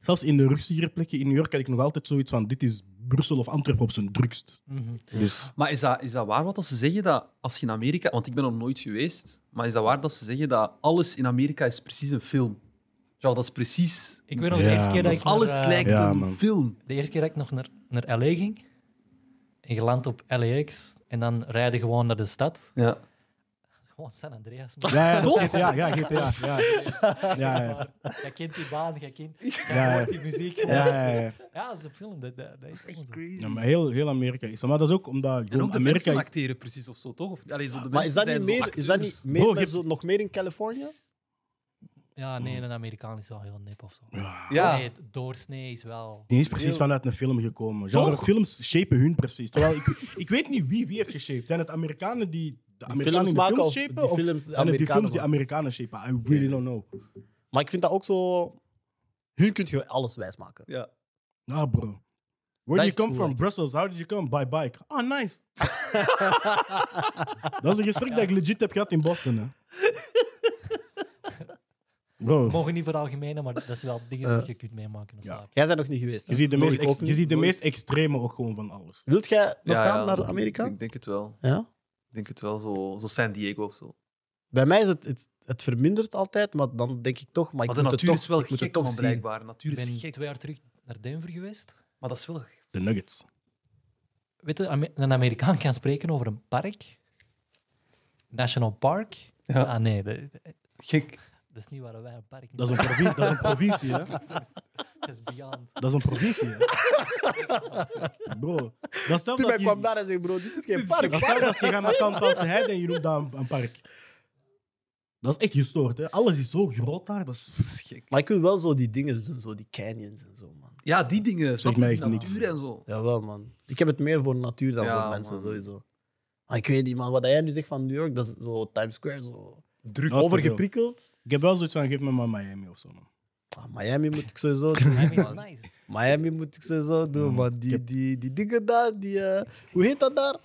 [SPEAKER 3] zelfs in de rustigere plekken in New York had ik nog altijd zoiets van dit is Brussel of Antwerpen op zijn drukst.
[SPEAKER 2] Mhm.
[SPEAKER 3] Dus
[SPEAKER 2] Maar is dat, is dat waar wat dat ze zeggen dat als je in Amerika... Want ik ben nog nooit geweest. Maar is dat waar dat ze zeggen dat alles in Amerika is precies een film? Ja, dat is precies...
[SPEAKER 5] Ik weet nog
[SPEAKER 3] Ja,
[SPEAKER 5] de eerste keer dat
[SPEAKER 3] dat
[SPEAKER 5] ik... naar,
[SPEAKER 2] Alles
[SPEAKER 5] eh,
[SPEAKER 2] lijkt
[SPEAKER 3] Ja,
[SPEAKER 2] een
[SPEAKER 3] man.
[SPEAKER 2] film.
[SPEAKER 5] De eerste keer dat ik nog naar, naar LA ging, en je landt op LAX, en dan rijden gewoon naar de stad.
[SPEAKER 2] Ja.
[SPEAKER 5] gewoon San Andreas. man.
[SPEAKER 3] Ja, ja, dat is GTA. Ja, GTA. Ja, ja, ja.
[SPEAKER 5] Maar Jij kent die baan, jij kent
[SPEAKER 3] Ja,
[SPEAKER 5] jij
[SPEAKER 3] ja.
[SPEAKER 5] hoort die muziek.
[SPEAKER 3] ja, ja, ja.
[SPEAKER 5] Ja, dat is een film. Dat, dat, dat is echt zo.
[SPEAKER 3] Ja, maar heel, heel Amerika is. dat. Maar dat is ook omdat
[SPEAKER 2] En
[SPEAKER 3] gewoon
[SPEAKER 2] ook de
[SPEAKER 3] Amerika
[SPEAKER 2] mensen
[SPEAKER 3] is.
[SPEAKER 2] acteren precies of zo, toch? Of, allee, zo
[SPEAKER 1] Maar
[SPEAKER 2] de mensen
[SPEAKER 1] is dat
[SPEAKER 2] zijn
[SPEAKER 1] niet
[SPEAKER 2] zo
[SPEAKER 1] meer, is dat niet
[SPEAKER 2] acteurs.
[SPEAKER 1] meer
[SPEAKER 3] Bro,
[SPEAKER 1] met
[SPEAKER 3] Oh, je-
[SPEAKER 1] zo- nog meer in Californië?
[SPEAKER 5] Ja, nee, een Amerikaan is wel heel nep of zo.
[SPEAKER 2] Ja.
[SPEAKER 5] Nee, het doorsnee is wel...
[SPEAKER 3] Die is precies vanuit een film gekomen. Genre films shapen hun precies. Terwijl ik, ik weet niet wie wie heeft geshaped. Zijn het Amerikanen die de Amerikanen
[SPEAKER 1] films
[SPEAKER 3] in de
[SPEAKER 1] maken
[SPEAKER 3] films
[SPEAKER 1] of
[SPEAKER 3] shapen?
[SPEAKER 1] die
[SPEAKER 3] Of
[SPEAKER 1] films de
[SPEAKER 3] zijn het die
[SPEAKER 1] Amerikanen
[SPEAKER 3] films die
[SPEAKER 1] maken?
[SPEAKER 3] Amerikanen shapen? I really don't know.
[SPEAKER 1] Maar ik vind dat ook zo... Hun kun je alles wijsmaken.
[SPEAKER 2] Ja.
[SPEAKER 3] Ah, bro. Where
[SPEAKER 1] Dat
[SPEAKER 3] do
[SPEAKER 1] is
[SPEAKER 3] you come
[SPEAKER 1] true,
[SPEAKER 3] from?
[SPEAKER 1] like.
[SPEAKER 3] Brussels. How did you come? By bike. Ah, nice. dat is een gesprek dat ik legit heb gehad in Boston. Hè.
[SPEAKER 5] We
[SPEAKER 3] Bro,
[SPEAKER 5] mogen niet veralgemenen, maar dat is wel dingen die je kunt meemaken. Of
[SPEAKER 3] Eh, ja.
[SPEAKER 5] zo.
[SPEAKER 1] Jij bent nog niet geweest. hè?
[SPEAKER 3] je ziet de,
[SPEAKER 1] Nog
[SPEAKER 3] meest,
[SPEAKER 1] ik
[SPEAKER 3] ex-
[SPEAKER 1] ook
[SPEAKER 3] je ziet de
[SPEAKER 1] niet.
[SPEAKER 3] meest extreme ook gewoon van alles.
[SPEAKER 1] Wilt jij nog
[SPEAKER 2] Ja,
[SPEAKER 1] gaan
[SPEAKER 2] ja.
[SPEAKER 1] naar Amerika?
[SPEAKER 2] Ik denk het wel.
[SPEAKER 1] Ja.
[SPEAKER 2] Ik denk het wel, zo, zo San Diego of zo.
[SPEAKER 1] Bij mij is het, het, het vermindert altijd, maar dan denk ik toch... Maar, ik
[SPEAKER 2] Maar de
[SPEAKER 1] moet
[SPEAKER 2] natuur
[SPEAKER 1] het toch,
[SPEAKER 2] is wel
[SPEAKER 1] ik moet het
[SPEAKER 2] gek,
[SPEAKER 1] toch
[SPEAKER 2] man,
[SPEAKER 1] zien.
[SPEAKER 2] blijkbaar. Natuur
[SPEAKER 5] Ik
[SPEAKER 2] is
[SPEAKER 5] ben
[SPEAKER 2] gek.
[SPEAKER 5] twee jaar terug naar Denver geweest.
[SPEAKER 2] Maar dat is wel...
[SPEAKER 3] De Nuggets.
[SPEAKER 5] Weet je, Ame- een Amerikaan kan spreken over een park. National Park.
[SPEAKER 2] Ja.
[SPEAKER 5] Ah nee, de- de-
[SPEAKER 2] Gek.
[SPEAKER 5] dat is niet waar wij een park
[SPEAKER 3] Dat is een, provin- dat is een provincie, hè?
[SPEAKER 5] Dat is beyond.
[SPEAKER 3] Dat is een provincie, hè? Bro, dat stelt
[SPEAKER 1] Toen
[SPEAKER 3] dat
[SPEAKER 1] ik kwam
[SPEAKER 3] je,
[SPEAKER 1] daar en zei, bro, dit is geen
[SPEAKER 2] is
[SPEAKER 1] park.
[SPEAKER 3] dat stelt dat je gaat naar Tantantse Heide en je noemt daar een, een park. Dat is echt gestoord, hè? Alles is zo groot daar. Dat is...
[SPEAKER 2] Dat is gek.
[SPEAKER 1] Maar ik wil wel zo die dingen doen, zo die canyons en zo, man.
[SPEAKER 2] Ja, die dingen. Zeg
[SPEAKER 3] mij
[SPEAKER 2] mij
[SPEAKER 3] echt niks.
[SPEAKER 2] Natuur en zo.
[SPEAKER 1] Jawel, man. Ik heb het meer voor natuur dan
[SPEAKER 2] Ja,
[SPEAKER 1] voor mensen,
[SPEAKER 2] man.
[SPEAKER 1] sowieso. Maar ik weet niet, man. Wat jij nu zegt van New York, dat is zo Times Square, zo
[SPEAKER 3] Druk.
[SPEAKER 1] overgeprikkeld.
[SPEAKER 3] Ik heb wel zoiets van, geef me maar Miami of zo, man.
[SPEAKER 1] Ah, Miami moet ik sowieso doen,
[SPEAKER 5] Miami is
[SPEAKER 1] man.
[SPEAKER 5] nice.
[SPEAKER 1] Miami moet ik sowieso doen, man. Die, die, die dingen daar, die... eh, hoe heet dat daar?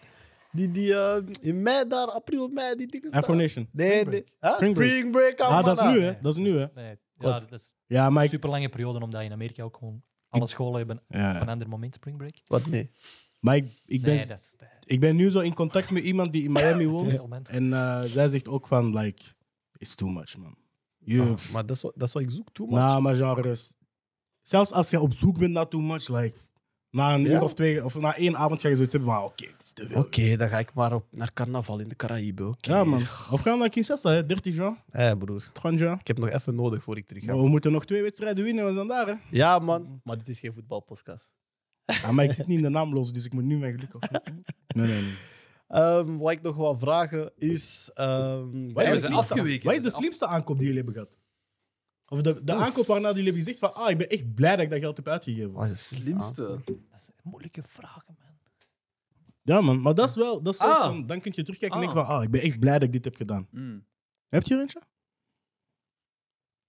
[SPEAKER 1] Die, die eh, in mei daar, april, mei, die dingen
[SPEAKER 3] Afro
[SPEAKER 1] daar.
[SPEAKER 3] Nation.
[SPEAKER 1] Nee,
[SPEAKER 5] Spring
[SPEAKER 1] nee.
[SPEAKER 5] Break.
[SPEAKER 1] Huh?
[SPEAKER 3] Spring Break.
[SPEAKER 1] Spring Break,
[SPEAKER 3] Ah, dat is nu,
[SPEAKER 5] nee.
[SPEAKER 3] hè? Dat is nu, hè?
[SPEAKER 5] Nee, ja,
[SPEAKER 3] Wat?
[SPEAKER 5] dat is
[SPEAKER 3] Ja, maar
[SPEAKER 5] een
[SPEAKER 3] ik...
[SPEAKER 5] super lange periode, omdat in Amerika ook gewoon alle scholen hebben op
[SPEAKER 3] Ja,
[SPEAKER 5] een
[SPEAKER 3] ja.
[SPEAKER 5] ander moment spring break.
[SPEAKER 1] Wat, nee?
[SPEAKER 3] Maar ik, ik, ben,
[SPEAKER 5] Nee, dat is...
[SPEAKER 3] ik ben nu zo in contact met iemand die in Miami
[SPEAKER 5] Dat is
[SPEAKER 3] woont.
[SPEAKER 5] veel, man.
[SPEAKER 3] En eh, zij zegt ook van, like, it's too much, man. You,
[SPEAKER 1] Ah, Maar dat is, wat- dat is wat ik zoek, too much.
[SPEAKER 3] Nou, maar genre, dus, zelfs als je op zoek bent naar too much, like, na een
[SPEAKER 1] Ja?
[SPEAKER 3] uur of twee, of na één avond ga je zoiets hebben van, ah, oké, dit is te veel.
[SPEAKER 1] Oké, dan ga ik maar op, naar carnaval in de Caraïbe, oké.
[SPEAKER 3] Ja, man. Of gaan we naar Kinshasa, hè? 30 jaar,
[SPEAKER 1] Hé, hey, broer.
[SPEAKER 3] 30 jaar.
[SPEAKER 1] Ik heb nog even nodig voor ik terug ga.
[SPEAKER 3] We moeten nog twee wedstrijden winnen, we zijn daar, hè.
[SPEAKER 1] Ja, man. Maar dit is geen voetbalpodcast.
[SPEAKER 3] Ja, maar ik zit niet in de naamloos, dus ik moet nu mijn geluk afzetten. Nee, nee, nee.
[SPEAKER 1] Ehm, wat ik nog wil vragen is... ehm
[SPEAKER 2] we
[SPEAKER 3] Wat is,
[SPEAKER 2] zijn
[SPEAKER 3] de slimste-
[SPEAKER 2] afgeweken.
[SPEAKER 3] wat is de slimste aankoop die jullie hebben gehad? Of de, de aankoop waarna jullie hebben gezegd van, ah, ik ben echt blij dat ik dat geld heb uitgegeven.
[SPEAKER 1] Wat is het
[SPEAKER 2] Slimste. Ah.
[SPEAKER 5] Dat is moeilijke vragen, man.
[SPEAKER 3] Ja, man. Maar dat is wel, dat is zoiets
[SPEAKER 2] Ah.
[SPEAKER 3] van, dan kun je terugkijken en
[SPEAKER 2] Ah.
[SPEAKER 3] denken van, ah, ik ben echt blij dat ik dit heb gedaan.
[SPEAKER 2] Mm.
[SPEAKER 3] Heb je er eentje?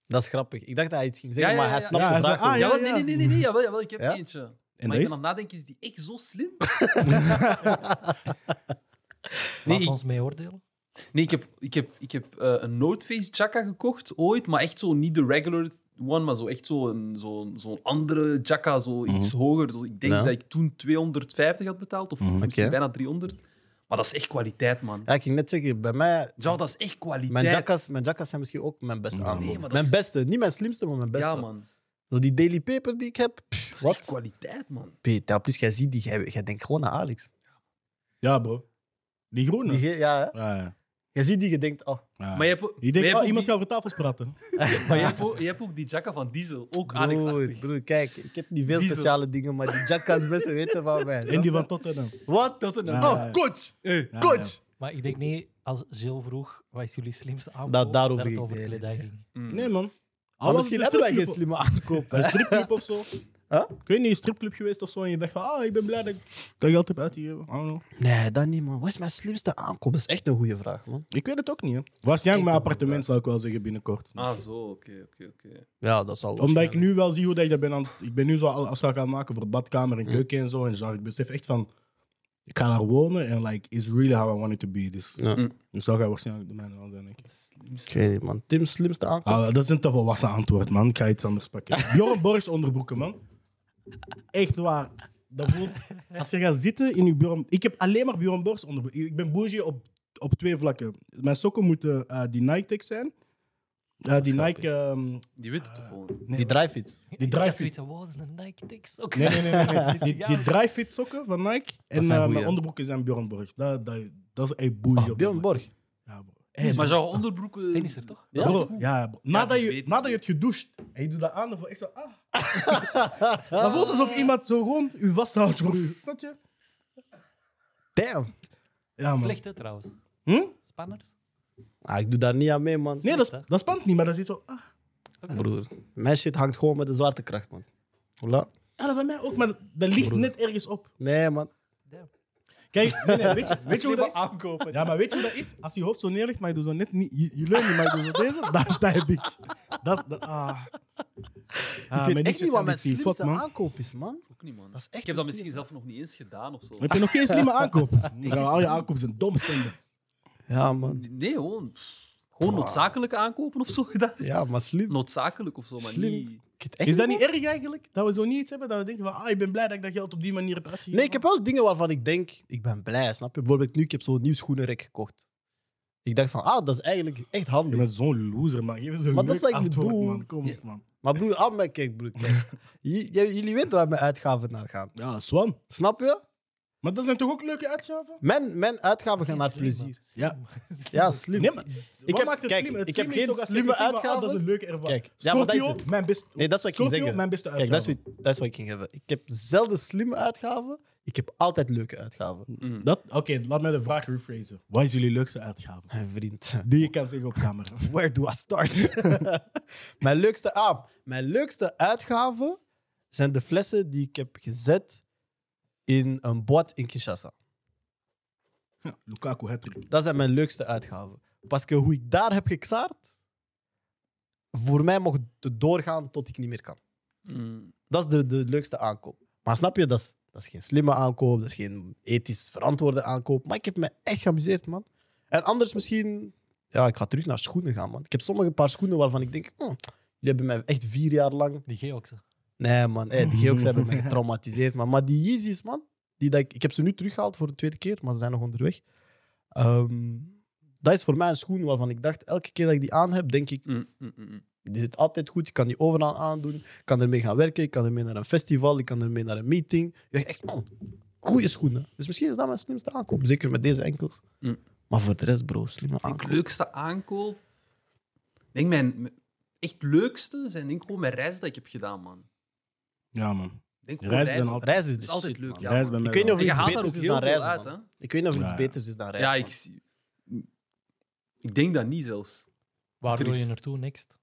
[SPEAKER 1] Dat is grappig. Ik dacht dat hij iets ging zeggen,
[SPEAKER 2] Ja, ja,
[SPEAKER 1] maar hij
[SPEAKER 2] ja,
[SPEAKER 1] snapt
[SPEAKER 3] ja.
[SPEAKER 1] de
[SPEAKER 3] Ja, hij
[SPEAKER 1] vraag
[SPEAKER 3] zei,
[SPEAKER 1] ook
[SPEAKER 3] ah,
[SPEAKER 1] niet.
[SPEAKER 2] Ja,
[SPEAKER 3] ja,
[SPEAKER 2] wel, nee, nee, nee,
[SPEAKER 3] ja.
[SPEAKER 2] nee, nee, jawel, jawel, ik heb
[SPEAKER 1] Ja?
[SPEAKER 2] eentje.
[SPEAKER 3] En
[SPEAKER 2] maar
[SPEAKER 3] dat
[SPEAKER 2] ik ben
[SPEAKER 3] is...
[SPEAKER 2] aan het nadenken, is die echt zo slim?
[SPEAKER 5] Laat
[SPEAKER 2] nee, ik,
[SPEAKER 5] ons mee oordelen.
[SPEAKER 2] nee, ik heb, ik heb, ik heb eh, een North Face jacka gekocht ooit, maar echt zo niet de regular one, maar zo echt zo'n zo zo'n andere jacka, zo iets hoger. Zo, ik denk
[SPEAKER 1] Ja.
[SPEAKER 2] dat ik toen 250 had betaald, of misschien
[SPEAKER 1] Oké.
[SPEAKER 2] bijna 300. Maar dat is echt kwaliteit, man.
[SPEAKER 1] Ja, ik ging net zeggen, bij mij...
[SPEAKER 2] Ja, dat is echt kwaliteit.
[SPEAKER 1] Mijn jackas, mijn jackas zijn misschien ook mijn beste aankoop.
[SPEAKER 2] maar dat
[SPEAKER 1] mijn
[SPEAKER 2] is-
[SPEAKER 1] beste, niet mijn slimste, maar mijn beste.
[SPEAKER 2] Ja, man.
[SPEAKER 1] Zo die daily paper die ik heb, pff,
[SPEAKER 2] Dat is echt
[SPEAKER 1] wat?
[SPEAKER 2] kwaliteit, man.
[SPEAKER 1] Peter, plus jij ziet die, jij, jij denkt gewoon naar Alex.
[SPEAKER 3] Ja, bro. Die groene.
[SPEAKER 1] Die, ge- ja, hè?
[SPEAKER 3] Ja, ja.
[SPEAKER 1] jij ziet die, je denkt, oh,
[SPEAKER 3] ja.
[SPEAKER 2] Maar je hebt, ook-
[SPEAKER 3] ik
[SPEAKER 2] maar
[SPEAKER 3] denk,
[SPEAKER 2] je
[SPEAKER 3] oh,
[SPEAKER 2] hebt ook
[SPEAKER 3] iemand
[SPEAKER 2] die-
[SPEAKER 3] gaat over tafels praten.
[SPEAKER 2] maar je hebt ook- je hebt ook die jacka van Diesel, ook Alex.
[SPEAKER 1] broer, broer, kijk, ik heb niet veel
[SPEAKER 2] Diesel.
[SPEAKER 1] speciale dingen, maar die jackas mensen weten van mij.
[SPEAKER 3] En die van Tottenham.
[SPEAKER 1] Wat?
[SPEAKER 2] Dat is een
[SPEAKER 3] Ja, ja,
[SPEAKER 1] Oh,
[SPEAKER 3] ja.
[SPEAKER 1] coach! Hey,
[SPEAKER 3] Ja,
[SPEAKER 1] coach!
[SPEAKER 5] Maar ik denk niet, als Jill vroeg, wat is jullie slimste aankoop?
[SPEAKER 1] daarover
[SPEAKER 5] dat het
[SPEAKER 1] ging
[SPEAKER 5] over
[SPEAKER 1] het, nee,
[SPEAKER 5] kledij ging.
[SPEAKER 3] Nee, man.
[SPEAKER 1] Maar misschien hebben wij geen slimme aankopen.
[SPEAKER 3] Een stripclub of zo.
[SPEAKER 1] Huh?
[SPEAKER 3] Ik weet niet, een stripclub geweest of zo. En je dacht van, ah, ik ben blij dat ik dat geld heb uitgegeven. I don't know.
[SPEAKER 1] Nee, dat niet, man. Wat is mijn slimste aankoop? Dat is echt een goede vraag, man.
[SPEAKER 3] Ik weet het ook niet, hè. Waarschijnlijk mijn appartement, zou ik wel zeggen, binnenkort.
[SPEAKER 2] Ah, zo, oké, oké, oké.
[SPEAKER 1] Ja, dat zal
[SPEAKER 3] Omdat ik nu wel zie hoe dat ik dat ben aan... het- Ik ben nu zo al afspraak aan het maken voor badkamer
[SPEAKER 1] Hm.
[SPEAKER 3] en keuken en zo. En zo, ik besef echt van... Ik ga daar wonen en like, it's really how I want it to be. Dus,
[SPEAKER 1] Ja.
[SPEAKER 3] dus dat gaat waarschijnlijk de mijne wel zijn, denk ik.
[SPEAKER 1] Ik weet niet, man. Tim's slimste aankoop?
[SPEAKER 3] Ah, dat is een te volwassen antwoord, man. Ik ga iets anders pakken. Joran Borgs onderbroeken, man. Echt waar. Dat voelt, als je gaat zitten in je Bjorn... Ik heb alleen maar Bjorn Borgs onderbroeken. Ik ben bougie op, op twee vlakken. Mijn sokken moeten eh, die Nike-Tech zijn. Eh, die Nike... ehm,
[SPEAKER 2] Die weet het toch gewoon.
[SPEAKER 3] nee,
[SPEAKER 1] Die drijffiets.
[SPEAKER 3] die
[SPEAKER 5] ik had
[SPEAKER 3] drijffiets.
[SPEAKER 5] zoiets van, wow, dat is een Nike Dus Dix. Oké.
[SPEAKER 3] Nee, nee, nee. nee, nee. Die, die dry-fit sokken van Nike. En
[SPEAKER 1] zijn
[SPEAKER 3] eh,
[SPEAKER 1] goeie,
[SPEAKER 3] mijn
[SPEAKER 1] hè?
[SPEAKER 3] onderbroeken zijn Bjorn Borgs. Dat, dat, dat is echt bougie.
[SPEAKER 1] Ah,
[SPEAKER 3] op dat
[SPEAKER 1] Björn
[SPEAKER 3] vlak.
[SPEAKER 1] Borg.
[SPEAKER 3] Ja, bro. Hey,
[SPEAKER 2] maar jouw onderbroeken...
[SPEAKER 5] Dit is er toch?
[SPEAKER 2] Ja,
[SPEAKER 3] bro, ja, bro. Nadat,
[SPEAKER 2] dus
[SPEAKER 3] je,
[SPEAKER 2] weet-
[SPEAKER 3] nadat je het gedoucht en je doet dat aan, dan voel je echt zo... Ah. dat voelt alsof iemand zo gewoon u vasthoudt, bro. Snap je?
[SPEAKER 1] Damn.
[SPEAKER 3] Ja, man.
[SPEAKER 5] Slecht, hè, trouwens.
[SPEAKER 3] Hm?
[SPEAKER 5] Spanners?
[SPEAKER 1] Ah, ik doe daar niet aan mee, man.
[SPEAKER 3] Nee, dat, is- dat spant niet, maar dat is iets zo... Ah.
[SPEAKER 1] Broer, mijn shit hangt gewoon met de zwaartekracht, man. Hola?
[SPEAKER 3] Ja, dat van mij ook, maar dat, dat ligt net ergens op.
[SPEAKER 1] Nee, man.
[SPEAKER 3] Kijk, nee, nee, weet, je, weet je hoe dat is?
[SPEAKER 5] aankopen.
[SPEAKER 3] Ja, maar weet je hoe dat is? Als je hoofd zo neer ligt, maar je doet zo net niet... Je, je leunt niet, maar je doet zo deze, dat, dat heb ik. Dat is... Dat, ah. Ah,
[SPEAKER 1] ik
[SPEAKER 3] mijn
[SPEAKER 1] weet echt niet
[SPEAKER 3] nietjes
[SPEAKER 1] wat
[SPEAKER 3] kan
[SPEAKER 1] mijn
[SPEAKER 3] ik zien. Fuck,
[SPEAKER 1] slimste
[SPEAKER 3] man.
[SPEAKER 1] aankoop is, man.
[SPEAKER 2] ook niet, man.
[SPEAKER 1] Dat is echt
[SPEAKER 2] ik heb dat misschien zelf nog niet eens gedaan of zo.
[SPEAKER 3] Heb je nog geen slimme aankoop? Ja, al je aankopen zijn dom spenden.
[SPEAKER 1] Ja, man.
[SPEAKER 2] Nee, gewoon... pff, Gewoon noodzakelijke aankopen of zo gedaan.
[SPEAKER 1] Ja, maar slim.
[SPEAKER 2] Noodzakelijk of zo, maar
[SPEAKER 1] Slim.
[SPEAKER 2] niet...
[SPEAKER 1] Ik heb echt
[SPEAKER 3] Is dat niet erg eigenlijk? Dat we zo niet iets hebben dat we denken van, ah, ik ben blij dat ik dat geld op die manier heb uitgegeven.
[SPEAKER 1] Nee, ik heb wel dingen waarvan ik denk, ik ben blij, snap je? Bijvoorbeeld nu, ik heb zo'n nieuw schoenenrek gekocht. Ik dacht van, ah, dat is eigenlijk echt
[SPEAKER 3] Je
[SPEAKER 1] handig.
[SPEAKER 3] bent zo'n loser, man. Geef eens een
[SPEAKER 1] Maar dat
[SPEAKER 3] leuk
[SPEAKER 1] is wat ik
[SPEAKER 3] antwoord,
[SPEAKER 1] bedoel.
[SPEAKER 3] man. Kom op, man.
[SPEAKER 1] Maar broer, al mijn, kijk broer, kijk. J- j- jullie weten waar mijn uitgaven naar gaan.
[SPEAKER 3] Ja, Swan.
[SPEAKER 1] Snap je?
[SPEAKER 3] Maar dat zijn toch ook leuke uitgaven?
[SPEAKER 1] Mijn, mijn uitgaven gaan naar plezier.
[SPEAKER 3] Ja.
[SPEAKER 1] Ja, slim.
[SPEAKER 3] Nee, maar
[SPEAKER 1] Ik
[SPEAKER 3] ik
[SPEAKER 1] heb-
[SPEAKER 3] heb, maakt het
[SPEAKER 1] kijk,
[SPEAKER 3] slim? Het
[SPEAKER 1] ik heb
[SPEAKER 3] slimme
[SPEAKER 1] geen
[SPEAKER 3] is toch als je
[SPEAKER 1] slimme
[SPEAKER 3] iets ziet van, ah, Dat is
[SPEAKER 1] uitgaven?
[SPEAKER 3] een leuke ervaring.
[SPEAKER 1] Kijk, ja, maar dat is
[SPEAKER 3] Scorpio,
[SPEAKER 1] het.
[SPEAKER 3] mijn beste
[SPEAKER 1] Nee, dat is wat ik ging
[SPEAKER 3] Scorpio,
[SPEAKER 1] zeggen.
[SPEAKER 3] mijn beste
[SPEAKER 1] Kijk,
[SPEAKER 3] uitgave.
[SPEAKER 1] dat is, wat, dat is wat ik ging geven. Ik heb zelden slimme uitgaven. Ik heb altijd leuke uitgaven.
[SPEAKER 3] Dat- Oké, laat mij de vraag rephrase. Wat is jullie leukste uitgave?
[SPEAKER 1] Mijn vriend.
[SPEAKER 3] Die je kan zeggen op camera.
[SPEAKER 1] Where do I start? mijn, leukste, ah, mijn leukste uitgaven zijn de flessen die ik heb gezet in een boot in Kinshasa.
[SPEAKER 3] Ja, Lukaku, hattrick.
[SPEAKER 1] Dat zijn mijn leukste uitgaven. Pas hoe ik daar heb geksaard, voor mij mocht het doorgaan tot ik niet meer kan.
[SPEAKER 2] Mm.
[SPEAKER 1] Dat is de, de leukste aankoop. Maar snap je, dat is, dat is geen slimme aankoop, dat is geen ethisch verantwoorde aankoop. Maar ik heb me echt geamuseerd, man. En anders misschien, ja, ik ga terug naar schoenen gaan, man. Ik heb sommige paar schoenen waarvan ik denk, hm, jullie hebben mij echt vier jaar lang.
[SPEAKER 5] Die Geoxen.
[SPEAKER 1] Nee, man, hey, die Geox hebben mij getraumatiseerd, man. Maar die Yeezys, man, die dat ik, ik heb ze nu teruggehaald voor de tweede keer, maar ze zijn nog onderweg. Ehm, dat is voor mij een schoen waarvan ik dacht, elke keer dat ik die aan heb, denk ik,
[SPEAKER 2] Mm, mm, mm, mm.
[SPEAKER 1] die zit altijd goed. Ik kan die overal aandoen. Ik kan ermee gaan werken. Ik kan ermee naar een festival. Ik kan ermee naar een meeting. Ik dacht echt, man, goede schoenen. Dus misschien is dat mijn slimste aankoop. Zeker met deze enkels.
[SPEAKER 2] Mm.
[SPEAKER 1] Maar voor de rest, bro, slimme
[SPEAKER 2] Ik denk
[SPEAKER 1] aankoop.
[SPEAKER 2] leukste aankoop. Ik denk mijn, mijn echt leukste zijn denk ik gewoon mijn reis dat ik heb gedaan, man.
[SPEAKER 3] Ja, man.
[SPEAKER 2] Ik Denk gewoon
[SPEAKER 3] Reizen zijn
[SPEAKER 2] reizen.
[SPEAKER 3] altijd...
[SPEAKER 1] Reizen is,
[SPEAKER 2] Dat
[SPEAKER 1] de
[SPEAKER 2] is altijd
[SPEAKER 1] shit,
[SPEAKER 2] leuk,
[SPEAKER 1] man.
[SPEAKER 2] ja.
[SPEAKER 3] Reis
[SPEAKER 2] man.
[SPEAKER 3] bij
[SPEAKER 1] Ik weet niet
[SPEAKER 3] mij
[SPEAKER 1] of
[SPEAKER 2] En
[SPEAKER 1] er
[SPEAKER 2] je
[SPEAKER 1] iets
[SPEAKER 2] haalt daar ook
[SPEAKER 1] beters is
[SPEAKER 2] heel
[SPEAKER 1] dan
[SPEAKER 2] veel
[SPEAKER 1] reizen,
[SPEAKER 2] uit,
[SPEAKER 1] man.
[SPEAKER 2] hè?
[SPEAKER 1] Ik weet niet of er iets
[SPEAKER 3] Ja.
[SPEAKER 1] beters is dan reizen.
[SPEAKER 2] Ja,
[SPEAKER 1] man.
[SPEAKER 2] ik, zie- ik denk dat niet zelfs.
[SPEAKER 5] Waar
[SPEAKER 2] Er
[SPEAKER 5] wil je
[SPEAKER 2] is-
[SPEAKER 5] naartoe next?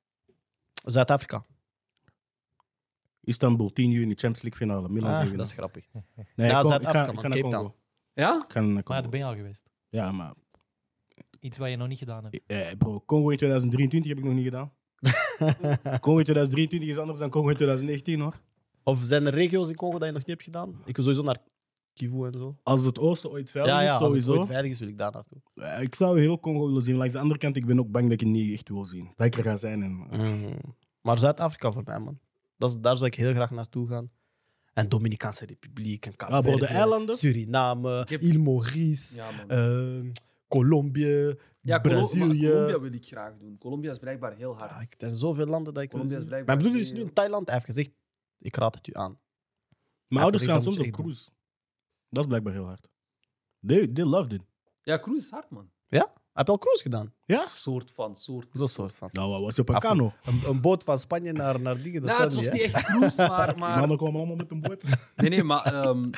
[SPEAKER 1] Zuid-Afrika.
[SPEAKER 3] Istanbul, 10 juni, Champions League finale. Milan
[SPEAKER 1] Ah,
[SPEAKER 3] tegen
[SPEAKER 1] dat is grappig.
[SPEAKER 3] Nee,
[SPEAKER 1] Ja,
[SPEAKER 3] ik kom-
[SPEAKER 1] Zuid-Afrika,
[SPEAKER 3] ik ga-
[SPEAKER 1] man,
[SPEAKER 3] ik ga naar
[SPEAKER 1] Cape
[SPEAKER 3] Congo.
[SPEAKER 1] Town.
[SPEAKER 2] Ja?
[SPEAKER 3] Ik ga naar
[SPEAKER 5] Maar ja, daar
[SPEAKER 3] Congo.
[SPEAKER 5] ben je al geweest.
[SPEAKER 3] Ja, maar
[SPEAKER 5] Iets wat je nog niet gedaan hebt.
[SPEAKER 3] eh, bro, Congo in 2023 heb ik nog niet gedaan. Congo in 2023 is anders dan Congo in 2019 hoor.
[SPEAKER 1] Of zijn er regio's in Congo dat je nog niet hebt gedaan? Ik wil sowieso naar Kivu en zo.
[SPEAKER 3] Als het oosten ooit veilig
[SPEAKER 1] Ja, ja,
[SPEAKER 3] is,
[SPEAKER 1] als het
[SPEAKER 3] sowieso.
[SPEAKER 1] ooit veilig is, wil ik daar naartoe.
[SPEAKER 3] Eh, ik zou heel Congo willen zien. Langs de andere kant, ik ben ook bang dat ik het niet echt wil zien. Dat ik er ga zijn. En, eh,
[SPEAKER 1] Mm. Maar Zuid-Afrika voor mij, man. Dat is, daar zou ik heel graag naartoe gaan. En Dominicaanse Republiek en Cabo
[SPEAKER 3] Ah, bro, de eilanden?
[SPEAKER 1] Suriname,
[SPEAKER 2] heb-
[SPEAKER 1] Ile Maurice,
[SPEAKER 2] Ja, man.
[SPEAKER 1] ehm, Colombië,
[SPEAKER 2] ja, Colo- maar
[SPEAKER 1] Brazilië.
[SPEAKER 2] Colombia wil ik graag doen. Colombia is blijkbaar heel hard.
[SPEAKER 1] Ah, ik- er zijn zoveel landen dat ik wil
[SPEAKER 2] Colombia is
[SPEAKER 1] zien.
[SPEAKER 2] blijkbaar eh,
[SPEAKER 1] Mijn broer is
[SPEAKER 2] heel-
[SPEAKER 1] nu in Thailand. Hij heeft gezegd, ik raad het u aan.
[SPEAKER 3] Mijn ouders
[SPEAKER 1] Afrika
[SPEAKER 3] gaan
[SPEAKER 1] moet je
[SPEAKER 3] soms
[SPEAKER 1] echt
[SPEAKER 3] op
[SPEAKER 1] doen.
[SPEAKER 3] cruise. Dat is blijkbaar heel hard. They, they loved it.
[SPEAKER 2] Ja, cruise is hard, man.
[SPEAKER 1] Hij heeft al cruise gedaan.
[SPEAKER 3] Ja?
[SPEAKER 2] Soort van, soort.
[SPEAKER 1] Zo'n soort van.
[SPEAKER 3] Nou, wat was je op een
[SPEAKER 1] Af-
[SPEAKER 3] kano?
[SPEAKER 1] Een, een boot van Spanje naar, naar dingen. Dat
[SPEAKER 2] Nou,
[SPEAKER 1] kan
[SPEAKER 2] het was
[SPEAKER 1] niet, hè?
[SPEAKER 2] niet echt cruise, maar... maar
[SPEAKER 3] Mannen kwamen allemaal met een boot.
[SPEAKER 2] Nee, nee, maar ehm,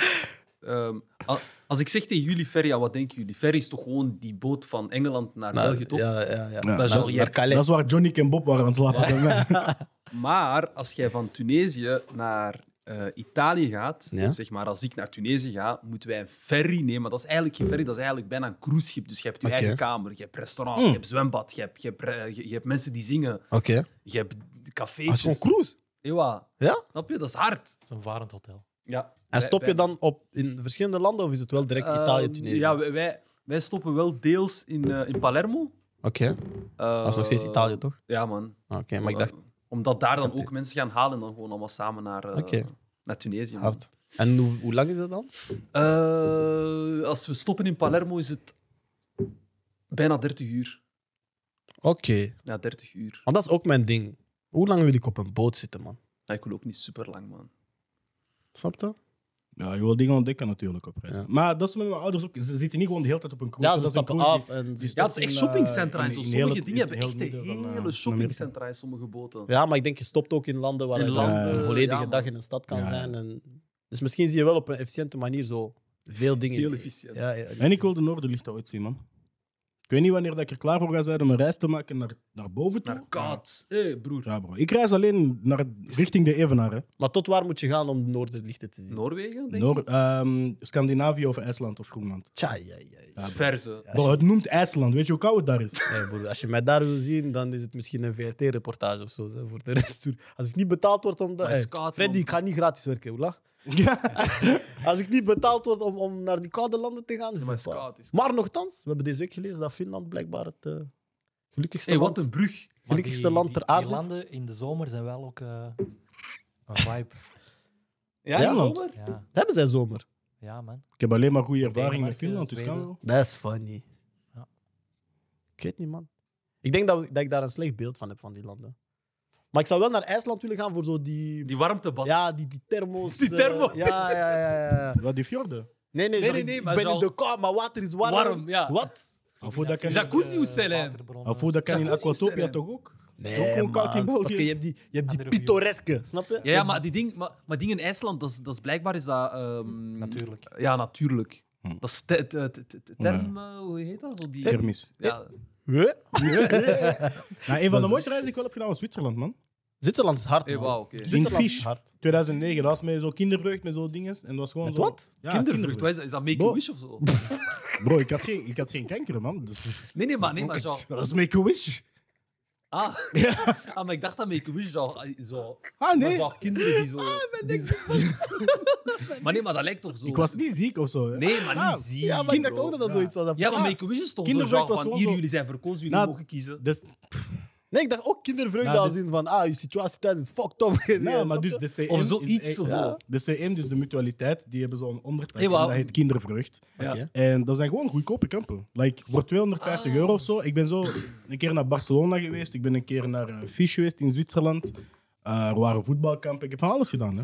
[SPEAKER 2] ehm, a- als ik zeg tegen jullie ferry, ja, wat denken jullie? Ferry is toch gewoon die boot van Engeland naar
[SPEAKER 1] Nou,
[SPEAKER 2] België, toch?
[SPEAKER 1] Ja, ja, ja.
[SPEAKER 3] dat
[SPEAKER 1] Naar-
[SPEAKER 3] is
[SPEAKER 2] wel
[SPEAKER 1] naar
[SPEAKER 2] hier.
[SPEAKER 1] Calais.
[SPEAKER 3] Dat is waar Johnny en Bob waren aan het slapen. bij mij.
[SPEAKER 2] Maar als jij van Tunesië naar eh, Italië gaat,
[SPEAKER 1] Ja.
[SPEAKER 2] of zeg maar als ik naar Tunesië ga, moeten wij een ferry nemen. Maar dat is eigenlijk geen ferry, dat is eigenlijk bijna een cruiseschip. Dus je hebt je
[SPEAKER 1] Oké. Mm.
[SPEAKER 2] eigen kamer, je hebt restaurants, je hebt zwembad, je hebt, je, hebt, eh, je, je hebt mensen die zingen,
[SPEAKER 1] Oké. Ah,
[SPEAKER 2] je hebt
[SPEAKER 1] Het is
[SPEAKER 2] cafés.
[SPEAKER 1] gewoon Ah, cruise.
[SPEAKER 2] Ewa.
[SPEAKER 1] Ja?
[SPEAKER 2] Snap je? Dat is hard.
[SPEAKER 5] Het is een varend hotel.
[SPEAKER 2] Ja.
[SPEAKER 1] En
[SPEAKER 2] Wij-
[SPEAKER 1] stop je
[SPEAKER 2] wij-
[SPEAKER 1] dan op, in verschillende landen of is het wel direct
[SPEAKER 2] Ehm,
[SPEAKER 1] Italië, Tunesië?
[SPEAKER 2] Ja, wij- wij, wij stoppen wel deels in, eh, in Palermo.
[SPEAKER 1] Oké,
[SPEAKER 2] Eh,
[SPEAKER 1] dat is nog steeds Italië, toch?
[SPEAKER 2] Ja, man.
[SPEAKER 1] Ah, Oké, maar ik dacht
[SPEAKER 2] Eh, Omdat daar dan
[SPEAKER 1] Oké.
[SPEAKER 2] ook mensen gaan halen en dan gewoon allemaal samen naar, eh,
[SPEAKER 1] Oké.
[SPEAKER 2] naar Tunesië. man.
[SPEAKER 1] hard. En hoe, hoe lang is dat dan?
[SPEAKER 2] Eh, als we stoppen in Palermo is het bijna 30 uur.
[SPEAKER 1] Oké,
[SPEAKER 2] Ja, 30 uur.
[SPEAKER 1] want dat is ook mijn ding. Hoe lang wil ik op een boot zitten, man?
[SPEAKER 2] Ja, ik wil ook niet super lang, man.
[SPEAKER 1] Snap je?
[SPEAKER 3] Ja, je wil dingen ontdekken natuurlijk op reis.
[SPEAKER 1] Ja.
[SPEAKER 3] Maar dat is met mijn ouders ook. Ze zitten niet gewoon de hele tijd op een cruise.
[SPEAKER 1] Ja, ze
[SPEAKER 3] Dat is een
[SPEAKER 1] stappen
[SPEAKER 3] cruise
[SPEAKER 1] af
[SPEAKER 3] die-
[SPEAKER 1] en...
[SPEAKER 3] die
[SPEAKER 2] Ja,
[SPEAKER 3] stopt
[SPEAKER 2] het is echt
[SPEAKER 3] in,
[SPEAKER 2] shoppingcentra
[SPEAKER 3] eh,
[SPEAKER 2] en zo.
[SPEAKER 3] in heel
[SPEAKER 2] Sommige
[SPEAKER 3] het-
[SPEAKER 2] dingen hebben
[SPEAKER 3] heel
[SPEAKER 2] echt de
[SPEAKER 3] midden van, eh,
[SPEAKER 2] hele
[SPEAKER 3] Amerika.
[SPEAKER 2] shoppingcentra in sommige boten.
[SPEAKER 1] Ja, maar ik denk je stopt ook in landen waar
[SPEAKER 2] In
[SPEAKER 1] je
[SPEAKER 3] landen,
[SPEAKER 1] een volledige
[SPEAKER 2] ja, man.
[SPEAKER 1] dag in een stad kan
[SPEAKER 3] Ja, ja.
[SPEAKER 1] zijn. En... Dus misschien zie je wel op een efficiënte manier zo veel dingen.
[SPEAKER 2] Heel efficiënt.
[SPEAKER 1] Ja, ja.
[SPEAKER 3] En ik wil de Noorderlicht ooit zien, man. Ik weet niet wanneer dat ik er klaar voor ga zijn om een reis te maken naar, naar boven toe.
[SPEAKER 2] Naar God. Hé, broer.
[SPEAKER 3] Ja, bro. Ik reis alleen naar, richting de Evenaar. Hè.
[SPEAKER 1] Maar tot waar moet je gaan om de Noorderlichten te zien?
[SPEAKER 2] Noorwegen, denk
[SPEAKER 3] Noor,
[SPEAKER 2] ik.
[SPEAKER 3] ehm, Scandinavië of IJsland of Groenland.
[SPEAKER 1] Tja, ja, ja, ja.
[SPEAKER 2] Het is verse.
[SPEAKER 3] Bro, het noemt IJsland. Weet je hoe koud het daar is?
[SPEAKER 1] Hey, broer, als je mij daar wil zien, dan is het misschien een VRT-reportage of zo. Hè, voor de rest. hoor. Als ik niet betaald word om. De...
[SPEAKER 2] Maar
[SPEAKER 1] Hey,
[SPEAKER 2] Scotland-
[SPEAKER 1] Freddy, ik ga niet gratis werken, hoe lach?
[SPEAKER 3] ja.
[SPEAKER 1] Als ik niet betaald word om, om naar die koude landen te gaan. is
[SPEAKER 2] Ja, maar
[SPEAKER 1] het waar.
[SPEAKER 2] Scott is-
[SPEAKER 1] Maar nochtans, we hebben deze week gelezen dat Finland blijkbaar het eh, gelukkigste,
[SPEAKER 2] Hé, wat
[SPEAKER 1] land,
[SPEAKER 2] een brug.
[SPEAKER 1] gelukkigste land ter aarde
[SPEAKER 5] Die
[SPEAKER 1] is.
[SPEAKER 5] landen in de zomer zijn wel ook eh, een vibe.
[SPEAKER 2] Ja,
[SPEAKER 1] Ja,
[SPEAKER 2] in
[SPEAKER 1] want-
[SPEAKER 2] zomer?
[SPEAKER 5] ja,
[SPEAKER 1] Hebben zij zomer?
[SPEAKER 5] ja, man.
[SPEAKER 3] Ik heb alleen maar goede ervaring met
[SPEAKER 5] Denemarken,
[SPEAKER 3] Finland, dus kan
[SPEAKER 5] Zweden.
[SPEAKER 3] wel.
[SPEAKER 1] Dat is funny.
[SPEAKER 5] Ja.
[SPEAKER 1] Ik weet niet, man. Ik denk dat, dat ik daar een slecht beeld van heb van die landen. Maar ik zou wel naar IJsland willen gaan voor zo die.
[SPEAKER 2] Die warmtebad.
[SPEAKER 1] ja, die, die thermos.
[SPEAKER 2] Die
[SPEAKER 1] eh,
[SPEAKER 2] thermo.
[SPEAKER 1] ja, ja, ja, ja, ja.
[SPEAKER 3] Wat die fjorden?
[SPEAKER 1] Nee, nee,
[SPEAKER 2] Nee,
[SPEAKER 1] sorry,
[SPEAKER 2] nee, nee,
[SPEAKER 1] ik
[SPEAKER 2] maar
[SPEAKER 1] ben
[SPEAKER 2] zo-
[SPEAKER 1] in de kou, maar water is warm.
[SPEAKER 2] Warm, ja.
[SPEAKER 1] Wat?
[SPEAKER 3] Al voor dat kan,
[SPEAKER 2] Jacuzzi
[SPEAKER 5] Eh,
[SPEAKER 2] Oeselijn.
[SPEAKER 5] waterbronnen,
[SPEAKER 3] al voor dat kan in
[SPEAKER 2] Jacuzzi
[SPEAKER 3] Aquatopia
[SPEAKER 2] zijn, hè.
[SPEAKER 3] toch ook? Zo gewoon koud in België.
[SPEAKER 1] Parce que je hebt die, je hebt die
[SPEAKER 5] Andere view.
[SPEAKER 1] pittoreske, snap je?
[SPEAKER 2] Ja, ja, maar die ding, maar, maar ding in IJsland, dat is, dat is blijkbaar is dat... ehm,
[SPEAKER 5] Natuurlijk.
[SPEAKER 2] Ja, natuurlijk.
[SPEAKER 3] Hm.
[SPEAKER 2] Dat is te, te- te- te- te- term, eh, hoe heet dat? Zo die,
[SPEAKER 3] Thermisch.
[SPEAKER 2] ja.
[SPEAKER 1] Huh?
[SPEAKER 3] Nou, een van de mooiste reizen die ik wel heb gedaan was Zwitserland, man.
[SPEAKER 1] Zwitserland is hard,
[SPEAKER 2] Hey,
[SPEAKER 1] man.
[SPEAKER 2] wauw, oké.
[SPEAKER 1] Zwitserland
[SPEAKER 3] Fish.
[SPEAKER 1] is hard.
[SPEAKER 3] 2009, dat was met zo'n kindervreugd, met zo'n dinges. En dat was gewoon
[SPEAKER 1] Met
[SPEAKER 3] zo...
[SPEAKER 1] wat?
[SPEAKER 3] Ja,
[SPEAKER 2] Kindervrucht, wat is dat? Is dat Make-A-Wish of zo?
[SPEAKER 3] Bro, ik had geen, ik had geen kanker, man. Dus,
[SPEAKER 2] Nee, nee, maar, Ah, nee, maar zo...
[SPEAKER 3] dat was make-a-wish.
[SPEAKER 2] Ah, ah, maar ik dacht dat Make-A-Wish zo... zo
[SPEAKER 3] Ah,
[SPEAKER 2] maar
[SPEAKER 3] nee. Ah,
[SPEAKER 2] zo kinderen die zo... die zo- maar nee, maar dat lijkt toch zo...
[SPEAKER 3] Ik was niet ziek of zo. hè.
[SPEAKER 2] Nee, maar niet
[SPEAKER 3] Ah,
[SPEAKER 2] ziek.
[SPEAKER 1] Ja, maar ik dacht
[SPEAKER 2] bro.
[SPEAKER 1] ook dat dat zoiets was.
[SPEAKER 2] Ja, maar
[SPEAKER 1] Ah,
[SPEAKER 2] Make-A-Wish is toch zo,
[SPEAKER 3] kindervrucht
[SPEAKER 2] zo
[SPEAKER 3] was
[SPEAKER 2] van
[SPEAKER 3] gewoon
[SPEAKER 2] hier,
[SPEAKER 3] zo-
[SPEAKER 2] jullie zijn verkozen, jullie
[SPEAKER 3] Nou,
[SPEAKER 2] mogen kiezen.
[SPEAKER 3] Dus,
[SPEAKER 1] Nee, ik dacht ook kindervreugde
[SPEAKER 3] Nou,
[SPEAKER 1] als
[SPEAKER 3] dit-
[SPEAKER 1] in van, ah, je situatie tijdens is fucked up. Ja,
[SPEAKER 3] nou, maar
[SPEAKER 1] snap
[SPEAKER 3] dus
[SPEAKER 1] je?
[SPEAKER 3] de CM
[SPEAKER 2] Of
[SPEAKER 3] Is, eh,
[SPEAKER 2] zoiets. of
[SPEAKER 1] ja.
[SPEAKER 2] zo.
[SPEAKER 3] de CM, dus de mutualiteit, die hebben zo'n ondertak.
[SPEAKER 2] Hey,
[SPEAKER 3] en
[SPEAKER 2] wauw.
[SPEAKER 3] dat heet kindervrucht.
[SPEAKER 2] Ja.
[SPEAKER 1] Oké.
[SPEAKER 3] En dat zijn gewoon goedkope kampen. Like, voor 250 euro of zo. Ik ben zo een keer naar Barcelona geweest. Ik ben een keer naar eh, Fisch geweest in Zwitserland. Eh, er waren voetbalkampen. Ik heb van alles gedaan. Hè.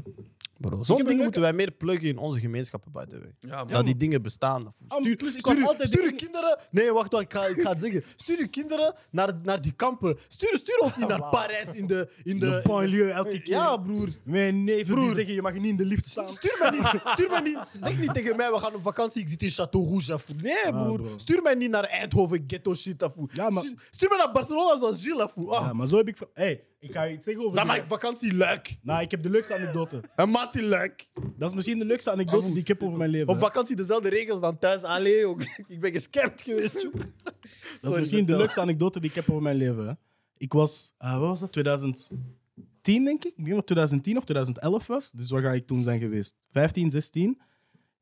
[SPEAKER 1] Zo'n
[SPEAKER 3] een
[SPEAKER 1] dingen
[SPEAKER 3] leuke-
[SPEAKER 1] moeten wij meer pluggen in onze gemeenschappen, by the way.
[SPEAKER 2] Ja, maar-
[SPEAKER 1] dat die dingen bestaan.
[SPEAKER 3] maar
[SPEAKER 1] Stuur,
[SPEAKER 3] Ah, plus, ik
[SPEAKER 1] stuur,
[SPEAKER 3] was altijd-
[SPEAKER 1] stuur uw kinderen... Nee, wacht, wacht ik, ga, ik ga het zeggen. Stuur uw kinderen naar, naar die kampen. Stuur, stuur ons niet naar Parijs in de... In de,
[SPEAKER 3] De banlieue elke keer.
[SPEAKER 1] Ja, broer.
[SPEAKER 3] Mijn neven
[SPEAKER 1] Broer.
[SPEAKER 3] die zeggen, je mag niet in de lift staan.
[SPEAKER 1] Stuur mij, niet, stuur mij niet... Zeg niet tegen mij, we gaan op vakantie, ik zit in Château Rouge. afvoer. Nee,
[SPEAKER 3] Ah,
[SPEAKER 1] broer.
[SPEAKER 3] bro.
[SPEAKER 1] Stuur mij niet naar Eindhoven, ghetto shit. afvoer.
[SPEAKER 3] Ja, maar-
[SPEAKER 1] Stuur, stuur mij naar Barcelona zoals Gilles. afvoer. Ah,
[SPEAKER 3] Ja, maar zo heb ik... van- hey, ik ga je iets zeggen over...
[SPEAKER 1] Dan
[SPEAKER 3] die-
[SPEAKER 1] maak ik vakantie leuk.
[SPEAKER 3] Nou, ik heb de leukste anekdote.
[SPEAKER 1] Een maand in leuk.
[SPEAKER 3] Dat is misschien de leukste anekdote die ik heb over mijn leven.
[SPEAKER 1] Op
[SPEAKER 3] hè.
[SPEAKER 1] vakantie dezelfde regels dan thuis. Allee, jong. ik ben gescampt geweest. jong.
[SPEAKER 3] Dat
[SPEAKER 1] Sorry,
[SPEAKER 3] is misschien de
[SPEAKER 1] vertel.
[SPEAKER 3] leukste anekdote die ik heb over mijn leven. hè. Ik was, eh, wat was dat, 2010 denk ik? Ik denk dat het 2010 of 2011 was. Dus waar ga ik toen zijn geweest? 15, 16.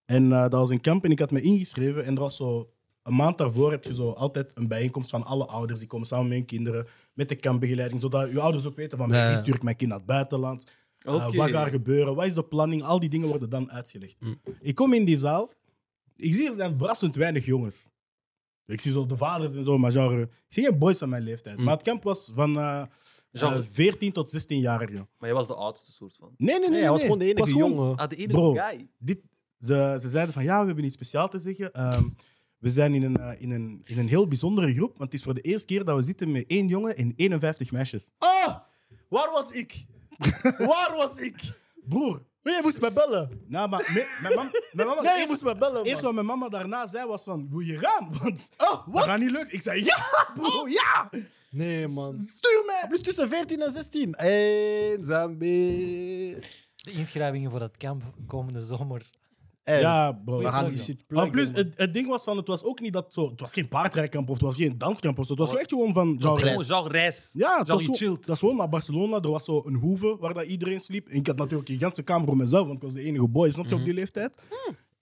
[SPEAKER 3] En eh, dat was een kamp en ik had me ingeschreven. En er was zo, een maand daarvoor heb je zo altijd een bijeenkomst van alle ouders. Die komen samen met hun kinderen, met de kampbegeleiding. Zodat je ouders ook weten van,
[SPEAKER 2] Ja.
[SPEAKER 3] wie stuur ik mijn kind naar het buitenland? Eh,
[SPEAKER 2] Oké. Hm.
[SPEAKER 3] wat gaat er gebeuren? Wat is de planning? Al die dingen worden dan uitgelegd. Ik kom in die zaal. Ik zie er zijn verrassend weinig jongens. Ik zie zo de vaders en zo, maar genre... Ik zie geen boys aan mijn
[SPEAKER 2] Mm.
[SPEAKER 3] leeftijd. Maar het kamp was van eh,
[SPEAKER 2] Genre-
[SPEAKER 3] eh, 14 tot 16-jarigen.
[SPEAKER 2] Maar jij was de oudste soort van.
[SPEAKER 3] Nee, nee, nee.
[SPEAKER 1] Nee, hij was gewoon de
[SPEAKER 3] Ik
[SPEAKER 1] enige
[SPEAKER 3] gewoon-
[SPEAKER 1] jongen.
[SPEAKER 2] Ah, de enige
[SPEAKER 3] Bro.
[SPEAKER 2] guy.
[SPEAKER 3] Dit, ze, ze zeiden van, ja, we hebben iets speciaals te zeggen. Ehm, we zijn in een, eh, in, een, in een heel bijzondere groep, want het is voor de eerste keer dat we zitten met één jongen en 51 meisjes.
[SPEAKER 1] Ah, waar was ik? waar was ik?
[SPEAKER 3] Broer,
[SPEAKER 1] Nee, je moest me bellen.
[SPEAKER 3] nou, maar me- mijn mam- mijn mama...
[SPEAKER 1] Nee, je
[SPEAKER 3] eerst-
[SPEAKER 1] moest me bellen.
[SPEAKER 3] Eerst
[SPEAKER 1] man.
[SPEAKER 3] wat mijn mama daarna zei was van, wil je gaan? Want
[SPEAKER 1] Oh,
[SPEAKER 3] dat
[SPEAKER 1] wat? Oh,
[SPEAKER 3] gaat niet lukken. Ik zei, ja, bro, ja!
[SPEAKER 1] Nee, man.
[SPEAKER 3] Stuur mij!
[SPEAKER 1] Plus tussen 14 en 16. Eenzaam beer.
[SPEAKER 5] De inschrijvingen voor dat kamp komende zomer.
[SPEAKER 1] Hey,
[SPEAKER 3] Ja, bro.
[SPEAKER 1] we gaan die
[SPEAKER 5] Ja.
[SPEAKER 1] shit
[SPEAKER 3] Maar
[SPEAKER 1] pluggen.
[SPEAKER 3] plus,
[SPEAKER 1] man.
[SPEAKER 3] het, het ding was van, het was ook niet dat zo... Het was geen paardrijkamp of het was geen danskamp of zo. Het was echt gewoon van...
[SPEAKER 2] Dat is gewoon
[SPEAKER 3] genre-
[SPEAKER 2] genre reis.
[SPEAKER 3] ja, het
[SPEAKER 2] Genre
[SPEAKER 3] was,
[SPEAKER 2] je
[SPEAKER 3] gewoon,
[SPEAKER 2] chillt.
[SPEAKER 3] dat is gewoon naar Barcelona. Er was zo een hoeve waar dat iedereen sliep. En ik had natuurlijk een ganse kamer voor mezelf, want ik was de enige boy, snap je, op die leeftijd.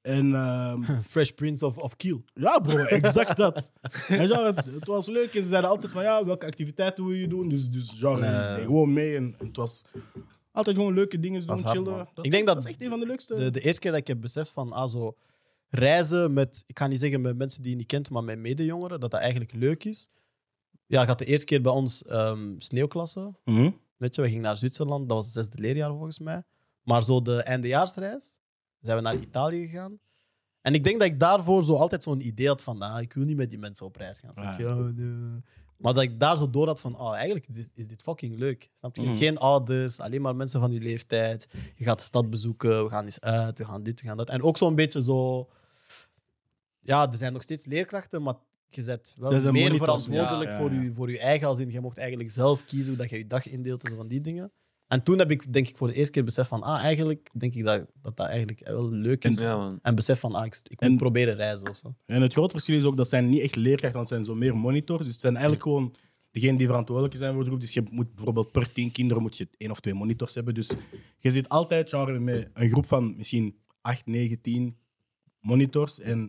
[SPEAKER 3] En ehm,
[SPEAKER 1] Mhm. Fresh Prince of, of Kiel.
[SPEAKER 3] ja, bro, exact dat. En genre, het, het was leuk. En ze zeiden altijd van, ja, welke activiteiten wil je doen? Dus, dus genre,
[SPEAKER 1] Nee.
[SPEAKER 3] nee, gewoon mee. En het was altijd gewoon leuke dingen doen,
[SPEAKER 1] is hard,
[SPEAKER 3] chillen.
[SPEAKER 1] man.
[SPEAKER 3] is-
[SPEAKER 1] Ik denk dat
[SPEAKER 3] is echt een van de leukste.
[SPEAKER 1] De, de eerste keer dat ik heb beseft van ah, zo, reizen met, ik ga niet zeggen met mensen die je niet kent, maar met medejongeren, dat dat eigenlijk leuk is. Ja, ik had de eerste keer bij ons ehm sneeuwklassen.
[SPEAKER 3] Mhm.
[SPEAKER 1] Weet je, we gingen naar Zwitserland, dat was het zesde leerjaar volgens mij. Maar zo de eindejaarsreis, zijn we naar Italië gegaan. En ik denk dat ik daarvoor zo altijd zo'n idee had van, ah, ik wil niet met die mensen op reis gaan. Van,
[SPEAKER 3] Ah.
[SPEAKER 1] ja, nee. Maar dat ik daar zo door had van, oh, eigenlijk is, is dit fucking leuk. Snap je?
[SPEAKER 2] Mhm.
[SPEAKER 1] Geen ouders, alleen maar mensen van je leeftijd. Je gaat de stad bezoeken, we gaan eens uit, we gaan dit, we gaan dat. En ook zo'n beetje zo... Ja, er zijn nog steeds leerkrachten, maar je bent wel
[SPEAKER 3] Zij
[SPEAKER 1] meer
[SPEAKER 3] zijn monitors,
[SPEAKER 1] verantwoordelijk
[SPEAKER 3] ja.
[SPEAKER 1] Voor,
[SPEAKER 3] Ja, ja.
[SPEAKER 1] je, voor je eigen. Als in, je mocht eigenlijk zelf kiezen hoe dat je je dag indeelt en zo van die dingen. En toen heb ik, denk ik, voor de eerste keer besef van, ah, eigenlijk denk ik dat dat, dat eigenlijk wel leuk is.
[SPEAKER 2] Ja, man.
[SPEAKER 1] En besef van, ah, ik, ik moet
[SPEAKER 3] En-
[SPEAKER 1] proberen reizen of zo.
[SPEAKER 3] En het grote verschil is ook dat zijn niet echt leerkrachten, want het zijn zo meer monitors. Dus het zijn eigenlijk gewoon degenen die verantwoordelijk zijn voor de groep. Dus je moet bijvoorbeeld per tien kinderen moet je één of twee monitors hebben. Dus je zit altijd genre, met een groep van misschien acht, negen, tien monitors. En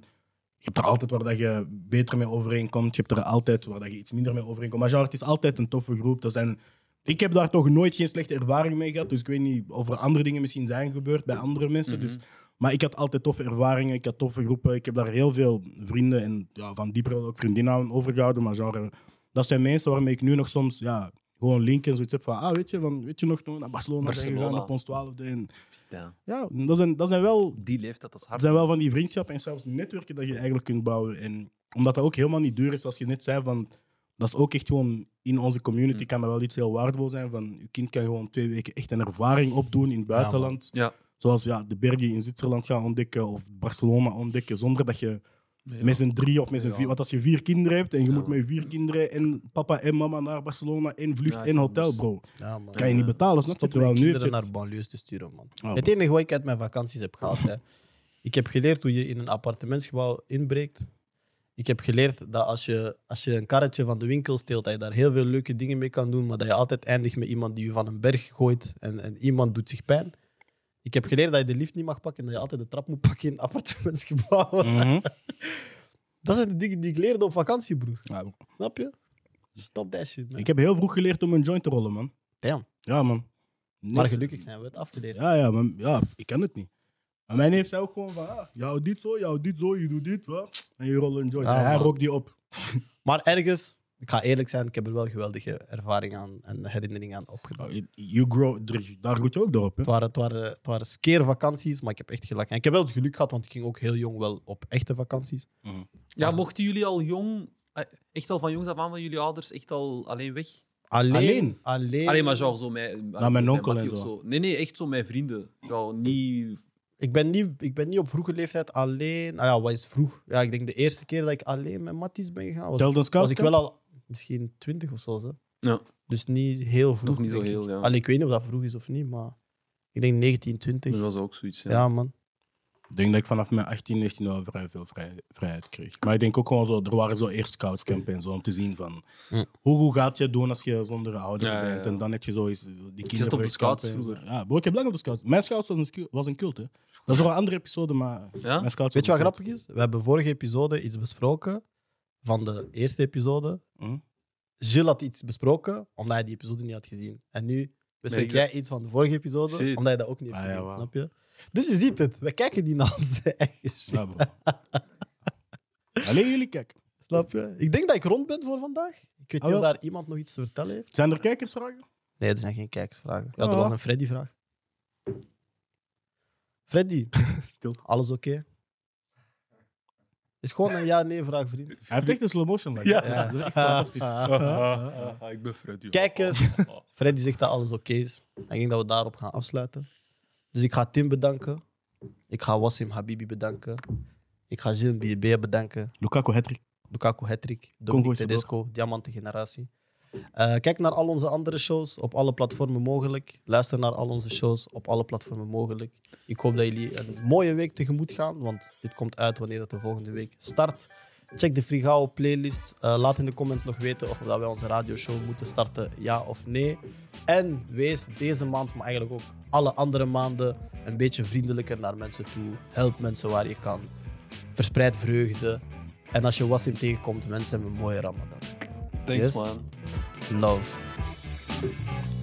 [SPEAKER 3] je hebt er altijd waar dat je beter mee overeenkomt. Je hebt er altijd waar dat je iets minder mee overeenkomt. Maar genre, het is altijd een toffe groep. Dat zijn, ik heb daar toch nooit geen slechte ervaring mee gehad. Dus ik weet niet of er andere dingen misschien zijn gebeurd bij andere mensen. Dus maar ik had altijd toffe ervaringen, ik had toffe groepen. Ik heb daar heel veel vrienden en ja, van dieper ook vriendinnen aan overgehouden. Maar genre, dat zijn mensen waarmee ik nu nog soms ja, gewoon link en zoiets heb van... Ah, weet je, van, weet je nog toen naar Barcelona, zijn
[SPEAKER 2] Barcelona.
[SPEAKER 3] gegaan op ons twaalfde. En,
[SPEAKER 2] Ja.
[SPEAKER 3] ja, dat zijn, dat zijn wel
[SPEAKER 2] Die leeftijd, dat is
[SPEAKER 3] het
[SPEAKER 2] hard.
[SPEAKER 3] zijn wel van die vriendschappen en zelfs netwerken dat je eigenlijk kunt bouwen. En omdat dat ook helemaal niet duur is, als je net zei van. Dat is ook echt gewoon in onze community
[SPEAKER 2] Mm.
[SPEAKER 3] kan dat wel iets heel waardevol zijn. Van je kind kan gewoon twee weken echt een ervaring opdoen in het buitenland.
[SPEAKER 2] man. Ja.
[SPEAKER 3] Zoals ja, de bergen in Zwitserland gaan ontdekken of Barcelona ontdekken. Zonder dat je
[SPEAKER 2] Ja.
[SPEAKER 3] met z'n drie of met z'n
[SPEAKER 2] Ja.
[SPEAKER 3] vier. Want als je vier kinderen hebt en je
[SPEAKER 2] Ja,
[SPEAKER 3] moet
[SPEAKER 2] man.
[SPEAKER 3] met vier kinderen en papa en mama naar Barcelona en vlucht
[SPEAKER 2] Ja, is
[SPEAKER 3] en hotel,
[SPEAKER 2] anders.
[SPEAKER 3] bro.
[SPEAKER 1] Ja, man.
[SPEAKER 3] Kan je niet betalen, snap je?
[SPEAKER 1] Stop
[SPEAKER 3] Terwijl
[SPEAKER 1] mijn
[SPEAKER 3] nu heb
[SPEAKER 1] kinderen
[SPEAKER 3] je... Ah,
[SPEAKER 1] naar banlieues te sturen, man.
[SPEAKER 3] man.
[SPEAKER 1] het enige wat ik uit mijn vakanties heb gehad, hè. ik heb geleerd hoe je in een appartementsgebouw inbreekt. Ik heb geleerd dat als je, als je een karretje van de winkel steelt, dat je daar heel veel leuke dingen mee kan doen, maar dat je altijd eindigt met iemand die je van een berg gooit en, en iemand doet zich pijn. Ik heb geleerd dat je de lift niet mag pakken en dat je altijd de trap moet pakken in appartementsgebouwen.
[SPEAKER 3] Mhm.
[SPEAKER 1] Dat zijn de dingen die ik leerde op vakantie, broer.
[SPEAKER 3] Ja, bro.
[SPEAKER 1] Snap je? Stop that shit, man.
[SPEAKER 3] Ik heb heel vroeg geleerd om een joint te rollen, man.
[SPEAKER 1] Damn.
[SPEAKER 3] Ja, man.
[SPEAKER 1] Maar
[SPEAKER 3] Niks-
[SPEAKER 1] gelukkig zijn we het afgeleerd.
[SPEAKER 3] Ja, ja, maar, ja, ik kan het niet. Maar mijn neef zei ook gewoon van, ah, jou dit zo, jou dit zo, je doet dit, wat. En je rolt een joint.
[SPEAKER 1] Ah,
[SPEAKER 3] En hij
[SPEAKER 1] man.
[SPEAKER 3] rookt die op.
[SPEAKER 1] Maar ergens, ik ga eerlijk zijn, ik heb er wel geweldige ervaring aan en herinneringen aan opgedaan.
[SPEAKER 3] Nou, You grow, dr- daar groeit je ook door op, hè.
[SPEAKER 1] Het waren, het waren, het waren skeervakanties, maar ik heb echt gelachen. En ik heb wel het geluk gehad, want ik ging ook heel jong wel op echte vakanties.
[SPEAKER 2] Ja, mochten jullie al jong, eh, echt al van jongs af aan van jullie ouders, echt al alleen weg?
[SPEAKER 1] Alleen?
[SPEAKER 3] Alleen?
[SPEAKER 1] Alleen,
[SPEAKER 2] Alleen maar zo, zo met...
[SPEAKER 3] mijn onkel en
[SPEAKER 2] Mattie of
[SPEAKER 3] zo.
[SPEAKER 2] Nee, nee, echt zo met vrienden. Zo, niet...
[SPEAKER 1] Ik, ben niet, ik ben niet op vroege leeftijd alleen... Ah ja, wat is vroeg? Ja, ik denk de eerste keer dat ik alleen met Matties ben gegaan, was,
[SPEAKER 3] Telden
[SPEAKER 1] was ik
[SPEAKER 3] Scout
[SPEAKER 1] wel al misschien twintig of zo. Hè?
[SPEAKER 2] Ja.
[SPEAKER 1] Dus niet heel vroeg,
[SPEAKER 2] Nog niet zo
[SPEAKER 1] denk
[SPEAKER 2] heel,
[SPEAKER 1] ik.
[SPEAKER 2] ja.
[SPEAKER 1] Allee, ik weet niet of dat vroeg is of niet, maar ik denk 19, 20.
[SPEAKER 2] Dat was ook zoiets, ja.
[SPEAKER 1] ja. man.
[SPEAKER 3] Ik denk dat ik vanaf mijn 18, 19 al vrij veel vrij- vrijheid kreeg. Maar ik denk ook gewoon zo, er waren zo eerst scoutscampen en zo, om te zien van,
[SPEAKER 1] Hm.
[SPEAKER 3] hoe, hoe gaat je doen als je zonder ouders
[SPEAKER 2] Ja, ja,
[SPEAKER 3] bent?
[SPEAKER 2] ja.
[SPEAKER 3] En dan heb je zo eens die kinderen...
[SPEAKER 2] zat op de scouts
[SPEAKER 3] scouts
[SPEAKER 2] vroeger.
[SPEAKER 3] Ja, bro, ik heb lang op de scouts. Mijn scouts was een, scu- was een cult, hè. Dat is nog een andere episode, maar
[SPEAKER 2] Ja?
[SPEAKER 3] mijn scouts
[SPEAKER 1] Weet je
[SPEAKER 3] was
[SPEAKER 1] wat
[SPEAKER 3] een cult.
[SPEAKER 1] grappig is? We hebben vorige episode iets besproken, van de eerste episode.
[SPEAKER 3] Hm?
[SPEAKER 1] Gilles had iets besproken, omdat hij die episode niet had gezien. En nu bespreek
[SPEAKER 2] ik-
[SPEAKER 1] jij iets van de vorige episode,
[SPEAKER 2] Shit.
[SPEAKER 1] omdat je dat ook niet hebt
[SPEAKER 3] Ah, ja,
[SPEAKER 1] gezien,
[SPEAKER 3] wauw.
[SPEAKER 1] snap je? Dus je ziet het, we kijken niet naar onze eigen shit,
[SPEAKER 3] Ja, bro. Alleen jullie kijken.
[SPEAKER 1] snap je? Ik denk dat ik rond ben voor vandaag. Ik weet
[SPEAKER 3] Ah,
[SPEAKER 1] niet of
[SPEAKER 3] wel.
[SPEAKER 1] daar iemand nog iets te vertellen heeft.
[SPEAKER 3] Zijn er kijkersvragen?
[SPEAKER 1] Nee, er zijn geen kijkersvragen. Ja, dat
[SPEAKER 3] Ah.
[SPEAKER 1] was een Freddy-vraag. Freddy,
[SPEAKER 3] Stil.
[SPEAKER 1] alles oké? Is gewoon een ja-nee-vraag, vriend.
[SPEAKER 3] Hij heeft echt een slow motion. Like.
[SPEAKER 2] Ja.
[SPEAKER 3] Dat, is, dat is echt fantastisch. Oh.
[SPEAKER 2] Ah, ik ben Freddy. Oh,
[SPEAKER 1] Kijkers. Freddy zegt dat alles oké is. Ik denk dat we daarop gaan afsluiten. Dus ik ga Tim bedanken. Ik ga Wassim Habibi bedanken. Ik ga Gilles Biebe bedanken.
[SPEAKER 3] Lukaku Hattrick.
[SPEAKER 1] Lukaku Hattrick,
[SPEAKER 3] Congo is
[SPEAKER 1] Dominic
[SPEAKER 3] er
[SPEAKER 1] Tedesco, Diamante Generatie. Eh, kijk naar al onze andere shows op alle platformen mogelijk. Luister naar al onze shows op alle platformen mogelijk. Ik hoop dat jullie een mooie week tegemoet gaan, want dit komt uit wanneer het de volgende week start. Check de Frigao playlist. Eh, laat in de comments nog weten of dat wij onze radioshow moeten starten, ja of nee. En wees deze maand, maar eigenlijk ook alle andere maanden, een beetje vriendelijker naar mensen toe. Help mensen waar je kan. Verspreid vreugde. En als je Wassim tegenkomt, mensen hebben een mooie Ramadan.
[SPEAKER 2] Thanks,
[SPEAKER 1] Yes.
[SPEAKER 2] man.
[SPEAKER 1] Love.